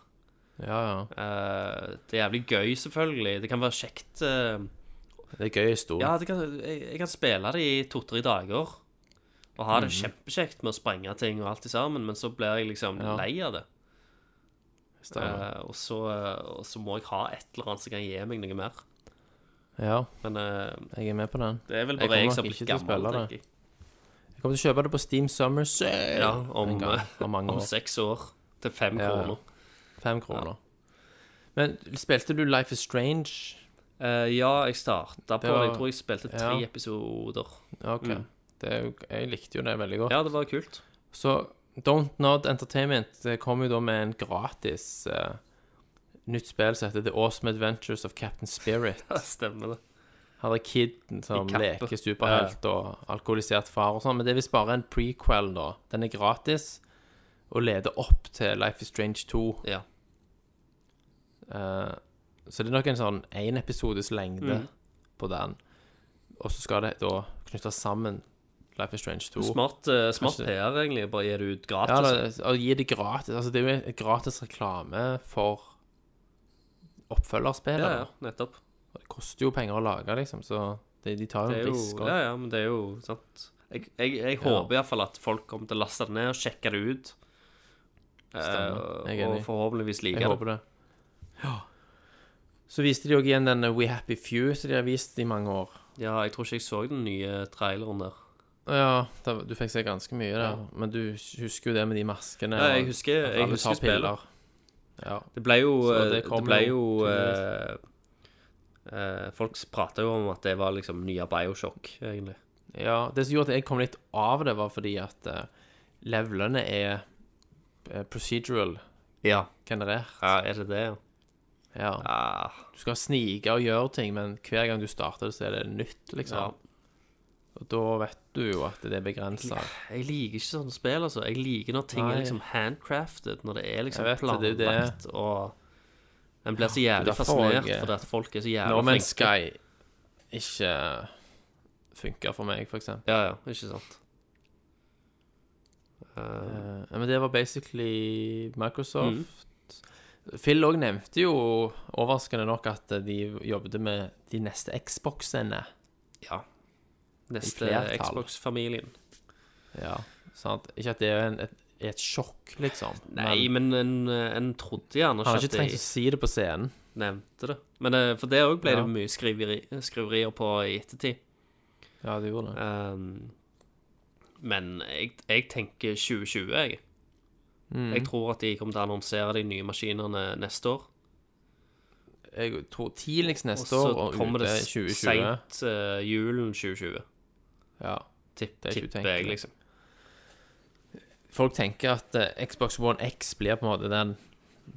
[SPEAKER 2] Ja, ja.
[SPEAKER 6] Eh, det er jævlig gøy, selvfølgelig. Det kan være kjekt. eh,
[SPEAKER 2] Det er gøy i stund.
[SPEAKER 6] ja, det kan, jeg, jeg kan spille det i to-tre dager og ha
[SPEAKER 2] Mhm.
[SPEAKER 6] det kjempekjekt med å sprenge ting og alt i sammen, men så blir jeg liksom
[SPEAKER 2] Ja.
[SPEAKER 6] lei av det.
[SPEAKER 2] Stemmer.
[SPEAKER 6] Eh, og, så, og så må jeg ha et eller annet som kan gi meg noe mer.
[SPEAKER 2] ja,
[SPEAKER 6] Men eh,
[SPEAKER 2] jeg er med på den.
[SPEAKER 6] det er vel
[SPEAKER 2] Jeg kommer
[SPEAKER 6] bare jeg,
[SPEAKER 2] nok
[SPEAKER 6] som
[SPEAKER 2] ikke
[SPEAKER 6] har
[SPEAKER 2] til
[SPEAKER 6] blitt
[SPEAKER 2] å
[SPEAKER 6] gammel,
[SPEAKER 2] spille det.
[SPEAKER 6] tenker jeg.
[SPEAKER 2] Jeg kommer til å kjøpe det på Steam Summer Sale
[SPEAKER 6] Ja, om,
[SPEAKER 2] en gang om mange
[SPEAKER 6] om
[SPEAKER 2] år.
[SPEAKER 6] seks år til fem
[SPEAKER 2] Ja, ja.
[SPEAKER 6] kroner.
[SPEAKER 2] Fem kroner. Men spilte du Life is Strange?
[SPEAKER 6] Eh, ja, jeg starta på
[SPEAKER 2] var-
[SPEAKER 6] Jeg tror jeg spilte tre
[SPEAKER 2] ja.
[SPEAKER 6] episoder.
[SPEAKER 2] OK.
[SPEAKER 6] Mm.
[SPEAKER 2] Det er jo, jeg likte jo det veldig godt.
[SPEAKER 6] Ja, det var kult.
[SPEAKER 2] Så Don't Nod Entertainment eh, kom jo da med en gratis eh, nytt spill som heter The Awesome Adventures of Captain Spirit.
[SPEAKER 6] Stemmer det.
[SPEAKER 2] Her er kiden som
[SPEAKER 6] I kappe.
[SPEAKER 2] leker superhelt og alkoholisert far og sånn. Men det er visst bare en prequel, da. Den er gratis og leder opp til Life is Strange 2.
[SPEAKER 6] Ja.
[SPEAKER 2] Eh, så det er nok en sånn én episodes
[SPEAKER 6] Mm.
[SPEAKER 2] lengde på den. Og så skal det da knyttes sammen Life is Strange 2.
[SPEAKER 6] Smart, eh, smart
[SPEAKER 2] Kanskje-
[SPEAKER 6] PR, egentlig. Bare gi det ut
[SPEAKER 2] Ja,
[SPEAKER 6] gratis.
[SPEAKER 2] da, og gi det gratis. Altså, det er jo et gratis reklame for oppfølgerspillet.
[SPEAKER 6] ja,
[SPEAKER 2] da.
[SPEAKER 6] ja, nettopp.
[SPEAKER 2] Det koster jo penger å lage, liksom, så det, de tar jo
[SPEAKER 6] Det er
[SPEAKER 2] en risk.
[SPEAKER 6] jo,
[SPEAKER 2] og-
[SPEAKER 6] ja, ja, men det er jo sant. Jeg, jeg, jeg håper iallfall at folk kommer til å laste det ned og sjekke det ut.
[SPEAKER 2] Stemmer. Jeg
[SPEAKER 6] Eh,
[SPEAKER 2] er
[SPEAKER 6] og
[SPEAKER 2] enig.
[SPEAKER 6] forhåpentligvis like
[SPEAKER 2] Jeg
[SPEAKER 6] det.
[SPEAKER 2] håper det. Så viste de òg igjen den We Happy Few som de har vist i mange år.
[SPEAKER 6] Ja, jeg tror ikke jeg så den nye traileren der.
[SPEAKER 2] Ja, da, du fikk se ganske mye der, men du husker jo det med de maskene.
[SPEAKER 6] Ja, jeg
[SPEAKER 2] og
[SPEAKER 6] husker-
[SPEAKER 2] at
[SPEAKER 6] jeg
[SPEAKER 2] alle
[SPEAKER 6] husker
[SPEAKER 2] tar piller. Ja.
[SPEAKER 6] Det ble jo, eh,
[SPEAKER 2] Så
[SPEAKER 6] det
[SPEAKER 2] det kommer
[SPEAKER 6] ble jo
[SPEAKER 2] jo
[SPEAKER 6] eh, eh, Folk prata jo om at det var liksom nye Bioshock, egentlig.
[SPEAKER 2] Ja, det som gjorde at jeg kom litt av det, var fordi at eh, levelene er eh, procedural
[SPEAKER 6] Ja.
[SPEAKER 2] generert.
[SPEAKER 6] er det det, ja?
[SPEAKER 2] Ja.
[SPEAKER 6] Ah,
[SPEAKER 2] Du skal snike og gjøre ting, men hver gang du starter det, så er det nytt,
[SPEAKER 6] ja.
[SPEAKER 2] liksom. Og da vet du jo at det er begrensa.
[SPEAKER 6] Jeg liker ikke sånne spill, altså. Jeg liker når ting er
[SPEAKER 2] Nei.
[SPEAKER 6] liksom handcrafted, når det er
[SPEAKER 2] Jeg
[SPEAKER 6] liksom
[SPEAKER 2] vet
[SPEAKER 6] planlagt
[SPEAKER 2] det, det er jo det.
[SPEAKER 6] og En blir så jævlig
[SPEAKER 2] derfor
[SPEAKER 6] fascinert
[SPEAKER 2] jeg-
[SPEAKER 6] fordi at folk er så jævlig
[SPEAKER 2] Når men
[SPEAKER 6] flinke.
[SPEAKER 2] Sky ikke funka for meg, for eksempel.
[SPEAKER 6] Ja, ja, ikke sant. Eh,
[SPEAKER 2] Eh, men det var basically Microsoft.
[SPEAKER 6] Mm.
[SPEAKER 2] Phil òg nevnte jo overraskende nok at de jobbet med de neste Xboxene.
[SPEAKER 6] ja. Neste
[SPEAKER 2] flertall.
[SPEAKER 6] Xbox-familien.
[SPEAKER 2] Ja, sant? Ikke at det er en, et, et sjokk, liksom.
[SPEAKER 6] Nei,
[SPEAKER 2] men
[SPEAKER 6] men en, en trodde gjerne
[SPEAKER 2] han har
[SPEAKER 6] ikke
[SPEAKER 2] ikke
[SPEAKER 6] at
[SPEAKER 2] trengt
[SPEAKER 6] de
[SPEAKER 2] å si det på scenen.
[SPEAKER 6] nevnte det. Men eh, For det òg ble
[SPEAKER 2] Ja.
[SPEAKER 6] det mye skriveri, skriverier på i ettertid.
[SPEAKER 2] Ja, det gjorde det.
[SPEAKER 6] Um, men jeg, jeg tenker 2020, jeg.
[SPEAKER 2] Mm.
[SPEAKER 6] Jeg tror at de kommer til å annonsere de nye maskinene neste år.
[SPEAKER 2] Jeg tror tidligst
[SPEAKER 6] Og
[SPEAKER 2] neste
[SPEAKER 6] så
[SPEAKER 2] år og
[SPEAKER 6] kommer
[SPEAKER 2] ute
[SPEAKER 6] det
[SPEAKER 2] 2020.
[SPEAKER 6] seint eh, julen 2020.
[SPEAKER 2] Ja.
[SPEAKER 6] Tipp,
[SPEAKER 2] Det er ikke
[SPEAKER 6] tipper jeg,
[SPEAKER 2] utenkelig.
[SPEAKER 6] liksom.
[SPEAKER 2] Folk tenker at eh, Xbox One X blir på en måte den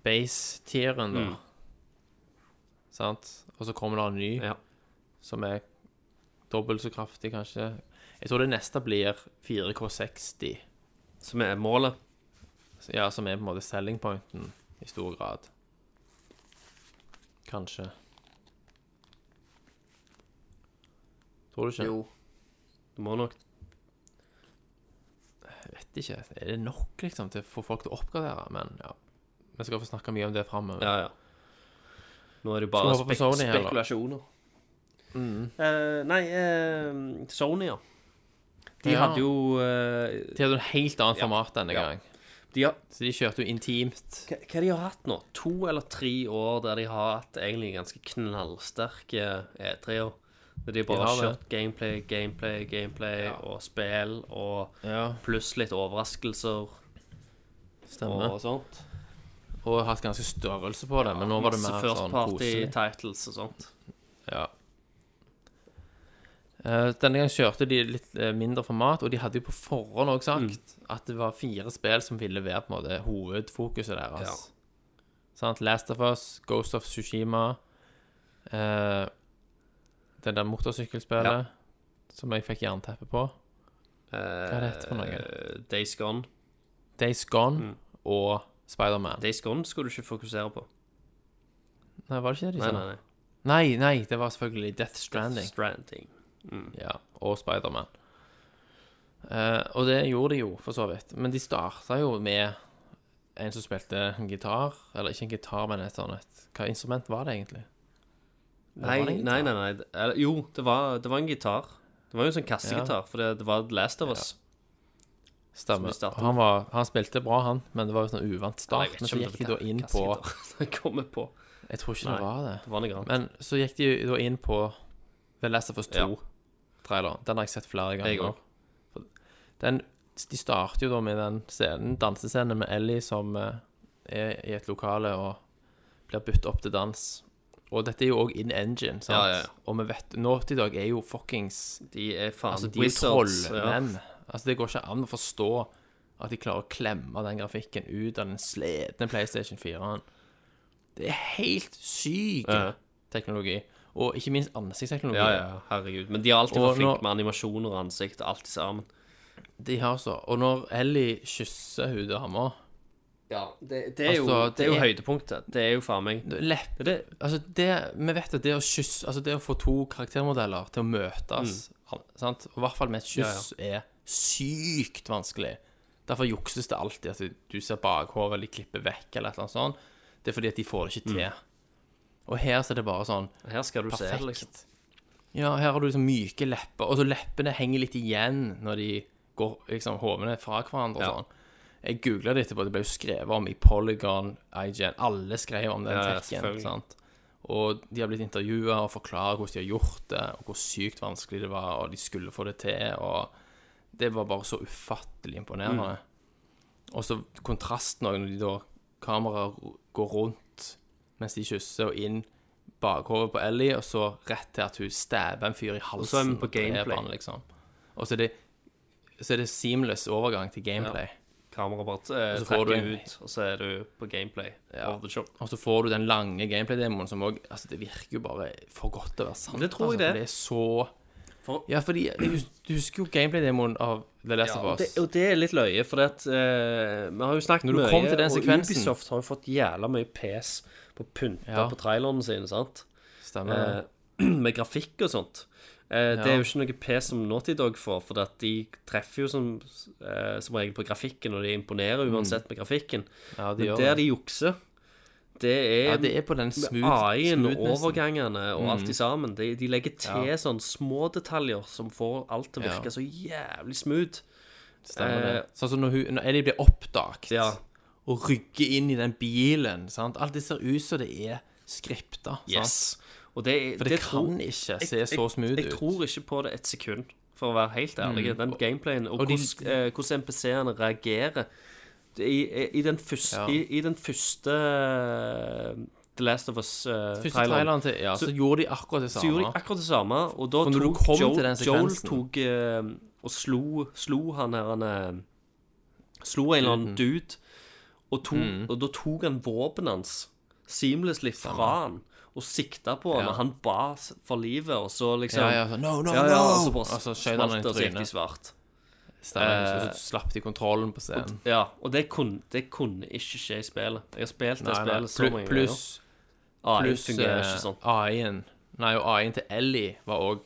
[SPEAKER 2] base-tieren, da.
[SPEAKER 6] Mm.
[SPEAKER 2] Sant? Og så kommer det en ny
[SPEAKER 6] Ja.
[SPEAKER 2] som er dobbelt så kraftig, kanskje. Jeg tror det neste blir 4K60,
[SPEAKER 6] Som er målet.
[SPEAKER 2] ja, som er på en måte selling pointen i stor grad. Kanskje. Tror du ikke?
[SPEAKER 4] Jo.
[SPEAKER 6] Du må nok
[SPEAKER 2] Vet ikke. Er det nok, liksom, til å få folk til å oppgradere? Men ja. Vi skal få snakke mye om det framover.
[SPEAKER 6] Ja, ja. Nå er det jo bare
[SPEAKER 2] Skal vi hoppe på
[SPEAKER 6] spek
[SPEAKER 2] Sony, Mm. eller?
[SPEAKER 6] spekulasjoner. Eh, nei, eh, Sony, ja. De
[SPEAKER 2] Ja.
[SPEAKER 6] hadde jo eh,
[SPEAKER 2] De hadde jo en helt annen format denne
[SPEAKER 6] Ja.
[SPEAKER 2] gang.
[SPEAKER 6] de har,
[SPEAKER 2] Så de kjørte jo intimt.
[SPEAKER 6] Hva hva de har hatt nå? To eller tre år der de har hatt egentlig ganske knallsterke E3-er. Der de bare
[SPEAKER 2] De
[SPEAKER 6] har
[SPEAKER 2] har det.
[SPEAKER 6] kjørt gameplay, gameplay, gameplay og spill og
[SPEAKER 2] Ja,
[SPEAKER 6] pluss litt overraskelser
[SPEAKER 2] stemmer.
[SPEAKER 6] og sånt.
[SPEAKER 2] Og, hatt ganske størrelse på det, men nå var det
[SPEAKER 6] Masse
[SPEAKER 2] mer
[SPEAKER 6] first
[SPEAKER 2] sånn
[SPEAKER 6] party
[SPEAKER 2] koselig.
[SPEAKER 6] titles og sånt.
[SPEAKER 2] Ja. Eh, denne gang kjørte de litt eh, mindre format, og de hadde jo på forhånd også
[SPEAKER 6] Mm.
[SPEAKER 2] sagt at det var fire spill som ville være på en måte hovedfokuset deres. Sant? Last of Us, Ghost of Tsushima eh, Det der motorsykkelspillet som jeg fikk jernteppe på. Hva er det heter for noe?
[SPEAKER 6] Eh, Days Gone.
[SPEAKER 2] Days
[SPEAKER 6] Mm.
[SPEAKER 2] Gone og Spiderman.
[SPEAKER 6] Days Gone skulle du ikke fokusere på.
[SPEAKER 2] Nei, var det ikke det de sa?
[SPEAKER 6] Nei, nei, nei.
[SPEAKER 2] Nei, nei, det var selvfølgelig Death Stranding.
[SPEAKER 6] Stranding.
[SPEAKER 2] Ja, og Spiderman. Eh, og det gjorde de jo, for så vidt. Men de starta jo med en som spilte en gitar. Eller ikke en gitar, men et sånt et Hva instrument var det egentlig?
[SPEAKER 6] Nei,
[SPEAKER 2] var det en
[SPEAKER 6] nei, nei, nei. Eller, jo, det var, det var en gitar. Det var jo en sånn kassegitar, for det, det var The Last of Us.
[SPEAKER 2] Stemmer.
[SPEAKER 6] Som de startet
[SPEAKER 2] Og Han, var, han spilte bra, han, men det var jo sånn uvant
[SPEAKER 6] Nei,
[SPEAKER 2] start.
[SPEAKER 6] jeg vet
[SPEAKER 2] Men
[SPEAKER 6] ikke
[SPEAKER 2] så
[SPEAKER 6] om
[SPEAKER 2] gikk de
[SPEAKER 6] det
[SPEAKER 2] da
[SPEAKER 6] var
[SPEAKER 2] inn på
[SPEAKER 6] kassegitar. Jeg kommer på.
[SPEAKER 2] Jeg tror ikke
[SPEAKER 6] Nei.
[SPEAKER 2] det var det.
[SPEAKER 6] Det var noe annet.
[SPEAKER 2] Men så gikk de da inn på The Last of Us
[SPEAKER 6] Ja.
[SPEAKER 2] 2-traileren. Den har jeg sett flere
[SPEAKER 6] Jeg
[SPEAKER 2] ganger.
[SPEAKER 6] òg.
[SPEAKER 2] Den, de starter jo da med den scenen, dansescenen med Ellie som eh, er i et lokale og blir budt opp til dans. Og dette er jo òg in engine, sant?
[SPEAKER 6] Ja, ja, ja.
[SPEAKER 2] Og vi vet Naughty Dog er jo fuckings
[SPEAKER 6] De er faen
[SPEAKER 2] Altså, de er jo
[SPEAKER 6] wizards. ja.
[SPEAKER 2] trollmenn. Altså, det går ikke an å forstå at de klarer å klemme den grafikken ut av den sletne PlayStation 4-en. Det er helt syk
[SPEAKER 6] Ja.
[SPEAKER 2] teknologi. Og ikke minst ansiktsteknologi.
[SPEAKER 6] Ja, ja, herregud. Men de har alltid
[SPEAKER 2] Og
[SPEAKER 6] vært flinke
[SPEAKER 2] nå-
[SPEAKER 6] med animasjoner og ansikt og alt sammen.
[SPEAKER 2] De har så. Og når Ellie kysser hun dama
[SPEAKER 6] Ja, det, det, er jo,
[SPEAKER 2] Altså,
[SPEAKER 6] det er jo
[SPEAKER 2] det-
[SPEAKER 6] høydepunktet. Det er jo faen meg
[SPEAKER 2] Lepp,
[SPEAKER 6] det,
[SPEAKER 2] altså det, Vi vet at det å kysse Altså det å få to karaktermodeller til å møtes an- sant? Og i hvert fall med et kyss er sykt vanskelig. Derfor jukses det alltid at du ser bakhodet, eller de klipper vekk, eller et eller annet sånt. Det er fordi at de får det ikke til. Og her så er det bare sånn
[SPEAKER 6] Her skal du se
[SPEAKER 2] perfekt.
[SPEAKER 6] det, liksom.
[SPEAKER 2] Ja, her har du liksom myke lepper, og så leppene henger litt igjen når de går liksom hovene fra hverandre og
[SPEAKER 6] Ja.
[SPEAKER 2] sånn. Jeg googla det etterpå, det ble jo skrevet om i Polygon, IGN Alle skrev om den
[SPEAKER 6] Ja, ja,
[SPEAKER 2] tekken.
[SPEAKER 6] selvfølgelig.
[SPEAKER 2] sant? Og de har blitt intervjua og forklarer hvordan de har gjort det, og hvor sykt vanskelig det var, og de skulle få det til, og det var bare så ufattelig imponerende. Og så kontrasten òg, når de da kameraet går rundt mens de kysser, og inn bakhodet på Ellie, og så rett til at hun stabber en fyr i halsen.
[SPEAKER 6] så er vi på
[SPEAKER 2] og dreper
[SPEAKER 6] gameplay.
[SPEAKER 2] han, liksom. Og så er, det, så er det seamless overgang til gameplay.
[SPEAKER 6] Kameraet bare eh,
[SPEAKER 2] Og så får du
[SPEAKER 6] trekker
[SPEAKER 2] en-
[SPEAKER 6] ut, og så er du på gameplay.
[SPEAKER 2] Ja.
[SPEAKER 6] Of the show.
[SPEAKER 2] Og så får du den lange gameplay-demoen som òg altså, Det virker jo bare for godt til å være sant.
[SPEAKER 6] Det tror
[SPEAKER 2] altså,
[SPEAKER 6] jeg det.
[SPEAKER 2] For det er så
[SPEAKER 6] For-
[SPEAKER 2] Ja, fordi jeg hus- Du husker jo gameplay-demoen av The Last
[SPEAKER 6] Ja,
[SPEAKER 2] of
[SPEAKER 6] og
[SPEAKER 2] Us.
[SPEAKER 6] det, og det er litt løye, for at, eh, vi har jo snakket
[SPEAKER 2] Når du
[SPEAKER 6] mye,
[SPEAKER 2] kom til den
[SPEAKER 6] og
[SPEAKER 2] sekvensen-
[SPEAKER 6] Ubisoft har jo fått jævla mye pes på å pynte
[SPEAKER 2] Ja.
[SPEAKER 6] på trailerne sine, sant?
[SPEAKER 2] Stemmer.
[SPEAKER 6] Eh, med grafikk og sånt. Eh, Det er jo ikke noe pes som Naughty Dog får, for at de treffer jo som, eh, som regel på grafikken, og de imponerer uansett med grafikken.
[SPEAKER 2] Mm. ja, de
[SPEAKER 6] Eh, Men
[SPEAKER 2] gjør
[SPEAKER 6] der
[SPEAKER 2] det.
[SPEAKER 6] de jukser, det er,
[SPEAKER 2] Ja, det er på den
[SPEAKER 6] med
[SPEAKER 2] smooth, Mm.
[SPEAKER 6] AI-en og
[SPEAKER 2] smoothnessen.
[SPEAKER 6] overgangene og alt i sammen. De, de legger til sånne små detaljer som får alt til å
[SPEAKER 2] Ja.
[SPEAKER 6] virke så jævlig smooth.
[SPEAKER 2] Stemmer det.
[SPEAKER 6] eh,
[SPEAKER 2] Sånn som når, hun, når Ellie blir oppdaget
[SPEAKER 6] Ja.
[SPEAKER 2] og rygger inn i den bilen. sant? Alt det ser ut som det er skripta. sant?
[SPEAKER 6] Yes. Og det,
[SPEAKER 2] For det, kan ikke se så smooth
[SPEAKER 6] jeg, jeg
[SPEAKER 2] ut. Mm.
[SPEAKER 6] tror ikke på det et sekund, for å være helt ærlig. Den gameplayen og,
[SPEAKER 2] og de-
[SPEAKER 6] hvordan, eh, hvordan NPC-ene reagerer Det- i, i, den første,
[SPEAKER 2] Ja.
[SPEAKER 6] i, I den første eh, The Last of Us-traileren
[SPEAKER 2] Første traileren til Ja, så, gjorde de akkurat det
[SPEAKER 6] så gjorde de
[SPEAKER 2] samme.
[SPEAKER 6] akkurat det samme, og da
[SPEAKER 2] For når du
[SPEAKER 6] tok
[SPEAKER 2] kom til
[SPEAKER 6] Joel,
[SPEAKER 2] den
[SPEAKER 6] Joel
[SPEAKER 2] sekvensen-
[SPEAKER 6] tok eh, og slo, slo han her han eh, Slo en eller annen dude, og, tok,
[SPEAKER 2] Mm.
[SPEAKER 6] og da tok han våpenet hans seamlessly fra han og sikta på han,
[SPEAKER 2] Ja.
[SPEAKER 6] og han ba s- for livet, og så liksom
[SPEAKER 2] Ja, ja, så, no, no,
[SPEAKER 6] Ja, ja, og så
[SPEAKER 2] no!
[SPEAKER 6] bare
[SPEAKER 2] Og så skjøt han
[SPEAKER 6] smalt
[SPEAKER 2] den i
[SPEAKER 6] det, og så gikk de
[SPEAKER 2] trynet.
[SPEAKER 6] svart.
[SPEAKER 2] Stemmer,
[SPEAKER 6] Eh,
[SPEAKER 2] så slapp de kontrollen på scenen.
[SPEAKER 6] Ja, og det kunne, det kunne ikke skje i spillet. Jeg har spilt det
[SPEAKER 2] Nei, nei,
[SPEAKER 6] spillet så
[SPEAKER 2] plu-
[SPEAKER 6] mange
[SPEAKER 2] Pluss
[SPEAKER 6] ganger. AI
[SPEAKER 2] plus,
[SPEAKER 6] fungerer ikke sånn.
[SPEAKER 2] AI-en Nei, og AI-en til Ellie var òg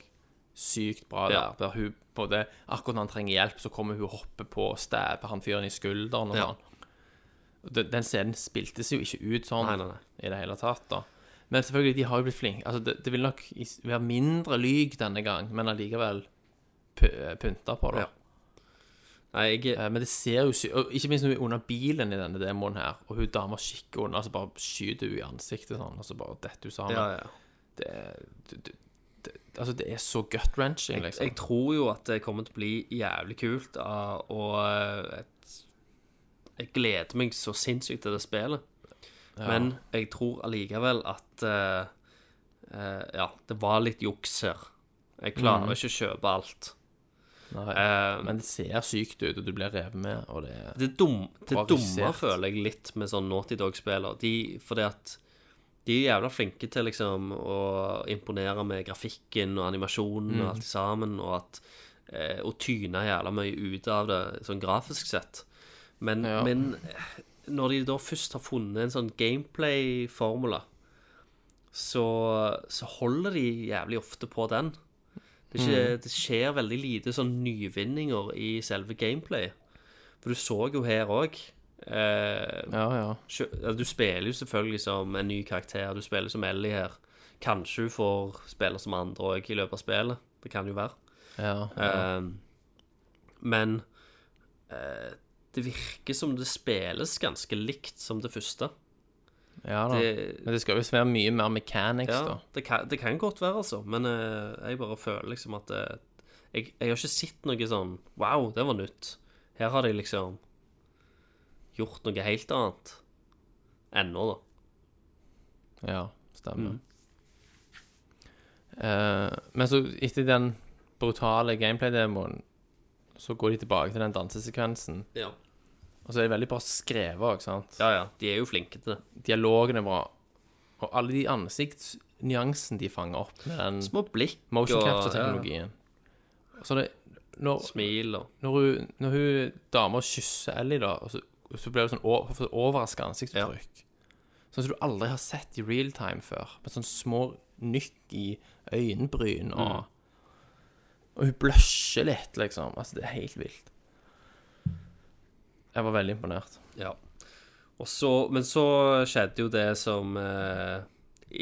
[SPEAKER 2] sykt bra
[SPEAKER 6] Ja.
[SPEAKER 2] der. Der hun både Akkurat når han trenger hjelp, så kommer hun og hopper på og stabber han fyren i skulderen og
[SPEAKER 6] Ja.
[SPEAKER 2] sånn. Den, den scenen spiltes jo ikke ut sånn
[SPEAKER 6] Nei, nei, nei.
[SPEAKER 2] i det hele tatt, da. Men selvfølgelig, de har jo blitt flinke. Altså, det, det vil nok i- være mindre lyg denne gang, men allikevel py- pynta på det.
[SPEAKER 6] Ja. Nei, jeg,
[SPEAKER 2] Eh, Men det ser jo sy- og Ikke minst når hun er under bilen i denne demoen her, og hun dama kikker under, så bare skyter hun i ansiktet sånn, og så bare detter hun sammen.
[SPEAKER 6] ja, ja.
[SPEAKER 2] Det, er- det, det, det, altså, det er så gut-wrenching,
[SPEAKER 6] Jeg,
[SPEAKER 2] liksom.
[SPEAKER 6] jeg tror jo at det kommer til å bli jævlig kult, ah, og eh, et, jeg gleder meg så sinnssykt til det spillet. Men jeg tror allikevel at eh, eh, Ja, det var litt juks her. Jeg klarer ikke å kjøpe alt.
[SPEAKER 2] Nei.
[SPEAKER 6] Eh,
[SPEAKER 2] Men det ser sykt ut, og du blir revet med, og det er
[SPEAKER 6] det, dum, det
[SPEAKER 2] Bra
[SPEAKER 6] dumme
[SPEAKER 2] regissert.
[SPEAKER 6] føler jeg litt med sånn Naughty Dog-spiller. De, fordi at de er jævla flinke til liksom å imponere med grafikken og animasjonen og alt sammen, og at eh, å tyne jævla mye ut av det sånn grafisk sett. Men,
[SPEAKER 2] Ja.
[SPEAKER 6] men når de da først har funnet en sånn gameplay-formula, så, så holder de jævlig ofte på den. Det, er ikke, det skjer veldig lite sånn nyvinninger i selve gameplayet. For du så jo her òg
[SPEAKER 2] Ja, ja.
[SPEAKER 6] Sjø- altså, Du spiller jo selvfølgelig som en ny karakter. Du spiller som Ellie her. Kanskje hun får spille som andre òg i løpet av spillet. Det kan jo være.
[SPEAKER 2] ja.
[SPEAKER 6] Ehm, men eh, det virker som det spilles ganske likt som det første.
[SPEAKER 2] ja da.
[SPEAKER 6] Det,
[SPEAKER 2] Men det skal visst være mye mer mechanics,
[SPEAKER 6] ja,
[SPEAKER 2] da.
[SPEAKER 6] det, kan, det kan godt være, altså. Men eh, jeg bare føler liksom at eh, jeg, jeg har ikke sett noe sånn Wow, det var nytt. Her har de liksom gjort noe helt annet. Ennå, da.
[SPEAKER 2] Ja, stemmer. Eh, men så, etter den brutale gameplay-demoen, så går de tilbake til den dansesekvensen.
[SPEAKER 6] Ja.
[SPEAKER 2] Og så er det veldig bra skrevet òg, sant.
[SPEAKER 6] ja ja, de er jo flinke til det.
[SPEAKER 2] Dialogen er bra. Og alle de ansiktsnyansene de fanger opp med den
[SPEAKER 6] Mm. Små blikk
[SPEAKER 2] motion
[SPEAKER 6] og-
[SPEAKER 2] capture-teknologien. Så det
[SPEAKER 6] ja,
[SPEAKER 2] Når,
[SPEAKER 6] smil og
[SPEAKER 2] når hun, når hun dama kysser Ellie, da, og så, og så blir det sånn over, for overraska ansiktsuttrykk Sånn som du aldri har sett i real time før. Med sånne små nykk i øyenbryn og
[SPEAKER 6] Mm.
[SPEAKER 2] Og hun blusher litt, liksom. Altså, det er helt vilt. Jeg var veldig imponert.
[SPEAKER 6] Ja. Og så, men så skjedde jo det som eh,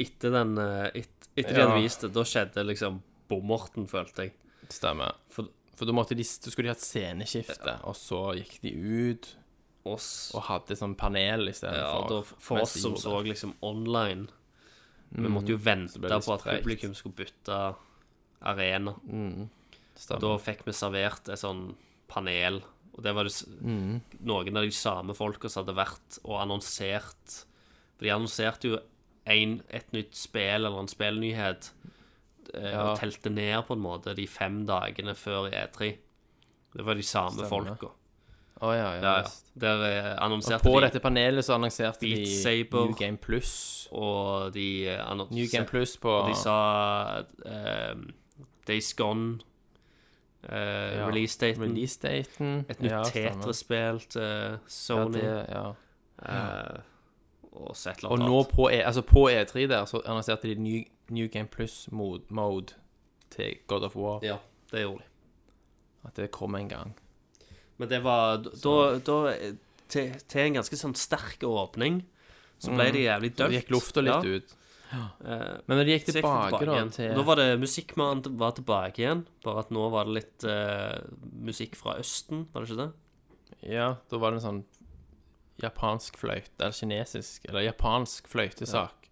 [SPEAKER 6] Etter den eh, et, Etter de
[SPEAKER 2] Ja.
[SPEAKER 6] hadde vist det, da skjedde liksom bommerten, følte jeg.
[SPEAKER 2] Stemmer. For, for da, måtte de, da skulle de ha et sceneskifte, og så gikk de ut
[SPEAKER 6] Oss,
[SPEAKER 2] og hadde sånn panel
[SPEAKER 6] ja,
[SPEAKER 2] istedenfor.
[SPEAKER 6] da, for oss som så liksom online Vi måtte jo vente
[SPEAKER 2] Mm. ble det
[SPEAKER 6] på at
[SPEAKER 2] sprekt.
[SPEAKER 6] publikum skulle bytte arena. Da
[SPEAKER 2] Mm. Stemmer.
[SPEAKER 6] fikk vi servert et sånn panel, og det var det, s-
[SPEAKER 2] Mm.
[SPEAKER 6] noen av de samme folka som hadde vært og annonsert For de annonserte jo en, et nytt spill eller en spillnyhet eh,
[SPEAKER 2] Ja.
[SPEAKER 6] og telte ned på en måte de fem dagene før E3. Det var de samme folka.
[SPEAKER 2] Å ja, ja.
[SPEAKER 6] Ja,
[SPEAKER 2] visst.
[SPEAKER 6] ja. Der eh, annonserte
[SPEAKER 2] På
[SPEAKER 6] de
[SPEAKER 2] dette panelet så annonserte de
[SPEAKER 6] Beat Saber.
[SPEAKER 2] New Game Plus.
[SPEAKER 6] og de eh,
[SPEAKER 2] New Game
[SPEAKER 6] annonserte
[SPEAKER 2] Plus på
[SPEAKER 6] og De sa eh, Days Gone, eh,
[SPEAKER 2] Ja.
[SPEAKER 6] release-daten,
[SPEAKER 2] release-daten.
[SPEAKER 6] et nytt
[SPEAKER 2] stemmer.
[SPEAKER 6] Tetra-spill til
[SPEAKER 2] Ja,
[SPEAKER 6] Sony.
[SPEAKER 2] det, ja.
[SPEAKER 6] Eh, og så et eller
[SPEAKER 2] Og
[SPEAKER 6] annet.
[SPEAKER 2] nå på, e, altså på E3 der så annonserte de New, New Game Plus mode, mode til God of War.
[SPEAKER 6] Ja, det gjorde de.
[SPEAKER 2] At det kom en gang.
[SPEAKER 6] Men det var da, da eh, til, til en ganske sånn sterk åpning, så ble det
[SPEAKER 2] Mm.
[SPEAKER 6] jævlig eh,
[SPEAKER 2] Så
[SPEAKER 6] dølt.
[SPEAKER 2] gikk lufta litt ut. Men når de gikk tilbake, da
[SPEAKER 6] igjen.
[SPEAKER 2] til
[SPEAKER 6] Nå var det Musikkmannen t- var tilbake igjen, bare at nå var det litt eh, musikk fra Østen, var det ikke det?
[SPEAKER 2] Ja, da var det en sånn japansk fløyte, eller kinesisk, eller japansk fløytesak.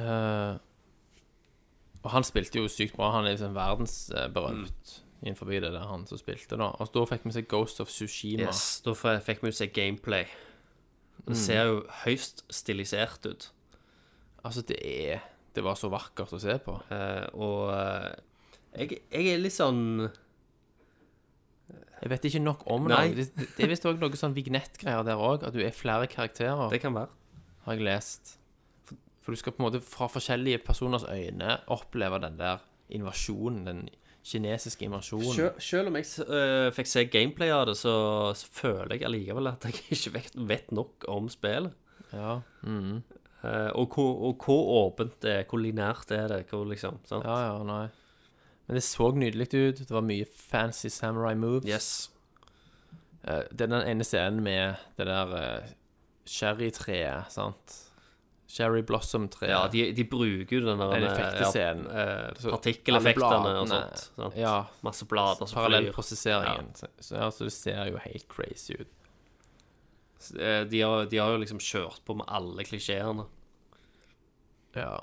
[SPEAKER 2] Eh, og han spilte jo sykt bra. Han er liksom verdensberømt
[SPEAKER 6] Mm.
[SPEAKER 2] innenfor det der han som spilte, da. Og da fikk vi se Ghost of Sushima.
[SPEAKER 6] Yes, da f- fikk vi jo se gameplay.
[SPEAKER 2] Mm.
[SPEAKER 6] Det ser jo høyst stilisert ut.
[SPEAKER 2] Altså, det er Det var så vakkert å se på.
[SPEAKER 6] Eh, og eh, jeg, jeg er litt sånn
[SPEAKER 2] Jeg vet ikke nok om
[SPEAKER 6] Nei.
[SPEAKER 2] det. Det, det er visst òg noe sånn vignettgreier der òg, at du er flere karakterer.
[SPEAKER 6] Det kan være.
[SPEAKER 2] har jeg lest. For, for du skal på en måte fra forskjellige personers øyne oppleve den der invasjonen, den kinesiske invasjonen.
[SPEAKER 6] Sjøl, selv om jeg s- øh, fikk se gameplay av det, så, så føler jeg allikevel at jeg ikke vet, vet nok om spillet.
[SPEAKER 2] Ja.
[SPEAKER 6] Eh, og, hvor, og hvor åpent det er, hvor linært er det, hvor liksom sant?
[SPEAKER 2] ja, ja, nei. Men det så nydelig ut. Det var mye fancy samurai moves.
[SPEAKER 6] Yes.
[SPEAKER 2] Eh, det er den ene scenen med det der eh, sherrytreet, sant? Cherry blossom-treet.
[SPEAKER 6] Ja, de, de bruker jo den der
[SPEAKER 2] Den
[SPEAKER 6] eh,
[SPEAKER 2] effektescenen.
[SPEAKER 6] ja, eh,
[SPEAKER 2] Så
[SPEAKER 6] Partikkeleffektene
[SPEAKER 2] alle
[SPEAKER 6] og
[SPEAKER 2] bladene-
[SPEAKER 6] sånt. sant?
[SPEAKER 2] Ja,
[SPEAKER 6] Masse blader som flyr.
[SPEAKER 2] parallellprosesseringen. Så, så, ja, så det ser jo helt crazy ut.
[SPEAKER 6] Eh, De har, de har jo liksom kjørt på med alle klisjeene.
[SPEAKER 2] Ja.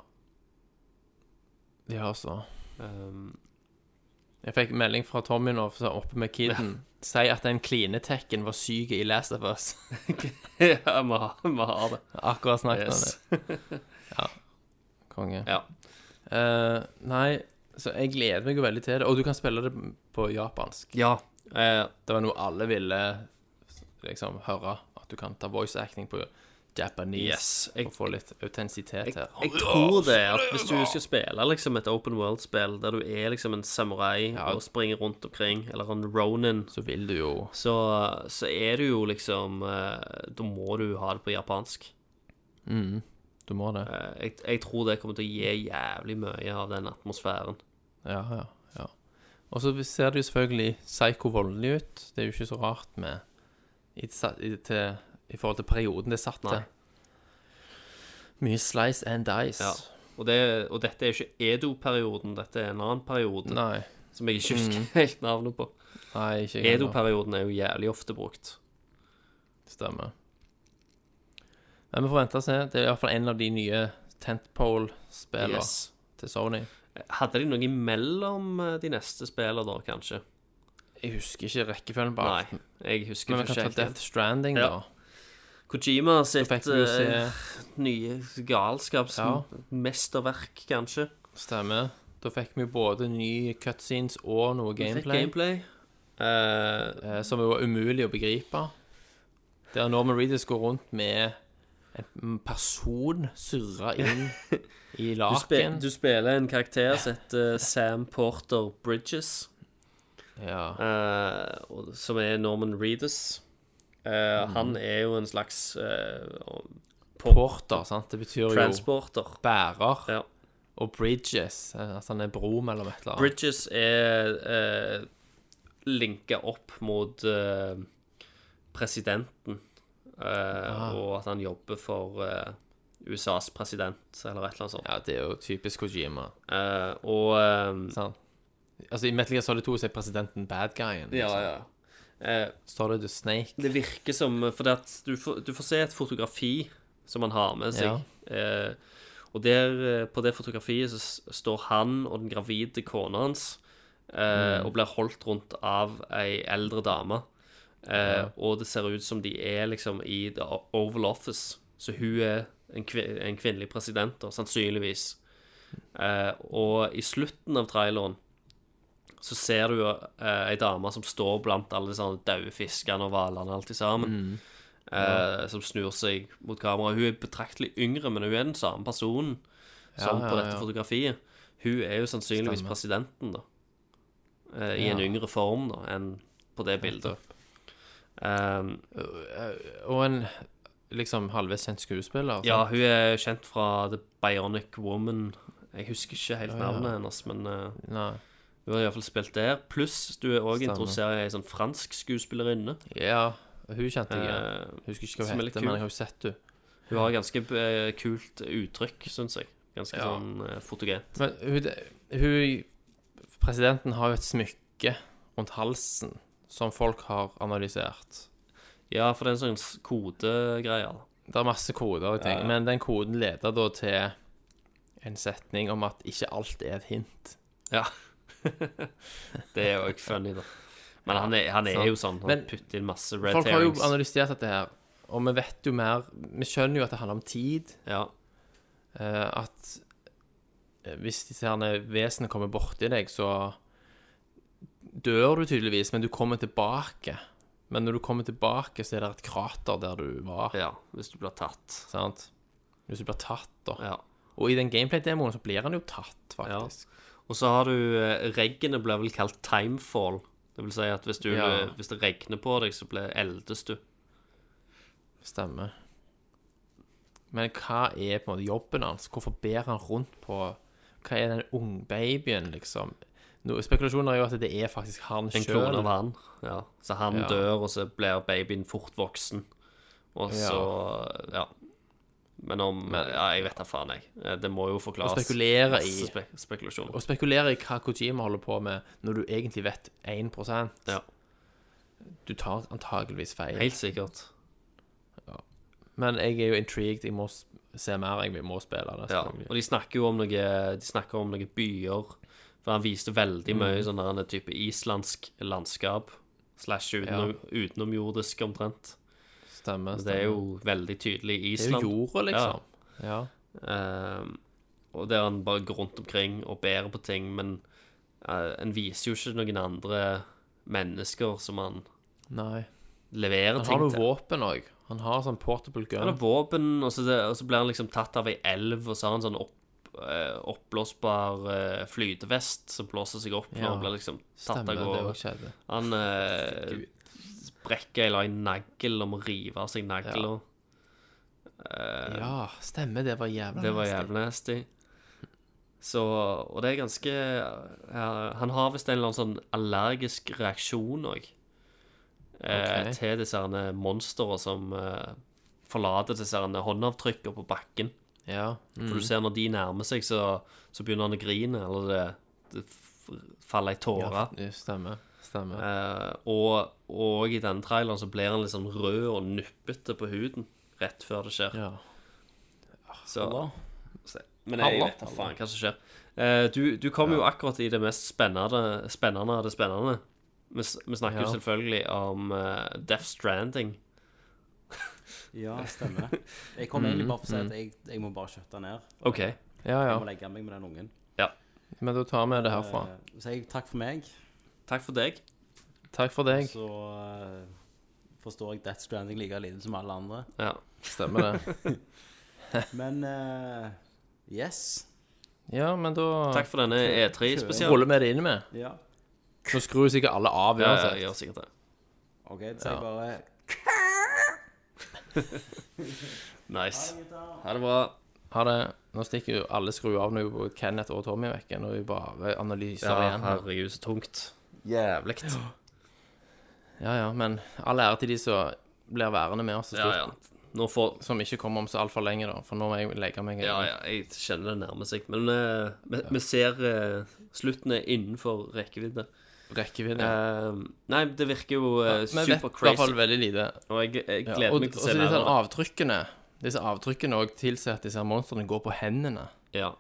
[SPEAKER 2] De har så altså.
[SPEAKER 6] Um,
[SPEAKER 2] Jeg fikk melding fra Tommy nå, for så oppe med kiden. Si at den klinetekken var syk i Last of Us.
[SPEAKER 6] ja, vi har, vi har det.
[SPEAKER 2] Akkurat snakket om
[SPEAKER 6] Yes.
[SPEAKER 2] det. Konge.
[SPEAKER 6] Ja.
[SPEAKER 2] Eh, nei, så jeg gleder meg jo veldig til det. Og du kan spille det på japansk.
[SPEAKER 6] ja. eh,
[SPEAKER 2] Det var noe alle ville liksom høre. At du kan ta voice acting på Japanese
[SPEAKER 6] Yes, jeg-
[SPEAKER 2] for å få litt autentisitet her.
[SPEAKER 6] Jeg tror det er at hvis du skal spille liksom et open world-spill der du er liksom en samurai og springer rundt omkring, eller en ronin,
[SPEAKER 2] Så vil du jo
[SPEAKER 6] så, så er du jo liksom eh, Da må du ha det på japansk.
[SPEAKER 2] Mm, Du må det.
[SPEAKER 6] Eh, Jeg, jeg tror det kommer til å gi jævlig mye av den atmosfæren.
[SPEAKER 2] Ja, ja. ja. Og så ser det jo selvfølgelig psyko-voldelig ut. Det er jo ikke så rart med i, sa- i, til, i forhold til perioden det er satt til.
[SPEAKER 6] Nei.
[SPEAKER 2] Mye slice and dice.
[SPEAKER 6] Ja. Og, det, og dette er jo ikke Edo-perioden, dette er en annen periode
[SPEAKER 2] Nei. Mm.
[SPEAKER 6] som jeg ikke husker helt navnet på.
[SPEAKER 2] Nei, ikke jeg heller.
[SPEAKER 6] Edo-perioden er jo jævlig ofte brukt.
[SPEAKER 2] Stemmer. Men vi får vente og se. Det er i hvert fall en av de nye Tentpole-spillene
[SPEAKER 6] Yes.
[SPEAKER 2] til Sony.
[SPEAKER 6] Hadde de noe imellom eh, de neste spillene da, kanskje?
[SPEAKER 2] Jeg husker ikke rekkefølgen på alt.
[SPEAKER 6] Nei, jeg husker
[SPEAKER 2] Men vi
[SPEAKER 6] ikke
[SPEAKER 2] kan ta
[SPEAKER 6] helt.
[SPEAKER 2] Death Stranding,
[SPEAKER 6] Ja.
[SPEAKER 2] da.
[SPEAKER 6] Kojima
[SPEAKER 2] Da
[SPEAKER 6] sitt
[SPEAKER 2] fikk vi jo se
[SPEAKER 6] eh, nye
[SPEAKER 2] Ja.
[SPEAKER 6] galskapsmesterverk, kanskje.
[SPEAKER 2] Stemmer. Da fikk vi jo både nye cutscenes og noe
[SPEAKER 6] Vi fikk
[SPEAKER 2] gameplay,
[SPEAKER 6] gameplay. Eh,
[SPEAKER 2] eh, som var umulig å begripe. Der Norman Reedus går rundt med en person surra inn i
[SPEAKER 6] du, spe,
[SPEAKER 2] laken.
[SPEAKER 6] du spiller en karakter som heter eh, Sam Porter Bridges.
[SPEAKER 2] Ja.
[SPEAKER 6] eh, og- som er Norman Reedus. Eh,
[SPEAKER 2] Mm.
[SPEAKER 6] Han er jo en slags eh, por-
[SPEAKER 2] Porter, sant. Det betyr jo
[SPEAKER 6] transporter.
[SPEAKER 2] bærer.
[SPEAKER 6] Ja.
[SPEAKER 2] Og bridges. eh, Altså han er bro mellom et eller annet.
[SPEAKER 6] Bridges er eh, linka opp mot eh, presidenten, eh, og at han jobber for eh, USAs president, eller et eller annet sånt.
[SPEAKER 2] Ja, det er jo typisk Kojima.
[SPEAKER 6] Eh, og eh,
[SPEAKER 2] Sant? Altså I Metal Gear Solid 2 så er presidenten bad guyen.
[SPEAKER 6] ja,
[SPEAKER 2] liksom.
[SPEAKER 6] ja. Eh,
[SPEAKER 2] Solid the Snake.
[SPEAKER 6] det virker som For det at du, får, du får se et fotografi som han har med seg. Eh, og der, eh, på det fotografiet så s- står han og den gravide kona hans eh, og blir holdt rundt av ei eldre dame. Eh, Og det ser ut som de er liksom i The O- Oval Office. Så hun er en, kvi- en kvinnelig president, da, sannsynligvis. Eh, og i slutten av traileren så ser du eh, ei dame som står blant alle disse her daue fiskene og hvalene alltid sammen.
[SPEAKER 2] Mm.
[SPEAKER 6] Eh, som snur seg mot kamera. Hun er betraktelig yngre, men hun er den samme personen som
[SPEAKER 2] Ja, ja,
[SPEAKER 6] på dette
[SPEAKER 2] ja.
[SPEAKER 6] fotografiet. Hun er jo sannsynligvis
[SPEAKER 2] Stemmer.
[SPEAKER 6] presidenten, da. Eh, I
[SPEAKER 2] Ja.
[SPEAKER 6] en yngre form, da, enn på det bildet. Eh,
[SPEAKER 2] Og en liksom halvveis kjent skuespiller.
[SPEAKER 6] ja,
[SPEAKER 2] sant?
[SPEAKER 6] hun er kjent fra The Bionic Woman. Jeg husker ikke helt navnet hennes, men eh,
[SPEAKER 2] Nei.
[SPEAKER 6] hun har iallfall spilt der. Pluss du er òg
[SPEAKER 2] Stemmer.
[SPEAKER 6] interessert i ei sånn fransk skuespillerinne.
[SPEAKER 2] Ja, hun kjente jeg. ja.
[SPEAKER 6] Eh,
[SPEAKER 2] Husker ikke hva
[SPEAKER 6] som
[SPEAKER 2] hun
[SPEAKER 6] er litt
[SPEAKER 2] heter, men
[SPEAKER 6] kul.
[SPEAKER 2] jeg har jo sett henne.
[SPEAKER 6] hun har ganske eh, kult uttrykk, syns jeg. Ganske
[SPEAKER 2] Ja.
[SPEAKER 6] sånn eh, fotogent.
[SPEAKER 2] Men hun, hun Presidenten har jo et smykke rundt halsen som folk har analysert.
[SPEAKER 6] Ja, for det er en sånn s- kodegreie. da.
[SPEAKER 2] Det er masse koder og ting,
[SPEAKER 6] Ja, ja.
[SPEAKER 2] men den koden leder da til en setning om at ikke alt er et hint.
[SPEAKER 6] Det er jo ikke funny, da. Men han er, han er
[SPEAKER 2] sant.
[SPEAKER 6] jo sånn. Han
[SPEAKER 2] Men
[SPEAKER 6] putter inn masse red
[SPEAKER 2] folk har jo
[SPEAKER 6] herrings.
[SPEAKER 2] analysert dette her, og vi vet jo mer Vi skjønner jo at det handler om tid.
[SPEAKER 6] Ja,
[SPEAKER 2] eh, at eh, hvis disse herne vesenene kommer borti deg, så dør du tydeligvis, men du kommer tilbake. Men når du kommer tilbake, så er det et krater der du var.
[SPEAKER 6] ja, hvis du blir tatt.
[SPEAKER 2] Sant? Hvis du blir tatt, da.
[SPEAKER 6] Ja.
[SPEAKER 2] Og i den gameplay-demoen så blir han jo tatt, faktisk.
[SPEAKER 6] Og så har du eh, Reggene blir vel kalt timefall. Det vil si at hvis, du,
[SPEAKER 2] Ja.
[SPEAKER 6] hvis det regner på deg, så blir eldes du.
[SPEAKER 2] Stemmer. Men hva er på en måte jobben hans? Hvorfor ber han rundt på Hva er den ungbabyen, liksom? No, spekulasjonen er jo at det er faktisk han
[SPEAKER 6] En klone
[SPEAKER 2] sjøl.
[SPEAKER 6] av han. Ja. Så han
[SPEAKER 2] Ja.
[SPEAKER 6] dør, og så blir babyen fort voksen. Og så Ja. Men om Ja, jeg vet da faen, jeg. Eh, Det må jo forklares.
[SPEAKER 2] Og spekulere
[SPEAKER 6] Masse
[SPEAKER 2] i-
[SPEAKER 6] Spe spekulasjon.
[SPEAKER 2] Å spekulere i hva Kojima holder på med, når du egentlig vet 1
[SPEAKER 6] Ja.
[SPEAKER 2] Du tar antakeligvis feil.
[SPEAKER 6] Helt sikkert.
[SPEAKER 2] Men jeg er jo intrigued. Jeg må s- se mer. Jeg må spille det.
[SPEAKER 6] Ja.
[SPEAKER 2] selvfølgelig.
[SPEAKER 6] Og de snakker jo om noe De snakker om noen byer. For han viste veldig
[SPEAKER 2] Mm.
[SPEAKER 6] mye sånn der en type islandsk landskap. Slash utenom, utenomjordisk, omtrent.
[SPEAKER 2] Stemmer.
[SPEAKER 6] Så Det er jo veldig tydelig i
[SPEAKER 2] Det er jo
[SPEAKER 6] Island.
[SPEAKER 2] jorda, liksom. Ja.
[SPEAKER 6] Ehm, og der han bare går rundt omkring og bærer på ting, men eh, en viser jo ikke noen andre mennesker som han
[SPEAKER 2] Nei.
[SPEAKER 6] leverer
[SPEAKER 2] Han har
[SPEAKER 6] ting
[SPEAKER 2] noe
[SPEAKER 6] til.
[SPEAKER 2] våpen òg. Han har sånn portable
[SPEAKER 6] Han har
[SPEAKER 2] gun.
[SPEAKER 6] våpen, og så, det, og så blir han liksom tatt av ei elv, og så har han sånn opp, eh, oppblåsbar eh, flytevest som blåser seg opp når
[SPEAKER 2] Ja.
[SPEAKER 6] han blir liksom tatt
[SPEAKER 2] Stemmer,
[SPEAKER 6] av
[SPEAKER 2] det òg
[SPEAKER 6] gårde.
[SPEAKER 2] skjedde.
[SPEAKER 6] Han eh, brekker eller en nagl og må rive av seg nagla. Eh,
[SPEAKER 2] Ja, stemmer, det var jævla
[SPEAKER 6] det var
[SPEAKER 2] nasty.
[SPEAKER 6] jævlig nasty. Så Og det er ganske ja, Han har visst en eller annen sånn allergisk reaksjon òg. Eh,
[SPEAKER 2] Ok.
[SPEAKER 6] Til disse herne monstrene som eh, forlater disse herne håndavtrykkene på bakken.
[SPEAKER 2] Ja. Mm.
[SPEAKER 6] For du ser når de nærmer seg, så, så begynner han å grine, eller det, det f- faller ei tåre.
[SPEAKER 2] Ja, Stemmer. Stemmer.
[SPEAKER 6] Eh, og, og i denne traileren så blir han litt sånn rød og nuppete på huden rett før det skjer.
[SPEAKER 2] Ja.
[SPEAKER 6] Så, så, men jeg vet da faen hva som skjer. Eh, du du kom jo akkurat i det mest spennende, spennende av det spennende. Vi, s- vi snakker jo
[SPEAKER 2] Ja.
[SPEAKER 6] selvfølgelig om eh, Death Stranding.
[SPEAKER 7] Ja, stemmer det. Jeg kom egentlig bare for å si at jeg, jeg må bare kjøtte ned.
[SPEAKER 6] OK.
[SPEAKER 2] ja,
[SPEAKER 7] Jeg
[SPEAKER 2] Mm. ja.
[SPEAKER 7] må legge meg med den ungen.
[SPEAKER 2] Men da tar vi det herfra.
[SPEAKER 7] Eh, Så jeg takk for meg.
[SPEAKER 6] Takk for deg.
[SPEAKER 2] Takk for deg.
[SPEAKER 7] Så eh, forstår jeg Death Stranding like lite som alle andre.
[SPEAKER 6] Ja.
[SPEAKER 2] Stemmer det.
[SPEAKER 7] Men eh, yes.
[SPEAKER 2] Ja, men da
[SPEAKER 6] Takk for denne E3-spesialen.
[SPEAKER 2] ruller vi det inn med.
[SPEAKER 7] Ja.
[SPEAKER 2] Nå skrur sikkert alle av
[SPEAKER 6] Ja, jeg
[SPEAKER 2] uansett.
[SPEAKER 6] gjør sikkert det.
[SPEAKER 7] OK, da sier jeg bare
[SPEAKER 6] Nice. Ha det bra.
[SPEAKER 2] Ha det. Nå stikker jo alle skru av når jo Kenneth og Tommy er vekke. Når vi bare analyser
[SPEAKER 6] Ja,
[SPEAKER 2] igjen. her.
[SPEAKER 6] herregud, så tungt. Jævlig.
[SPEAKER 2] Ja, ja, men all ære til de som blir værende med oss til
[SPEAKER 6] Ja,
[SPEAKER 2] slutt.
[SPEAKER 6] ja. Nå får
[SPEAKER 2] Som ikke kommer om så altfor lenge, da. For nå må jeg legge meg.
[SPEAKER 6] Ja, ja, jeg kjenner det nærmer seg. Men eh, vi, vi ser uh, slutten er innenfor rekkevidde.
[SPEAKER 2] Rekkevidde.
[SPEAKER 6] Eh, nei, det virker jo
[SPEAKER 2] Vi
[SPEAKER 6] uh,
[SPEAKER 2] vet i
[SPEAKER 6] super
[SPEAKER 2] hvert fall
[SPEAKER 6] crazy.
[SPEAKER 2] veldig lite.
[SPEAKER 6] Og jeg, jeg
[SPEAKER 2] Ja,
[SPEAKER 6] gleder
[SPEAKER 2] og
[SPEAKER 6] meg
[SPEAKER 2] og
[SPEAKER 6] til å
[SPEAKER 2] så
[SPEAKER 6] se
[SPEAKER 2] sånn disse
[SPEAKER 6] mer. av det.
[SPEAKER 2] avtrykkene Disse avtrykkene òg tilsier at disse her monstrene går på hendene.
[SPEAKER 6] Ja.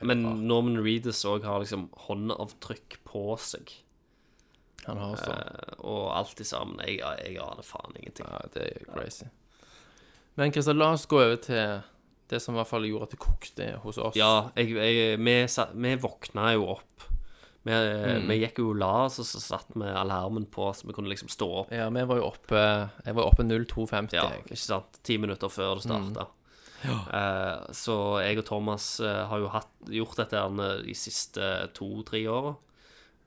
[SPEAKER 6] Men Norman Reedus òg har liksom håndavtrykk på seg.
[SPEAKER 2] Han har sånn- også.
[SPEAKER 6] eh, og alt i sammen. Jeg, jeg aner faen ingenting.
[SPEAKER 2] Ja, det er jo crazy. Men Christer, la oss gå over til det som i hvert fall gjorde at det kokte hos oss.
[SPEAKER 6] Ja, jeg, jeg, vi, sa- vi våkna jo opp. Vi, eh, vi gikk jo og la oss, og så satt vi alarmen på, så vi kunne liksom stå opp.
[SPEAKER 2] Ja, vi var jo oppe Jeg var oppe 02.50.
[SPEAKER 6] Ja,
[SPEAKER 2] jeg.
[SPEAKER 6] ikke sant? Ti minutter før det starta. Eh, så jeg og Thomas eh, har jo hatt, gjort dette her eh, de siste to-tre åra.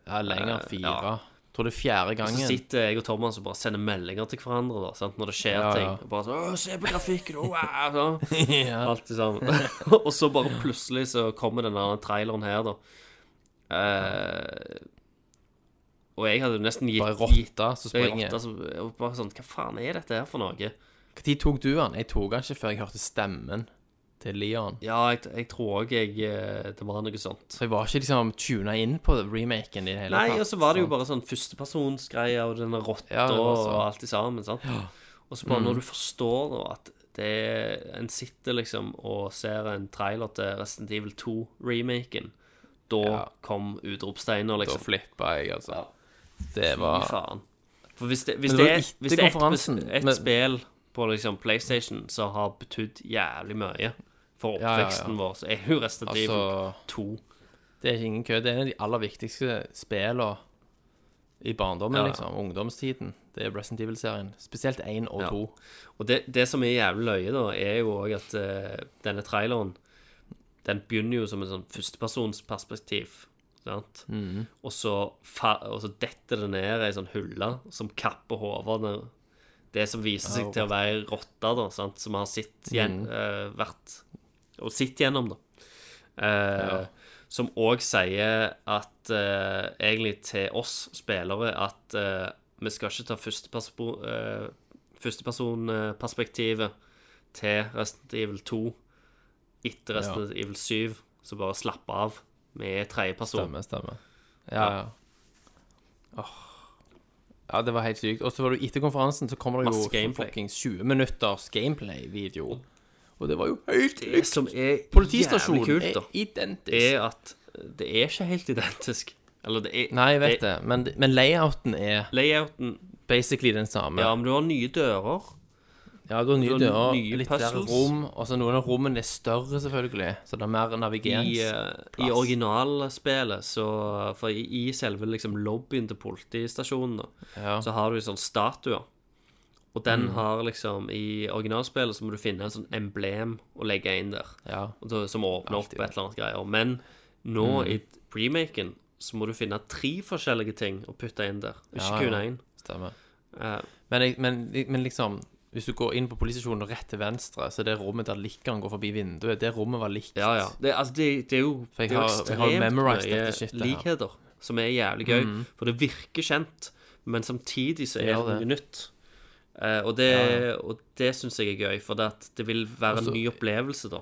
[SPEAKER 2] Ja, lenger.
[SPEAKER 6] Eh,
[SPEAKER 2] Fire.
[SPEAKER 6] ja.
[SPEAKER 2] Tror det er fjerde
[SPEAKER 6] Så
[SPEAKER 2] gangen.
[SPEAKER 6] sitter jeg og Thomas og bare sender meldinger til hverandre da, sant? når det skjer
[SPEAKER 2] Ja,
[SPEAKER 6] ting.
[SPEAKER 2] ja.
[SPEAKER 6] Og bare sånn, «Å, 'Se på grafikken!' og wow, sånn.
[SPEAKER 2] ja.
[SPEAKER 6] Alt det samme. og så bare plutselig så kommer den der traileren her, da. Eh, og jeg hadde jo nesten gitt
[SPEAKER 2] Bare
[SPEAKER 6] gitt-
[SPEAKER 2] rotta som
[SPEAKER 6] Jeg
[SPEAKER 2] springer.
[SPEAKER 6] rotta som- og bare sånn Hva faen er dette her for noe?
[SPEAKER 2] Når tok du han? Jeg tok han ikke før jeg hørte stemmen til Leon.
[SPEAKER 6] Ja, jeg, jeg tror òg jeg eh, Det var noe sånt.
[SPEAKER 2] Så jeg var ikke liksom tuna inn på remaken i det hele
[SPEAKER 6] Nei,
[SPEAKER 2] tatt.
[SPEAKER 6] og så var det jo bare sånn førstepersonsgreie og denne rotta
[SPEAKER 2] Ja, det var
[SPEAKER 6] og
[SPEAKER 2] sånn. Mm.
[SPEAKER 6] alt i sammen. sant? Og så bare når du forstår da at det er, en sitter liksom og ser en trailer til Resident Evil 2-remaken, da
[SPEAKER 2] Ja.
[SPEAKER 6] kom utropsteiner,
[SPEAKER 2] Da
[SPEAKER 6] liksom.
[SPEAKER 2] flippa jeg, altså.
[SPEAKER 6] Ja.
[SPEAKER 2] Det
[SPEAKER 6] Fy
[SPEAKER 2] var
[SPEAKER 6] faen. For hvis det, hvis
[SPEAKER 2] Men det
[SPEAKER 6] det,
[SPEAKER 2] var
[SPEAKER 6] er-
[SPEAKER 2] etter
[SPEAKER 6] hvis det er et,
[SPEAKER 2] konferansen,
[SPEAKER 6] et
[SPEAKER 2] men-
[SPEAKER 6] spill på liksom PlayStation som har betydd jævlig mye
[SPEAKER 2] Ja,
[SPEAKER 6] for
[SPEAKER 2] ja, ja.
[SPEAKER 6] oppveksten vår, så er jo Resident Evil
[SPEAKER 2] Altså
[SPEAKER 6] 2
[SPEAKER 2] Det er ingen kø. Det er en av de aller viktigste spillene i barndommen,
[SPEAKER 6] Ja, ja.
[SPEAKER 2] liksom. Ungdomstiden. Det er Resident Evil-serien. Spesielt 1 og
[SPEAKER 6] Ja.
[SPEAKER 2] 2.
[SPEAKER 6] Og det, det som er jævlig løye, da, er jo òg at eh, denne traileren Den begynner jo som en sånn førstepersonsperspektiv. Sant? Og, så fa og så detter det ned ei sånn hylle som kapper hodene Det som viser seg til å være ei rotte, da, sant? som har sitt gjen, eh, vært Og sitt gjennom, da. Eh, Som òg sier at eh, egentlig til oss spillere at eh, vi skal ikke ta førsteperson... eh, førstepersonperspektivet til Resident Evil 2 etter Resident Evil 7, så bare slapp av. Vi er tredjeperson.
[SPEAKER 2] Stemmer, stemmer. Ja, ja. Åh. Ja, det var helt sykt. Og så var det jo etter konferansen, så kommer det
[SPEAKER 6] Masse
[SPEAKER 2] jo
[SPEAKER 6] gameplay.
[SPEAKER 2] fuckings 20 minutters gameplay-video. Og det var jo høyt
[SPEAKER 6] Det
[SPEAKER 2] lykt.
[SPEAKER 6] som er
[SPEAKER 2] Politistasjonen
[SPEAKER 6] jævlig kult,
[SPEAKER 2] er
[SPEAKER 6] da,
[SPEAKER 2] identisk.
[SPEAKER 6] er at det er ikke helt identisk. Eller det er
[SPEAKER 2] Nei, jeg vet det, men, men layouten er
[SPEAKER 6] Layouten
[SPEAKER 2] basically den samme.
[SPEAKER 6] Ja, men du har nye dører.
[SPEAKER 2] Ja, du har nye
[SPEAKER 6] Det er
[SPEAKER 2] dører,
[SPEAKER 6] nye
[SPEAKER 2] litt flere
[SPEAKER 6] puzzles.
[SPEAKER 2] rom. Og så noen av rommene er større, selvfølgelig. Så det er mer
[SPEAKER 6] I,
[SPEAKER 2] navigerings.
[SPEAKER 6] eh, I originalspillet, så For i, i selve liksom lobbyen til politistasjonen, da,
[SPEAKER 2] Ja.
[SPEAKER 6] så har du sånn statuer. Og den har liksom I originalspillet så må du finne en sånn emblem og legge inn der.
[SPEAKER 2] Ja.
[SPEAKER 6] Og da- Som åpner opp
[SPEAKER 2] Alltid.
[SPEAKER 6] et eller annet greier. Men nå i remaken så må du finne tre forskjellige ting og putte inn der. Ikke
[SPEAKER 2] Ja, ja.
[SPEAKER 6] kun én.
[SPEAKER 2] Stemmer.
[SPEAKER 6] Eh,
[SPEAKER 2] Men, jeg- men, men liksom hvis du går inn på politistasjonen og rett til venstre, så er det rommet der likkeren går forbi vinduet, det rommet var likt.
[SPEAKER 6] Ja, ja. Det, altså, det, det er jo,
[SPEAKER 2] For jeg
[SPEAKER 6] det er jo
[SPEAKER 2] har- jeg har memorized dette shitet her.
[SPEAKER 6] likheter, som er jævlig gøy. For det virker kjent, men samtidig så er
[SPEAKER 2] gjør det.
[SPEAKER 6] det noe nytt. Eh, og det, og det syns jeg er gøy, for det, at det vil være
[SPEAKER 2] Altså-
[SPEAKER 6] en ny opplevelse, da.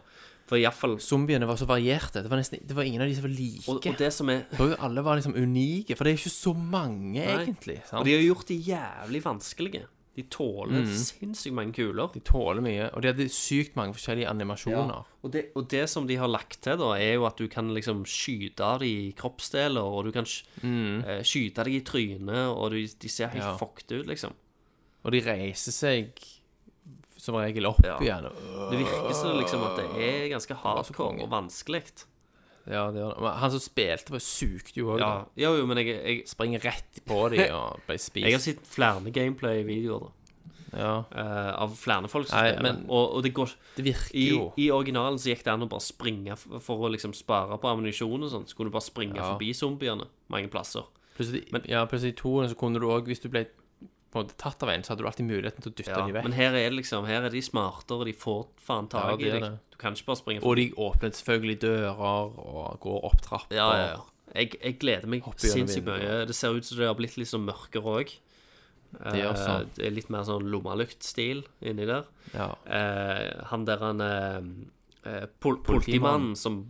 [SPEAKER 6] For iallfall
[SPEAKER 2] Zombiene var så varierte. Det var, nesten, det var ingen av de som var like.
[SPEAKER 6] og, og det som er
[SPEAKER 2] For jo, alle var liksom unike, for det er jo ikke så mange, egentlig.
[SPEAKER 6] Og
[SPEAKER 2] Sant?
[SPEAKER 6] de
[SPEAKER 2] De,
[SPEAKER 6] har gjort de jævlig vanskelige. De
[SPEAKER 2] Mm.
[SPEAKER 6] tåler sinnssykt mange kuler.
[SPEAKER 2] tåler mye, og de hadde sykt mange forskjellige animasjoner.
[SPEAKER 6] Og det, og det som de har lagt til, da, er jo at du kan liksom skyte av de kroppsdeler, og du kan sk- eh, skyte deg i trynet, og du, de ser helt
[SPEAKER 2] Mm. Ja.
[SPEAKER 6] fucked ut, liksom.
[SPEAKER 2] Og de reiser seg som regel opp
[SPEAKER 6] Ja.
[SPEAKER 2] igjen. og-
[SPEAKER 6] Det virker som liksom at det er ganske hardcore
[SPEAKER 2] konge.
[SPEAKER 6] og vanskelig.
[SPEAKER 2] Ja, det gjør det. Men han som spilte, var sukte jo òg.
[SPEAKER 6] Ja, jo, jo, men jeg, jeg,
[SPEAKER 2] Springer rett på de og ble
[SPEAKER 6] jeg har
[SPEAKER 2] spist.
[SPEAKER 6] sett flere gameplay-videoer da,
[SPEAKER 2] Ja.
[SPEAKER 6] eh, av flere folk som
[SPEAKER 2] Nei,
[SPEAKER 6] spiller,
[SPEAKER 2] men-
[SPEAKER 6] og, og det går
[SPEAKER 2] Det virker
[SPEAKER 6] i,
[SPEAKER 2] jo.
[SPEAKER 6] I originalen så gikk det an å bare springe f- for å liksom spare på ammunisjon og sånn. Så kunne du bare springe
[SPEAKER 2] Ja.
[SPEAKER 6] forbi zombiene mange plasser.
[SPEAKER 2] Plutselig,
[SPEAKER 6] men-
[SPEAKER 2] ja, plutselig i toen så kunne du òg, hvis du ble på en måte tatt av en, så hadde du alltid muligheten til å dytte
[SPEAKER 6] Ja,
[SPEAKER 2] de vekk.
[SPEAKER 6] men her er det liksom Her er de smartere, de får faen
[SPEAKER 2] Ja,
[SPEAKER 6] tak
[SPEAKER 2] det
[SPEAKER 6] i
[SPEAKER 2] er
[SPEAKER 6] deg.
[SPEAKER 2] det.
[SPEAKER 6] Du kan ikke bare springe
[SPEAKER 2] Og
[SPEAKER 6] forbi.
[SPEAKER 2] de åpnet selvfølgelig dører og går opp trapper.
[SPEAKER 6] Ja, ja, ja. Jeg, jeg gleder meg
[SPEAKER 2] Hoppe gjennom
[SPEAKER 6] sinnssykt mye. Det ser ut som det har blitt litt sånn mørkere òg. Det,
[SPEAKER 2] gjør sånn.
[SPEAKER 6] det er litt mer sånn lommelyktstil inni der.
[SPEAKER 2] Ja,
[SPEAKER 6] Eh, han der han eh, eh, pol
[SPEAKER 2] Politimannen.
[SPEAKER 6] Politimannen som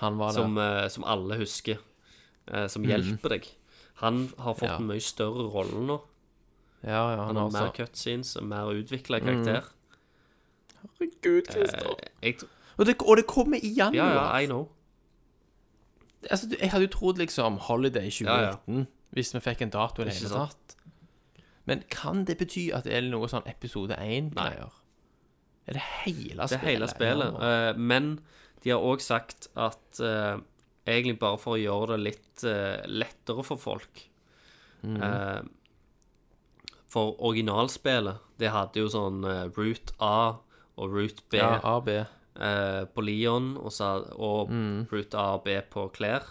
[SPEAKER 2] Han var der.
[SPEAKER 6] som, eh, som alle husker, eh, som hjelper deg. Han har fått
[SPEAKER 2] Mhm. Ja.
[SPEAKER 6] en mye større rolle nå.
[SPEAKER 2] Ja, ja,
[SPEAKER 6] Han
[SPEAKER 2] han Mhm.
[SPEAKER 6] har mer
[SPEAKER 2] altså.
[SPEAKER 6] cutscenes og mer utvikla karakter.
[SPEAKER 2] Herregud, Christer.
[SPEAKER 6] Jeg, tr-
[SPEAKER 2] Og det, og det kommer igjen,
[SPEAKER 6] ja, ja,
[SPEAKER 2] Jonas.
[SPEAKER 6] I know.
[SPEAKER 2] Altså, du- jeg hadde jo trodd liksom Holiday 2019,
[SPEAKER 6] Ja,
[SPEAKER 2] hvis vi fikk en dato i det
[SPEAKER 6] Ikke
[SPEAKER 2] hele
[SPEAKER 6] sant?
[SPEAKER 2] tatt. Men kan det bety at det er noe sånn episode 1-greier? Er det hele spillet?
[SPEAKER 6] Det er hele spillet.
[SPEAKER 2] Ja,
[SPEAKER 6] Eh, men de har òg sagt at eh, egentlig bare for å gjøre det litt eh, lettere for folk
[SPEAKER 2] Mm.
[SPEAKER 6] eh, For originalspillet, det hadde jo sånn eh, Route A og Route B.
[SPEAKER 2] ja, A, B.
[SPEAKER 6] eh, på Leon og, så, og
[SPEAKER 2] Mm.
[SPEAKER 6] Route A og B på klær.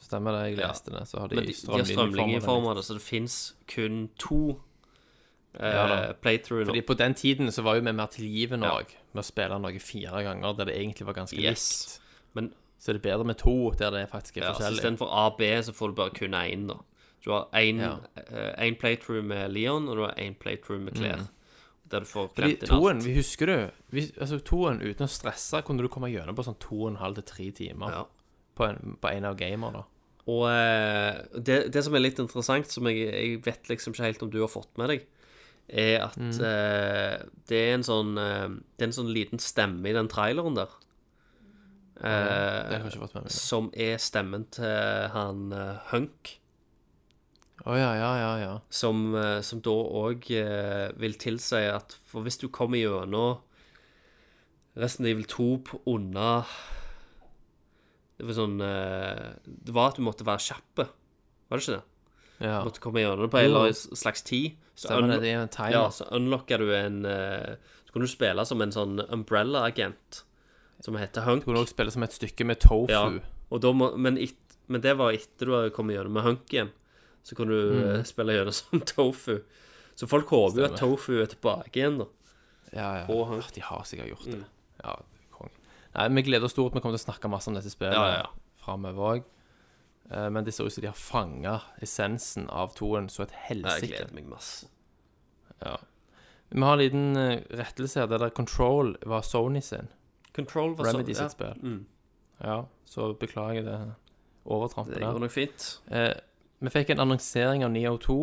[SPEAKER 2] Stemmer det, jeg
[SPEAKER 6] Ja.
[SPEAKER 2] leste det. liksom. Så har
[SPEAKER 6] Men
[SPEAKER 2] de
[SPEAKER 6] de, de har
[SPEAKER 2] strømlinjeformer.
[SPEAKER 6] strømlinjeforma det, så det fins kun to
[SPEAKER 2] Ja
[SPEAKER 6] eh,
[SPEAKER 2] da.
[SPEAKER 6] playthrough nå.
[SPEAKER 2] Fordi på den tiden så var jo vi mer tilgivende
[SPEAKER 6] Ja.
[SPEAKER 2] òg, med å spille noe fire ganger der det egentlig var ganske
[SPEAKER 6] Yes.
[SPEAKER 2] likt.
[SPEAKER 6] Men-
[SPEAKER 2] så er det bedre med to der det faktisk er
[SPEAKER 6] Ja, så
[SPEAKER 2] forskjellig.
[SPEAKER 6] Istedenfor A og B, så får du bare kun én, da. Du har én
[SPEAKER 2] Ja.
[SPEAKER 6] eh, én playthrough med Leon, og du har én playthrough med klær. Der du får
[SPEAKER 2] Mm. Fordi
[SPEAKER 6] klemt inn
[SPEAKER 2] toen,
[SPEAKER 6] alt.
[SPEAKER 2] vi husker du vi, Altså toen, uten å stresse, kunne du komme gjennom på sånn to og en halv til tre timer
[SPEAKER 6] Ja.
[SPEAKER 2] på, en, på en av gamer, da.
[SPEAKER 6] Og eh, det, det som er litt interessant, som jeg, jeg vet liksom ikke helt om du har fått med deg, er at
[SPEAKER 2] Mm.
[SPEAKER 6] eh, det er en sånn eh, Det er en sånn liten stemme i den traileren der. eh,
[SPEAKER 2] Det har jeg ikke fått med meg.
[SPEAKER 6] som er stemmen til han eh, Hunk,
[SPEAKER 2] Å ja, ja, ja, ja.
[SPEAKER 6] som, eh, som da òg vil tilsi at For hvis du kommer gjennom Resten Evil 2 på unna Det var sånn eh, Det var at du måtte være kjapp, var det ikke det?
[SPEAKER 2] ja.
[SPEAKER 6] måtte komme gjennom det på en eller annen slags tid. Så,
[SPEAKER 2] Stemmer det,
[SPEAKER 6] unlo-
[SPEAKER 2] det er en
[SPEAKER 6] ja,
[SPEAKER 2] timer.
[SPEAKER 6] så unlocker du en eh, Så kan du spille som en sånn umbrella-agent som heter Hunk.
[SPEAKER 2] Du kunne også spille som et stykke med tofu.
[SPEAKER 6] Ja, og da må, men, et, men det var etter du hadde kommet gjennom med Hunk igjen. Så kunne du eh, spille gjennom som Tofu. Så folk håper jo at Tofu er tilbake igjen, da.
[SPEAKER 2] ja, ja.
[SPEAKER 6] og Mm. han-
[SPEAKER 2] Ah, De har sikkert gjort det. Ja, kong. Nei, vi gleder oss stort. Vi kommer til å snakke masse om dette spillet
[SPEAKER 6] Ja, ja, ja.
[SPEAKER 2] framover òg. Men det ser ut som de har fanga essensen av toen så et
[SPEAKER 6] Jeg
[SPEAKER 2] helsike.
[SPEAKER 6] gleder meg masse.
[SPEAKER 2] Vi har en liten eh, rettelse her. Det der Control var Sony sin.
[SPEAKER 6] Control var sånn.
[SPEAKER 2] Remedy sitt spill.
[SPEAKER 6] Mm.
[SPEAKER 2] Ja, så beklager jeg det overtrampet
[SPEAKER 6] Det går
[SPEAKER 2] der.
[SPEAKER 6] nok fint.
[SPEAKER 2] Eh, vi fikk en annonsering av Neo 2,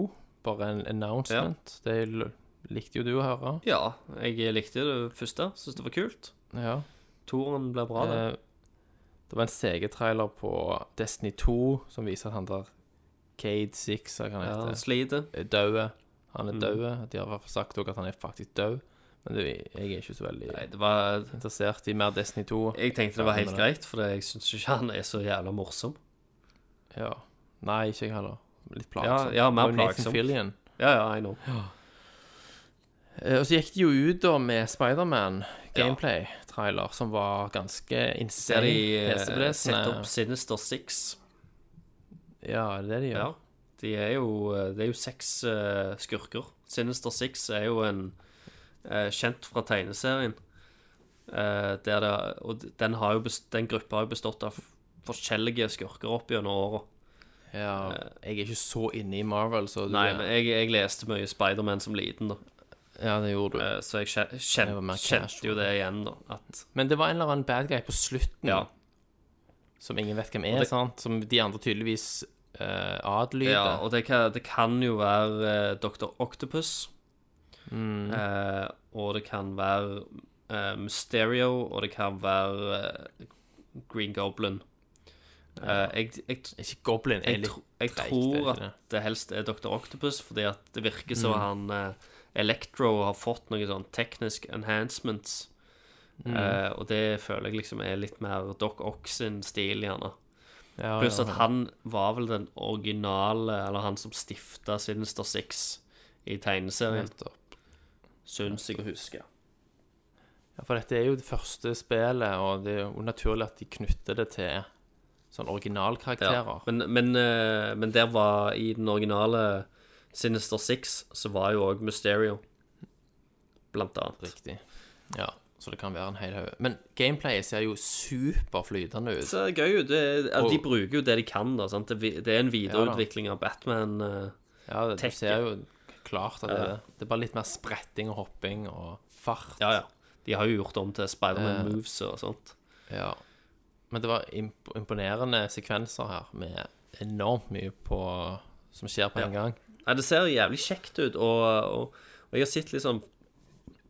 [SPEAKER 2] bare en announcement. Det l- likte jo du å høre.
[SPEAKER 6] Ja, jeg likte det første. Syns det var kult.
[SPEAKER 2] Ja.
[SPEAKER 6] Toren ble bra, det.
[SPEAKER 2] Eh, det var en CG-trailer på Destiny 2 som viser at han der Cade Six, hva han
[SPEAKER 6] Ja, Mm.
[SPEAKER 2] heter,
[SPEAKER 6] han sliter.
[SPEAKER 2] er død. Han er død. De har i hvert fall sagt også at han er faktisk død. Men det, jeg er ikke så veldig
[SPEAKER 6] Nei, det var
[SPEAKER 2] interessert i mer Destiny 2.
[SPEAKER 6] Jeg tenkte det var helt greit, for jeg syns ikke han er så jævla morsom.
[SPEAKER 2] Ja. Nei, ikke jeg heller. Litt
[SPEAKER 6] Ja,
[SPEAKER 2] plagsom.
[SPEAKER 6] ja mer
[SPEAKER 2] Og
[SPEAKER 6] plagsom.
[SPEAKER 2] Nathan Fillion.
[SPEAKER 6] Ja, ja, I know.
[SPEAKER 2] Eh, Og så gikk de jo ut da med Spiderman gameplay-trailer, som var ganske
[SPEAKER 6] Der
[SPEAKER 2] insane.
[SPEAKER 6] de eh,
[SPEAKER 2] heseblesende.
[SPEAKER 6] setter opp Sinister Six.
[SPEAKER 2] Ja, det er det de gjør.
[SPEAKER 6] Ja. De er jo, det er jo seks eh, skurker. Sinister Six er jo en eh, kjent fra tegneserien. Eh, der det, og den, har jo best, den gruppa har jo bestått av forskjellige skurker opp gjennom åra.
[SPEAKER 2] Ja. jeg er ikke så inne i Marvel, så du,
[SPEAKER 6] Nei, men jeg, jeg leste mye Spiderman som liten, da.
[SPEAKER 2] Ja, det gjorde du.
[SPEAKER 6] Eh, så jeg kjen,
[SPEAKER 2] Det var mer
[SPEAKER 6] kjen,
[SPEAKER 2] casual.
[SPEAKER 6] kjente jo det igjen, da. At
[SPEAKER 2] Men det var en eller annen bad guy på slutten
[SPEAKER 6] Ja.
[SPEAKER 2] som ingen vet hvem er, sant? Som de andre tydeligvis eh, adlyder.
[SPEAKER 6] Ja, og det kan, det kan jo være eh, Dr. Octopus.
[SPEAKER 2] Mm.
[SPEAKER 6] Eh, og det kan være eh, Mysterio, og det kan være eh, Green Goblin. Eh, jeg, jeg,
[SPEAKER 2] Ikke Goblin.
[SPEAKER 6] jeg,
[SPEAKER 2] er litt
[SPEAKER 6] tro, jeg
[SPEAKER 2] treigt, er
[SPEAKER 6] tror
[SPEAKER 2] det
[SPEAKER 6] at
[SPEAKER 2] ikke det?
[SPEAKER 6] det helst er Dr. Octopus, fordi at det virker som
[SPEAKER 2] Mm.
[SPEAKER 6] han eh, Electro har fått noen sånn teknisk enhancements.
[SPEAKER 2] Mm.
[SPEAKER 6] Eh, og det føler jeg liksom er litt mer Doc Ock sin stil, gjerne.
[SPEAKER 2] Ja,
[SPEAKER 6] Pluss
[SPEAKER 2] ja,
[SPEAKER 6] at han var vel den originale, eller han som stifta Sinister Six i tegneserien,
[SPEAKER 2] nettopp.
[SPEAKER 6] syns jeg å huske.
[SPEAKER 2] Ja, for dette er jo det første spillet, og det er jo naturlig at de knytter det til sånn originalkarakterer.
[SPEAKER 6] Men, men, eh, men der var i den originale Sinister Six, så var jo òg Mysterio, blant annet.
[SPEAKER 2] Riktig. Ja, så det kan være en hel haug. Men gameplayet ser jo superflytende
[SPEAKER 6] Det
[SPEAKER 2] ut.
[SPEAKER 6] ser gøy ut. Det, ja, de
[SPEAKER 2] Og-
[SPEAKER 6] bruker jo det de kan, da. Sant? Det, vi- det er en videreutvikling av Batman. eh,
[SPEAKER 2] Ja, det, du
[SPEAKER 6] Tekke.
[SPEAKER 2] ser jo klart at det er det. Det er bare litt mer spretting og hopping og fart.
[SPEAKER 6] Ja, ja. De har jo gjort om til Spiderman
[SPEAKER 2] Eh.
[SPEAKER 6] Moves og sånt.
[SPEAKER 2] Ja. Men det var imp imponerende sekvenser her, med enormt mye på som skjer på en gang.
[SPEAKER 6] Nei, det ser jævlig kjekt ut, og, og, og jeg har sett litt sånn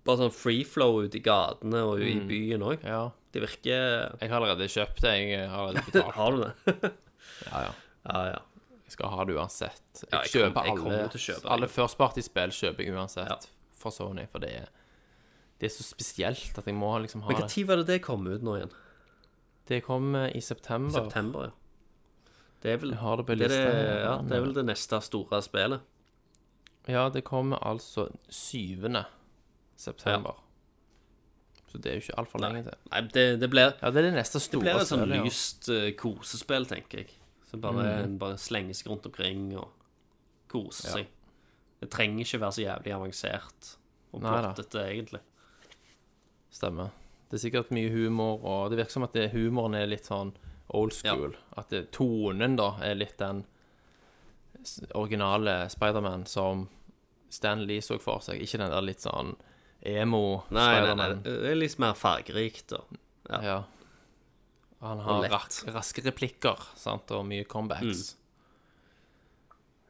[SPEAKER 6] Bare sånn free flow ute i gatene og
[SPEAKER 2] Mm.
[SPEAKER 6] i byen òg.
[SPEAKER 2] Ja.
[SPEAKER 6] Det virker
[SPEAKER 2] Jeg har allerede kjøpt det. Jeg har allerede betalt.
[SPEAKER 6] Har du det?
[SPEAKER 2] Ja, ja.
[SPEAKER 6] Ja, ja.
[SPEAKER 2] Jeg skal ha det uansett. Jeg,
[SPEAKER 6] Ja, jeg
[SPEAKER 2] kjøper
[SPEAKER 6] kommer- jeg
[SPEAKER 2] alle,
[SPEAKER 6] kommer til å kjøpe det.
[SPEAKER 2] alle førstpartispill kjøper jeg uansett
[SPEAKER 6] Ja.
[SPEAKER 2] for Sony, for det er, det er så spesielt at jeg må liksom ha
[SPEAKER 6] Men
[SPEAKER 2] det.
[SPEAKER 6] når var det det kom ut nå igjen?
[SPEAKER 2] Det kom eh, i september.
[SPEAKER 6] September, ja. Det er vel
[SPEAKER 2] Jeg har det på
[SPEAKER 6] det, er det,
[SPEAKER 2] lista her,
[SPEAKER 6] ja,
[SPEAKER 2] men-
[SPEAKER 6] det er vel det neste store spillet.
[SPEAKER 2] Ja, det kommer altså 7. september. Så det er jo ikke altfor lenge til.
[SPEAKER 6] Nei, det, det blir
[SPEAKER 2] Ja, det er det neste
[SPEAKER 6] det
[SPEAKER 2] store
[SPEAKER 6] blir et sånn
[SPEAKER 2] spillet, ja. Mm.
[SPEAKER 6] lyst eh, kosespill, tenker jeg. Som bare, en bare slenger seg rundt omkring og koser seg. Det trenger ikke være så jævlig avansert og
[SPEAKER 2] Nei da.
[SPEAKER 6] plottete, egentlig.
[SPEAKER 2] Stemmer. Det er sikkert mye humor, og det virker som at det, humoren er litt sånn old school. At det, tonen da er litt den s- originale Spiderman som Stan Lee så for seg. Ikke den der litt sånn
[SPEAKER 6] Nei, nei, nei,
[SPEAKER 2] emo-Spiderman.
[SPEAKER 6] det er litt mer fargerikt og ja.
[SPEAKER 2] Ja. Han
[SPEAKER 6] Og
[SPEAKER 2] har
[SPEAKER 6] lett.
[SPEAKER 2] rak, raske replikker sant? og mye comebacks.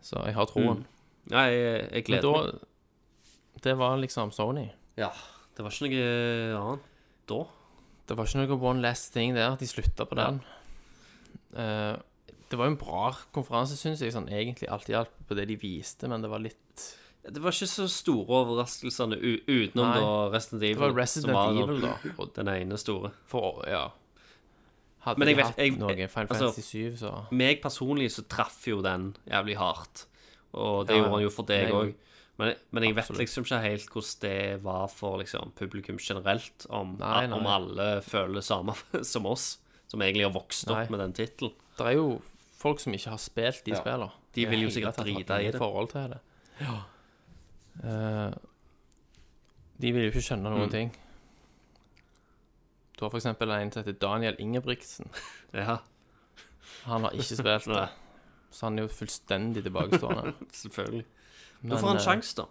[SPEAKER 2] Så jeg har troen.
[SPEAKER 6] Nei, jeg, jeg
[SPEAKER 2] Men
[SPEAKER 6] Mm. gleder
[SPEAKER 2] da
[SPEAKER 6] meg.
[SPEAKER 2] Det var liksom Sony.
[SPEAKER 6] Ja, det var ikke noe annet da.
[SPEAKER 2] Det var ikke noe one last thing der. De slutta på den. Eh, det var jo en bra konferanse, syns jeg, sånn egentlig alt i alt på det de viste, men det var litt
[SPEAKER 6] Det var ikke så store overraskelsene u- utenom
[SPEAKER 2] Nei.
[SPEAKER 6] da Resident Evil.
[SPEAKER 2] Det var Resident
[SPEAKER 6] som var den-
[SPEAKER 2] Evil, da. Og
[SPEAKER 6] Den ene store.
[SPEAKER 2] for, ja. Hadde
[SPEAKER 6] Men
[SPEAKER 2] de
[SPEAKER 6] jeg vet-
[SPEAKER 2] hatt
[SPEAKER 6] jeg-
[SPEAKER 2] noe
[SPEAKER 6] jeg-
[SPEAKER 2] Final
[SPEAKER 6] altså-
[SPEAKER 2] Fantasy 7, så
[SPEAKER 6] Meg personlig så traff jo den jævlig hardt. Og det
[SPEAKER 2] Ja, ja.
[SPEAKER 6] gjorde han jo for deg
[SPEAKER 2] Meg
[SPEAKER 6] òg. Men, men jeg
[SPEAKER 2] Absolutt.
[SPEAKER 6] vet liksom ikke helt hvordan det var for liksom, publikum generelt. Om,
[SPEAKER 2] Nei, nei.
[SPEAKER 6] om alle føler samme som oss, som egentlig har vokst opp
[SPEAKER 2] Nei.
[SPEAKER 6] med den tittelen.
[SPEAKER 2] Det er jo folk som ikke har spilt de spillene.
[SPEAKER 6] De vil jo
[SPEAKER 2] hele
[SPEAKER 6] sikkert
[SPEAKER 2] tatt ha
[SPEAKER 6] drite i
[SPEAKER 2] noe
[SPEAKER 6] det.
[SPEAKER 2] forhold til det. Eh, de vil jo ikke skjønne
[SPEAKER 6] Mm.
[SPEAKER 2] noen ting. Du har for eksempel en som heter Daniel Ingebrigtsen.
[SPEAKER 6] Ja,
[SPEAKER 2] Han har ikke spilt det.
[SPEAKER 6] Nei.
[SPEAKER 2] Så han er jo fullstendig tilbakestående.
[SPEAKER 6] selvfølgelig.
[SPEAKER 2] Men,
[SPEAKER 6] Nå får han
[SPEAKER 2] eh,
[SPEAKER 6] sjanse, da.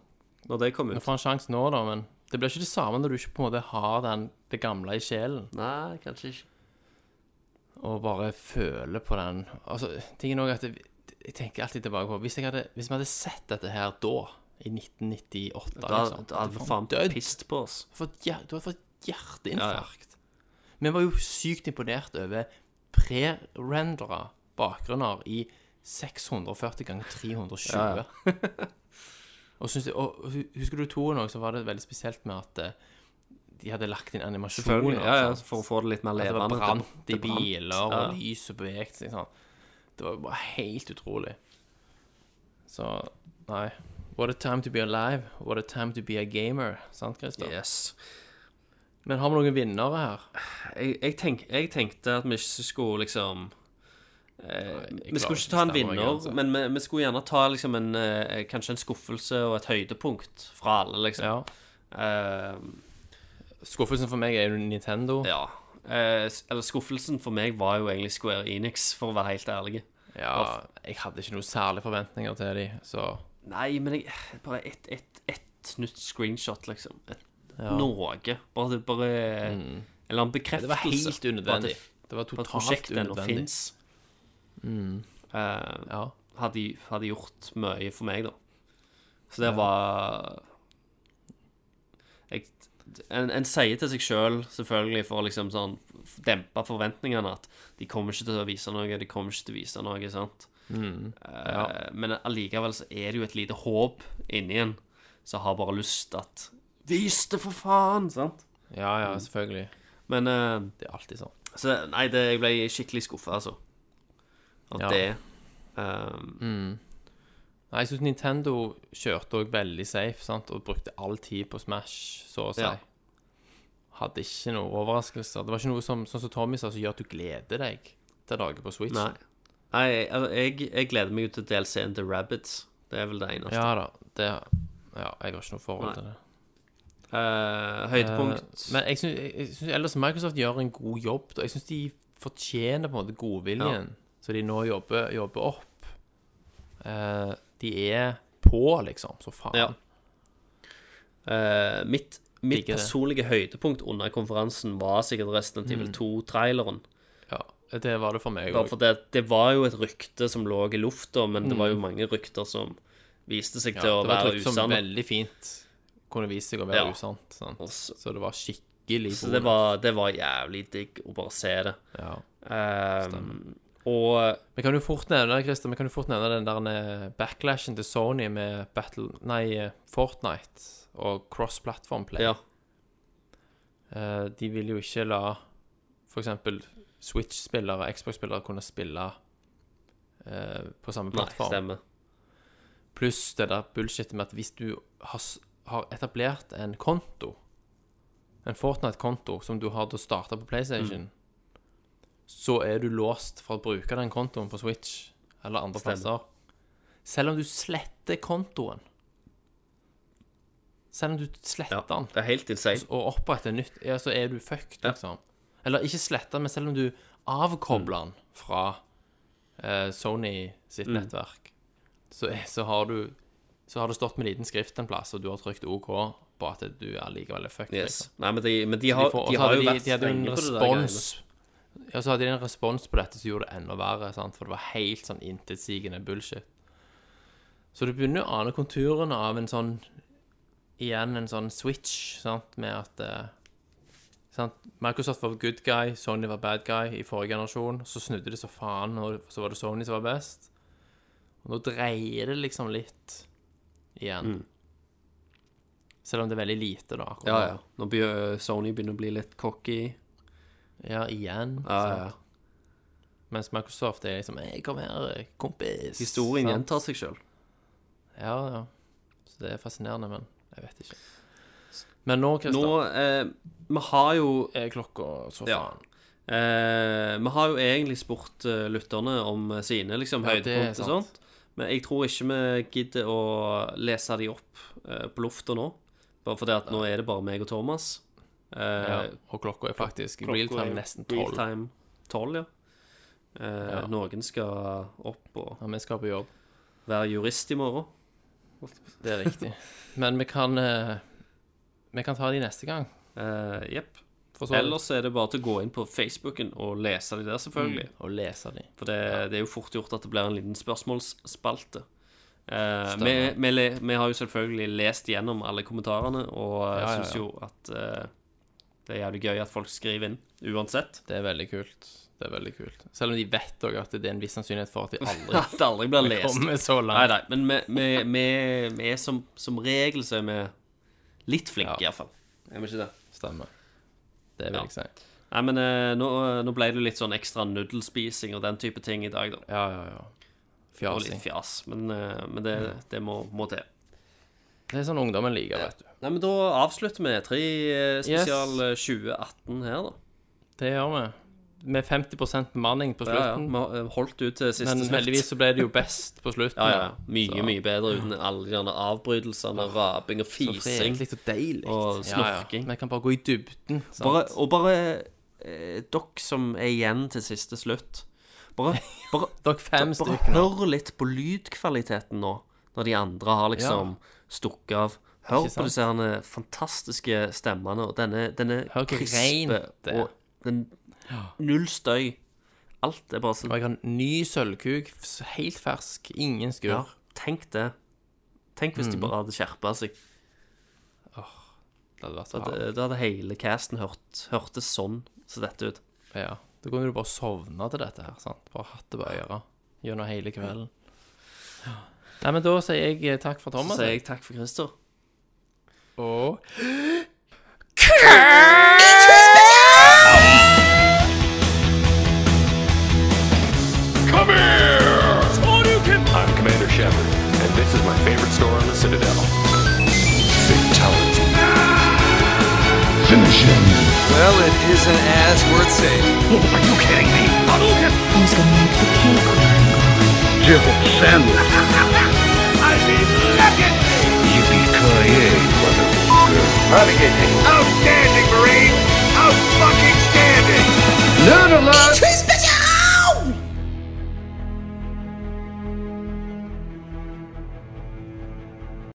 [SPEAKER 6] Når det kom
[SPEAKER 2] Du
[SPEAKER 6] ut.
[SPEAKER 2] får en sjanse nå, da, men det blir ikke det samme når du ikke på en måte har den, det gamle i sjelen
[SPEAKER 6] Nei, kanskje ikke.
[SPEAKER 2] og bare føler på den Altså, tingen også at det, Jeg tenker alltid tilbake på Hvis jeg hadde, hvis vi hadde sett dette her da, i 1998
[SPEAKER 6] Da,
[SPEAKER 2] liksom,
[SPEAKER 6] da hadde
[SPEAKER 2] du
[SPEAKER 6] vi
[SPEAKER 2] faen
[SPEAKER 6] faen
[SPEAKER 2] dødd.
[SPEAKER 6] pist på oss.
[SPEAKER 2] fått hjer- Du hadde fått hjerteinfarkt. Vi var jo sykt imponert over pre-rendera bakgrunner i 640 ganger 320. Og, synes, og og hu- Husker du toen òg, så var det veldig spesielt med at eh, de hadde lagt inn animasjoner.
[SPEAKER 6] Selvfølgelig. Ja, ja,
[SPEAKER 2] sant?
[SPEAKER 6] for å få det litt mer
[SPEAKER 2] altså. At det var
[SPEAKER 6] levende.
[SPEAKER 2] brant i
[SPEAKER 6] det brant.
[SPEAKER 2] biler, og
[SPEAKER 6] Ja.
[SPEAKER 2] lyset bevegte seg sånn. Det var jo bare helt utrolig. Så nei. What a time to be alive. What a time to be a gamer. Sant, Christer?
[SPEAKER 6] Yes.
[SPEAKER 2] Men har vi noen vinnere her?
[SPEAKER 6] Jeg, jeg, tenk, jeg tenkte at vi ikke skulle liksom eh,
[SPEAKER 2] jeg
[SPEAKER 6] Vi
[SPEAKER 2] klarer
[SPEAKER 6] skulle
[SPEAKER 2] ikke
[SPEAKER 6] ikke ta en
[SPEAKER 2] å bestemme meg,
[SPEAKER 6] vinner,
[SPEAKER 2] altså.
[SPEAKER 6] men vi, vi skulle gjerne ta liksom en, eh, kanskje en skuffelse og et høydepunkt fra alle, liksom.
[SPEAKER 2] Ja. Skuffelsen for meg er jo Nintendo.
[SPEAKER 6] Eh, ja. Eh, s- eller skuffelsen for meg var jo egentlig Square Enix, for å være helt ærlig.
[SPEAKER 2] Ja, jeg hadde ikke noen særlige forventninger til de, så
[SPEAKER 6] Nei, men jeg Bare ett et, et nytt screenshot, liksom. Et,
[SPEAKER 2] ja. Mm.
[SPEAKER 6] Noe. Bare, det- bare Eller en
[SPEAKER 2] Det
[SPEAKER 6] bekreftelse.
[SPEAKER 2] var helt
[SPEAKER 6] på at
[SPEAKER 2] unødvendig.
[SPEAKER 6] det-
[SPEAKER 2] Det var
[SPEAKER 6] på at
[SPEAKER 2] totalt
[SPEAKER 6] prosjektet ennå
[SPEAKER 2] unødvendig.
[SPEAKER 6] fins. Eh,
[SPEAKER 2] Ja.
[SPEAKER 6] hadde, hadde gjort mye for meg, da. Så det var jeg, en, en sier til seg sjøl, selv, selvfølgelig, for å liksom sånn f- dempe forventningene, at de kommer ikke til å vise noe, de kommer ikke til å vise noe, sant. Eh, Men allikevel så er det jo et lite håp inni en som har bare lyst til at Vis det, for faen! Sant?
[SPEAKER 2] ja, ja, selvfølgelig.
[SPEAKER 6] Men eh,
[SPEAKER 2] Det er alltid sånn.
[SPEAKER 6] så nei, det, jeg ble skikkelig skuffa, altså. Av
[SPEAKER 2] Ja.
[SPEAKER 6] det. Ehm,
[SPEAKER 2] Mm. Nei, jeg syns Nintendo kjørte òg veldig safe, sant, og brukte all tid på Smash, så å si.
[SPEAKER 6] Ja.
[SPEAKER 2] Hadde ikke noen overraskelser. Det var ikke noe som, sånn som Tommy sa, som gjør at du gleder deg til dager på Switch.
[SPEAKER 6] Nei. nei altså, jeg, jeg gleder meg jo til DLC-en til Rabbits. Det er vel det eneste.
[SPEAKER 2] Ja da. Det Ja, jeg har ikke noe forhold
[SPEAKER 6] Nei.
[SPEAKER 2] til det.
[SPEAKER 6] Eh, høydepunkt
[SPEAKER 2] Eh, Men jeg syns, jeg jeg syns ellers Microsoft gjør en god jobb. Da. Jeg syns de fortjener på en måte godviljen så de nå jobber, jobber opp. Eh, de er på, liksom, så faen.
[SPEAKER 6] Ja. Eh, Mitt, mitt
[SPEAKER 2] Digger det.
[SPEAKER 6] personlige høydepunkt under konferansen var sikkert Resident
[SPEAKER 2] Mm.
[SPEAKER 6] Evil 2-traileren.
[SPEAKER 2] Ja, det var det for meg
[SPEAKER 6] Bare
[SPEAKER 2] òg.
[SPEAKER 6] for det, det var jo et rykte som lå i lufta, men det
[SPEAKER 2] Mm.
[SPEAKER 6] var jo mange rykter som viste seg
[SPEAKER 2] Ja,
[SPEAKER 6] til å
[SPEAKER 2] det var et
[SPEAKER 6] være
[SPEAKER 2] rykte som
[SPEAKER 6] usanne.
[SPEAKER 2] veldig fint kunne vise seg å være
[SPEAKER 6] Ja.
[SPEAKER 2] usant. Sant?
[SPEAKER 6] Og så-
[SPEAKER 2] Så det var skikkelig
[SPEAKER 6] Så det var, det var jævlig digg å bare se det.
[SPEAKER 2] ja.
[SPEAKER 6] Eh, og
[SPEAKER 2] Vi kan jo fort nevne Christer, vi kan jo fort nevne den der eh, backlashen til Sony med Battle, nei, eh, Fortnite og cross-platform play.
[SPEAKER 6] Ja.
[SPEAKER 2] Eh, de vil jo ikke la f.eks. Switch-spillere og Xbox-spillere kunne spille eh, på samme
[SPEAKER 6] Nei,
[SPEAKER 2] plattform.
[SPEAKER 6] stemmer.
[SPEAKER 2] Pluss det der bullshitet med at hvis du har, s- har etablert en konto, en Fortnite-konto, som du har til å starte på PlayStation, så er du låst fra å bruke den kontoen på Switch eller andre
[SPEAKER 6] Stemmer.
[SPEAKER 2] plasser. Selv om du sletter kontoen. Selv om du sletter
[SPEAKER 6] Ja,
[SPEAKER 2] den
[SPEAKER 6] det er helt insane.
[SPEAKER 2] og opprette nytt, ja, så er du fucked,
[SPEAKER 6] Ja.
[SPEAKER 2] liksom. Eller ikke sletta, men selv om du avkobler den fra eh, Sony sitt
[SPEAKER 6] Mm.
[SPEAKER 2] nettverk, så, er- så har du Så har det stått med liten skrift en plass, og du har trykt OK på at du er likevel er fucked. liksom.
[SPEAKER 6] Yes. Nei, men de, men Liksom. de
[SPEAKER 2] De,
[SPEAKER 6] har,
[SPEAKER 2] får,
[SPEAKER 6] de
[SPEAKER 2] og så
[SPEAKER 6] har
[SPEAKER 2] hadde
[SPEAKER 6] jo
[SPEAKER 2] de,
[SPEAKER 6] vært
[SPEAKER 2] de hadde jo en
[SPEAKER 6] strenge på det der
[SPEAKER 2] respons
[SPEAKER 6] greiene.
[SPEAKER 2] Ja, så hadde de en respons på dette som gjorde det enda verre, sant? for det var helt sånn intetsigende bullshit. Så du begynner å ane konturene av en sånn Igjen en sånn switch, sant, med at eh, sant? Microsoft var good guy, Sony var bad guy i forrige generasjon. Så snudde de så faen, og så var det Sony som var best. Og nå dreier det liksom litt igjen. Selv om det er veldig lite, da. akkurat
[SPEAKER 6] Ja,
[SPEAKER 2] nå.
[SPEAKER 6] ja. Nå begynner Sony begynner å bli litt cocky.
[SPEAKER 2] Ja, igjen. sant?
[SPEAKER 6] Ja, ja, Ah, ja.
[SPEAKER 2] Mens Microsoft er liksom Hei, kom her, kompis.
[SPEAKER 6] Historien
[SPEAKER 2] Sant?
[SPEAKER 6] gjentar seg sjøl.
[SPEAKER 2] Ja, ja. Så det er fascinerende, men jeg vet ikke. Men nå,
[SPEAKER 6] Nå
[SPEAKER 2] Kristian,
[SPEAKER 6] eh, Vi har jo
[SPEAKER 2] er klokka så
[SPEAKER 6] Ja.
[SPEAKER 2] faen.
[SPEAKER 6] eh, Vi har jo egentlig spurt eh, lytterne om eh, sine liksom,
[SPEAKER 2] Ja, det er
[SPEAKER 6] høydepunkt og
[SPEAKER 2] sant.
[SPEAKER 6] sånt. Men jeg tror ikke vi gidder å lese de opp eh, på lufta nå. Bare fordi at nå er det bare meg og Thomas. Eh,
[SPEAKER 2] Ja. Og klokka er faktisk i real
[SPEAKER 6] Klokka
[SPEAKER 2] time
[SPEAKER 6] er
[SPEAKER 2] nesten
[SPEAKER 6] Real
[SPEAKER 2] tolv.
[SPEAKER 6] time 12, ja. Eh,
[SPEAKER 2] Ja.
[SPEAKER 6] Noen skal opp og
[SPEAKER 2] Ja, vi skal på jobb.
[SPEAKER 6] være jurist i morgen.
[SPEAKER 2] Det er riktig. men vi kan eh, Vi kan ta de neste gang.
[SPEAKER 6] Eh, Jepp.
[SPEAKER 2] For så vidt.
[SPEAKER 6] Ellers er det bare til å gå inn på Facebooken og lese de der, selvfølgelig.
[SPEAKER 2] Mm, Og lese de.
[SPEAKER 6] For det, det er jo fort gjort at det blir en liten spørsmålsspalte. Eh, vi,
[SPEAKER 2] Stemmer.
[SPEAKER 6] vi, le, vi har jo selvfølgelig lest gjennom alle kommentarene, og jeg
[SPEAKER 2] Ja, ja,
[SPEAKER 6] syns
[SPEAKER 2] ja.
[SPEAKER 6] jo at eh, det er jævlig gøy at folk skriver inn, uansett.
[SPEAKER 2] Det er veldig kult. Det er veldig kult. Selv om de vet òg at det er en viss sannsynlighet for at de aldri
[SPEAKER 6] At det aldri blir lest.
[SPEAKER 2] kommer så
[SPEAKER 6] Nei,
[SPEAKER 2] langt.
[SPEAKER 6] nei, men vi, vi, vi, vi er som, som regel så er vi litt flinke, i hvert fall. Er vi ikke det?
[SPEAKER 2] Stemmer. Det vil
[SPEAKER 6] Ja.
[SPEAKER 2] jeg si.
[SPEAKER 6] Nei, men eh, nå, nå ble det litt sånn ekstra nudelspising og den type ting i dag, da.
[SPEAKER 2] Ja, ja, ja. Mm.
[SPEAKER 6] Og litt
[SPEAKER 2] Fjasing.
[SPEAKER 6] fjas. Men, eh, men det, det må, må til.
[SPEAKER 2] Det er sånn ungdommen liker, vet du.
[SPEAKER 6] Nei, men da avslutter vi tre eh, spesial eh, 2018 her, da.
[SPEAKER 2] Det gjør vi. Med 50 bemanning på
[SPEAKER 6] Ja, ja.
[SPEAKER 2] slutten.
[SPEAKER 6] Vi har eh, holdt ut til siste
[SPEAKER 2] Men
[SPEAKER 6] slutt.
[SPEAKER 2] heldigvis så ble det jo best på slutten.
[SPEAKER 6] Ja, ja. Mye,
[SPEAKER 2] Så-
[SPEAKER 6] mye bedre uten alle de derne avbrytelsene, raping og fising.
[SPEAKER 2] Fredelig og deilig.
[SPEAKER 6] Og snorking.
[SPEAKER 2] Vi kan bare gå i dybden. Sant?
[SPEAKER 6] Bare, og bare eh, dere som er igjen til siste slutt Bare, bare,
[SPEAKER 2] Dere fem
[SPEAKER 6] bare
[SPEAKER 2] stykker.
[SPEAKER 6] hør litt på lydkvaliteten nå, når de andre har liksom stukket av.
[SPEAKER 2] Ikke
[SPEAKER 6] Hør på
[SPEAKER 2] sant?
[SPEAKER 6] disse herne fantastiske stemmene, og denne, denne
[SPEAKER 2] Hør hvor rent
[SPEAKER 6] krispe
[SPEAKER 2] det er.
[SPEAKER 6] og den Null støy. Alt er bare sånn
[SPEAKER 2] Og jeg har en ny sølvkuk, f- helt fersk, ingen skurr.
[SPEAKER 6] Ja, tenk det. Tenk hvis
[SPEAKER 2] Mm.
[SPEAKER 6] de bare hadde skjerpa seg.
[SPEAKER 2] Det hadde vært
[SPEAKER 6] Da
[SPEAKER 2] så hardt.
[SPEAKER 6] hadde, da hadde hele casten hørt, hørtes sånn som dette ut.
[SPEAKER 2] Ja. Da kunne du bare sovna til dette her, sant. Bare hatt det på øret gjennom hele kvelden. Ja. Nei, men da sier jeg eh, takk for
[SPEAKER 6] Så
[SPEAKER 2] Thomas.
[SPEAKER 6] sier jeg takk for Christer.
[SPEAKER 2] Og
[SPEAKER 3] Come here! I'm Commander Shepard, and this is my favorite store on the Citadel. Fatality. Finish him.
[SPEAKER 1] Well, it isn't as worth saving.
[SPEAKER 3] Are you kidding me? Hadouken! Who's gonna make the cake? Jibble sandwich. I mean, look at me! Yippee-ki-yay, motherfucker. Renegade. Outstanding, Marine! Out